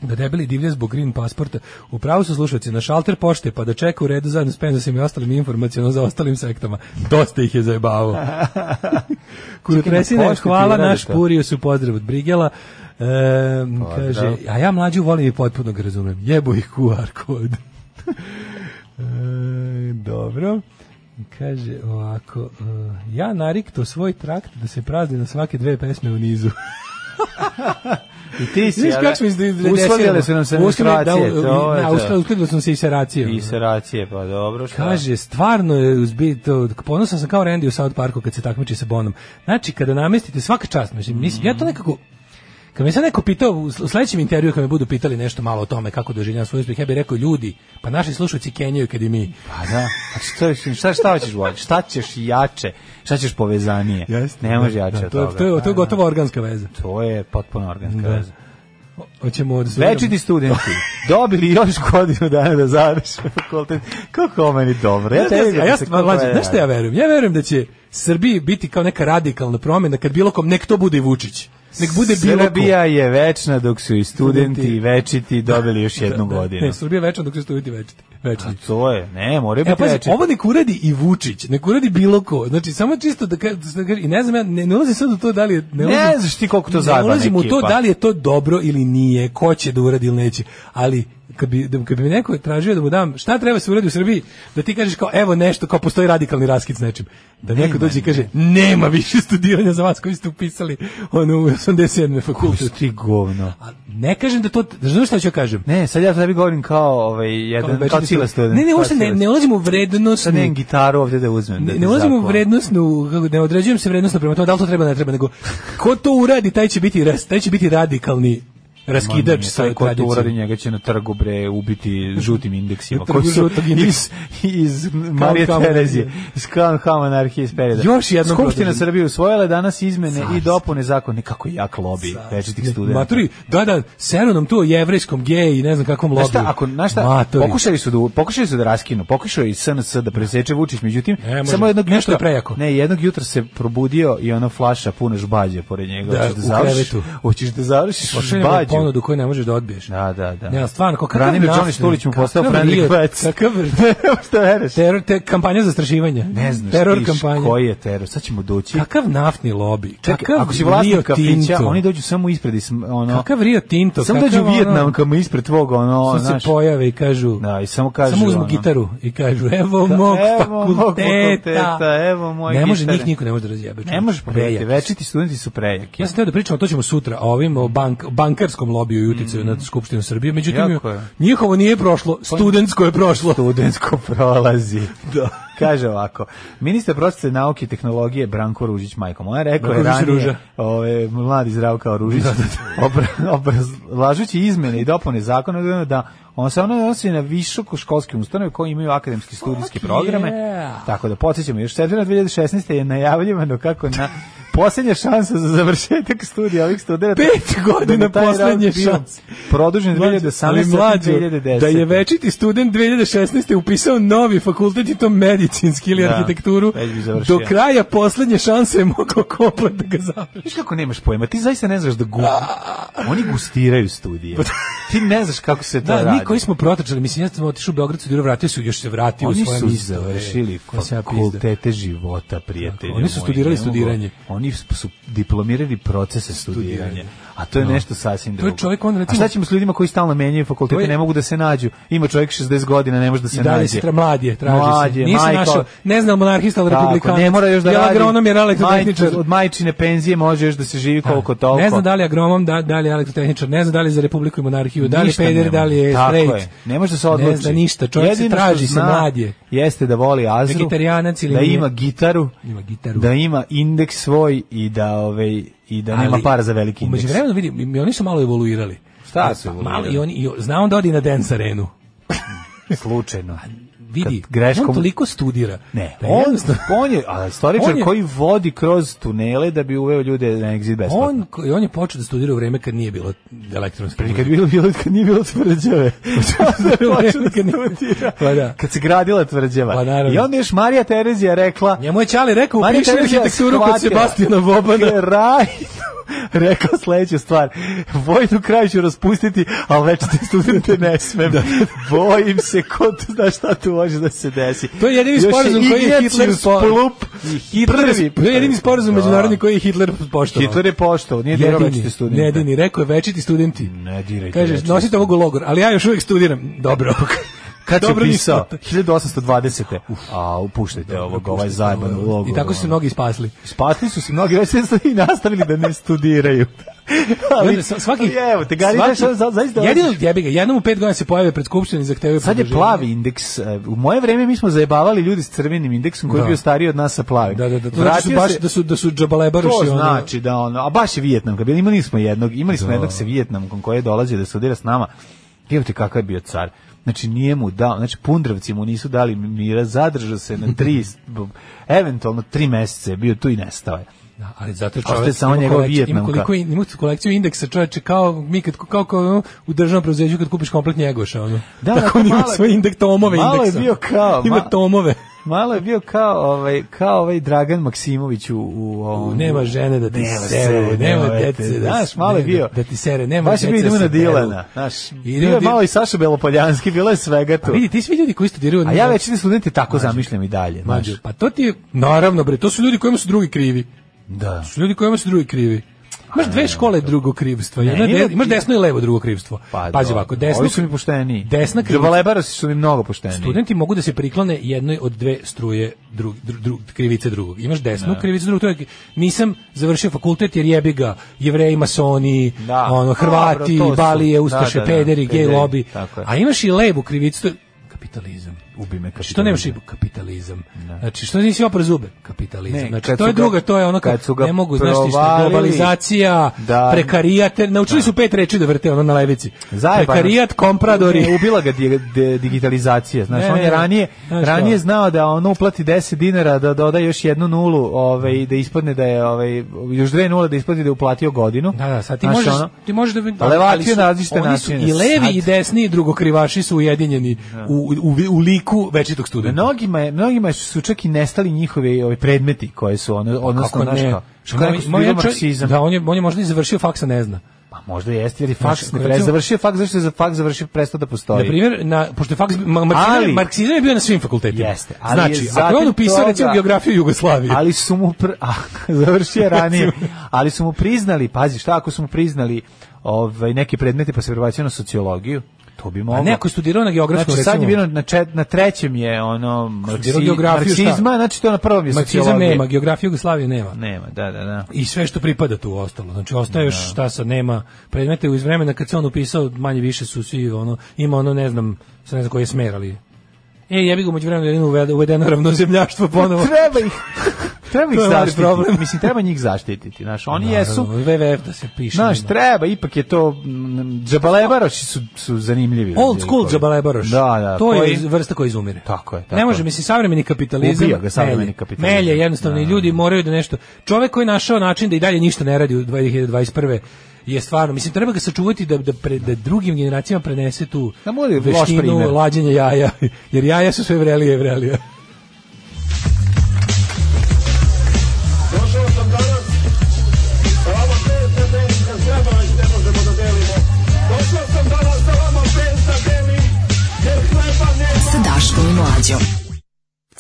Speaker 7: da debeli divlje zbog green pasporta. U pravu su slušalci na šalter pošte pa da čeka u redu zajedno s penzasim i ostalim informacijama za ostalim sektama. Dosta ih je zajebavo. Kurotresina,
Speaker 6: pošti ti
Speaker 7: hvala
Speaker 6: urade
Speaker 7: naš
Speaker 6: to.
Speaker 7: Purio su pozdrav od Brigela. E, kaže, a ja mlađu volim i potpuno ga razumem. Jebo ih QR kod. E, dobro. Kaže ovako, e, ja narikto svoj trakt da se prazni na svake dve pesme u nizu.
Speaker 6: I ti si,
Speaker 7: Znaš
Speaker 6: ali,
Speaker 7: kako da smo iz devedesetih-
Speaker 6: uskladile su nam se
Speaker 7: Uskladile- da,
Speaker 6: menstruacije, to je
Speaker 7: Da,
Speaker 6: to.
Speaker 7: uskladile- uskladile su nam se i seracijom.
Speaker 6: Viseracije, pa dobro. Šta?
Speaker 7: Kaže, stvarno je uzbito, ponosan sam kao Randy u South Parku kad se takmiči sa Bonom. Znači, kada namestite svaka čast, mislim, mislim,
Speaker 6: Mm.
Speaker 7: ja to nekako, kad me sad neko pitao, u sl- u sledećem intervju kad me budu pitali nešto malo o tome kako doživljavam svoj uspjeh, ja bih rekao, ljudi, pa naši slušalci kenjaju kad i mi.
Speaker 6: Pa da, pa što je- šta, šta hoćeš bolje? Šta ćeš jače? Šta ćeš povezanije? ne može jače
Speaker 7: Da,
Speaker 6: od
Speaker 7: to, je-
Speaker 6: toga.
Speaker 7: to, je, to
Speaker 6: Da,
Speaker 7: je gotovo organska veza.
Speaker 6: da. To je potpuno organska
Speaker 7: Da.
Speaker 6: veza.
Speaker 7: Hoćemo da sviramo.
Speaker 6: Večiti studenti, dobili još godinu dana da završi fakultet. Kako ovo meni dobro.
Speaker 7: Ja,
Speaker 6: Ja, tebi
Speaker 7: ja,
Speaker 6: da
Speaker 7: ja,
Speaker 6: se kako
Speaker 7: mlađe,
Speaker 6: je
Speaker 7: znaš šta ja verujem? Ja verujem da će Srbiji biti kao neka radikalna promjena kad bilo kom, nek to bude i Vučić. Nek bude bilo ko. Da,
Speaker 6: Srbija je večna dok su i studenti i večiti dobili još jednu godinu.
Speaker 7: Da, Ne, Srbija je večna dok će studenti večiti. Večni.
Speaker 6: A to je, ne, moraju
Speaker 7: E,
Speaker 6: biti
Speaker 7: pazi,
Speaker 6: večiti.
Speaker 7: ovo nek uradi i Vučić, nek uradi bilo ko. Znači, samo čisto da ka- da kažem, i ne znam, ja ne, ne ulazim sad u to da li je... Ne, ulazim,
Speaker 6: Ne znaš ti koliko to zajebana
Speaker 7: Ne ulazim u to
Speaker 6: ekipa.
Speaker 7: da li je to dobro ili nije, ko će da uradi ili neće, ali kad bi, da, kad bi mi neko tražio da mu dam šta treba se uradi u Srbiji, da ti kažeš kao evo nešto, kao postoji radikalni raskid s nečim. Da neko dođe i kaže, nema više studiranja za vas koji ste upisali ono u 87.
Speaker 6: Što
Speaker 7: fakultet.
Speaker 6: ti govno.
Speaker 7: A ne kažem da to, razumiješ šta ću ja kažem?
Speaker 6: Ne, sad ja tebi govorim kao ovaj,
Speaker 7: Kao
Speaker 6: jedan, kao,
Speaker 7: večiti
Speaker 6: cila student.
Speaker 7: Ne, ne,
Speaker 6: kao
Speaker 7: uopšte ne,
Speaker 6: cila
Speaker 7: ne ulazimo u vrednost.
Speaker 6: Sad nemam gitaru ovdje da uzmem. da
Speaker 7: Ne,
Speaker 6: ti
Speaker 7: ne ulazimo u
Speaker 6: zaklonim.
Speaker 7: vrednostnu, kako- ne određujem se vrednostno prema tome da li to treba ne treba, nego ko to uradi, taj će biti, ras, taj će biti radikalni
Speaker 6: Ma
Speaker 7: raskidač
Speaker 6: nije,
Speaker 7: sa
Speaker 6: taj ko to uradi
Speaker 7: tradicijom.
Speaker 6: njega će na trgu bre ubiti žutim indeksima.
Speaker 7: Na trgu
Speaker 6: koji su
Speaker 7: žutog indeksa.
Speaker 6: Iz, iz Marije
Speaker 7: Kaun Kaun
Speaker 6: Terezije.
Speaker 7: anarhije.
Speaker 6: Iz Kaun Kaun anarhije iz perioda.
Speaker 7: Još jednom
Speaker 6: Skupština
Speaker 7: produžen.
Speaker 6: Srbije usvojila je danas izmene i dopune zakona. Kako je jak lobby večitih studenta.
Speaker 7: Maturi, da, da, seru nam tu o jevrijskom geju i ne znam kakvom
Speaker 6: Znaš
Speaker 7: lobiju.
Speaker 6: šta, ako, znaš šta,
Speaker 7: Maturi.
Speaker 6: pokušali su da pokušali su da raskinu, pokušao je i SNS da preseče Vučić, međutim
Speaker 7: Ne može,
Speaker 6: samo jednog
Speaker 7: nešto je
Speaker 6: jutra
Speaker 7: prejako.
Speaker 6: Ne, jednog jutra se probudio i ona flaša puna žbađe pored njega.
Speaker 7: Da,
Speaker 6: hoćeš da
Speaker 7: u
Speaker 6: završiš,
Speaker 7: krevetu.
Speaker 6: hoćeš da završiš
Speaker 7: Pošaljemo vam
Speaker 6: žbađu.
Speaker 7: ponudu koju ne možeš da odbiješ.
Speaker 6: Da, da, da.
Speaker 7: Ne, ali stvarno, kao kakav
Speaker 6: Branimir
Speaker 7: naftni-
Speaker 6: Đonić Tulić mu
Speaker 7: kakav
Speaker 6: postao friendly
Speaker 7: idiot,
Speaker 6: quack.
Speaker 7: Kakav
Speaker 6: Šta veruješ?
Speaker 7: teror, te, kampanja zastrašivanja.
Speaker 6: Ne znaš
Speaker 7: teror
Speaker 6: ti
Speaker 7: kampanja.
Speaker 6: koji je teror. Sad ćemo doći.
Speaker 7: Kakav naftni lobby,
Speaker 6: Čekaj,
Speaker 7: kakav
Speaker 6: ako si vlasnik
Speaker 7: Rio
Speaker 6: kafića,
Speaker 7: Tinto.
Speaker 6: oni dođu samo ispred i sm- ono...
Speaker 7: Kakav Rio Tinto,
Speaker 6: Samo
Speaker 7: kakav
Speaker 6: dođu
Speaker 7: ono-
Speaker 6: Vijetnam kama ispred tvog, ono,
Speaker 7: Sad
Speaker 6: znaš...
Speaker 7: se pojave i kažu,
Speaker 6: Da, i samo kažu...
Speaker 7: samo uzmu
Speaker 6: ono,
Speaker 7: gitaru i kažu, evo
Speaker 6: "Da,
Speaker 7: mog
Speaker 6: evo mog
Speaker 7: fakulteta.
Speaker 6: fakulteta, evo moje
Speaker 7: ne može,
Speaker 6: gitare."
Speaker 7: njih niko ne može da razjebe.
Speaker 6: Ne pa možeš pobediti,
Speaker 7: prejak.
Speaker 6: večiti studenti su prejaki.
Speaker 7: Ja sam teo da pričam, a to ćemo sutra, o ovim o bank, bankarskom lobiju i uticaju na Skupštinu Srbije. Međutim,
Speaker 6: Mm. Jako je. Pa-
Speaker 7: njihovo nije prošlo, studentsko je prošlo.
Speaker 6: Studentsko prolazi. da. Kaže ovako, ministar prosvete nauke i tehnologije Branko Ružić Majko moja rekao je
Speaker 7: Branko Ružić Ruža. Da,
Speaker 6: ranije, ove, mladi zdrav kao Ružić, obra- obrazlažući izmene i dopune zakona da on se ono odnosi na visoko školske ustanove koji imaju akademski studijske programe,
Speaker 7: yeah.
Speaker 6: tako da podsjećamo, još septembra 2016. je najavljivano kako na posljednja šansa za završetak studija ovih Da studenta.
Speaker 7: Pet godina poslednje šanse.
Speaker 6: Produžen 2018.
Speaker 7: ali mlađo,
Speaker 6: 2010.
Speaker 7: da je večiti student 2016. upisao novi fakultet i to medicinski ili
Speaker 6: Da,
Speaker 7: arhitekturu,
Speaker 6: već bi završio.
Speaker 7: do kraja poslednje šanse je mogao kopati da ga završi.
Speaker 6: Viš kako nemaš pojma, ti zaista ne znaš da gu... Oni gustiraju studije. Ti ne znaš kako se to
Speaker 7: Da,
Speaker 6: radi.
Speaker 7: mi koji smo protračali, mislim, ja sam otišao u Beograd, studirao, vratio se, još se vratio u
Speaker 6: Oni
Speaker 7: svoje
Speaker 6: su
Speaker 7: misto, bre.
Speaker 6: završili
Speaker 7: Ko se ja pizda.
Speaker 6: fakultete života, prijatelji.
Speaker 7: Tako, oni su studirali studiranje.
Speaker 6: Oni su diplomirali procese studiranja. A to je nešto sasvim
Speaker 7: To je
Speaker 6: drugo.
Speaker 7: čovjek, on, recimo-
Speaker 6: A šta ćemo s ljudima koji stalno menjaju fakultete,
Speaker 7: To je-
Speaker 6: ne mogu da se nađu. Ima čovjek 60 godina, ne može da se
Speaker 7: I dalje
Speaker 6: nađe.
Speaker 7: se tra, mlad je, traži
Speaker 6: Mlad
Speaker 7: se.
Speaker 6: je,
Speaker 7: Nisam
Speaker 6: majko-
Speaker 7: našao, ne znam monarhista, ali
Speaker 6: Tako,
Speaker 7: republikan.
Speaker 6: ne mora još da
Speaker 7: Jel
Speaker 6: radi.
Speaker 7: agronom, jer elektrotehničar.
Speaker 6: Majč- Od majčine penzije može još da se živi koliko toliko.
Speaker 7: Ne znam da li je agromom, da, da li je elektrotehničar, ne znam da li je za republiku i monarhiju, da li je
Speaker 6: Ništa ne
Speaker 7: peder, da li je
Speaker 6: može. Tako
Speaker 7: straight.
Speaker 6: je. Ne može da se odluči.
Speaker 7: Ne zna ništa, čovjek se
Speaker 6: Jedino
Speaker 7: traži,
Speaker 6: što
Speaker 7: se
Speaker 6: zna
Speaker 7: mlad je.
Speaker 6: Jeste da voli Azru,
Speaker 7: Vegetarijanac ili
Speaker 6: da
Speaker 7: nije.
Speaker 6: ima gitaru,
Speaker 7: Ima gitaru.
Speaker 6: da ima indeks svoj i da ovaj i da nema
Speaker 7: Ali,
Speaker 6: para za veliki indeks.
Speaker 7: Umeđu vremenu vidim, i oni su malo evoluirali. pa,
Speaker 6: Šta su
Speaker 7: Malo,
Speaker 6: evoluirali?
Speaker 7: i oni, i, zna on da odi na dance arenu.
Speaker 6: Slučajno.
Speaker 7: vidi,
Speaker 6: kad greškom...
Speaker 7: on toliko studira.
Speaker 6: Ne,
Speaker 7: Da
Speaker 6: on,
Speaker 7: jednostavno-
Speaker 6: on je a, storičar
Speaker 7: On je-
Speaker 6: koji vodi kroz tunele da bi uveo ljude na exit besplatno.
Speaker 7: on, ko- on je počeo da studira u vreme kad nije bilo elektronske
Speaker 6: Kad je bilo, bilo, kad nije bilo tvrđave. Onda je počeo da
Speaker 7: Kad nije-
Speaker 6: studira.
Speaker 7: Pa da.
Speaker 6: Kad se gradila tvrđava.
Speaker 7: Pa naravno.
Speaker 6: I onda još Marija Terezija rekla...
Speaker 7: Njemu je Čali rekao,
Speaker 6: Marija
Speaker 7: upiši
Speaker 6: Terezija
Speaker 7: Pa arhitekturu kod
Speaker 6: shvatila.
Speaker 7: Sebastijana Bobana.
Speaker 6: Kraj. rekao sledeću stvar. Vojnu kraj ću raspustiti, ali večite studente ne smem.
Speaker 7: Da.
Speaker 6: Bojim se, ko tu zna šta tu može da se desi.
Speaker 7: To je jedini
Speaker 6: Još
Speaker 7: sporazum koji je Hitler po-
Speaker 6: spolup.
Speaker 7: I Hitler,
Speaker 6: prvi-
Speaker 7: to je jedini sporazum
Speaker 6: Da.
Speaker 7: međunarodni koji je Hitler poštovao.
Speaker 6: Hitler je poštao, nije dobro večite studente.
Speaker 7: Ne, jedini, rekao je večiti studenti.
Speaker 6: da. Ne dirajte
Speaker 7: Kažeš,
Speaker 6: večite
Speaker 7: nosite ovog u logor, ali ja još uvijek studiram. Dobro.
Speaker 6: Kad se
Speaker 7: Dobro Da,
Speaker 6: pisao?
Speaker 7: nisam.
Speaker 6: 1820. A, upuštajte ovog, ovaj zajeban logo.
Speaker 7: I tako su se mnogi spasli.
Speaker 6: Spasli su se mnogi, već su i nastavili da ne studiraju.
Speaker 7: I onda sa- svaki,
Speaker 6: ali evo, te gari,
Speaker 7: svaki-
Speaker 6: znaš, za- zaista...
Speaker 7: jedino, jebi ga, jednom u pet godina se pojave pred skupštini i zahtevaju
Speaker 6: Sad je
Speaker 7: produženje.
Speaker 6: plavi indeks. e, U moje vreme mi smo zajebavali ljudi s crvenim indeksom koji je
Speaker 7: Da.
Speaker 6: bio stariji od nas sa plavim.
Speaker 7: Da, da, da, to znači
Speaker 6: Vratio
Speaker 7: su baš,
Speaker 6: se-
Speaker 7: da su, da su džabalebaroši.
Speaker 6: To
Speaker 7: ono-
Speaker 6: znači da ono, Da. a baš je Vijetnamka bila, imali smo jednog, imali smo jednog sa Vijetnamkom koji je dolazio da studira s nama. Evo ti kakav je bio car. Znači nije mu dao, znači pundravci mu nisu dali mira, zadržao se na tri, eventualno tri meseca je bio tu i nestao je.
Speaker 7: Da, ali zato je
Speaker 6: Ostaje
Speaker 7: čovjek
Speaker 6: samo
Speaker 7: ima
Speaker 6: njegova
Speaker 7: kolekciju- ima
Speaker 6: Vijetnamka.
Speaker 7: koliko in- ima kolekciju indeksa čoveče kao mi kad kao, kao ono, u državnom preuzeću kad kupiš komplet njegoša ono.
Speaker 6: Da,
Speaker 7: Tako
Speaker 6: da,
Speaker 7: on ima
Speaker 6: malo je-
Speaker 7: svoje indek tomove
Speaker 6: malo je
Speaker 7: indeksa.
Speaker 6: bio kao-
Speaker 7: ima
Speaker 6: ma-
Speaker 7: tomove.
Speaker 6: Malo je bio kao ovaj, kao ovaj Dragan Maksimović u... u ovom-
Speaker 7: Nema žene da ti
Speaker 6: Nema
Speaker 7: sere, nema dece, da-
Speaker 6: Znaš, malo je
Speaker 7: ne,
Speaker 6: bio.
Speaker 7: da- da ti sere, nema
Speaker 6: Baš je bio
Speaker 7: dece
Speaker 6: idemo
Speaker 7: da
Speaker 6: na
Speaker 7: se beru.
Speaker 6: Dilana. Znaš,
Speaker 7: Idemo
Speaker 6: bio je
Speaker 7: di-
Speaker 6: malo i Saša Belopoljanski, bilo je svega
Speaker 7: A
Speaker 6: tu.
Speaker 7: Pa vidi, ti svi ljudi koji studiraju
Speaker 6: A ja već ne studente tako zamišljam i dalje. znaš.
Speaker 7: Mađo, pa to ti je, naravno bre, to su ljudi kojima su drugi krivi.
Speaker 6: Da.
Speaker 7: To su ljudi kojima su drugi krivi. Imaš dve škole drugo krivstva. Jedna
Speaker 6: Ne,
Speaker 7: de,
Speaker 6: ima-
Speaker 7: imaš desno i levo drugo krivstvo. Pazi
Speaker 6: Pa dobro.
Speaker 7: ovako, desno
Speaker 6: Ovi su mi pošteni.
Speaker 7: Desna krivica-
Speaker 6: Džabalebara su mi mnogo pošteni.
Speaker 7: Studenti mogu da se priklone jednoj od dve struje drug, dru- dru- krivice drugog. Imaš
Speaker 6: Da.
Speaker 7: desnu krivicu drugog, to je nisam završio fakultet jer jebi ga jevreji, masoni,
Speaker 6: Da.
Speaker 7: ono, Hrvati,
Speaker 6: Dobro, to su-
Speaker 7: Balije, Ustaše,
Speaker 6: da, da, da,
Speaker 7: pederi, gej
Speaker 6: pederi,
Speaker 7: lobby.
Speaker 6: tako je.
Speaker 7: A imaš i levu krivicu, to je kapitalizam.
Speaker 6: Ubi me
Speaker 7: Znači, što nemaš i
Speaker 6: kapitalizam. Da.
Speaker 7: kapitalizam. Znači, što nisi opra zube? Kapitalizam.
Speaker 6: Ne,
Speaker 7: znači,
Speaker 6: kad
Speaker 7: to
Speaker 6: su
Speaker 7: je
Speaker 6: ga-
Speaker 7: druga, to je ono kad,
Speaker 6: kad su ga
Speaker 7: ne mogu, znaš ti šta,
Speaker 6: provalili-
Speaker 7: globalizacija,
Speaker 6: Da.
Speaker 7: prekarijat, naučili su pet reči da vrte ono na levici.
Speaker 6: Zajebano.
Speaker 7: Prekarijat, kompradori.
Speaker 6: Ne, ubila ga di- de- digitalizacija. Znaš,
Speaker 7: Pa Ne, ne,
Speaker 6: on je
Speaker 7: ne.
Speaker 6: ranije,
Speaker 7: Znaš
Speaker 6: ranije
Speaker 7: kao.
Speaker 6: znao da on uplati 10 dinara, da doda još jednu nulu, ovaj, da ispadne da je, ovaj, još dve nule da ispadne da je uplatio godinu.
Speaker 7: Da, da, sad ti
Speaker 6: Znaš,
Speaker 7: možeš,
Speaker 6: ono,
Speaker 7: ti možeš da
Speaker 6: Pa levaci na različite
Speaker 7: oni su
Speaker 6: načine.
Speaker 7: i levi
Speaker 6: Sad- Da.
Speaker 7: i desni i drugokrivaši su ujedinjeni u, u, u liku večitog studenta.
Speaker 6: Mnogima, je, mnogima su čak i nestali njihovi ovi predmeti koje su ono, odnosno
Speaker 7: Kako
Speaker 6: znaš
Speaker 7: ne?
Speaker 6: kao, što kako
Speaker 7: Moj-
Speaker 6: su
Speaker 7: moj
Speaker 6: bili
Speaker 7: čovjek-
Speaker 6: marksizam.
Speaker 7: Da, on je, on je možda i završio faksa, ne zna.
Speaker 6: Pa možda jeste, jer je faks
Speaker 7: Znaš,
Speaker 6: ne
Speaker 7: recimo-
Speaker 6: pre, završio je faks, zašto je za faks završio prestao da
Speaker 7: Na
Speaker 6: postoji.
Speaker 7: primjer, na, pošto je faks, ma, marksizam,
Speaker 6: Ali-
Speaker 7: marksizam je bio na svim fakultetima.
Speaker 6: Jeste, ali je
Speaker 7: znači, ako je on
Speaker 6: zatim
Speaker 7: upisao
Speaker 6: toga-
Speaker 7: recimo geografiju Jugoslavije,
Speaker 6: ali su mu pr... a, završio je ranije, ali su mu priznali, pazi šta ako su mu priznali ovaj, neke predmete pa se prebacio na sociologiju, to bi moglo.
Speaker 7: a neko je studirao na geografiju,
Speaker 6: Znači, sad je
Speaker 7: recimo,
Speaker 6: bilo na, čet, na trećem je ono marksi,
Speaker 7: geografiju, šta?
Speaker 6: marksizma, znači to na prvom je
Speaker 7: marksizam
Speaker 6: sociologija.
Speaker 7: nema, geografiju Jugoslavije nema.
Speaker 6: Nema, da, da, da.
Speaker 7: i sve što pripada tu ostalo. Znači ostaje još šta sad nema predmete iz vremena kad se on upisao manje više su svi ono ima ono ne znam sad ne znam koji je smer ali E, ja bih ga među vremenu uvedeno ravnozemljaštvo ponovo.
Speaker 6: Treba ih, treba ih
Speaker 7: To je mali
Speaker 6: zaštititi.
Speaker 7: problem.
Speaker 6: Mislim, treba njih zaštititi. Znaš, oni jesu,
Speaker 7: Naravno, WWF da se piše.
Speaker 6: Znaš,
Speaker 7: njima.
Speaker 6: treba, ipak je to mm, džabalebaroši su su zanimljivi.
Speaker 7: Old school džabalebaroš.
Speaker 6: Da, da.
Speaker 7: To
Speaker 6: koji-
Speaker 7: je vrsta koja izumire.
Speaker 6: Tako je, tako
Speaker 7: ne može,
Speaker 6: je.
Speaker 7: mislim, savremeni kapitalizam.
Speaker 6: Ubija ga savremeni
Speaker 7: melje.
Speaker 6: kapitalizam.
Speaker 7: Melje, jednostavno, i ljudi moraju da nešto... Čovek koji je našao način da i dalje ništa ne radi u 2021 je stvarno, mislim, treba ga sačuvati da, da, pre, da drugim generacijama prenese tu
Speaker 6: Da bude loš primer.
Speaker 7: veštinu lađenja jaja, jer jaja su sve vrelije i vrelije.
Speaker 11: Sa Daškom i Mlađom.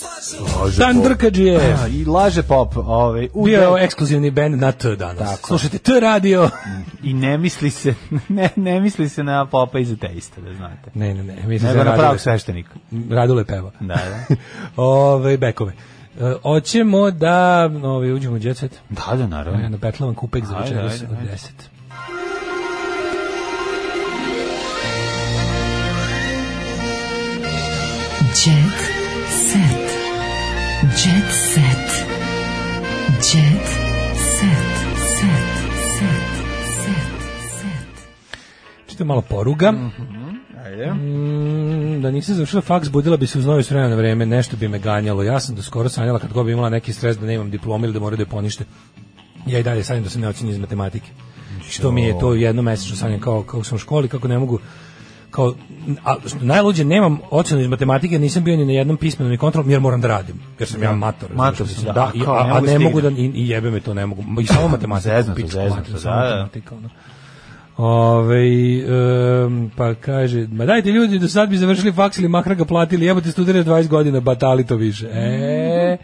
Speaker 6: Pa
Speaker 7: Dan Drkađije!
Speaker 6: A, I laže pop, ovaj, Da. u
Speaker 7: Bio je ovo
Speaker 6: de-
Speaker 7: ekskluzivni band na T danas.
Speaker 6: Tako.
Speaker 7: Slušajte, T radio.
Speaker 6: i ne misli se ne, ne misli se na popa iz ateista, da znate.
Speaker 7: Ne, ne, ne.
Speaker 6: Nego
Speaker 7: Mislim, za
Speaker 6: na pravog
Speaker 7: Radule.
Speaker 6: sveštenika.
Speaker 7: Radule peva.
Speaker 6: Da, da.
Speaker 7: Ove, bekove. E, Hoćemo da ove, uđemo u jet set.
Speaker 6: Da, da,
Speaker 7: E,
Speaker 6: naravno.
Speaker 7: Na Betlavan kupek za
Speaker 6: Ajde,
Speaker 7: večeras
Speaker 6: ajde,
Speaker 7: od
Speaker 6: ajde.
Speaker 7: 10.
Speaker 11: Jet set. Jet set. Jet set. Set. Set. Set. Set.
Speaker 6: Mm.
Speaker 7: Čito malo poruga.
Speaker 6: Ajde.
Speaker 7: Mm, da nisam završila faks, budila bi se uz noju s vremena na vreme, nešto bi me ganjalo. Ja sam do skoro sanjala kad god bi imala neki stres da nemam diploma ili da mora da je ponište. Ja i dalje sanjam da sam neocenjen iz matematike. Što mi je to jedno mesečno sanjam kao, kao sam u školi, kako ne mogu kao a, najluđe nemam ocenu iz matematike, nisam bio ni na jednom pismenom i kontrolnom jer moram da radim. Jer sam ja mator.
Speaker 6: Mator
Speaker 7: znaš,
Speaker 6: si,
Speaker 7: sam-
Speaker 6: da,
Speaker 7: da,
Speaker 6: a
Speaker 7: i-
Speaker 6: kao,
Speaker 7: a,
Speaker 6: ne
Speaker 7: a
Speaker 6: mogu
Speaker 7: ne mogu da
Speaker 6: stigne.
Speaker 7: i, i jebe me to ne mogu. I samo matematika,
Speaker 6: Zeznuto,
Speaker 7: pičku
Speaker 6: zeznuto,
Speaker 7: mater,
Speaker 6: da,
Speaker 7: samo
Speaker 6: da.
Speaker 7: matematika. ono. Ove, em, pa kaže, ma dajte ljudi, do sad bi završili faks ili makra ga platili, jebote studira 20 godina, batali to više. E,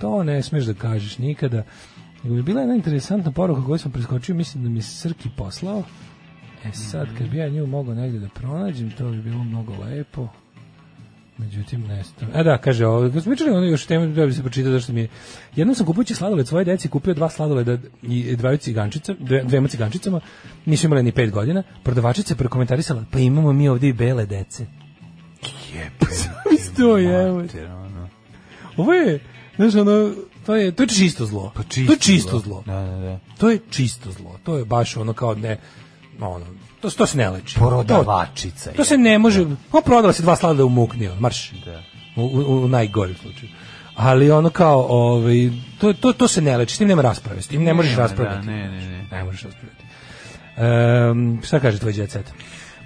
Speaker 7: to ne smeš da kažeš nikada. Nego mi je bila jedna interesantna poruka koju sam preskočio, mislim da mi je Srki poslao. E sad, kad bi ja nju mogao negdje da pronađem, to bi bilo mnogo lepo. Međutim, nestao. A da, kaže, ovo, kad smo pričali ono još temu, da bi se pročitao zašto mi je. Jednom sam kupujući sladoled svoje deci, kupio dva sladoleda i dvaju cigančica, dve, dvema cigančicama, nisu imale ni pet godina, prodavačica je prokomentarisala, pa imamo mi ovdje i bele dece. Jebem. to je, evo. Ovo je, znaš, ono, to je, to je čisto zlo. to je Pa čisto zlo.
Speaker 6: Da, da, da.
Speaker 7: To je čisto zlo. To je baš ono kao ne ono to, to se ne leči.
Speaker 6: Prodavačica
Speaker 7: To, to se ne može. Pa prodala se dva slada u mukni, ono, marš.
Speaker 6: Da.
Speaker 7: U, u, u najgorem slučaju. Ali ono kao, ovaj, to, to, to se ne leči, s tim nema rasprave, s tim ne možeš
Speaker 6: Nema,
Speaker 7: raspravljati.
Speaker 6: da, ne, ne, ne.
Speaker 7: Ne možeš raspravljati. Ehm, šta kaže tvoj jet set?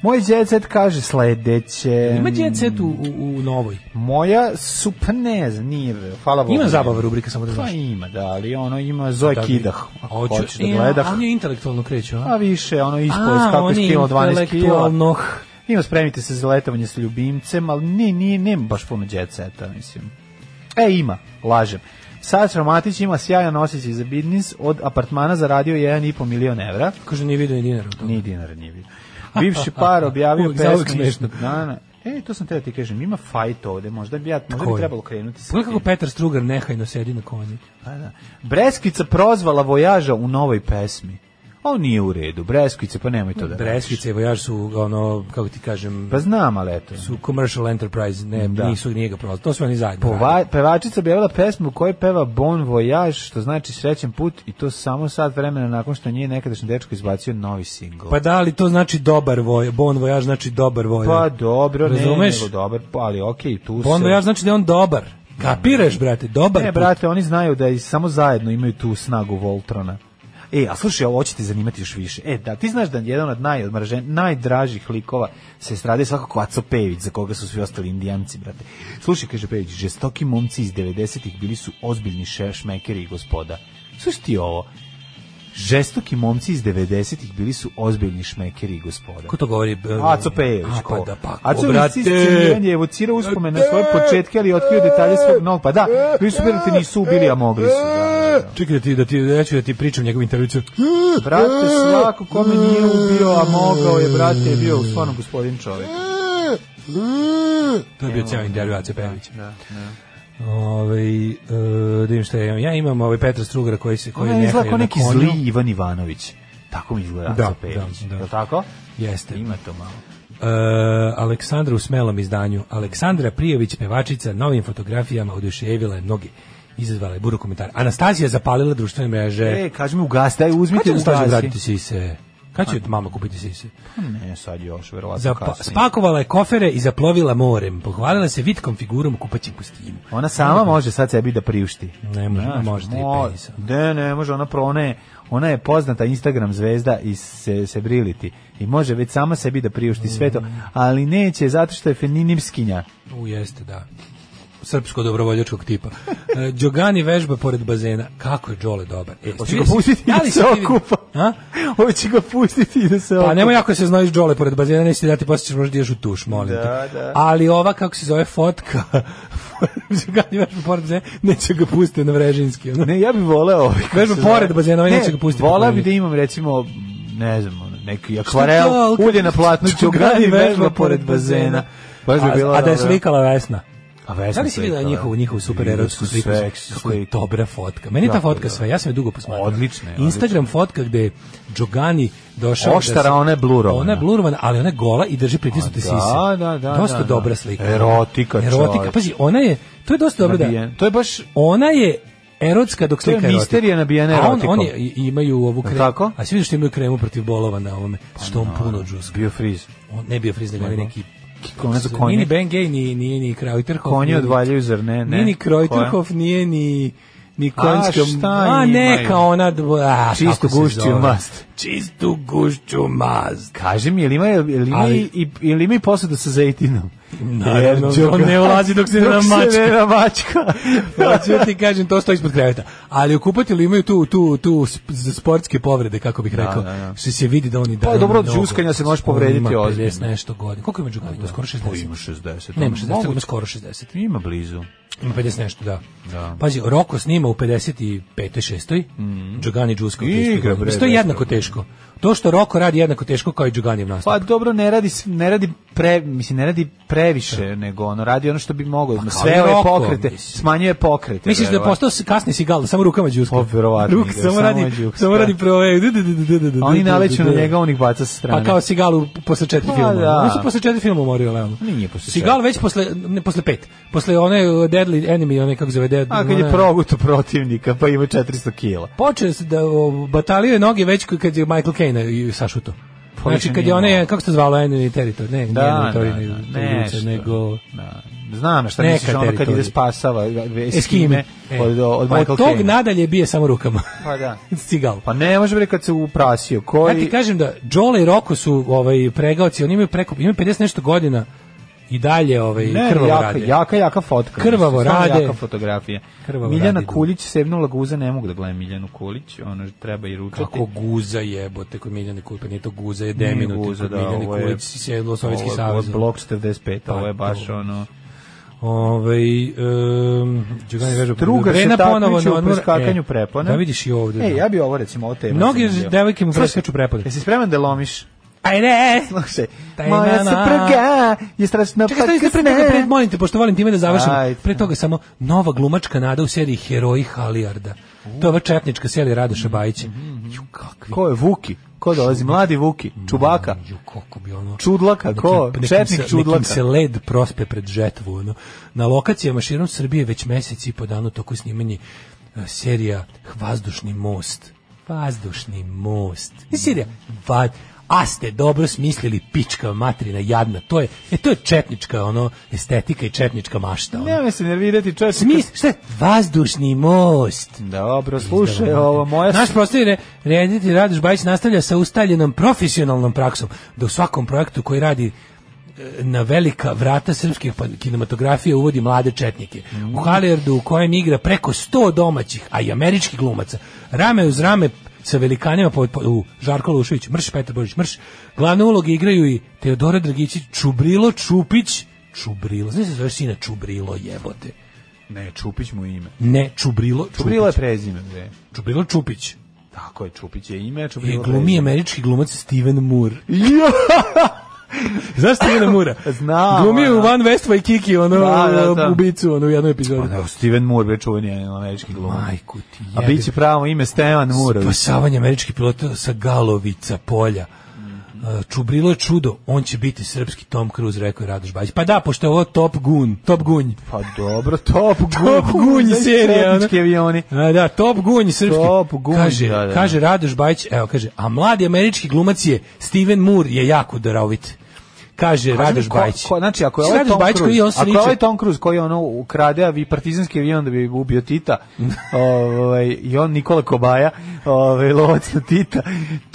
Speaker 6: Moj djecet kaže sledeće.
Speaker 7: Ima jet set u, u, u novoj.
Speaker 6: Moja su, pa ne znam, nije, hvala Bogu.
Speaker 7: Ima zabava rubrika, samo da
Speaker 6: Pa
Speaker 7: znaš.
Speaker 6: ima, da, ali ono ima Zoe
Speaker 7: Da bi-
Speaker 6: Kidah. Ako
Speaker 7: Hoću-
Speaker 6: hoćeš da
Speaker 7: E, a,
Speaker 6: gledah.
Speaker 7: On je intelektualno kreću, a?
Speaker 6: A više, ono ispoz,
Speaker 7: A,
Speaker 6: kako je
Speaker 7: on je
Speaker 6: skilo 12 kila.
Speaker 7: intelektualnog.
Speaker 6: Ima spremite se za letovanje sa ljubimcem, ali ne, nije, nema baš puno jet seta, mislim. E, ima, lažem. Sasra Matić ima sjajan osjećaj za biznis, od apartmana zaradio 1,5 milion evra.
Speaker 7: Kaže, nije vidio ni dinara. u tome.
Speaker 6: Ni dinara nije vidio. Bivši par objavio
Speaker 7: Uvijek, zauvijek
Speaker 6: pesmu.
Speaker 7: smešno.
Speaker 6: Da, da. E, to sam teo ti kažem, ima fajt ovde, možda bi, ja, možda bi
Speaker 7: Koji?
Speaker 6: trebalo krenuti sa
Speaker 7: Pogledaj kako Petar Strugar nehajno sedi na konji.
Speaker 6: Pa da. Breskvica prozvala Vojaža u novoj pesmi. Ovo nije u redu, Breskvica, pa nemoj to da radiš.
Speaker 7: Breskvice i Vojaž su, ono, kako ti kažem,
Speaker 6: Pa znam, ali eto.
Speaker 7: su commercial enterprise, ne,
Speaker 6: Da.
Speaker 7: nisu, nije ga prolazio. To su oni zajedno. radili.
Speaker 6: Pova, pevačica objavila pesmu u kojoj peva Bon Voyage, što znači srećen put i to samo sat vremena nakon što nije nekadašnji dečko izbacio novi singl.
Speaker 7: Pa da li to znači dobar voj, Bon Vojaž znači dobar voj.
Speaker 6: Pa dobro, ne,
Speaker 7: Razumeš?
Speaker 6: nego dobar, pa, ali okej, tu
Speaker 7: Bon
Speaker 6: se... Da.
Speaker 7: Vojaž znači da je on dobar. Kapiraš, brate, dobar
Speaker 6: Ne,
Speaker 7: put.
Speaker 6: brate, oni znaju da i samo zajedno imaju tu snagu Voltrona. E, a slušaj, ovo će te zanimati još više. E, da, ti znaš da jedan od najodmražen, najdražih likova se strade svakako Aco Pejević, za koga su svi ostali indijanci, brate. Slušaj, kaže Pejević, žestoki momci iz 90-ih bili su ozbiljni še- šmekeri i gospoda. Slušaj ti ovo, žestoki momci iz 90-ih bili su ozbiljni šmekeri i gospoda.
Speaker 7: Ko to govori?
Speaker 6: Aco Pejević.
Speaker 7: A,
Speaker 6: ko?
Speaker 7: pa da, pa,
Speaker 6: Aco da
Speaker 7: ko, brate.
Speaker 6: Pejević je evocirao uspomen na svoje početke, ali je otkrio detalje svog novog. Pa da, vi su bili da te nisu ubili, a mogli su. Da, da.
Speaker 7: Čekaj da ti, da ti, ja ću da ti pričam njegovu e, intervjuću.
Speaker 6: Brate, svako kome nije ubio, a mogao je, brate, je bio stvarno gospodin čovjek.
Speaker 7: To je bio cijel intervju Ace Pejovića. Da, da. Ove, da im šta ja imam. Ja imam ovaj Petra Strugara koji se koji
Speaker 6: Koji je
Speaker 7: nehaje
Speaker 6: izgleda kao
Speaker 7: na
Speaker 6: neki
Speaker 7: konju.
Speaker 6: zli Ivan Ivanović. Tako mi izgleda
Speaker 7: Da,
Speaker 6: Aco Pejević.
Speaker 7: da, da.
Speaker 6: Je li tako?
Speaker 7: Jeste.
Speaker 6: Ima to malo.
Speaker 7: E, Aleksandra u smelom izdanju. Aleksandra Prijević, pevačica, novim fotografijama oduševila je mnogi izazvala je buru komentar. Anastasija zapalila društvene mreže.
Speaker 6: E, kaži mi ugas, daj
Speaker 7: Kad
Speaker 6: uzmite
Speaker 7: će Anastasija
Speaker 6: ugasi.
Speaker 7: vratiti sise? Kad će mama kupiti sise?
Speaker 6: Ne, sad još, verovatno Pa
Speaker 7: Zapa
Speaker 6: kasnije.
Speaker 7: spakovala je kofere i zaplovila morem. Pohvalila se vitkom figurom u kupaćem kostimu.
Speaker 6: Ona sama može sad sebi da priušti.
Speaker 7: Ne može,
Speaker 6: Znaš,
Speaker 7: može tri
Speaker 6: mo-
Speaker 7: penisa.
Speaker 6: Ne, ne, može, ona pro, ona je, ona je poznata Instagram zvezda iz se, Sebrility i može već sama sebi da priušti sve to,
Speaker 7: Mm.
Speaker 6: ali neće zato što je feninimskinja.
Speaker 7: U, jeste, da. Srpsko dobrovoljačkog tipa. E, Đogani vežba pored bazena. Kako je Đole dobar. E,
Speaker 6: Hoće
Speaker 7: ste
Speaker 6: ga
Speaker 7: vidjeli-
Speaker 6: pustiti
Speaker 7: Da li
Speaker 6: da
Speaker 7: ste
Speaker 6: se
Speaker 7: vidjeli-
Speaker 6: okupa.
Speaker 7: A?
Speaker 6: Hoće ga pustiti da se okupa.
Speaker 7: Pa nemoj jako se znaš Đole pored bazena, neće ti dati posle ćeš možda ideš u tuš, molim
Speaker 6: Da,
Speaker 7: te.
Speaker 6: da.
Speaker 7: Ali ova, kako se zove, fotka, Đogani vežba pored bazena, neće ga pustiti na Vrežinski. ono.
Speaker 6: Ne, ja bih voleo. ovaj, kako
Speaker 7: Vežba
Speaker 6: se zove.
Speaker 7: pored bazena, ovaj
Speaker 6: Ne,
Speaker 7: neće ga pustiti
Speaker 6: Voleo
Speaker 7: pored.
Speaker 6: bih da imam, recimo, ne znam, ono, neki
Speaker 7: Šta to,
Speaker 6: akvarel,
Speaker 7: ali kako-
Speaker 6: ulje na platnu, čogani vežba pored bazena. Baš bi
Speaker 7: A-
Speaker 6: bilo
Speaker 7: A da je
Speaker 6: dobro.
Speaker 7: slikala Vesna.
Speaker 6: A Vesna
Speaker 7: Da li si videla
Speaker 6: slika,
Speaker 7: njihovu, njihovu super
Speaker 6: Vidio
Speaker 7: erotsku
Speaker 6: sam
Speaker 7: sliku?
Speaker 6: seksi
Speaker 7: Kako je
Speaker 6: sliku.
Speaker 7: dobra fotka. Meni je ta
Speaker 6: Jako
Speaker 7: fotka
Speaker 6: dobro.
Speaker 7: sve, ja sam je dugo posmatrao.
Speaker 6: Odlična je, odlična.
Speaker 7: Instagram fotka gde je Džogani došao. da
Speaker 6: Oštara,
Speaker 7: se-
Speaker 6: ona je blurovana.
Speaker 7: Ona je blurovana, ali ona je gola i drži
Speaker 6: A da,
Speaker 7: pritisnute sise.
Speaker 6: da, da,
Speaker 7: Dosta
Speaker 6: da, da.
Speaker 7: dobra slika.
Speaker 6: Erotika,
Speaker 7: Erotika.
Speaker 6: čoveče.
Speaker 7: Pazi, ona je, to je dosta dobro da,
Speaker 6: Nabijen. To je baš
Speaker 7: ona je erotska dok
Speaker 6: To je
Speaker 7: slika erotika.
Speaker 6: misterija nabijena
Speaker 7: A on-
Speaker 6: erotikom.
Speaker 7: Oni i- imaju ovu
Speaker 6: Jel
Speaker 7: kremu.
Speaker 6: tako? Pa
Speaker 7: A svi vidiš što imaju kremu protiv bolova na ovome. Što on puno džuska.
Speaker 6: bio friz.
Speaker 7: On ne bio frizni, nego
Speaker 6: Nego?
Speaker 7: neki
Speaker 6: ko ne znam,
Speaker 7: Konje. Nije ni
Speaker 6: konje.
Speaker 7: Ben Gay, ni, nije ni Krauterhof.
Speaker 6: Konje
Speaker 7: nije ni-
Speaker 6: odvaljuju, zar ne? Ne.
Speaker 7: Nije ni Krauterhof, nije ni... Ni
Speaker 6: A,
Speaker 7: konjska...
Speaker 6: šta
Speaker 7: a neka
Speaker 6: imaju?
Speaker 7: ona... dvo- A,
Speaker 6: Čistu
Speaker 7: kako se
Speaker 6: gušću
Speaker 7: zove?
Speaker 6: mast.
Speaker 7: Čistu gušću mast.
Speaker 6: Kaži mi, je li ima, je li ima,
Speaker 7: Ali-
Speaker 6: i, je li ima i posuda sa zejtinom?
Speaker 7: Naravno,
Speaker 6: Jer
Speaker 7: on ne ulazi dok se ne namačka.
Speaker 6: ne namačka.
Speaker 7: Hoću ja ti kažem, to stoji ispod kreveta. Ali u kupatilu imaju tu, tu, tu sp- za sportske povrede, kako bih
Speaker 6: Da,
Speaker 7: rekao.
Speaker 6: da, da.
Speaker 7: Što se vidi da oni da...
Speaker 6: Pa dobro, od đuskanja se možeš povrediti
Speaker 7: Ima 50
Speaker 6: ozbiljno.
Speaker 7: nešto godina. Koliko ima đuskanja? Skoro 60.
Speaker 6: Pa ima 60.
Speaker 7: Nema 60,
Speaker 6: Mogu-
Speaker 7: ima skoro 60.
Speaker 6: Ima blizu.
Speaker 7: Ima 50 nešto, da.
Speaker 6: Da.
Speaker 7: Pazi, Roko snima u 55. 6. Džogani Đusko. u 30.
Speaker 6: Mhm. Igra,
Speaker 7: godini.
Speaker 6: bre,
Speaker 7: Mislim, To je
Speaker 6: bez
Speaker 7: jednako teško. To što Roko radi jednako teško kao i Džogani u nastavu.
Speaker 6: Pa dobro, ne radi, s- ne radi pre, mislim, ne radi previše, nego ono, radi ono što bi mogao.
Speaker 7: i
Speaker 6: sve ove
Speaker 7: Roko,
Speaker 6: pokrete,
Speaker 7: mislim.
Speaker 6: smanjuje pokrete.
Speaker 7: Misliš da je
Speaker 6: Pa, verovatno.
Speaker 7: postao s- kasni sigal, da samo rukama đuska?
Speaker 6: Pa, verovatno
Speaker 7: Ruk,
Speaker 6: ide,
Speaker 7: samo
Speaker 6: samo
Speaker 7: radi,
Speaker 6: đuska.
Speaker 7: samo radi e, prove.
Speaker 6: A Oni naleću na njega, on ih baca sa strane.
Speaker 7: Da, Pa kao Sigalu posle četiri
Speaker 6: Pa,
Speaker 7: filma.
Speaker 6: da.
Speaker 7: On se posle četiri filma umorio, Leon.
Speaker 6: Nije posle
Speaker 7: Sigal već posle, ne, posle pet. Posle one uh, Deadly Enemy, one kako se zove Dead...
Speaker 6: A kad je
Speaker 7: one-
Speaker 6: proguto protivnika, pa ima 400 kila.
Speaker 7: Počeo se da o, bataljuje noge već k- kad je Michael Caine i sašuto.
Speaker 6: Pa
Speaker 7: Znači
Speaker 6: više
Speaker 7: kad
Speaker 6: nije
Speaker 7: je one,
Speaker 6: imao.
Speaker 7: kako se to zvalo, Enemy Territory, ne,
Speaker 6: Da,
Speaker 7: da, ne, Territory,
Speaker 6: da,
Speaker 7: ne,
Speaker 6: da,
Speaker 7: ne,
Speaker 6: nešto.
Speaker 7: nego...
Speaker 6: Da. Znam na šta
Speaker 7: Neka
Speaker 6: misliš, ono kad
Speaker 7: teritorija.
Speaker 6: ide spasava e,
Speaker 7: Eskime.
Speaker 6: Eskime
Speaker 7: E.
Speaker 6: od, od Michael
Speaker 7: Od tog
Speaker 6: Caine.
Speaker 7: nadalje bije samo rukama.
Speaker 6: Pa da.
Speaker 7: Sigal.
Speaker 6: Pa ne, može bre kad se uprasio.
Speaker 7: Ja ti
Speaker 6: Koji...
Speaker 7: kažem da Jole i Roko su ovaj pregaoci, oni imaju preko imaju 50 nešto godina i dalje ovaj
Speaker 6: Ne,
Speaker 7: krvavo
Speaker 6: jaka,
Speaker 7: rade.
Speaker 6: jaka, jaka fotka.
Speaker 7: Krvavo
Speaker 6: mislim, stvarno
Speaker 7: rade.
Speaker 6: Jaka fotografija.
Speaker 7: Krvavo
Speaker 6: Miljana
Speaker 7: rade, da.
Speaker 6: Kuljić, sevnula guza, ne mogu da gledam Miljanu Kuljić, ono treba i ručati.
Speaker 7: Kako guza jebote kod Miljane Kulić, pa nije to guza, je Demino,
Speaker 6: Nije
Speaker 7: guza,
Speaker 6: guza,
Speaker 7: kod
Speaker 6: da,
Speaker 7: Miljane
Speaker 6: ovo je-
Speaker 7: Kulić, sjedlo Sovjetski
Speaker 6: Ovo je
Speaker 7: savez.
Speaker 6: Blok 45, ovo je
Speaker 7: Pa,
Speaker 6: baš
Speaker 7: to.
Speaker 6: ono...
Speaker 7: Ovaj um, Đugani vežba.
Speaker 6: Struga se
Speaker 7: Brena
Speaker 6: takmiči
Speaker 7: na
Speaker 6: u
Speaker 7: odmor.
Speaker 6: preskakanju
Speaker 7: E,
Speaker 6: prepone.
Speaker 7: Da vidiš i ovde.
Speaker 6: E,
Speaker 7: da.
Speaker 6: ja bi ovo recimo, ovo tema.
Speaker 7: Mnoge
Speaker 6: zanimljivo.
Speaker 7: devojke mu
Speaker 6: Slušaj,
Speaker 7: preskaču prepone.
Speaker 6: Jesi spreman da lomiš?
Speaker 7: Ajde!
Speaker 6: Slušaj,
Speaker 7: Taj
Speaker 6: moja
Speaker 7: na-
Speaker 6: supruga je pa strašno
Speaker 7: Čekaj, stavite se pre toga, pred, molim te, pošto volim time da završim.
Speaker 6: Ajde.
Speaker 7: Pre toga samo nova glumačka nada u seriji Heroji Halijarda. To je ova četnička serija Radoša Bajića.
Speaker 6: Mhm,
Speaker 7: Ju, kakvi.
Speaker 6: Ko je Vuki? Ko dolazi? Mladi Vuki? Čubaka?
Speaker 7: Ju, koliko bi ono...
Speaker 6: Čudlaka? Ko?
Speaker 7: Nekim- nekim se-
Speaker 6: Četnik Čudlaka?
Speaker 7: Nekim se led prospe pred žetvu. Ono. Na lokacijama širom Srbije već mesec i po danu toku snimanje e, serija Vazdušni most. Vazdušni most.
Speaker 6: Da.
Speaker 7: Ne serija, va, a ste dobro smislili pička matrina jadna. To je, e, to je četnička ono, estetika i četnička mašta. Ono.
Speaker 6: Ne, me se nervirati čovjek.
Speaker 7: Smis, šta je? Vazdušni most.
Speaker 6: da, Dobro, slušaj, ovo moja...
Speaker 7: Naš prostorni reditelj Radoš Bajić nastavlja sa ustaljenom profesionalnom praksom da u svakom projektu koji radi e, na velika vrata srpske pa- kinematografije uvodi mlade četnike. U Halijardu u kojem igra preko 100 domaćih, a i američkih glumaca, rame uz rame sa velikanima po, po, u Žarko Lušević, Mrš, Petar Božić, Mrš. Glavne uloge igraju i Teodora Dragići, Čubrilo, Čupić, Čubrilo, znaš da se zoveš sina Čubrilo, jebote.
Speaker 6: Ne, Čupić mu je ime.
Speaker 7: Ne, Čubrilo,
Speaker 6: Čubrilo je
Speaker 7: Čupić.
Speaker 6: prezime, bre.
Speaker 7: Čubrilo Čupić.
Speaker 6: Tako je, Čupić je ime, Čubrilo
Speaker 7: I
Speaker 6: je
Speaker 7: glumi američki glumac Steven Moore.
Speaker 6: Jo!
Speaker 7: Znaš Stevena Moora?
Speaker 6: Znam,
Speaker 7: Glumio je u
Speaker 6: ono.
Speaker 7: Van Westway Kiki, ono,
Speaker 6: Da, da, da.
Speaker 7: ubicu, ono, u jednoj epizodi.
Speaker 6: Pa da, Steven Moore, bre, čuveni američki glumac.
Speaker 7: Majku ti
Speaker 6: A
Speaker 7: jebe.
Speaker 6: bit će pravo ime Stevan Murović.
Speaker 7: Spasavanje američkih pilota sa Galovica polja.
Speaker 6: Mhm.
Speaker 7: Uh, Čubrilo je čudo, on će biti srpski Tom Cruise, rekao je Radoš Bajić. Pa da, pošto je ovo Top Gun, Top Gunj.
Speaker 6: Pa dobro, Top Gun.
Speaker 7: Top Gun je serija, ono.
Speaker 6: Četnički avioni.
Speaker 7: A, da, Top Gunj srpski.
Speaker 6: Top Gunj,
Speaker 7: kaže,
Speaker 6: da, da.
Speaker 7: kaže Radoš Bajić, evo kaže, a mladi američki glumac je Steven Moore je jako darovit. Kaže
Speaker 6: Kaži mi,
Speaker 7: Radoš
Speaker 6: ko-
Speaker 7: Bajić.
Speaker 6: Ko, znači, ako je ovaj
Speaker 7: Radoš
Speaker 6: Tom
Speaker 7: Bajić koji
Speaker 6: Cruise,
Speaker 7: je on
Speaker 6: ako je
Speaker 7: sliče-
Speaker 6: ovaj Tom Cruise koji ono ukrade avi partizanski avion da bi ubio Tita, ovaj, i on Nikola Kobaja, ovaj, lovac na Tita,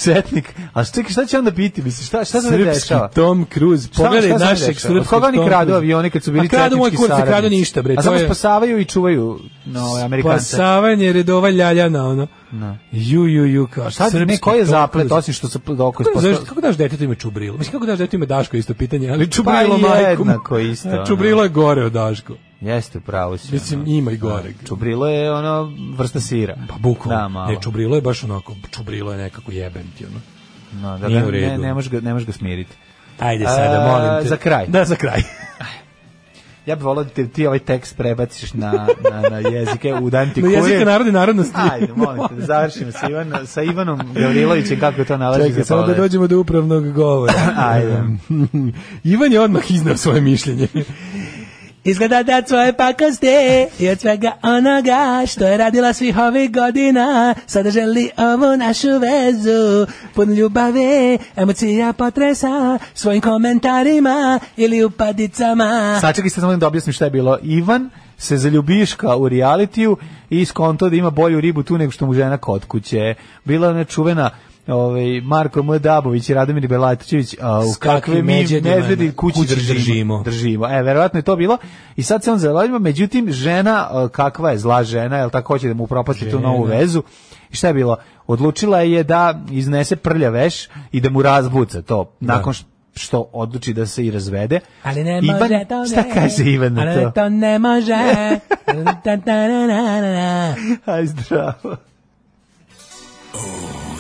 Speaker 6: četnik, a šta, šta će onda biti? Misli, šta, šta se ovdje
Speaker 7: Srpski
Speaker 6: dešava?
Speaker 7: Tom Cruise.
Speaker 6: Šta-
Speaker 7: Pogledaj
Speaker 6: šta se
Speaker 7: našeg
Speaker 6: dešava?
Speaker 7: srpskog
Speaker 6: Od koga oni
Speaker 7: Tom
Speaker 6: kradu
Speaker 7: Cruise?
Speaker 6: avione kad su bili
Speaker 7: A kradu moj
Speaker 6: četnički
Speaker 7: kurce, kradu
Speaker 6: saradnici?
Speaker 7: ništa, bre,
Speaker 6: A
Speaker 7: to
Speaker 6: samo
Speaker 7: je- pa
Speaker 6: spasavaju i čuvaju no, ovaj, Amerikance.
Speaker 7: Spasavanje redova ljaljana, ono. Ju, ju, ju, kao
Speaker 6: Sad Da. ne,
Speaker 7: srpski
Speaker 6: koji je
Speaker 7: Tom
Speaker 6: zaplet, da
Speaker 7: Cruise.
Speaker 6: osim što se oko
Speaker 7: Kako daš, kako daš detetu ime Čubrilo? Mislim, kako daš detetu ime Daško, je isto pitanje, ali Čubrilo
Speaker 6: Pa
Speaker 7: majkom.
Speaker 6: jednako isto, ono. Da,
Speaker 7: Čubrilo je gore od Daško.
Speaker 6: Jeste, pravo si.
Speaker 7: Mislim,
Speaker 6: ono.
Speaker 7: ima i goreg.
Speaker 6: Čubrilo je ono vrsta sira.
Speaker 7: Pa bukvalno.
Speaker 6: Da, malo.
Speaker 7: ne, Čubrilo je baš onako, Čubrilo je nekako jeben ti, ono.
Speaker 6: No, da,
Speaker 7: Nije
Speaker 6: ne,
Speaker 7: u redu.
Speaker 6: ne, ne možeš ga, ne možeš ga smiriti.
Speaker 7: Ajde sada,
Speaker 6: A,
Speaker 7: molim te.
Speaker 6: E, za kraj.
Speaker 7: Da, za kraj.
Speaker 6: Ja bih volao da ti, ti ovaj tekst prebaciš na, na, na jezike u dan ti
Speaker 7: Na jezike
Speaker 6: kurir.
Speaker 7: narode narodnosti.
Speaker 6: Ajde, molim te, da završimo sa, Ivan, sa Ivanom Gavrilovićem kako to nalazi
Speaker 7: Čekaj,
Speaker 6: za
Speaker 7: samo da
Speaker 6: pogled.
Speaker 7: dođemo do upravnog govora.
Speaker 6: Ajde.
Speaker 7: Ivan je odmah iznao svoje mišljenje. Izgleda da tvoje pakosti i od svega onoga što je radila svih ovih godina Sada želi ovu našu vezu pun ljubavi, emocija potresa svojim komentarima ili upadicama
Speaker 6: Sačekaj sad samo da objasnim šta je bilo. Ivan se zaljubiška u realitiju i skonto da ima bolju ribu tu nego što mu žena kod kuće. Bila je nečuvena ovaj Marko M. Dabović i Radomir Belatićević a, u
Speaker 7: S kakvim
Speaker 6: kakve mi
Speaker 7: međedima
Speaker 6: medvedi kući,
Speaker 7: kući
Speaker 6: držimo,
Speaker 7: držimo.
Speaker 6: držimo. E, verovatno je to bilo. I sad se on zalažimo, međutim, žena, a, kakva je zla žena, jel tako hoće da mu upropasti tu
Speaker 7: Žena.
Speaker 6: novu vezu. I šta je bilo? Odlučila je da iznese prlja veš i da mu razbuca to. Nakon š- što odluči da se i razvede.
Speaker 7: Da. Ali ne
Speaker 6: Ivan-
Speaker 7: može to ne.
Speaker 6: Šta kaže Ivan na
Speaker 7: Ali
Speaker 6: to?
Speaker 7: to ne može. Da, Ta, ta, na, na, na, na.
Speaker 6: Aj, zdravo.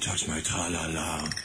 Speaker 14: touch my tra-la-la.